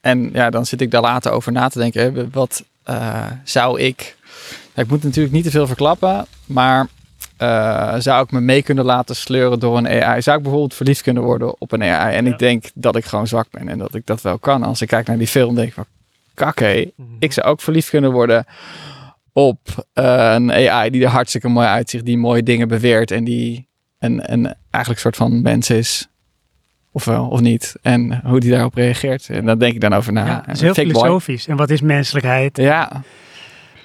Speaker 4: En ja, dan zit ik daar later over na te denken. hè, Wat eh, zou ik. Nou, ik moet natuurlijk niet te veel verklappen. Maar eh, zou ik me mee kunnen laten sleuren door een AI? Zou ik bijvoorbeeld verliefd kunnen worden op een AI? En
Speaker 2: Ja.
Speaker 4: ik denk dat ik gewoon zwak ben en dat
Speaker 1: Mhm.
Speaker 4: ik dat wel kan. Als ik kijk naar die film, denk ik van, kak hé, ik zou ook verliefd kunnen worden op eh, een AI die er hartstikke mooi uitziet, die mooie dingen beweert en die een, een eigenlijk soort van mens is. Of wel, of niet. En hoe die daarop reageert. En daar denk ik dan over na.
Speaker 1: ja, dat is
Speaker 4: En
Speaker 1: heel
Speaker 4: fake boy.
Speaker 1: filosofisch. En wat is menselijkheid?
Speaker 4: Ja,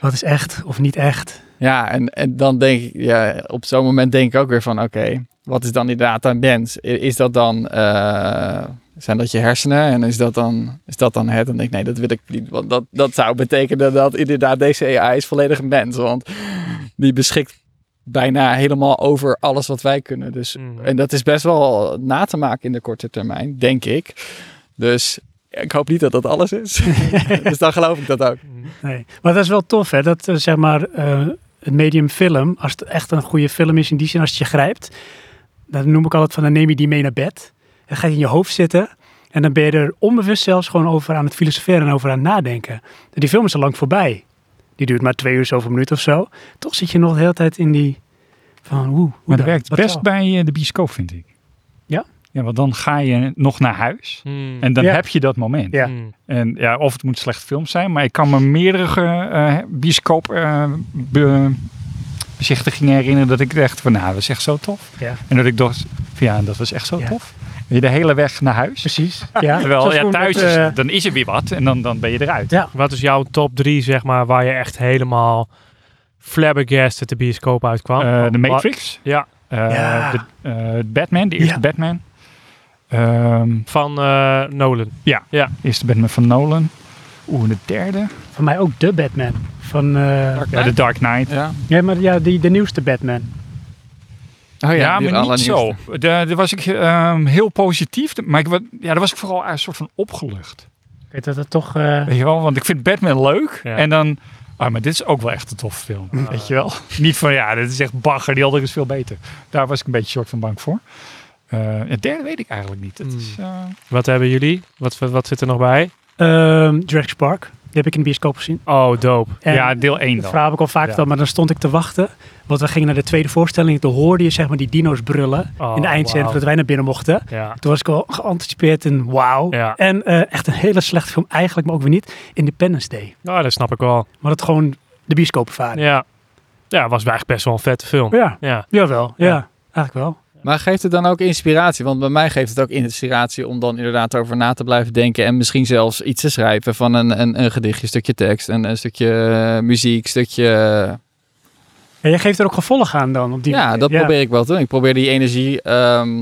Speaker 1: Wat is echt of niet echt?
Speaker 4: ja en, en dan denk ik, ja, op zo'n moment denk ik ook weer van, oké, wat is dan inderdaad een mens? I- Is dat dan, eh, zijn dat je hersenen? En is dat dan, is dat dan het? Dan denk ik, nee, dat wil ik niet. Want dat, dat zou betekenen dat inderdaad deze AI is volledig een mens. Want die beschikt bijna helemaal over alles wat wij kunnen. Dus,
Speaker 2: Mhm.
Speaker 4: En dat is best wel na te maken in de korte termijn, denk ik. Dus ik hoop niet dat dat alles is. dus dan geloof ik dat ook.
Speaker 1: Nee. Maar dat is wel tof, hè? Dat eh, zeg maar eh, het medium film, als het echt een goede film is in die zin, als het je grijpt, dan noem ik altijd van dan neem je die mee naar bed. Dan gaat je in je hoofd zitten en dan ben je er onbewust zelfs gewoon over aan het filosoferen en over aan het nadenken. En die film is al lang voorbij. Die duurt maar twee uur zoveel minuten of zo. Toch zit je nog de hele tijd in die van oeh, hoe
Speaker 3: Maar dat
Speaker 1: dan?
Speaker 3: werkt
Speaker 1: Wat
Speaker 3: best
Speaker 1: zou?
Speaker 3: bij eh, de bioscoop, vind ik.
Speaker 1: Ja?
Speaker 3: Ja, want dan ga je nog naar huis. En dan
Speaker 1: Ja.
Speaker 3: heb je dat moment.
Speaker 1: Ja.
Speaker 2: Mm-hmm. Mm.
Speaker 3: En ja, of het moet slecht film zijn, maar ik kan me meerdere eh, eh, bioscoop eh, be- bezichtigingen herinneren dat ik echt van, nou, dat is echt zo tof.
Speaker 1: Ja.
Speaker 3: En dat ik dacht, van, ja, dat was echt zo
Speaker 1: Ja.
Speaker 3: tof. En je de hele weg naar huis.
Speaker 1: Precies. Ja.
Speaker 3: Terwijl
Speaker 1: Zoals
Speaker 3: ja,
Speaker 1: toen met,
Speaker 3: thuis
Speaker 1: eh,
Speaker 3: is, dan is er weer wat en dan, dan ben je eruit.
Speaker 1: Ja.
Speaker 2: Wat is jouw top 3, zeg maar, waar je echt helemaal flabbergasted de bioscoop uitkwam?
Speaker 3: Eh, de
Speaker 2: Wa-
Speaker 3: Matrix.
Speaker 2: Ja.
Speaker 3: Eh,
Speaker 1: Ja.
Speaker 3: de, eh, Batman, de eerste
Speaker 1: Ja.
Speaker 3: Batman. Ehm,
Speaker 2: Van eh, Nolan.
Speaker 3: eerste Batman van Nolan. Oeh, en de derde.
Speaker 1: Voor mij ook de Batman. Van, eh,
Speaker 3: Ja, de Dark Knight.
Speaker 4: Ja,
Speaker 1: ja, maar ja, die, de nieuwste Batman.
Speaker 4: oh, ja,
Speaker 3: ja,
Speaker 4: die
Speaker 3: maar niet zo.
Speaker 4: allernieuwste.
Speaker 3: Da- Daar was ik ehm, heel positief. Maar ik, wa- ja, daar was ik vooral een soort van opgelucht.
Speaker 1: Ik weet dat het toch... eh,
Speaker 3: Weet je wel? Want ik vind Batman leuk.
Speaker 2: Ja.
Speaker 3: En dan... Ah, maar dit is ook wel echt een toffe film. Weet je wel? Niet van, ja, dit is echt bagger. Die andere is veel beter. Daar was ik een beetje soort van bang voor. Eh, het derde weet ik eigenlijk niet. Het
Speaker 2: Hmm.
Speaker 3: is, eh,
Speaker 2: Wat hebben jullie? Wat, wat zit er nog bij?
Speaker 1: Ehm Jurassic Park. Die heb ik in de bioscoop gezien.
Speaker 2: Oh, dope.
Speaker 1: En
Speaker 3: ja, deel 1
Speaker 1: dat
Speaker 3: dan.
Speaker 1: verhaal heb ik al vaak
Speaker 3: Ja.
Speaker 1: verteld, maar dan stond ik te wachten. Want we gingen naar de tweede voorstelling. Toen hoorde je zeg maar die dino's brullen
Speaker 2: Oh,
Speaker 1: in de eindscène
Speaker 2: wauw.
Speaker 1: dat wij naar binnen mochten.
Speaker 2: Ja.
Speaker 1: Toen was ik al geanticipeerd en wauw.
Speaker 2: Ja.
Speaker 1: En eh, echt een hele slechte film eigenlijk, maar ook weer niet. Independence Day.
Speaker 2: Nou, dat snap ik wel.
Speaker 1: Maar dat gewoon de bioscoopervaring.
Speaker 2: Ja. Ja, was eigenlijk best wel een vette film.
Speaker 1: Ja. ja.
Speaker 2: Ja.
Speaker 1: Jawel. Ja.
Speaker 2: Ja.
Speaker 1: Eigenlijk wel.
Speaker 4: Maar geeft het dan ook inspiratie? Want bij mij geeft het ook inspiratie om dan inderdaad over na te blijven denken. En misschien zelfs iets te schrijven van een, een, een gedichtje, een stukje tekst, een, een stukje eh, muziek, stukje...
Speaker 1: En jij geeft er ook gevolg aan dan op die
Speaker 4: ja,
Speaker 1: manier.
Speaker 4: dat probeer ik wel te doen. Ik probeer die energie... ehm,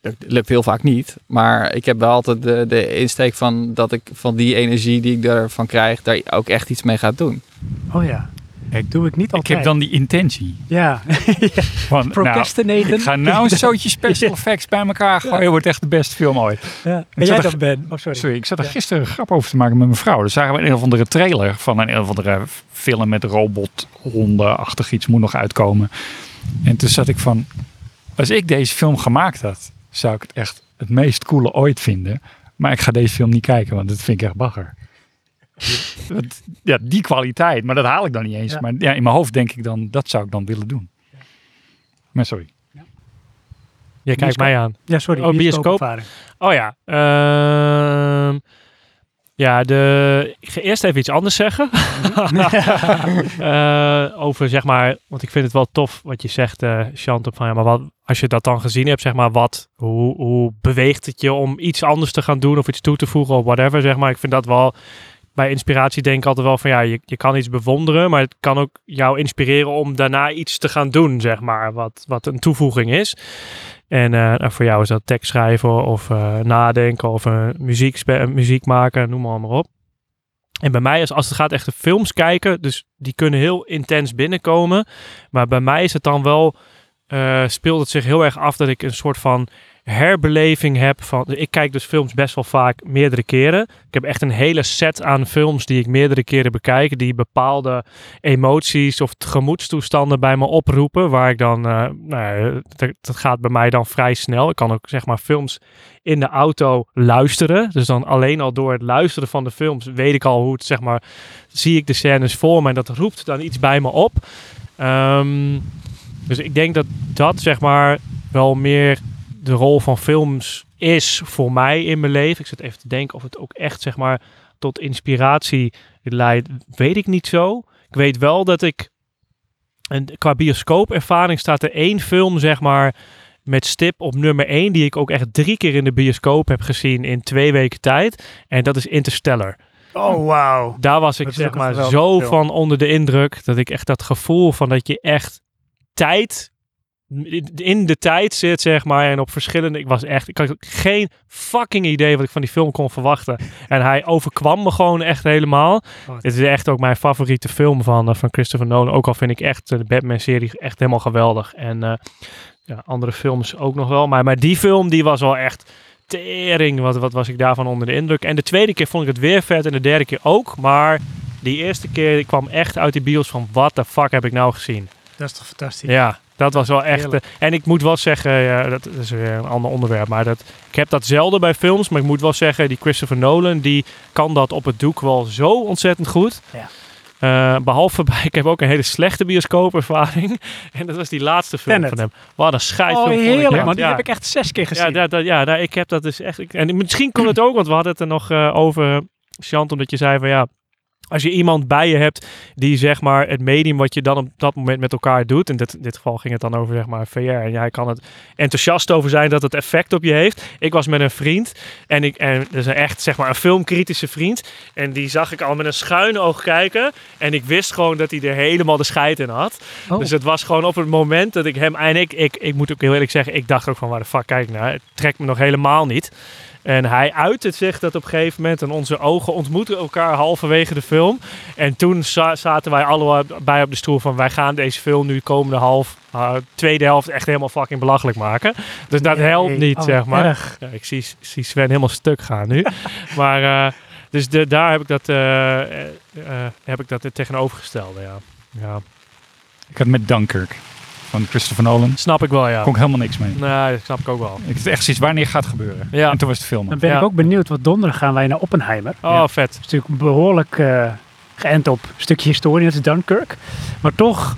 Speaker 4: dat lukt heel vaak niet. Maar ik heb wel altijd de, de insteek van dat ik van die energie die ik daarvan krijg, daar ook echt iets mee ga doen.
Speaker 1: Oh ja.
Speaker 3: Ik-
Speaker 1: doe ik niet
Speaker 3: Ik
Speaker 1: altijd.
Speaker 3: heb dan die intentie.
Speaker 1: Ja.
Speaker 3: Van, nou,
Speaker 1: Procrastinaten.
Speaker 3: ik ga nou een zootje special effects bij elkaar gooien. Het wordt echt de beste film ooit.
Speaker 1: Ja.
Speaker 3: Ik
Speaker 1: En
Speaker 3: zat
Speaker 1: jij
Speaker 3: er-
Speaker 1: dat Ben. Oh, sorry.
Speaker 3: Sorry, ik zat er gisteren een grap over te maken met mijn vrouw. Dan zagen we een of andere trailer van een of andere film met robothonden-achtig iets moet nog uitkomen. En toen zat ik van, als ik deze film gemaakt had, zou ik het echt het meest coole ooit vinden. Maar ik ga deze film niet kijken, want dat vind ik echt bagger. Want, Ja, die kwaliteit, maar dat haal ik dan niet eens.
Speaker 1: Ja.
Speaker 3: Maar ja, in mijn hoofd denk ik dan, dat zou ik dan willen doen. Maar sorry.
Speaker 2: Je kijkt
Speaker 1: Bioscoop.
Speaker 2: mij aan.
Speaker 1: Ja, sorry.
Speaker 2: Oh, bioscoop.
Speaker 1: bioscoopervaring.
Speaker 2: Oh ja. Ehm, ja, de, ik ga eerst even iets anders zeggen. Eh, over zeg maar, want ik vind het wel tof wat je zegt, eh Chant. Van, ja, maar wat, als je dat dan gezien hebt, zeg maar, wat, hoe, hoe beweegt het je om iets anders te gaan doen of iets toe te voegen of whatever, zeg maar. Ik vind dat wel, bij inspiratie denk ik altijd wel van, ja, je, je kan iets bewonderen, maar het kan ook jou inspireren om daarna iets te gaan doen, zeg maar, wat, wat een toevoeging is. En eh, nou, voor jou is dat tekst schrijven of eh, nadenken of eh, muziek, spe- eh, muziek maken, noem maar, maar op. En bij mij is als het gaat echt de films kijken, dus die kunnen heel intens binnenkomen. Maar bij mij is het dan wel, eh, speelt het zich heel erg af dat ik een soort van herbeleving heb. Van, ik kijk dus films best wel vaak meerdere keren. Ik heb echt een hele set aan films die ik meerdere keren bekijk, die bepaalde emoties of gemoedstoestanden bij me oproepen. Waar ik dan, eh, nou ja, dat, dat gaat bij mij dan vrij snel. Ik kan ook zeg maar films in de auto luisteren. Dus dan alleen al door het luisteren van de films weet ik al hoe het zeg maar, zie ik de scènes voor me en dat roept dan iets bij me op. Ehm, dus ik denk dat dat zeg maar wel meer de rol van films is voor mij in mijn leven. Ik zit even te denken of het ook echt zeg maar tot inspiratie leidt, weet ik niet zo. Ik weet wel dat ik... En qua bioscoopervaring staat er één film, zeg maar, met stip op nummer één... die ik ook echt drie keer in de bioscoop heb gezien in twee weken tijd. En dat is Interstellar.
Speaker 1: Oh, wauw.
Speaker 2: Daar was ik
Speaker 1: Dat is
Speaker 2: zeg
Speaker 1: ook
Speaker 2: maar
Speaker 1: een geweldige
Speaker 2: zo
Speaker 1: film.
Speaker 2: van onder de indruk dat ik echt dat gevoel van dat je echt tijd in de tijd zit zeg maar en op verschillende ik was echt ik had geen fucking idee wat ik van die film kon verwachten en hij overkwam me gewoon echt helemaal.
Speaker 1: Wat.
Speaker 2: Het is echt ook mijn favoriete film van, eh, van Christopher Nolan. Ook al vind ik echt eh, de Batman serie echt helemaal geweldig en eh, ja, andere films ook nog wel, maar, maar die film die was wel echt tering, wat, wat was ik daarvan onder de indruk. En de tweede keer vond ik het weer vet en de derde keer ook. Maar die eerste keer ik kwam echt uit die bios van, wat de fuck heb ik nou gezien?
Speaker 1: Dat is toch fantastisch.
Speaker 2: Ja, dat was wel echt...
Speaker 1: Heerlijk.
Speaker 2: eh, en ik moet wel zeggen, ja, dat is weer een ander onderwerp, maar dat, ik heb dat zelden bij films. Maar ik moet wel zeggen, die Christopher Nolan, die kan dat op het doek wel zo ontzettend goed.
Speaker 1: Ja.
Speaker 2: Eh, behalve bij, ik heb ook een hele slechte bioscoopervaring. En dat was die laatste film
Speaker 1: Tenet.
Speaker 2: van hem. Wat een scheidfilm
Speaker 1: Oh,
Speaker 2: vond ik
Speaker 1: heerlijk,
Speaker 2: dat.
Speaker 1: man. Die
Speaker 2: Ja.
Speaker 1: heb ik echt zes keer gezien.
Speaker 2: Ja, dat, dat- ja daar- ik heb dat dus echt. ik- en misschien komt het ook, want we hadden het er nog eh, over, Chant, omdat je zei van ja. Als je iemand bij je hebt die zeg maar het medium wat je dan op dat moment met elkaar doet. In dit, in dit geval ging het dan over zeg maar VR. En jij kan het enthousiast over zijn dat het effect op je heeft. Ik was met een vriend en ik en dat is een echt zeg maar een filmkritische vriend. En die zag ik al met een schuin oog kijken. En ik wist gewoon dat hij er helemaal de scheid in had.
Speaker 1: Oh.
Speaker 2: Dus het was gewoon op het moment dat ik hem... En ik, ik, ik moet ook heel eerlijk zeggen, ik dacht ook van waar de fuck kijk ik naar. Het trekt me nog helemaal niet. En hij uitte zich dat op een gegeven moment. En onze ogen ontmoeten elkaar halverwege de film. En toen za- zaten wij allebei op de stoel van... wij gaan deze film nu komende half, eh, tweede helft echt helemaal fucking belachelijk maken. Dus dat helpt niet,
Speaker 1: Oh,
Speaker 2: zeg maar.
Speaker 1: erg.
Speaker 2: Ja, ik zie, zie Sven helemaal stuk gaan nu. maar eh, dus de, daar heb ik dat, eh, eh, eh, heb ik dat het tegenovergestelde, ja. ja.
Speaker 3: Ik had met Dunkirk van Christopher Nolan.
Speaker 2: Snap ik wel, ja.
Speaker 3: Kon ik helemaal niks mee.
Speaker 2: Nee, dat snap ik ook wel.
Speaker 3: Ik had echt zoiets wanneer gaat het gebeuren.
Speaker 2: Ja.
Speaker 3: En toen was het film.
Speaker 1: Dan ben
Speaker 2: Ja.
Speaker 1: ik ook benieuwd, wat donderdag gaan wij naar Oppenheimer.
Speaker 2: Oh,
Speaker 3: Ja.
Speaker 2: vet.
Speaker 1: is natuurlijk behoorlijk eh, geënt op een stukje historie, net als Dunkirk. Maar toch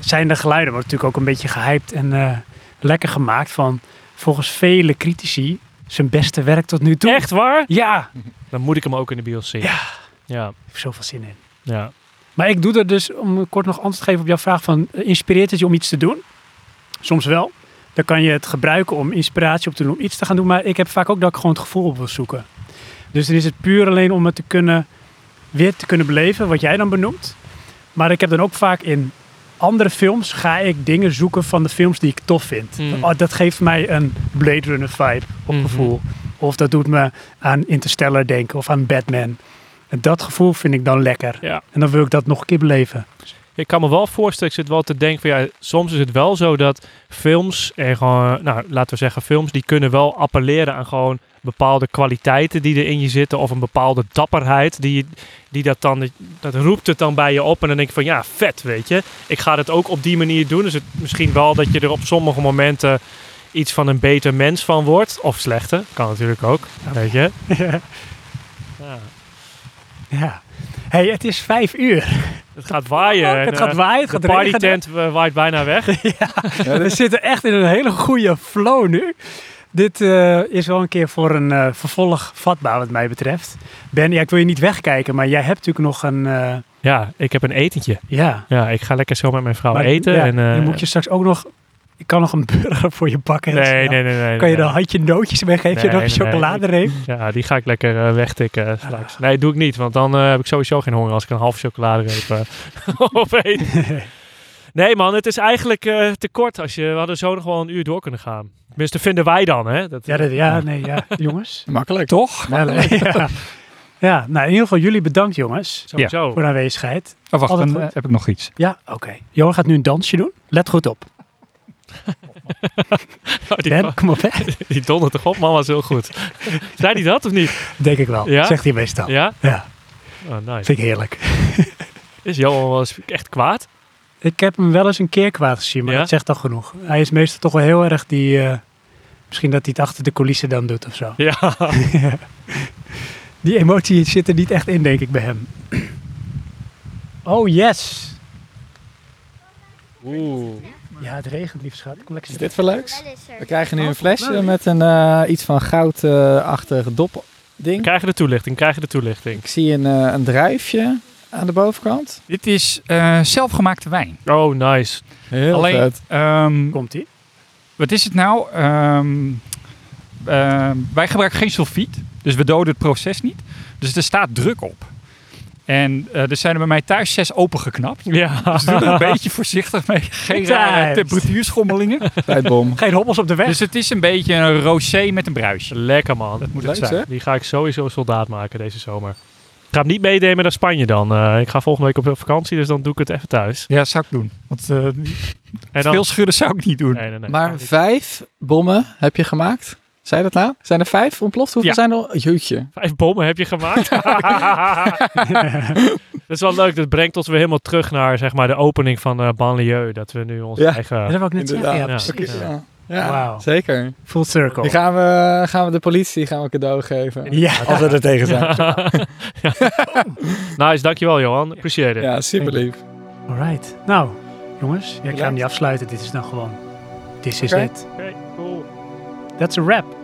Speaker 1: zijn de geluiden, wordt natuurlijk ook een beetje gehyped en eh, lekker gemaakt van volgens vele critici zijn beste werk tot nu toe.
Speaker 2: Echt waar?
Speaker 1: Ja, ik
Speaker 2: Dan moet ik hem ook in de bios zien.
Speaker 1: Ja.
Speaker 2: Ja,
Speaker 1: heb er zoveel zin in.
Speaker 2: ja.
Speaker 1: Maar ik doe er dus, om kort nog antwoord te geven op jouw vraag, van eh, inspireert het je om iets te doen? Soms wel. Dan kan je het gebruiken om inspiratie op te doen, om iets te gaan doen. Maar ik heb vaak ook dat ik gewoon het gevoel op wil zoeken. Dus dan is het puur alleen om het te kunnen, weer te kunnen beleven, wat jij dan benoemt. Maar ik heb dan ook vaak in andere films, ga ik dingen zoeken van de films die ik tof vind.
Speaker 2: Mm.
Speaker 1: Oh, dat geeft mij een Blade Runner vibe op
Speaker 2: Mhm.
Speaker 1: gevoel. Of dat doet me aan Interstellar denken of aan Batman. En dat gevoel vind ik dan lekker.
Speaker 2: ja.
Speaker 1: En dan wil ik dat nog een keer beleven.
Speaker 2: Ik kan me wel voorstellen, ik zit wel te denken van ja, soms is het wel zo dat films en gewoon, nou laten we zeggen films, die kunnen wel appelleren aan gewoon bepaalde kwaliteiten die er in je zitten of een bepaalde dapperheid die, je- die dat dan, dat roept het dan bij je op en dan denk je van ja, vet weet je. Ik ga dat ook op die manier doen, dus het, misschien wel dat je er op sommige momenten iets van een beter mens van wordt of slechter, kan natuurlijk ook, weet je. Ja.
Speaker 1: Ja. hey, het is vijf uur. Oh,
Speaker 2: Het gaat waaien. en,
Speaker 1: het
Speaker 2: eh,
Speaker 1: gaat waaien, het
Speaker 2: de
Speaker 1: gaat regenen.
Speaker 2: partytent eh, waait bijna weg.
Speaker 1: We zitten echt in een hele goede flow nu. Dit eh, is wel een keer voor een eh, vervolg vatbaar wat mij betreft. Ben, ja, ik wil je niet wegkijken, maar jij hebt natuurlijk nog een... eh,
Speaker 2: Ja, ik heb een etentje.
Speaker 1: ja,
Speaker 2: Ja, ik ga lekker zo met mijn vrouw
Speaker 1: maar-
Speaker 2: eten.
Speaker 1: ja,
Speaker 2: en, eh,
Speaker 1: dan moet je straks ook nog... Ik kan nog een burger voor je bakken.
Speaker 2: nee, nee, nee, nee, nee.
Speaker 1: Kan je dan handje nootjes weggeven? Heb je
Speaker 2: Nee,
Speaker 1: nog een
Speaker 2: nee, nee.
Speaker 1: chocoladereep?
Speaker 2: Ja, die ga ik lekker eh, wegtikken
Speaker 1: Ah.
Speaker 2: eh, straks. Nee, doe ik niet, want dan eh, heb ik sowieso geen honger als ik een half chocoladereep eh, opeet. Nee man, het is eigenlijk eh, te kort. Als je, we hadden zo nog wel een uur door kunnen gaan. Tenminste, vinden wij dan, hè? Dat,
Speaker 1: Ja, dat- ja, nee, ja. jongens.
Speaker 4: Makkelijk.
Speaker 3: Toch?
Speaker 1: Ja, ja. ja, nou in ieder geval jullie bedankt jongens
Speaker 2: sowieso.
Speaker 1: voor de aanwezigheid.
Speaker 3: Oh, wacht,
Speaker 1: Altijd
Speaker 3: dan
Speaker 1: goed.
Speaker 3: eh, heb ik nog iets.
Speaker 1: Ja, oké. Johan gaat nu een dansje doen. Let goed op.
Speaker 2: Oh, die,
Speaker 1: Ben, kom op, hè?
Speaker 2: die donder toch op, man, was heel goed. Zei die dat of niet?
Speaker 1: Denk ik wel.
Speaker 2: Ja?
Speaker 1: Zegt hij meestal. Ja.
Speaker 2: Ja? Oh, nice.
Speaker 1: Nou. vind ik heerlijk.
Speaker 2: Is Johan wel eens echt kwaad?
Speaker 1: Ik heb hem wel eens een keer kwaad gezien, maar
Speaker 2: Ja?
Speaker 1: dat zegt al genoeg. Hij is meestal toch wel heel erg die... eh, misschien dat hij het achter de coulissen dan doet of zo.
Speaker 2: Ja.
Speaker 1: Die emotie zit er niet echt in, denk ik, bij hem. Oh, yes!
Speaker 4: Oeh.
Speaker 1: Ja, het regent, lief schat. Kom lekker
Speaker 4: Is
Speaker 1: zitten.
Speaker 4: dit voor leuks? We krijgen nu een flesje
Speaker 1: leuk.
Speaker 4: met een eh, iets van goudachtig dop ding.
Speaker 2: Krijgen de toelichting, krijgen de toelichting.
Speaker 4: Ik zie een, eh, een druifje aan de bovenkant?
Speaker 3: Dit is eh, zelfgemaakte wijn.
Speaker 2: Oh, nice.
Speaker 4: Heel
Speaker 3: Alleen,
Speaker 4: vet.
Speaker 3: ehm,
Speaker 1: Komt ie?
Speaker 3: wat is het nou? Ehm, ehm, wij gebruiken geen sulfiet, dus we doden het proces niet. Dus er staat druk op. En eh, er zijn er bij mij thuis zes opengeknapt.
Speaker 2: Ja.
Speaker 3: Dus doe er een beetje voorzichtig mee. Geen rare
Speaker 1: Tijd.
Speaker 3: temperatuurschommelingen.
Speaker 4: eh, Tijdbom.
Speaker 1: Geen hobbels op de weg.
Speaker 3: Dus het is een beetje een rosé met een bruisje.
Speaker 2: Lekker man.
Speaker 3: Dat moet
Speaker 4: Leuk,
Speaker 3: het zijn.
Speaker 4: hè?
Speaker 2: Die ga ik sowieso soldaat maken deze zomer. Ik ga hem niet meenemen naar Spanje dan. Eh, ik ga volgende week op vakantie, dus dan doe ik het even thuis.
Speaker 3: Ja, zou ik doen. Want eh,
Speaker 2: En dan...
Speaker 3: veel schudden zou ik niet doen.
Speaker 2: Nee, nee, nee.
Speaker 4: Maar vijf bommen heb je gemaakt. Zei dat nou? Zijn er vijf ontploft? Hoeveel
Speaker 2: Ja.
Speaker 4: zijn er? Jeetje.
Speaker 2: Vijf bommen heb je gemaakt. dat is wel leuk. Dat brengt ons weer helemaal terug naar zeg maar, de opening van eh Banlieue. Dat we nu ons
Speaker 4: Ja.
Speaker 1: dat
Speaker 2: eigen...
Speaker 1: heb ik net zeggen. Ja,
Speaker 4: inderdaad.
Speaker 1: precies.
Speaker 2: Ja.
Speaker 4: Ja,
Speaker 1: Wauw.
Speaker 4: zeker.
Speaker 1: Full circle.
Speaker 4: Die gaan we, gaan we de politie gaan we cadeau geven.
Speaker 1: Ja.
Speaker 4: Als we er tegen zijn.
Speaker 2: Nice, dankjewel Johan. Appreciate it.
Speaker 4: Oh. Ja, super lief.
Speaker 1: Alright. Nou, jongens. Ja, ik ga hem
Speaker 4: Bedankt.
Speaker 1: niet afsluiten. Dit is dan gewoon... This is
Speaker 4: Oké.
Speaker 1: it.
Speaker 2: Oké, cool.
Speaker 1: That's a wrap.